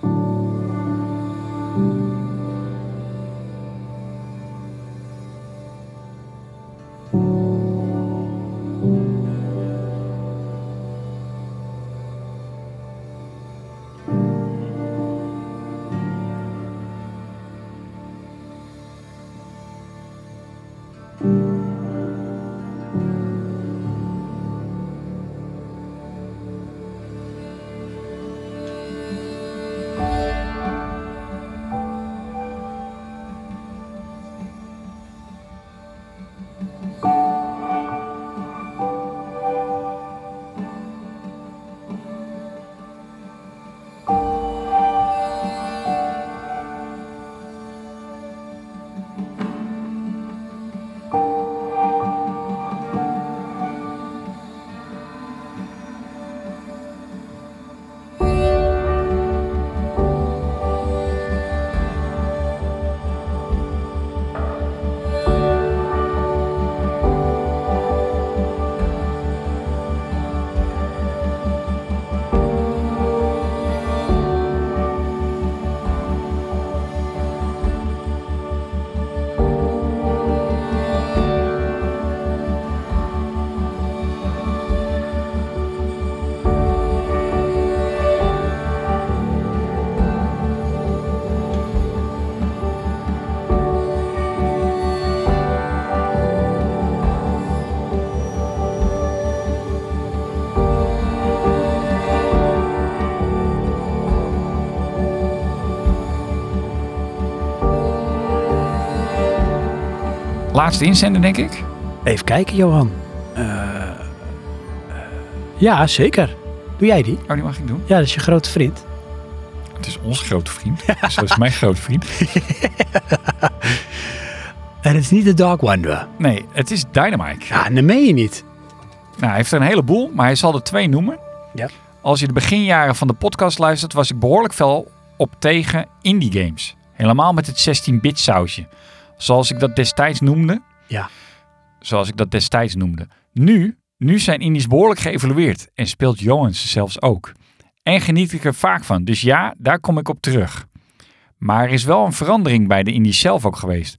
H: Thank
B: Laatste inzender, denk ik.
A: Even kijken, Johan. Eh, eh, ja, zeker. Doe jij die?
B: Oh, die mag ik doen.
A: Ja, dat is je grote vriend.
B: Het is onze grote vriend. Zo is mijn grote vriend.
A: En het is niet de Dark Wanderer.
B: Nee, het is Dynamite.
A: Ja, dat meen je niet.
B: Nou, hij heeft er een heleboel, maar hij zal er twee noemen.
A: Ja.
B: Als je de beginjaren van de podcast luistert, was ik behoorlijk fel op tegen indie games. Helemaal met het 16-bit sausje. Zoals ik dat destijds noemde.
A: Ja.
B: Zoals ik dat destijds noemde. Nu, nu zijn indies behoorlijk geëvalueerd en speelt Johan ze zelfs ook. En geniet ik er vaak van, dus ja, daar kom ik op terug. Maar er is wel een verandering bij de indies zelf ook geweest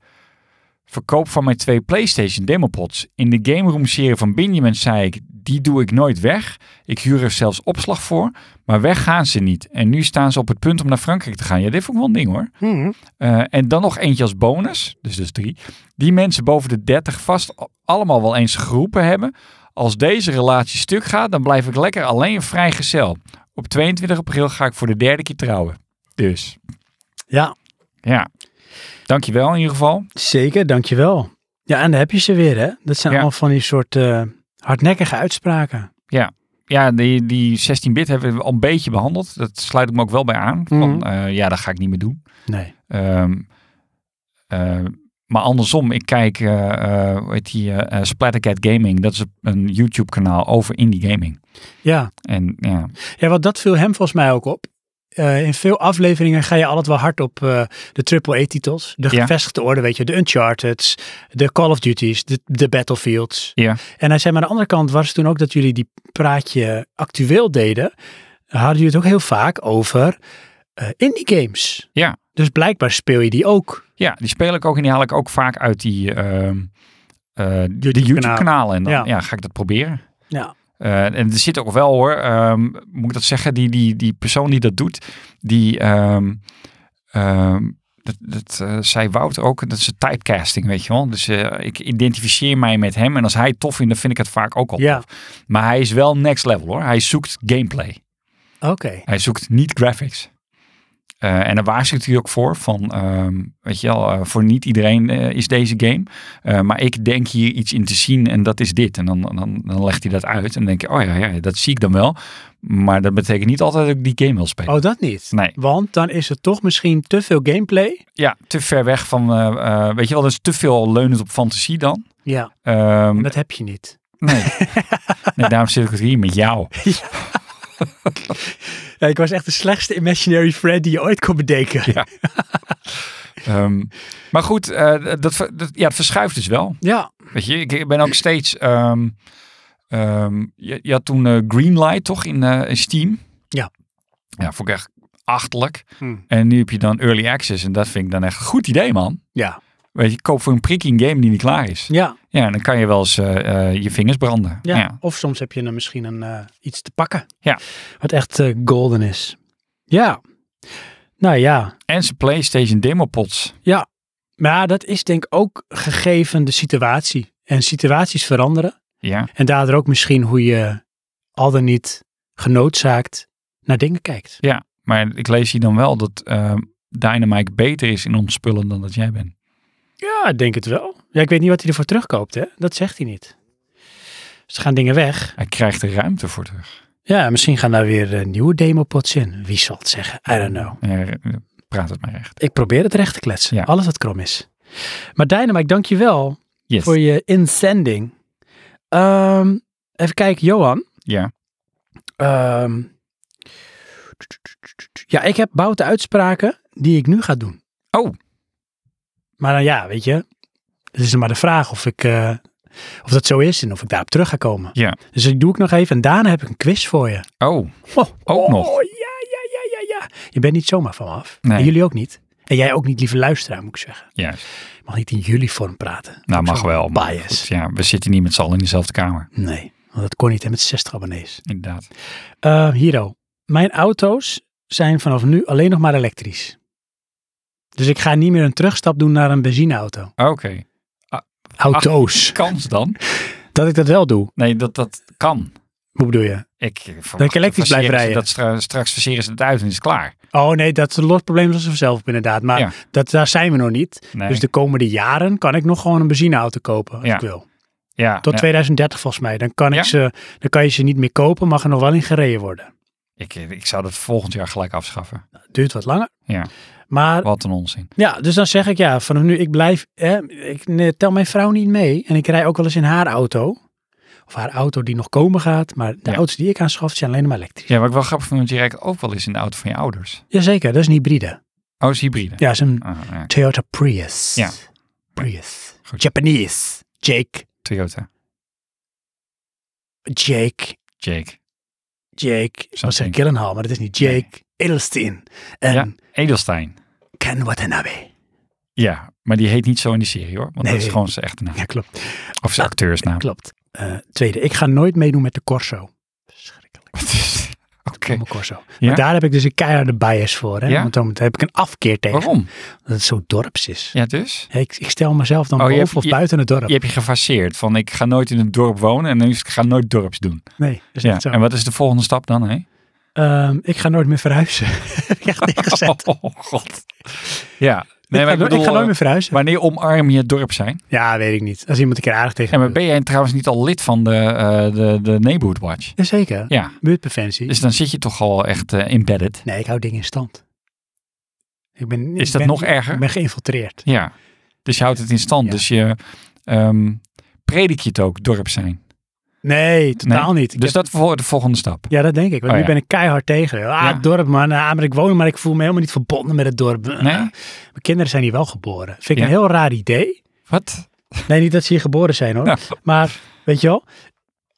B: verkoop van mijn twee PlayStation demopods. In de Game Room serie van Benjamin zei ik, die doe ik nooit weg. Ik huur er zelfs opslag voor, maar weg gaan ze niet. En nu staan ze op het punt om naar Frankrijk te gaan. Ja, dit vond ik wel een ding hoor. Eh, en dan nog eentje als bonus, dus dus drie. Die mensen boven de 30 vast allemaal wel eens geroepen hebben. Als deze relatie stuk gaat, dan blijf ik lekker alleen vrijgezel. Op 22 april ga ik voor de derde keer trouwen. Dus,
A: Ja,
B: ja. Dankjewel in ieder geval.
A: zeker. Dankjewel. Ja, en daar heb je ze weer, hè? Dat zijn
B: Ja.
A: allemaal van die soort eh, hardnekkige uitspraken.
B: Ja, die, die 16-bit hebben we al een beetje behandeld. Dat sluit ik me ook wel bij aan. Van, eh, ja, dat ga ik niet meer doen.
A: Nee.
B: Ehm, eh, maar andersom, ik kijk, eh eh, hoe heet die, eh, eh, Splattercat Gaming. Dat is een YouTube-kanaal over indie gaming.
A: Ja.
B: En ja,
A: Ja, want dat viel hem volgens mij ook op. Eh, in veel afleveringen ga je altijd wel hard op eh, de AAA-titels. De
B: Ja.
A: gevestigde orde, weet je. De Uncharted, de Call of Duties, de, de Battlefields.
B: Ja.
A: En hij zei, maar aan de andere kant was het toen ook dat jullie die praatje actueel deden. Hadden jullie het ook heel vaak over eh, indie games.
B: Ja.
A: Dus blijkbaar speel je die ook.
B: ja, die speel ik ook en die haal ik ook vaak uit die, ehm eh
A: YouTube-kanaal.
B: die YouTube-kanalen. En dan
A: Ja.
B: ja, ga ik dat proberen.
A: Ja.
B: Eh, en er zit ook wel hoor, ehm, moet ik dat zeggen, die, die, die persoon die dat doet, die, ehm, ehm, dat, dat eh, zei Wout ook, dat is een typecasting, weet je wel. Dus eh, ik identificeer mij met hem en als hij het tof vindt, dan vind ik het vaak ook al
A: Ja.
B: tof. Maar hij is wel next level hoor, hij zoekt gameplay.
A: Oké.
B: Hij zoekt niet graphics. Eh, en daar waarschuwt hij ook voor van, ehm, weet je wel, eh, voor niet iedereen eh, is deze game. Eh, maar ik denk hier iets in te zien en dat is dit. En dan, dan, dan legt hij dat uit en dan denk je, oh ja, ja, dat zie ik dan wel. Maar dat betekent niet altijd dat ik die game wil spelen.
A: Oh, dat niet.
B: Nee,
A: Want dan is er toch misschien te veel gameplay.
B: ja, te ver weg van, eh, eh, weet je wel, dat is te veel leunend op fantasie dan.
A: Ja.
B: Ehm,
A: Dat heb je niet.
B: nee. nee, daarom zit ik het hier met jou.
A: Ja, ik was echt de slechtste imaginary friend die je ooit kon bedenken. Ja.
B: Ehm, maar goed, eh, dat, ver- dat, ja, het verschuift dus wel.
A: Ja.
B: Weet je, ik- ik ben ook steeds. ehm, ehm, je, je had toen eh, Greenlight toch in, eh, in Steam?
A: Ja.
B: Ja, vond ik echt achterlijk.
A: Hmm.
B: En nu heb je dan Early Access en dat vind ik dan echt een goed idee, man.
A: Ja.
B: Weet je, koop voor een prikkie een game die niet klaar is. Ja, en dan kan je wel eens eh, eh, je vingers branden.
A: Ja,
B: ja.
A: of soms heb je dan misschien een, eh, iets te pakken.
B: Ja.
A: Wat echt eh, golden is. Ja. Nou ja.
B: En zijn PlayStation demopods.
A: Maar dat is denk ik ook gegeven de situatie. En situaties veranderen.
B: Ja.
A: En daardoor ook misschien hoe je al dan niet genoodzaakt naar dingen kijkt.
B: Maar ik lees hier dan wel dat ehm Dynamite beter is in ontspullen dan dat jij bent.
A: Ja, ik denk het wel. Ja, ik weet niet wat hij ervoor terugkoopt, hè. Dat zegt hij niet. Ze gaan dingen weg.
B: Hij krijgt er ruimte voor terug.
A: Ja, misschien gaan daar weer eh, nieuwe demopots in. Wie zal het zeggen? I don't know.
B: Ja, praat het maar echt.
A: Ik probeer het recht te kletsen.
B: Ja.
A: Alles wat krom is. Maar Dynamite, dank je wel
B: Yes.
A: voor je inzending. Ehm, even kijken, Johan.
B: Ja.
A: Ehm, ja, ik heb bouten uitspraken die ik nu ga doen.
B: Oh.
A: Maar dan ja, weet je. Het is maar de vraag of, ik, eh, of dat zo is en of ik daarop terug ga komen.
B: Ja.
A: Dus ik doe ik nog even en daarna heb ik een quiz voor je.
B: Oh,
A: Oh,
B: Ook
A: oh,
B: nog.
A: Ja, ja, ja, ja, ja. Je bent niet zomaar van me af.
B: Nee.
A: En jullie ook niet. En jij ook niet, lieve luisteraar, moet ik zeggen.
B: juist.
A: Ik mag niet in jullie vorm praten.
B: Nou,
A: Ook
B: mag
A: zo'n
B: wel. maar
A: bias.
B: goed, Dus ja, we zitten niet met z'n allen in dezelfde kamer.
A: Nee, want dat kon niet hè, met 60 abonnees.
B: Inderdaad.
A: Eh Hiro, mijn auto's zijn vanaf nu alleen nog maar elektrisch. Dus ik ga niet meer een terugstap doen naar een benzineauto.
B: Ah, Oké.
A: Auto's.
B: Kans dan?
A: Dat ik dat wel doe.
B: Nee, dat, dat kan.
A: Hoe bedoel je?
B: Ik eh, verwacht-
A: Dan kan elektrisch blijven
B: verseren ze
A: rijden.
B: Dat stra- straks verseren ze het uit en is het klaar.
A: Oh nee, dat is een los probleem zoals vanzelf op inderdaad. Maar
B: Ja.
A: dat, daar zijn we nog niet.
B: Nee.
A: Dus de komende jaren kan ik nog gewoon een benzineauto kopen als
B: Ja.
A: ik wil.
B: ja,
A: Tot
B: ja.
A: 2030 volgens mij. Dan kan,
B: Ja?
A: ik ze, dan kan je ze niet meer kopen, mag er nog wel in gereden worden.
B: Ik, eh, ik zou dat volgend jaar gelijk afschaffen.
A: Duurt wat langer.
B: Ja.
A: Maar
B: Wat een onzin.
A: ja, dus dan zeg ik ja, vanaf nu, ik blijf, hè, ik nee, tel mijn vrouw niet mee. En ik rij ook wel eens in haar auto. Of haar auto die nog komen gaat. Maar de
B: Ja.
A: auto's die ik aanschaf zijn alleen maar elektrisch.
B: Ja, wat ik wel grappig vind, want je rijdt ook wel eens in de auto van je ouders.
A: Jazeker, dat is een hybride.
B: Oh, is hybride.
A: Ja, dat is een
B: Ah, ja,
A: Toyota Prius.
B: Ja.
A: Prius.
B: Goed.
A: Japanese. Jake.
B: Toyota.
A: Jake.
B: Jake.
A: Jake. Ik was
B: Something.
A: zeggen Gyllenhaal, maar dat is niet Jake. Edelstein. En
B: Ja, Edelstein.
A: Ken Watanabe.
B: Ja, maar die heet niet zo in die serie hoor. Want
A: Nee.
B: dat is gewoon zijn echte naam.
A: Ja, klopt.
B: Of zijn acteursnaam.
A: Klopt. Eh, tweede, ik ga nooit meedoen met de Corso. Verschrikkelijk.
B: Oké.
A: Mijn Corso.
B: Ja?
A: Maar daar heb ik dus een keiharde bias voor. Hè?
B: Ja?
A: Want dan heb ik een afkeer tegen.
B: Waarom?
A: Dat het zo dorps is.
B: Ja, dus?
A: Ja, Ik, ik stel mezelf dan
B: Oh, je
A: boven
B: hebt-
A: of
B: je-
A: buiten het dorp.
B: Je hebt je gefaseerd van ik ga nooit in een dorp wonen en nu is ik ga nooit dorps doen.
A: nee, dat is
B: Ja.
A: niet zo.
B: En wat is de volgende stap dan? Hè?
A: Ehm, ik ga nooit meer verhuizen. Heb ik echt neergezet.
B: Oh god. Ja. Nee,
A: ik,
B: maar
A: ga
B: ik
A: nooit-
B: bedoel, eh,
A: ik ga nooit meer verhuizen.
B: wanneer omarm je het dorp zijn?
A: Ja, weet ik niet. Als iemand een keer aardig tegen
B: En
A: me
B: maar ben jij trouwens niet al lid van de, eh, de, de Neighborhood Watch?
A: Jazeker.
B: Ja.
A: Buurtpreventie.
B: Dus dan zit je toch al echt eh, embedded.
A: Nee, ik hou dingen in stand. Ik ben,
B: Is
A: ik
B: dat
A: ben-
B: nog erger?
A: Ik ben geïnfiltreerd.
B: Ja. Dus je houdt het in stand.
A: Ja.
B: Dus je ehm, predik je het ook, dorp zijn.
A: Nee, totaal
B: Nee?
A: niet. Ik
B: Dus
A: heb-
B: dat voor de volgende stap.
A: Ja, dat denk ik. Want
B: Oh,
A: nu
B: ja.
A: ben ik keihard tegen. Ah,
B: Ja.
A: het dorp, man. Ah, maar ik woon, maar ik voel me helemaal niet verbonden met het dorp. Ah,
B: Nee?
A: Mijn kinderen zijn hier wel geboren. Vind ik
B: Ja.
A: een heel raar idee.
B: Wat?
A: Nee, niet dat ze hier geboren zijn hoor.
B: Nou.
A: Maar weet je wel,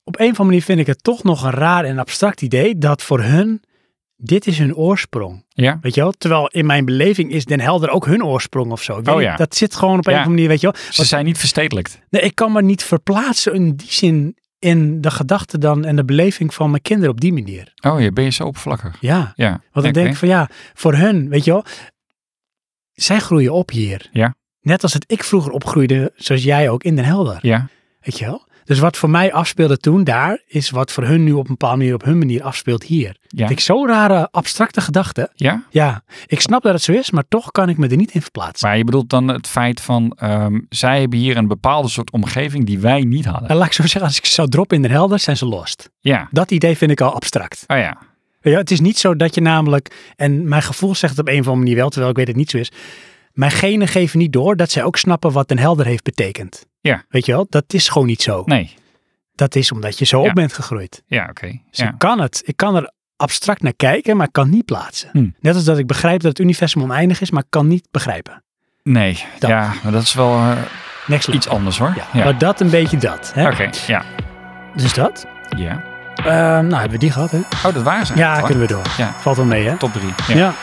A: op een of andere manier vind ik het toch nog een raar en abstract idee dat voor hun, dit is hun oorsprong.
B: Ja?
A: Weet je wel? Terwijl in mijn beleving is Den Helder ook hun oorsprong of zo. Ik weet
B: Oh
A: niet,
B: ja.
A: Dat zit gewoon op een
B: Ja.
A: of andere manier, weet je wel.
B: Ze zijn niet verstedelijkt.
A: Nee, ik kan me niet verplaatsen in die zin in de gedachte dan en de beleving van mijn kinderen op die manier.
B: Oh, je ben je zo oppervlakkig.
A: Ja,
B: Ja.
A: want dan
B: Oké.
A: denk ik van ja, voor hun, weet je wel, zij groeien op hier.
B: Ja.
A: Net als het ik vroeger opgroeide, zoals jij ook, in Den Helder.
B: Ja.
A: Weet je wel? Dus wat voor mij afspeelde toen daar, is wat voor hun nu op een bepaalde manier op hun manier afspeelt hier.
B: Ja.
A: Vind ik zo'n rare abstracte gedachte.
B: Ja?
A: Ja, ik snap dat het zo is, maar toch kan ik me er niet in verplaatsen.
B: Maar je bedoelt dan het feit van, ehm, zij hebben hier een bepaalde soort omgeving die wij niet hadden.
A: En laat ik zo zeggen, als ik ze zou droppen in Den Helder, zijn ze lost.
B: Ja.
A: Dat idee vind ik al abstract.
B: Oh ja.
A: Weet je wel, het is niet zo dat je namelijk, en mijn gevoel zegt het op een of andere manier wel, terwijl ik weet dat het niet zo is. Mijn genen geven niet door dat zij ook snappen wat Den Helder heeft betekend.
B: Ja.
A: Weet je wel, dat is gewoon niet zo.
B: Nee.
A: Dat is omdat je zo
B: Ja.
A: op bent gegroeid.
B: Ja, oké.
A: Dus
B: Ja.
A: ik kan het. Ik kan er abstract naar kijken, maar ik kan niet plaatsen.
B: Hmm.
A: Net als dat ik begrijp dat het universum oneindig is, maar ik kan niet begrijpen.
B: Nee.
A: Dat.
B: Ja, maar dat is wel eh,
A: Next level.
B: iets anders hoor.
A: Ja,
B: Ja.
A: Maar dat een beetje dat. Hè?
B: Oké. Ja.
A: Dus dat.
B: Ja.
A: Ehm, nou, hebben we die gehad, hè?
B: Oh, dat waren ze.
A: Ja,
B: Wacht.
A: kunnen we door.
B: Ja.
A: Valt wel mee, hè?
B: Top drie. Ja.
A: Ja.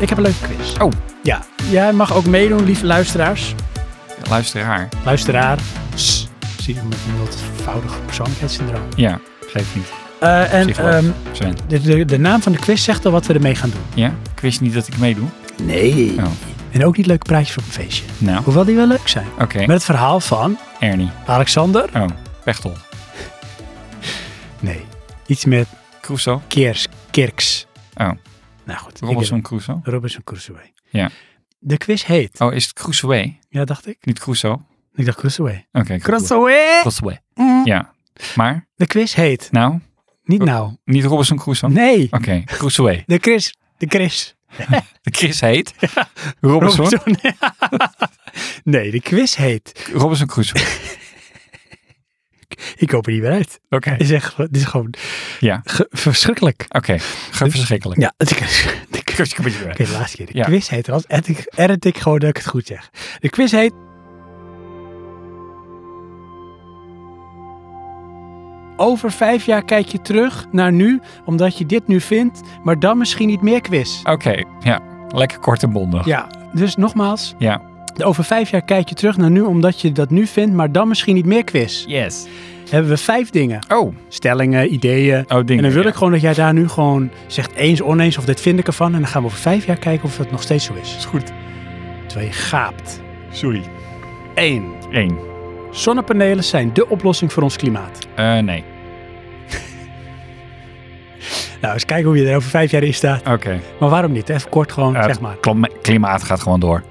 A: Ik heb een leuke quiz.
B: Oh.
A: Ja. Jij mag ook meedoen, lieve luisteraars.
B: Luisteraar.
A: Luisteraar. Sst. Zie je met een multivoudig persoonlijkheidssyndroom.
B: Ja. Geef niet.
A: Eh, en
B: Psycholoog.
A: ehm,
B: Sven.
A: de, de, de naam van de quiz zegt al wat we ermee gaan doen.
B: Ja? Ik wist niet dat ik meedoe.
A: Nee.
B: Oh.
A: En ook niet leuke praatjes op een feestje.
B: Nou.
A: Hoewel die wel leuk zijn.
B: Oké.
A: Met het verhaal van
B: Ernie.
A: Alexander.
B: Oh. Pechtel.
A: Nee. Iets met
B: Crusoe.
A: Keers, Kirks.
B: Oh.
A: Nou goed. ik
B: Robinson Crusoe.
A: heb- Robinson Crusoe.
B: Ja.
A: De quiz heet.
B: Oh, is het Crusoe?
A: Ja, dacht ik.
B: Niet Crusoe? Oké.
A: Ik dacht Crusoe.
B: Crusoe. Crusoe. Ja. Maar?
A: De quiz heet.
B: Nou?
A: Niet
B: Ro-
A: nou.
B: Niet Robinson Crusoe?
A: Nee.
B: Oké, Crusoe.
A: De Chris. De Chris.
B: De Chris heet Robinson, Robinson.
A: Robinson. nee, de quiz heet.
B: Crusoe.
A: Ik hoop er niet meer uit.
B: Oké,
A: Het is echt, het is gewoon
B: Ja.
A: ge- verschrikkelijk.
B: oké. Ge- verschrikkelijk.
A: Ja, het is- ik-
B: Kus, kus, kus.
A: Oké, de laatste keer. De
B: Ja.
A: quiz heet er als edit ik, edit ik gewoon dat ik het goed zeg. De quiz heet... Over vijf jaar kijk je terug naar nu, omdat je dit nu vindt, maar dan misschien niet meer quiz.
B: Oké, ja. Lekker kort en bondig.
A: Ja, dus nogmaals.
B: Ja.
A: de Over vijf jaar kijk je terug naar nu, omdat je dat nu vindt, maar dan misschien niet meer quiz.
B: Yes.
A: Hebben we vijf dingen.
B: Oh,
A: Stellingen, ideeën.
B: oh ding.
A: En dan wil ik gewoon dat jij daar nu gewoon zegt eens, oneens of dit vind ik ervan. En dan gaan we over vijf jaar kijken of dat nog steeds zo is.
B: Is goed.
A: Twee, gaapt.
B: Sorry.
A: 1.
B: Eén.
A: Zonnepanelen zijn de oplossing voor ons klimaat.
B: Eh, nee.
A: Nou, eens kijken hoe je er over vijf jaar in staat.
B: Oké.
A: Maar waarom niet? Even kort gewoon,
B: Eh,
A: zeg maar.
B: klima- Klimaat gaat gewoon door.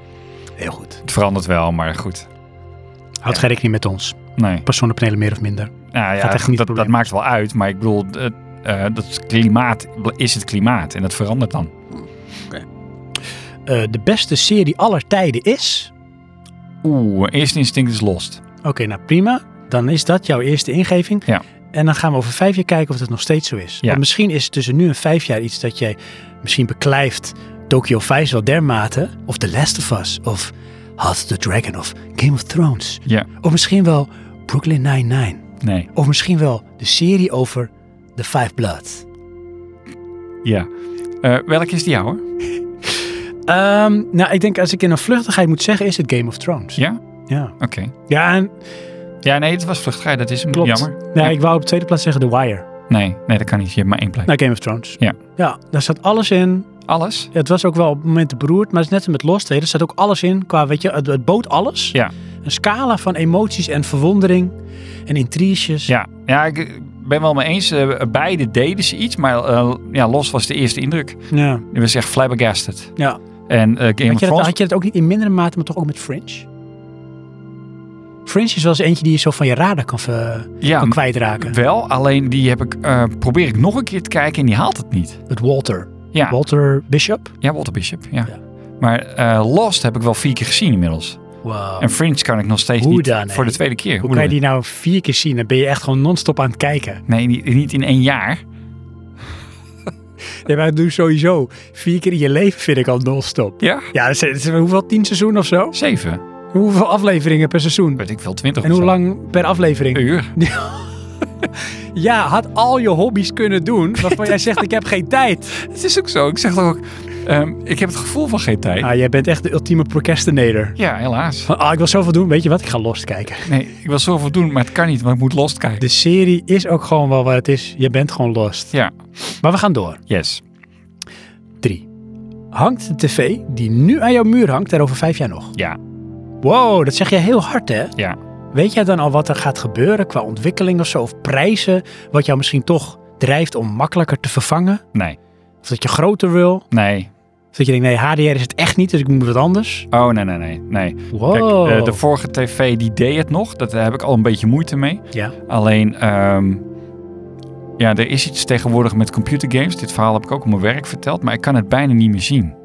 A: Heel goed.
B: Het verandert wel, maar goed.
A: Houd geen rekening met ons.
B: Nee.
A: Pas zonnepanelen meer of minder.
B: Nou ja,
A: Gaat echt niet
B: dat, dat
A: probleem.
B: maakt wel uit. Maar ik bedoel, het, eh, dat klimaat is het klimaat. En dat verandert dan.
A: Eh, de beste serie aller tijden is...
B: Oeh, eerste instinct is lost.
A: Oké, nou prima. Dan is dat jouw eerste ingeving.
B: Ja.
A: En dan gaan we over vijf jaar kijken of dat nog steeds zo is.
B: Ja.
A: Want misschien is tussen nu en vijf jaar iets dat jij misschien beklijft. Tokyo 5 wel dermate. Of The Last of Us. Of House of the Dragon. Of Game of Thrones.
B: Ja,
A: Of misschien wel Brooklyn Nine-Nine.
B: nee.
A: Of misschien wel de serie over The Five Bloods.
B: Ja. Eh welke is die jouwe?
A: Ehm, nou, ik denk als ik in een vluchtigheid moet zeggen, is het Game of Thrones.
B: Ja?
A: Ja,
B: Oké.
A: ja en
B: Ja, nee, het was vluchtigheid. Dat is hem.
A: klopt.
B: Jammer.
A: Nee, ik wou op de tweede plaats zeggen The Wire.
B: Nee, nee, dat kan niet. Je hebt maar één plek.
A: Nou, Game of Thrones.
B: Ja.
A: Ja, daar zat alles in.
B: Alles?
A: Het was ook wel op het moment beroerd, maar het is net als met Lost. Hè. Er zat ook alles in qua, weet je, het, het bood alles.
B: Ja.
A: Een scala van emoties en verwondering en intriges.
B: Ja, ja ik ben wel mee eens. Eh, beide deden ze iets, maar eh, ja, Lost was de eerste indruk.
A: ja.
B: Die was echt flabbergasted.
A: Ja.
B: En eh Game
A: Had
B: of
A: je, dat,
B: Thrones...
A: had je dat ook niet in mindere mate, maar toch ook met Fringe? Fringe is wel eens eentje die je zo van je radar kan, ver-
B: ja,
A: kan kwijtraken.
B: wel. Alleen die heb ik, eh, probeer ik nog een keer te kijken en die haalt het niet.
A: Met Walter.
B: Ja.
A: Walter Bishop.
B: Ja, Walter Bishop, ja.
A: Ja.
B: Maar eh, Lost heb ik wel vier keer gezien inmiddels.
A: Wow.
B: En Fringe kan ik nog steeds
A: Hoe
B: niet
A: dan,
B: voor
A: hè?
B: de tweede keer.
A: Hoe
B: Hoe
A: kan je
B: dan?
A: die nou vier keer zien? Dan ben je echt gewoon non-stop aan het kijken.
B: Nee, niet, niet in één jaar.
A: Ja, maar doe sowieso. Vier keer in je leven vind ik al non-stop.
B: Ja?
A: Ja, dat is, dat is hoeveel? Tien seizoenen of zo?
B: Zeven.
A: Hoeveel afleveringen per seizoen?
B: Weet ik veel, twintig
A: En hoe lang per aflevering?
B: Een uur.
A: Ja, had al je hobby's kunnen doen waarvan jij zegt ik heb geen tijd.
B: Het is ook zo. Ik zeg toch ook, ehm, ik heb het gevoel van geen tijd.
A: Ah, jij bent echt de ultieme procrastinator.
B: Ja, helaas.
A: Van, ah, ik wil zoveel doen. Weet je wat? Ik ga Lost kijken.
B: Nee, ik wil zoveel doen, maar het kan niet, want ik moet Lost kijken.
A: De serie is ook gewoon wel wat het is. Je bent gewoon Lost.
B: Ja,
A: Maar we gaan door.
B: yes.
A: 3. Hangt de tv die nu aan jouw muur hangt er over vijf jaar nog?
B: Ja,
A: Wow, dat zeg jij heel hard hè?
B: ja.
A: Weet jij dan al wat er gaat gebeuren qua ontwikkeling of zo? Of prijzen? Wat jou misschien toch drijft om makkelijker te vervangen?
B: Nee,
A: Of dat je groter wil?
B: nee.
A: Of dat je denkt, nee, HDR is het echt niet, dus ik moet wat anders?
B: Oh, nee, nee, nee. nee.
A: Wow.
B: Kijk, eh, de vorige tv die deed het nog. Dat heb ik al een beetje moeite mee.
A: Ja.
B: Alleen, ehm, ja, er is iets tegenwoordig met computergames. Dit verhaal heb ik ook op mijn werk verteld, maar ik kan het bijna niet meer zien.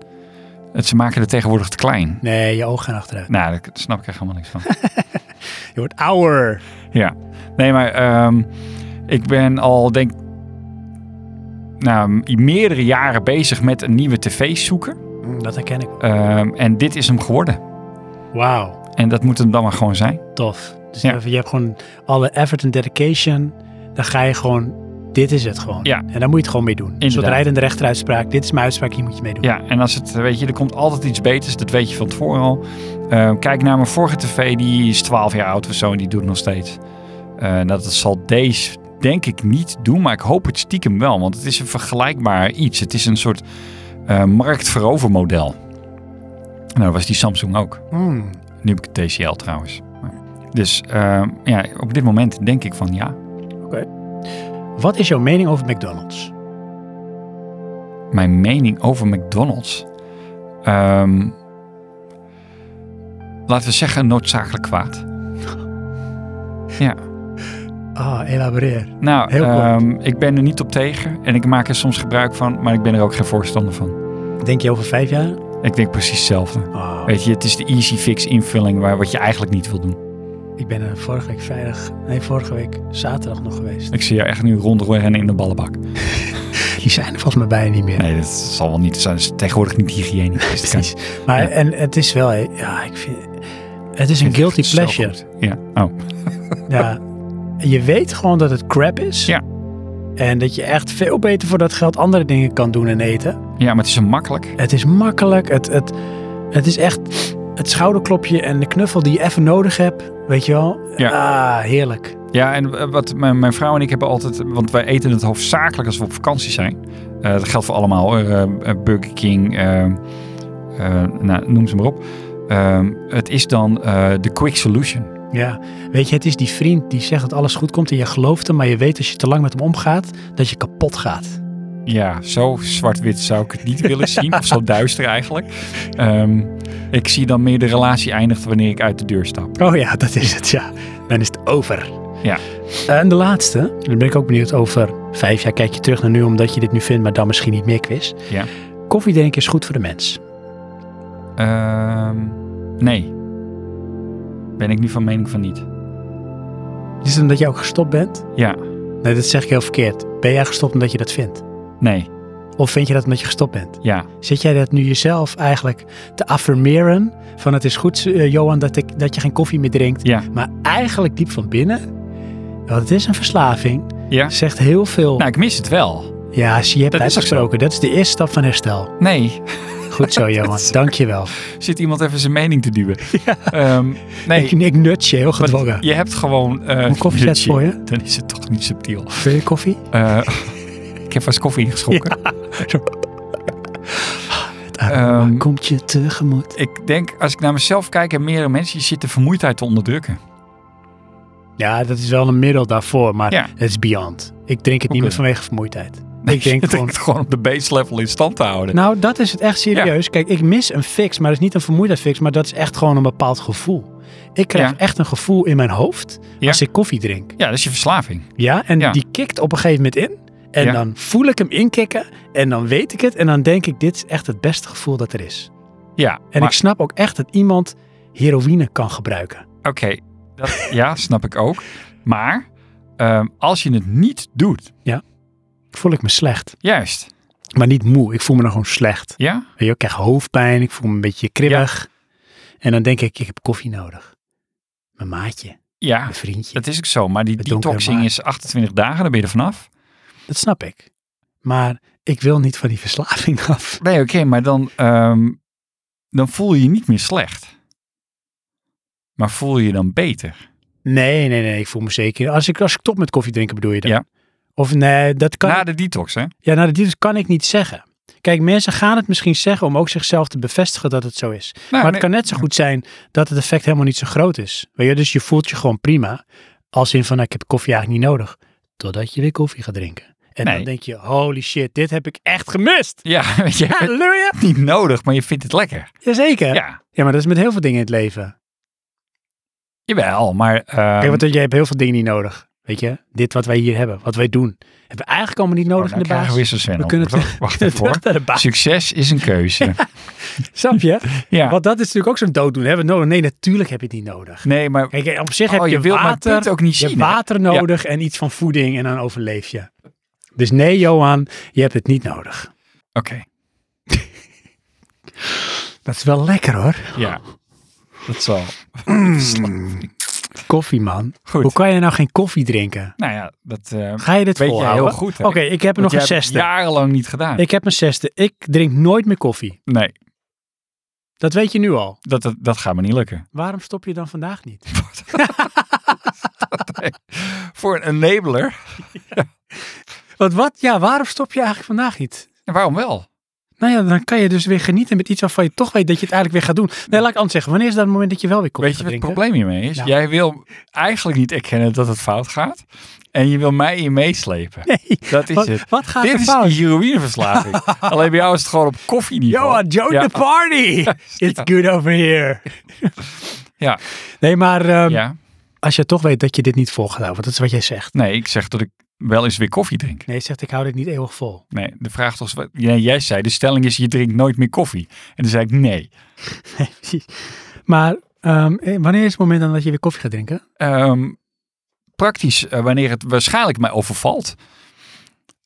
B: Het, ze maken het tegenwoordig te klein.
A: Nee, je ogen gaan achteruit.
B: Nou, daar daar snap ik echt helemaal niks van.
A: Je wordt ouder.
B: Ja, nee, maar ehm, ik ben al, denk nou, m- meerdere jaren bezig met een nieuwe tv zoeken.
A: Mm, Dat herken ik.
B: Ehm, en dit is hem geworden.
A: Wauw,
B: En dat moet hem dan maar gewoon zijn.
A: tof. Dus
B: Ja.
A: even, je hebt gewoon alle effort en dedication. Dan ga je gewoon, dit is het gewoon.
B: Ja.
A: En daar moet je het gewoon mee doen. Een soort
B: Inderdaad.
A: rijdende rechteruitspraak. Dit is mijn uitspraak, hier moet je mee doen.
B: Ja, en als het, eh, weet je, er komt altijd iets beters. Dat weet je van tevoren al. Ehm, kijk naar mijn vorige tv, die is 12 jaar oud of zo en die doet het nog steeds. Eh, dat zal deze denk ik niet doen, maar ik hoop het stiekem wel. Want het is een vergelijkbaar iets. Het is een soort eh marktverovermodel. Nou, dat was die Samsung ook.
A: Mm.
B: Nu heb ik het TCL trouwens. Maar- Dus eh, ja, op dit moment denk ik van ja,
A: Wat is jouw mening over McDonald's?
B: mijn mening over McDonald's. Ehm, laten we zeggen noodzakelijk kwaad. Ja,
A: Ah, elaboreer.
B: nou,
A: Heel kort.
B: ehm, ik ben er niet op tegen en ik maak er soms gebruik van, maar ik ben er ook geen voorstander van.
A: Denk je over vijf jaar?
B: Ik denk precies hetzelfde.
A: Ah,
B: Weet je, het is de easy fix invulling waar wat je eigenlijk niet wil doen.
A: Ik ben er vorige week vrijdag, nee, vorige week zaterdag nog geweest.
B: Ik zie jou echt nu rondrennen in de ballenbak.
A: Die zijn er volgens mij bijna niet meer.
B: Nee, dat zal wel niet zijn. Dat is tegenwoordig niet hygiënisch. Dus Dat kan-
A: Maar
B: Ja.
A: en het is wel, ja, ik vind, het is een
B: Het
A: guilty
B: is zo
A: pleasure.
B: goed. Ja. Oh,
A: Ja. En je weet gewoon dat het crap is.
B: Ja.
A: En dat je echt veel beter voor dat geld andere dingen kan doen en eten.
B: ja, maar het is zo makkelijk.
A: Het is makkelijk. Het, het, het is echt het schouderklopje en de knuffel die je even nodig hebt. Weet je wel? Ah, heerlijk.
B: Ja, en eh, wat mijn, mijn vrouw en ik hebben altijd, want wij eten het hoofdzakelijk als we op vakantie zijn. Eh, dat geldt voor allemaal, hoor. Eh, eh, Burger King, eh, eh, nou, noem ze maar op. Ehm, het is dan eh, de quick solution.
A: Ja. Weet je, het is die vriend die zegt dat alles goed komt en je gelooft hem, maar je weet als je te lang met hem omgaat, dat je kapot gaat.
B: Ja, zo zwart-wit zou ik het niet willen zien. Of zo duister eigenlijk. Ehm, ik zie dan meer de relatie eindigt wanneer ik uit de deur stap.
A: Oh ja, dat is het, ja. Dan is het over. Eh,
B: Ja.
A: En de laatste, dan ben ik ook benieuwd over vijf jaar. Kijk je terug naar nu omdat je dit nu vindt, maar dan misschien niet meer quiz.
B: Ja.
A: Koffie drinken is goed voor de mens.
B: Ehm, nee. Ben ik nu van mening van niet.
A: Is het omdat je ook gestopt bent?
B: Ja,
A: Nee, dat zeg ik heel verkeerd. Ben jij gestopt omdat je dat vindt?
B: nee,
A: Of vind je dat omdat je gestopt bent?
B: ja.
A: Zit jij dat nu jezelf eigenlijk te affirmeren? Van het is goed, eh, Johan, dat, ik, dat je geen koffie meer drinkt.
B: Ja.
A: Maar eigenlijk diep van binnen, want het is een verslaving,
B: Ja.
A: zegt heel veel.
B: Nou, ik mis het wel.
A: ja, zie je hebt
B: dat is ook
A: uitgesproken. Dat is de eerste stap van herstel.
B: Nee,
A: Goed zo, Johan. Dank je wel.
B: zit iemand even zijn mening te duwen. Ehm, nee,
A: Ik, ik nut je heel
B: want
A: gedwongen.
B: je hebt gewoon... eh,
A: Een koffiezet voor je?
B: Dan is het toch niet subtiel.
A: Wil je koffie?
B: Eh, ik heb vast koffie ingeschonken. Ehm,
A: Komt je tegemoet.
B: ik denk, als ik naar mezelf kijk en meerdere mensen, je zit de vermoeidheid te onderdrukken.
A: Ja, dat is wel een middel daarvoor, maar
B: Ja.
A: het is beyond. Ik drink het niet meer
B: Oké.
A: vanwege vermoeidheid.
B: Nee,
A: Ik denk
B: je
A: gewoon...
B: het gewoon op de base level in stand te houden.
A: Nou, dat is het echt serieus. Kijk, ik mis een fix, maar dat is niet een vermoeidheid fix, maar dat is echt gewoon een bepaald gevoel. Ik krijg
B: Ja.
A: echt een gevoel in mijn hoofd
B: Ja.
A: als ik koffie drink.
B: ja, dat is je verslaving.
A: Ja, en
B: Ja.
A: die kikt op een gegeven moment in. En
B: Ja.
A: dan voel ik hem inkikken en dan weet ik het. En dan denk ik, dit is echt het beste gevoel dat er is.
B: Ja,
A: En
B: maar-
A: ik snap ook echt dat iemand heroïne kan gebruiken.
B: Oké, dat- ja, snap ik ook. Maar ehm, als je het niet doet,
A: Voel ik me slecht,
B: juist,
A: maar niet moe. Ik voel me dan gewoon slecht.
B: ja,
A: Weet je, ik krijg hoofdpijn, ik voel me een beetje kribbig. En dan denk ik, ik heb koffie nodig. Mijn maatje,
B: ja,
A: mijn vriendje.
B: dat is ook zo. Maar die
A: Het donkere
B: detoxing
A: maag.
B: is 28 dagen, dan ben je er vanaf.
A: Dat snap ik. Maar ik wil niet van die verslaving af.
B: Nee, oké, maar dan, ehm, dan voel je je niet meer slecht. Maar voel je je dan beter?
A: Nee, nee, nee, ik voel me zeker. Als ik, als ik stop met koffie drinken, bedoel je dat?
B: Ja.
A: Of nee, dat kan,
B: Na de detox, hè?
A: ja, nou, dat kan ik niet zeggen. Kijk, mensen gaan het misschien zeggen om ook zichzelf te bevestigen dat het zo is.
B: Nou,
A: maar
B: nee,
A: het kan net zo goed zijn dat het effect helemaal niet zo groot is. Weet je, dus je voelt je gewoon prima. Als in van, nou, ik heb koffie eigenlijk niet nodig. Totdat je weer koffie gaat drinken. En
B: Nee.
A: dan denk je, holy shit, dit heb ik echt gemist.
B: Ja, weet je je hebt
A: Halleluja.
B: het niet nodig, maar je vindt het lekker.
A: Jazeker. Ja.
B: Ja,
A: maar dat is met heel veel dingen in het leven.
B: jawel, maar... ehm,
A: Kijk, want jij hebt heel veel dingen niet nodig. Weet je, dit wat wij hier hebben, wat wij doen. Hebben we eigenlijk allemaal niet nodig
B: oh, dan
A: in de
B: krijgen
A: baas.
B: we weer zo'n Sven
A: We
B: op.
A: kunnen
B: Wacht, Wacht even hoor.
A: Terug naar de baas.
B: Succes is een keuze.
A: Snap je?
B: ja.
A: Want dat is natuurlijk ook zo'n dooddoen. Hè? Want, no, Nee, natuurlijk heb je het niet nodig.
B: Nee, maar
A: Kijk, op zich
B: Oh,
A: heb
B: je
A: je,
B: wilt mijn
A: water,
B: punt ook niet
A: je
B: zien,
A: hebt
B: hè?
A: water nodig en iets van voeding en dan overleef je. Dus nee, Johan, je hebt het niet nodig.
B: oké.
A: Dat is wel lekker hoor.
B: Ja, dat zal.
A: Koffie, man.
B: Goed.
A: Hoe kan je nou geen koffie drinken?
B: Nou ja, dat eh
A: Ga je dit
B: weet jij
A: volhouden?
B: heel goed. hè?
A: Oké, ik heb nog
B: Want jij
A: een
B: hebt het
A: zesde.
B: jarenlang niet gedaan.
A: Ik heb een zesde. Ik drink nooit meer koffie.
B: Nee,
A: Dat weet je nu al.
B: dat, dat, dat gaat me niet lukken.
A: Waarom stop je dan vandaag niet?
B: Voor een enabler?
A: Want wat? Ja, waarom stop je eigenlijk vandaag niet?
B: En waarom wel?
A: Nou ja, dan kan je dus weer genieten met iets waarvan je toch weet dat je het eigenlijk weer gaat doen. Nee, laat ik anders zeggen. Wanneer is dat het moment dat je wel weer koffie
B: Weet je
A: gaat
B: wat het
A: drinken?
B: probleem hiermee is?
A: Nou.
B: Jij wil eigenlijk niet erkennen dat het fout gaat. En je wil mij in meeslepen.
A: Nee.
B: Dat is
A: Wat,
B: het.
A: wat gaat
B: Dit
A: er
B: is
A: fout?
B: die heroïneverslaving. Alleen bij jou is het gewoon op koffieniveau.
A: Johan, join
B: Ja.
A: the party. It's good over here.
B: Ja.
A: Nee, maar ehm,
B: Ja.
A: als je toch weet dat je dit niet vol gaat houden, want dat is wat jij zegt.
B: Nee, ik zeg dat ik wel eens weer koffie drink.
A: Nee, je zegt ik hou dit niet eeuwig vol.
B: Nee, de vraag was, wat- ja, jij zei, de stelling is je drinkt nooit meer koffie. En toen zei ik nee.
A: maar oké, Ehm, eh, wanneer is het moment dan dat je weer koffie gaat drinken?
B: Ehm, praktisch, eh, wanneer het waarschijnlijk mij overvalt.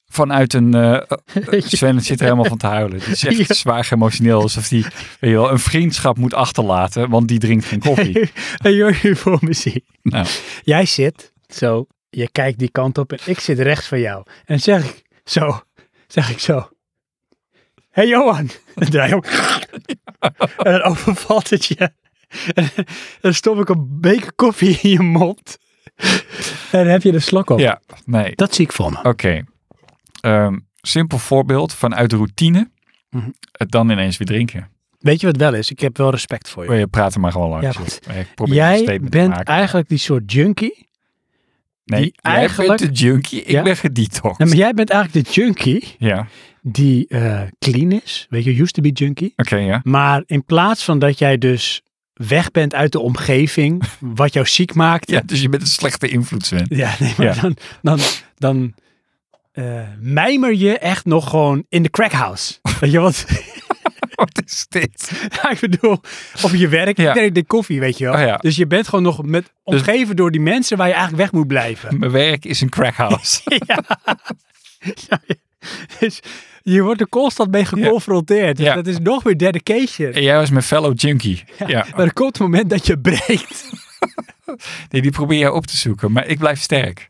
B: Vanuit een... eh, Sven zit er helemaal van te huilen. Die is echt
A: Ja.
B: zwaar emotioneel. Alsof hij weet je wel, een vriendschap moet achterlaten. Want die drinkt geen koffie.
A: Hey, joh, je voor me zie.
B: Nou.
A: Jij zit zo, je kijkt die kant op en ik zit rechts van jou. En dan zeg ik zo, zeg ik zo. Hé hey Johan. En draai je om. En dan overvalt het je. En dan stop ik een beker koffie in je mond. En dan heb je de slok op.
B: Ja, nee.
I: Dat zie ik voor me.
B: Oké. Ehm, simpel voorbeeld vanuit routine.
A: Mhm.
B: Het dan ineens weer drinken.
A: Weet je wat wel is? Ik heb wel respect voor je.
B: Je praat er maar gewoon langs.
A: Ja,
B: joh.
A: goed.
B: Ik Oh probeer een
A: Jij
B: statement te
A: bent
B: maken.
A: eigenlijk die soort junkie.
B: nee,
A: die
B: jij
A: eigenlijk-
B: bent de junkie. Ik
A: Ja.
B: ben gedetoxed.
A: Nou, maar jij bent eigenlijk de junkie
B: Ja, oké,
A: die eh, clean is. Weet je, used to be junkie.
B: ja.
A: Maar in plaats van dat jij dus weg bent uit de omgeving, wat jou ziek maakt.
B: Ja, dus je bent een slechte invloed, Sven.
A: Ja, nee, maar
B: Ja.
A: dan, dan, dan eh, mijmer je echt nog gewoon in de crackhouse. Weet je wat?
B: Wat is dit?
A: ik bedoel, op je werk,
B: Ja.
A: ik drink de koffie, weet je wel.
B: Oh ja.
A: Dus je bent gewoon nog met, omgeven door die mensen waar je eigenlijk weg moet blijven.
B: Mijn werk is een crackhouse.
A: Dus je wordt er constant mee geconfronteerd. Dus
B: Ja.
A: dat is nog weer dedication.
B: en jij was mijn fellow junkie. Ja.
A: Maar er komt het moment dat je breekt.
B: Nee, die probeer jij op te zoeken, maar ik blijf sterk.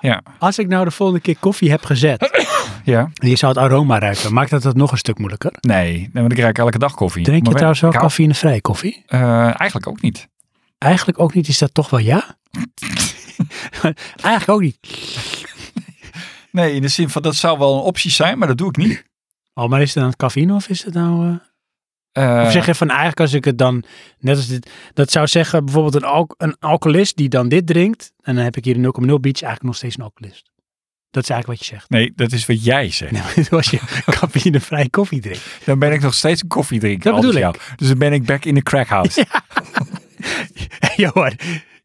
B: Ja,
A: Als ik nou de volgende keer koffie heb gezet
B: ja.
A: en je zou het aroma ruiken, maakt dat het nog een stuk moeilijker?
B: Nee, nee, want ik ruik elke dag koffie.
I: Drink je
B: Maar
I: trouwens wel
B: kou-
I: cafeïnevrije koffie?
B: Eh, eigenlijk ook niet.
I: Eigenlijk ook niet. Is dat toch wel ja?
A: Eigenlijk ook niet.
B: Nee, in de zin van dat zou wel een optie zijn, maar dat doe ik niet.
A: Oh, maar is het dan cafeïne of is het nou... eh,
B: Eh,
A: Of zeg je van eigenlijk als ik het dan, net als dit, dat zou zeggen bijvoorbeeld een, alk- een alcoholist die dan dit drinkt. En dan heb ik hier een 0,0 beach eigenlijk nog steeds een alcoholist. Dat is eigenlijk wat je zegt.
B: Nee, dat is wat jij zegt.
A: Nee, maar als je cafeïnevrij koffie drinkt.
B: Dan ben ik nog steeds een koffiedrinker.
A: Dat
B: als
A: bedoel
B: jou. Dus dan ben ik back in the crackhouse.
A: Johan,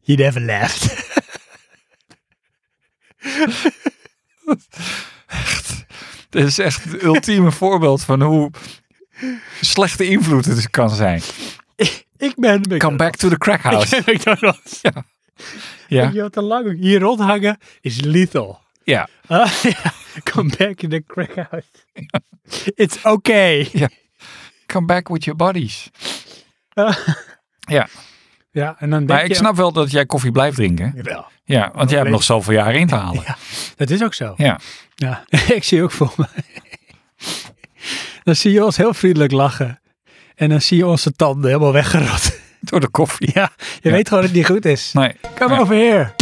A: you never left.
B: Dat is echt het ultieme voorbeeld van hoe slechte invloed het kan zijn.
A: ik ben
B: Come back to the crackhouse.
A: McDonald's.
B: Ja,
A: Je had te lang hier rondhangen is lethal.
B: ja.
A: Ah, ja. Come back in the crack house. It's okay.
B: Come back with your buddies. Ja,
A: Ja, en dan denk
B: maar
A: je...
B: ik snap wel dat jij koffie blijft drinken.
A: Jawel,
B: Ja, want jij hebt nog zoveel jaren in te halen.
A: dat is ook zo.
B: Ja.
A: Ja, ik zie ook voor me. Dan zie je ons heel vriendelijk lachen. En dan zie je onze tanden helemaal weggerot.
B: Door de koffie.
A: Ja, je
B: Ja.
A: weet gewoon dat het niet goed is.
B: Nee.
A: Come
B: Ja.
A: over here.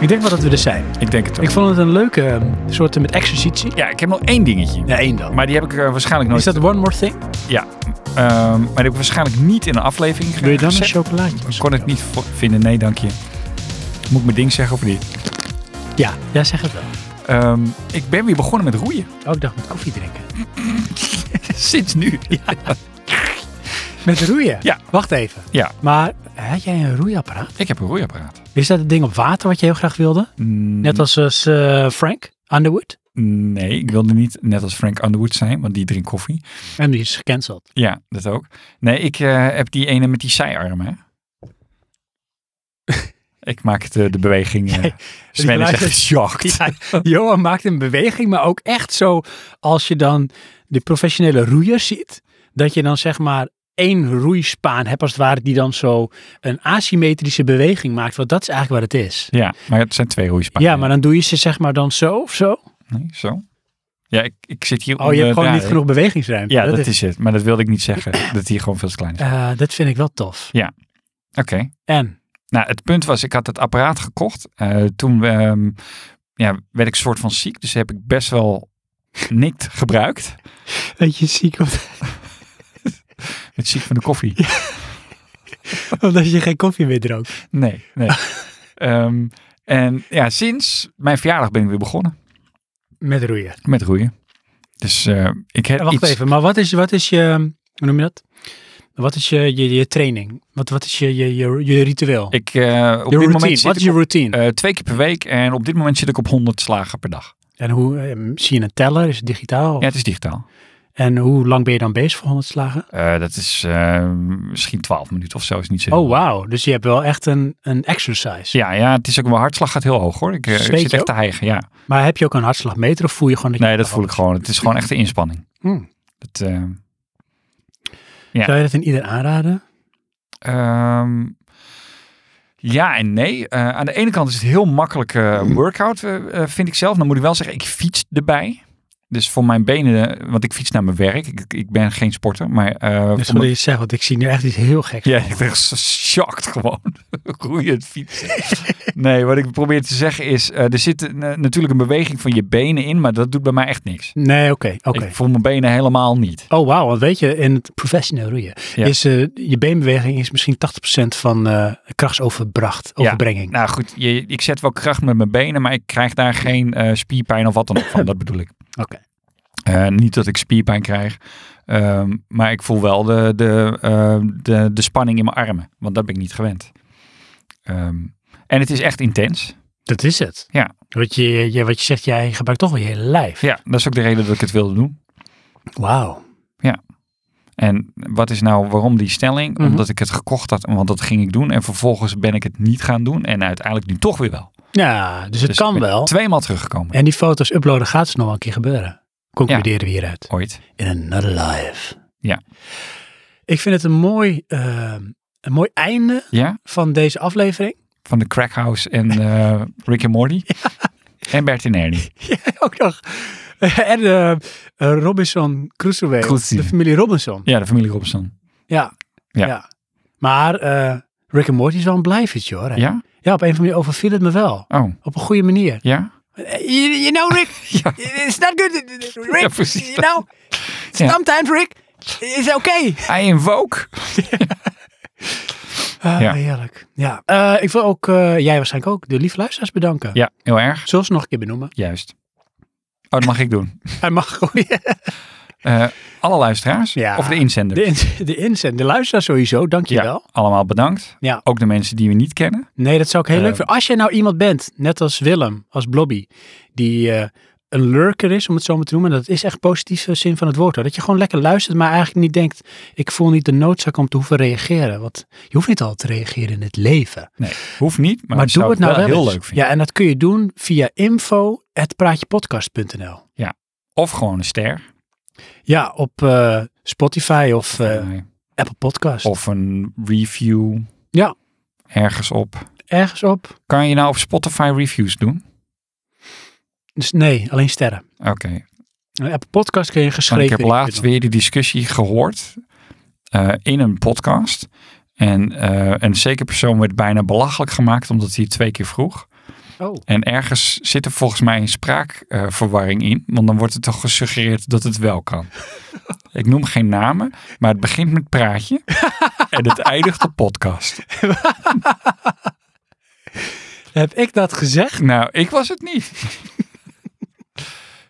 A: Ik denk wel dat we er zijn.
B: Ik denk het ook.
A: Ik vond het een leuke eh, soort met exercitie.
B: Ja, ik heb nog één dingetje.
A: Ja, één dan.
B: Maar die heb ik eh, waarschijnlijk nooit.
A: Is dat one more thing?
B: Ja. Ehm, maar die heb ik waarschijnlijk niet in een aflevering
A: Wil je dan een
B: gezet.
A: chocolaatje?
B: Kon ik niet vo- vinden. Nee, dank je. Moet ik mijn ding zeggen of niet?
A: Ja, ja, zeg het wel.
B: Ehm, ik ben weer begonnen met roeien.
A: Oh, ik dacht met koffie drinken.
B: Sinds nu. Ja.
A: Met roeien?
B: Ja.
A: Wacht even. Maar had jij een roeiapparaat?
B: Ik heb een roeiapparaat. Mm-hmm.
A: Is dat het ding op water wat je heel graag wilde? Net als eh, Frank Underwood?
B: Nee, ik wilde niet net als Frank Underwood zijn, want die drinkt koffie.
A: En die is gecanceld.
B: Ja, dat ook. Nee, ik eh, heb die ene met die zijarm, hè. ik maak het, eh, de beweging. eh Sven is
A: geluid
B: echt
A: is-
B: geschokt.
A: Johan maakt een beweging, maar ook echt zo als je dan de professionele roeiers ziet. Dat je dan zeg maar één roeispaan hebt als het ware die dan zo een asymmetrische beweging maakt. Want dat is eigenlijk wat het is.
B: Ja, maar het zijn twee roeispanen.
A: Ja, maar dan doe je ze zeg maar dan zo of zo.
B: Nee, zo. Ja, ik, ik zit hier
A: Oh, je hebt gewoon niet
B: onderdraaien.
A: genoeg bewegingsruimte.
B: Ja, dat, is... het. Maar dat wilde ik niet zeggen. dat hier gewoon veel te klein is.
A: Eh, dat vind ik wel tof.
B: Oké.
A: En?
B: Nou, het punt was, ik had het apparaat gekocht. Eh, toen ehm, ja, werd ik soort van ziek. Dus heb ik best wel niet gebruikt.
A: Dat je ziek
B: Het ziek van de koffie.
A: omdat je geen koffie meer dronk.
B: Nee, nee. Ehm, en ja, sinds mijn verjaardag ben ik weer begonnen
A: Met roeien.
B: met roeien. Dus eh, ik heb
A: En wacht
B: iets...
A: even, maar wat is, wat is je, hoe noem je dat? Wat is je, je, je training? Wat, wat is je, je, je, je ritueel?
B: Ik, eh, op
A: je
B: dit
A: routine,
B: moment
A: wat is
B: zit ik
A: je
B: op,
A: routine?
B: eh, twee keer per week. En op dit moment zit ik op 100 slagen per dag.
A: en hoe, eh, zie je een teller? Is het digitaal?
B: Ja, het is digitaal.
A: En hoe lang ben je dan bezig voor 100 slagen?
B: Eh, dat is eh, misschien 12 minuten of zo, is niet zo. heel
A: Oh, wauw. Dus je hebt wel echt een, een exercise.
B: Ja, ja, het is ook, mijn hartslag gaat heel hoog hoor. Ik, eh, ik
A: Zweet je
B: zit echt
A: ook?
B: te hijgen, ja.
A: Maar heb je ook een hartslagmeter of voel je gewoon dat je...
B: Nee, dat voel ik gewoon. Het is gewoon echt een inspanning.
A: Hmm.
B: Dat, eh, ja.
A: Zou je dat in ieder aanraden?
B: ehm, ja en nee. Eh, aan de ene kant is het heel makkelijk eh, workout, eh, eh, vind ik zelf. Dan moet ik wel zeggen, ik fiets erbij. Dus voor mijn benen, eh, want ik fiets naar mijn werk. Ik, ik ben geen sporter, maar... eh, voor
A: Dat is
B: mijn-
A: wat Dus je zegt, want ik zie nu echt iets heel geks.
B: Ja, ik ben geschokt gewoon. Roeiend fietsen. nee, wat ik probeer te zeggen is, eh, er zit een, eh, natuurlijk een beweging van je benen in, maar dat doet bij mij echt niks.
A: Nee, oké, oké.
B: Ik voel mijn benen helemaal niet.
A: Oh, wauw. Want weet je, in het professioneel roeien
B: Ja.
A: is eh, je beenbeweging is misschien 80% van eh krachtsoverbracht,
B: Ja.
A: overbrenging.
B: Nou goed, je, ik zet wel kracht met mijn benen, maar ik krijg daar geen eh, spierpijn of wat dan ook van. Dat bedoel ik.
A: Oké.
B: Eh, niet dat ik spierpijn krijg, ehm, maar ik voel wel de, de, ehm, de, de spanning in mijn armen, want dat ben ik niet gewend. Ehm, en het is echt intens.
A: Dat is het.
B: Ja.
A: Wat je, je, wat je zegt, jij gebruikt toch wel je hele lijf.
B: Ja, dat is ook de reden dat ik het wilde doen.
A: Wauw.
B: En wat is nou waarom die stelling?
A: Mhm.
B: Omdat ik het gekocht had, want dat ging ik doen. En vervolgens ben ik het niet gaan doen. En uiteindelijk nu toch weer wel.
A: Ja, dus het
B: Dus ik
A: kan
B: ben
A: wel.
B: Tweemaal teruggekomen.
A: En die foto's uploaden gaat dus nog wel een keer gebeuren. Concluderen we hieruit.
B: Ooit.
A: In another life.
B: Ja.
A: Ik vind het een mooi, ehm, een mooi einde
B: Ja?
A: van deze aflevering.
B: Van de Crackhouse en eh Rick en Morty. En Bert en Ernie.
A: Ook nog. En eh, eh, Robinson Crusoe.
B: Crusoe.
A: De familie Robinson.
B: Ja, de familie Robinson.
A: Ja.
B: Ja.
A: ja. Maar eh Rick en Morty is wel een blijvertje hoor. hè?
B: Ja?
A: ja, op een of andere manier overviel het me wel.
B: Oh,
A: Op een goede manier.
B: ja?
A: Eh, You, you know Rick, it's not good. Rick,
B: Ja, precies
A: you
B: dat.
A: know,
B: Ja.
A: sometimes Rick, it's okay.
B: I invoke.
A: Ah,
B: Ja.
A: Heerlijk. Ja. Eh, ik wil ook, eh, jij waarschijnlijk ook, de lieve luisteraars bedanken.
B: Ja, heel erg.
A: Zullen we ze nog een keer benoemen?
B: Juist. Oh, dat mag ik doen.
A: Hij mag gewoon
B: Eh, alle luisteraars.
A: Ja.
B: Of de inzender.
A: de, in, de inzend, de luisteraar sowieso, dankjewel.
B: Allemaal bedankt.
A: Ja.
B: Ook de mensen die we niet kennen.
A: Nee, dat zou ik heel
B: Eh,
A: leuk vinden. Als je nou iemand bent, net als Willem, als Blobby, die eh, een lurker is, om het zo maar te noemen. Dat is echt positieve zin van het woord. Hoor. Dat je gewoon lekker luistert, maar eigenlijk niet denkt, ik voel niet de noodzaak om te hoeven reageren. Want je hoeft niet altijd te reageren in het leven.
B: Nee, hoeft niet. Maar,
A: Maar
B: ik zou
A: doe het nou wel
B: heel
A: eens.
B: leuk vinden.
A: Ja, en dat kun je doen via info.praatjepodcast.nl
B: Of gewoon een ster.
A: Ja, op eh, Spotify of eh,
B: Nee.
A: Apple Podcast.
B: Of een review.
A: Ja.
B: Ergens op.
A: Ergens op.
B: Kan je nou op Spotify reviews doen?
A: Dus nee, alleen sterren.
B: Oké.
A: Een Apple Podcast kun je
B: Want
A: geschreven.
B: Ik heb laatst weer die discussie gehoord eh, in een podcast. En eh, een zekere persoon werd bijna belachelijk gemaakt omdat hij het twee keer vroeg.
A: Oh.
B: En ergens zit er volgens mij een spraakverwarring in. Want dan wordt het toch gesuggereerd dat het wel kan. Ik noem geen namen, maar het begint met praatje. en het eindigt op podcast.
A: Heb ik dat gezegd?
B: Nou, ik was het niet.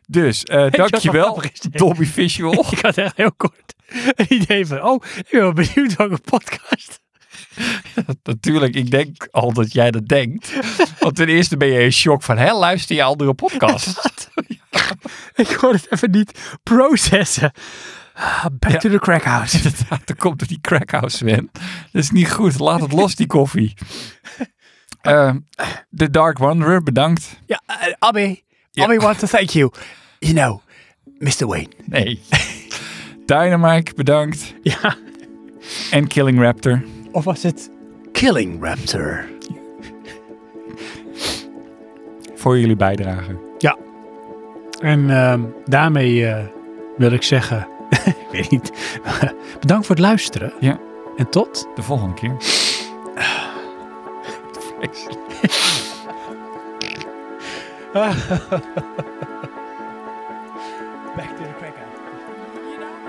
B: Dus, eh,
A: je wat
B: dankjewel,
A: grappig is dit?
B: Dobby Visual.
A: Ik had echt heel kort een idee van, oh, ik ben wel benieuwd welke podcast.
B: Natuurlijk, ik denk al dat jij dat denkt. Want ten eerste ben je in shock van, hè, luister je andere podcast?
A: Ik kon het even niet processen. Ah, Back
B: Ja.
A: to the crack house.
B: Inderdaad, dat komt door die crackhouse, Sven. Dat is niet goed. Laat het los, die koffie. Eh, The Dark Wanderer, bedankt.
A: Ja, eh, Abby.
B: Ja.
A: Abby wants to thank you. You know, Mr. Wayne.
B: Nee. Dynamite, bedankt.
A: Ja,
B: En Killing Raptor.
A: of was het Killing Raptor?
B: Voor jullie bijdrage.
A: Ja. En ehm, daarmee eh, wil ik zeggen, ik weet niet, bedankt voor het luisteren.
B: Ja.
A: En tot.
B: De volgende keer. Vreselijk.
A: Back to the crack house.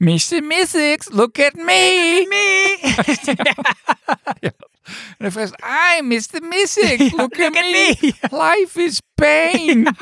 B: Mr. Mystics, look at me. me. ja. En hij vraagt, I, Mr. Mystics, look, at, me. Life is pain.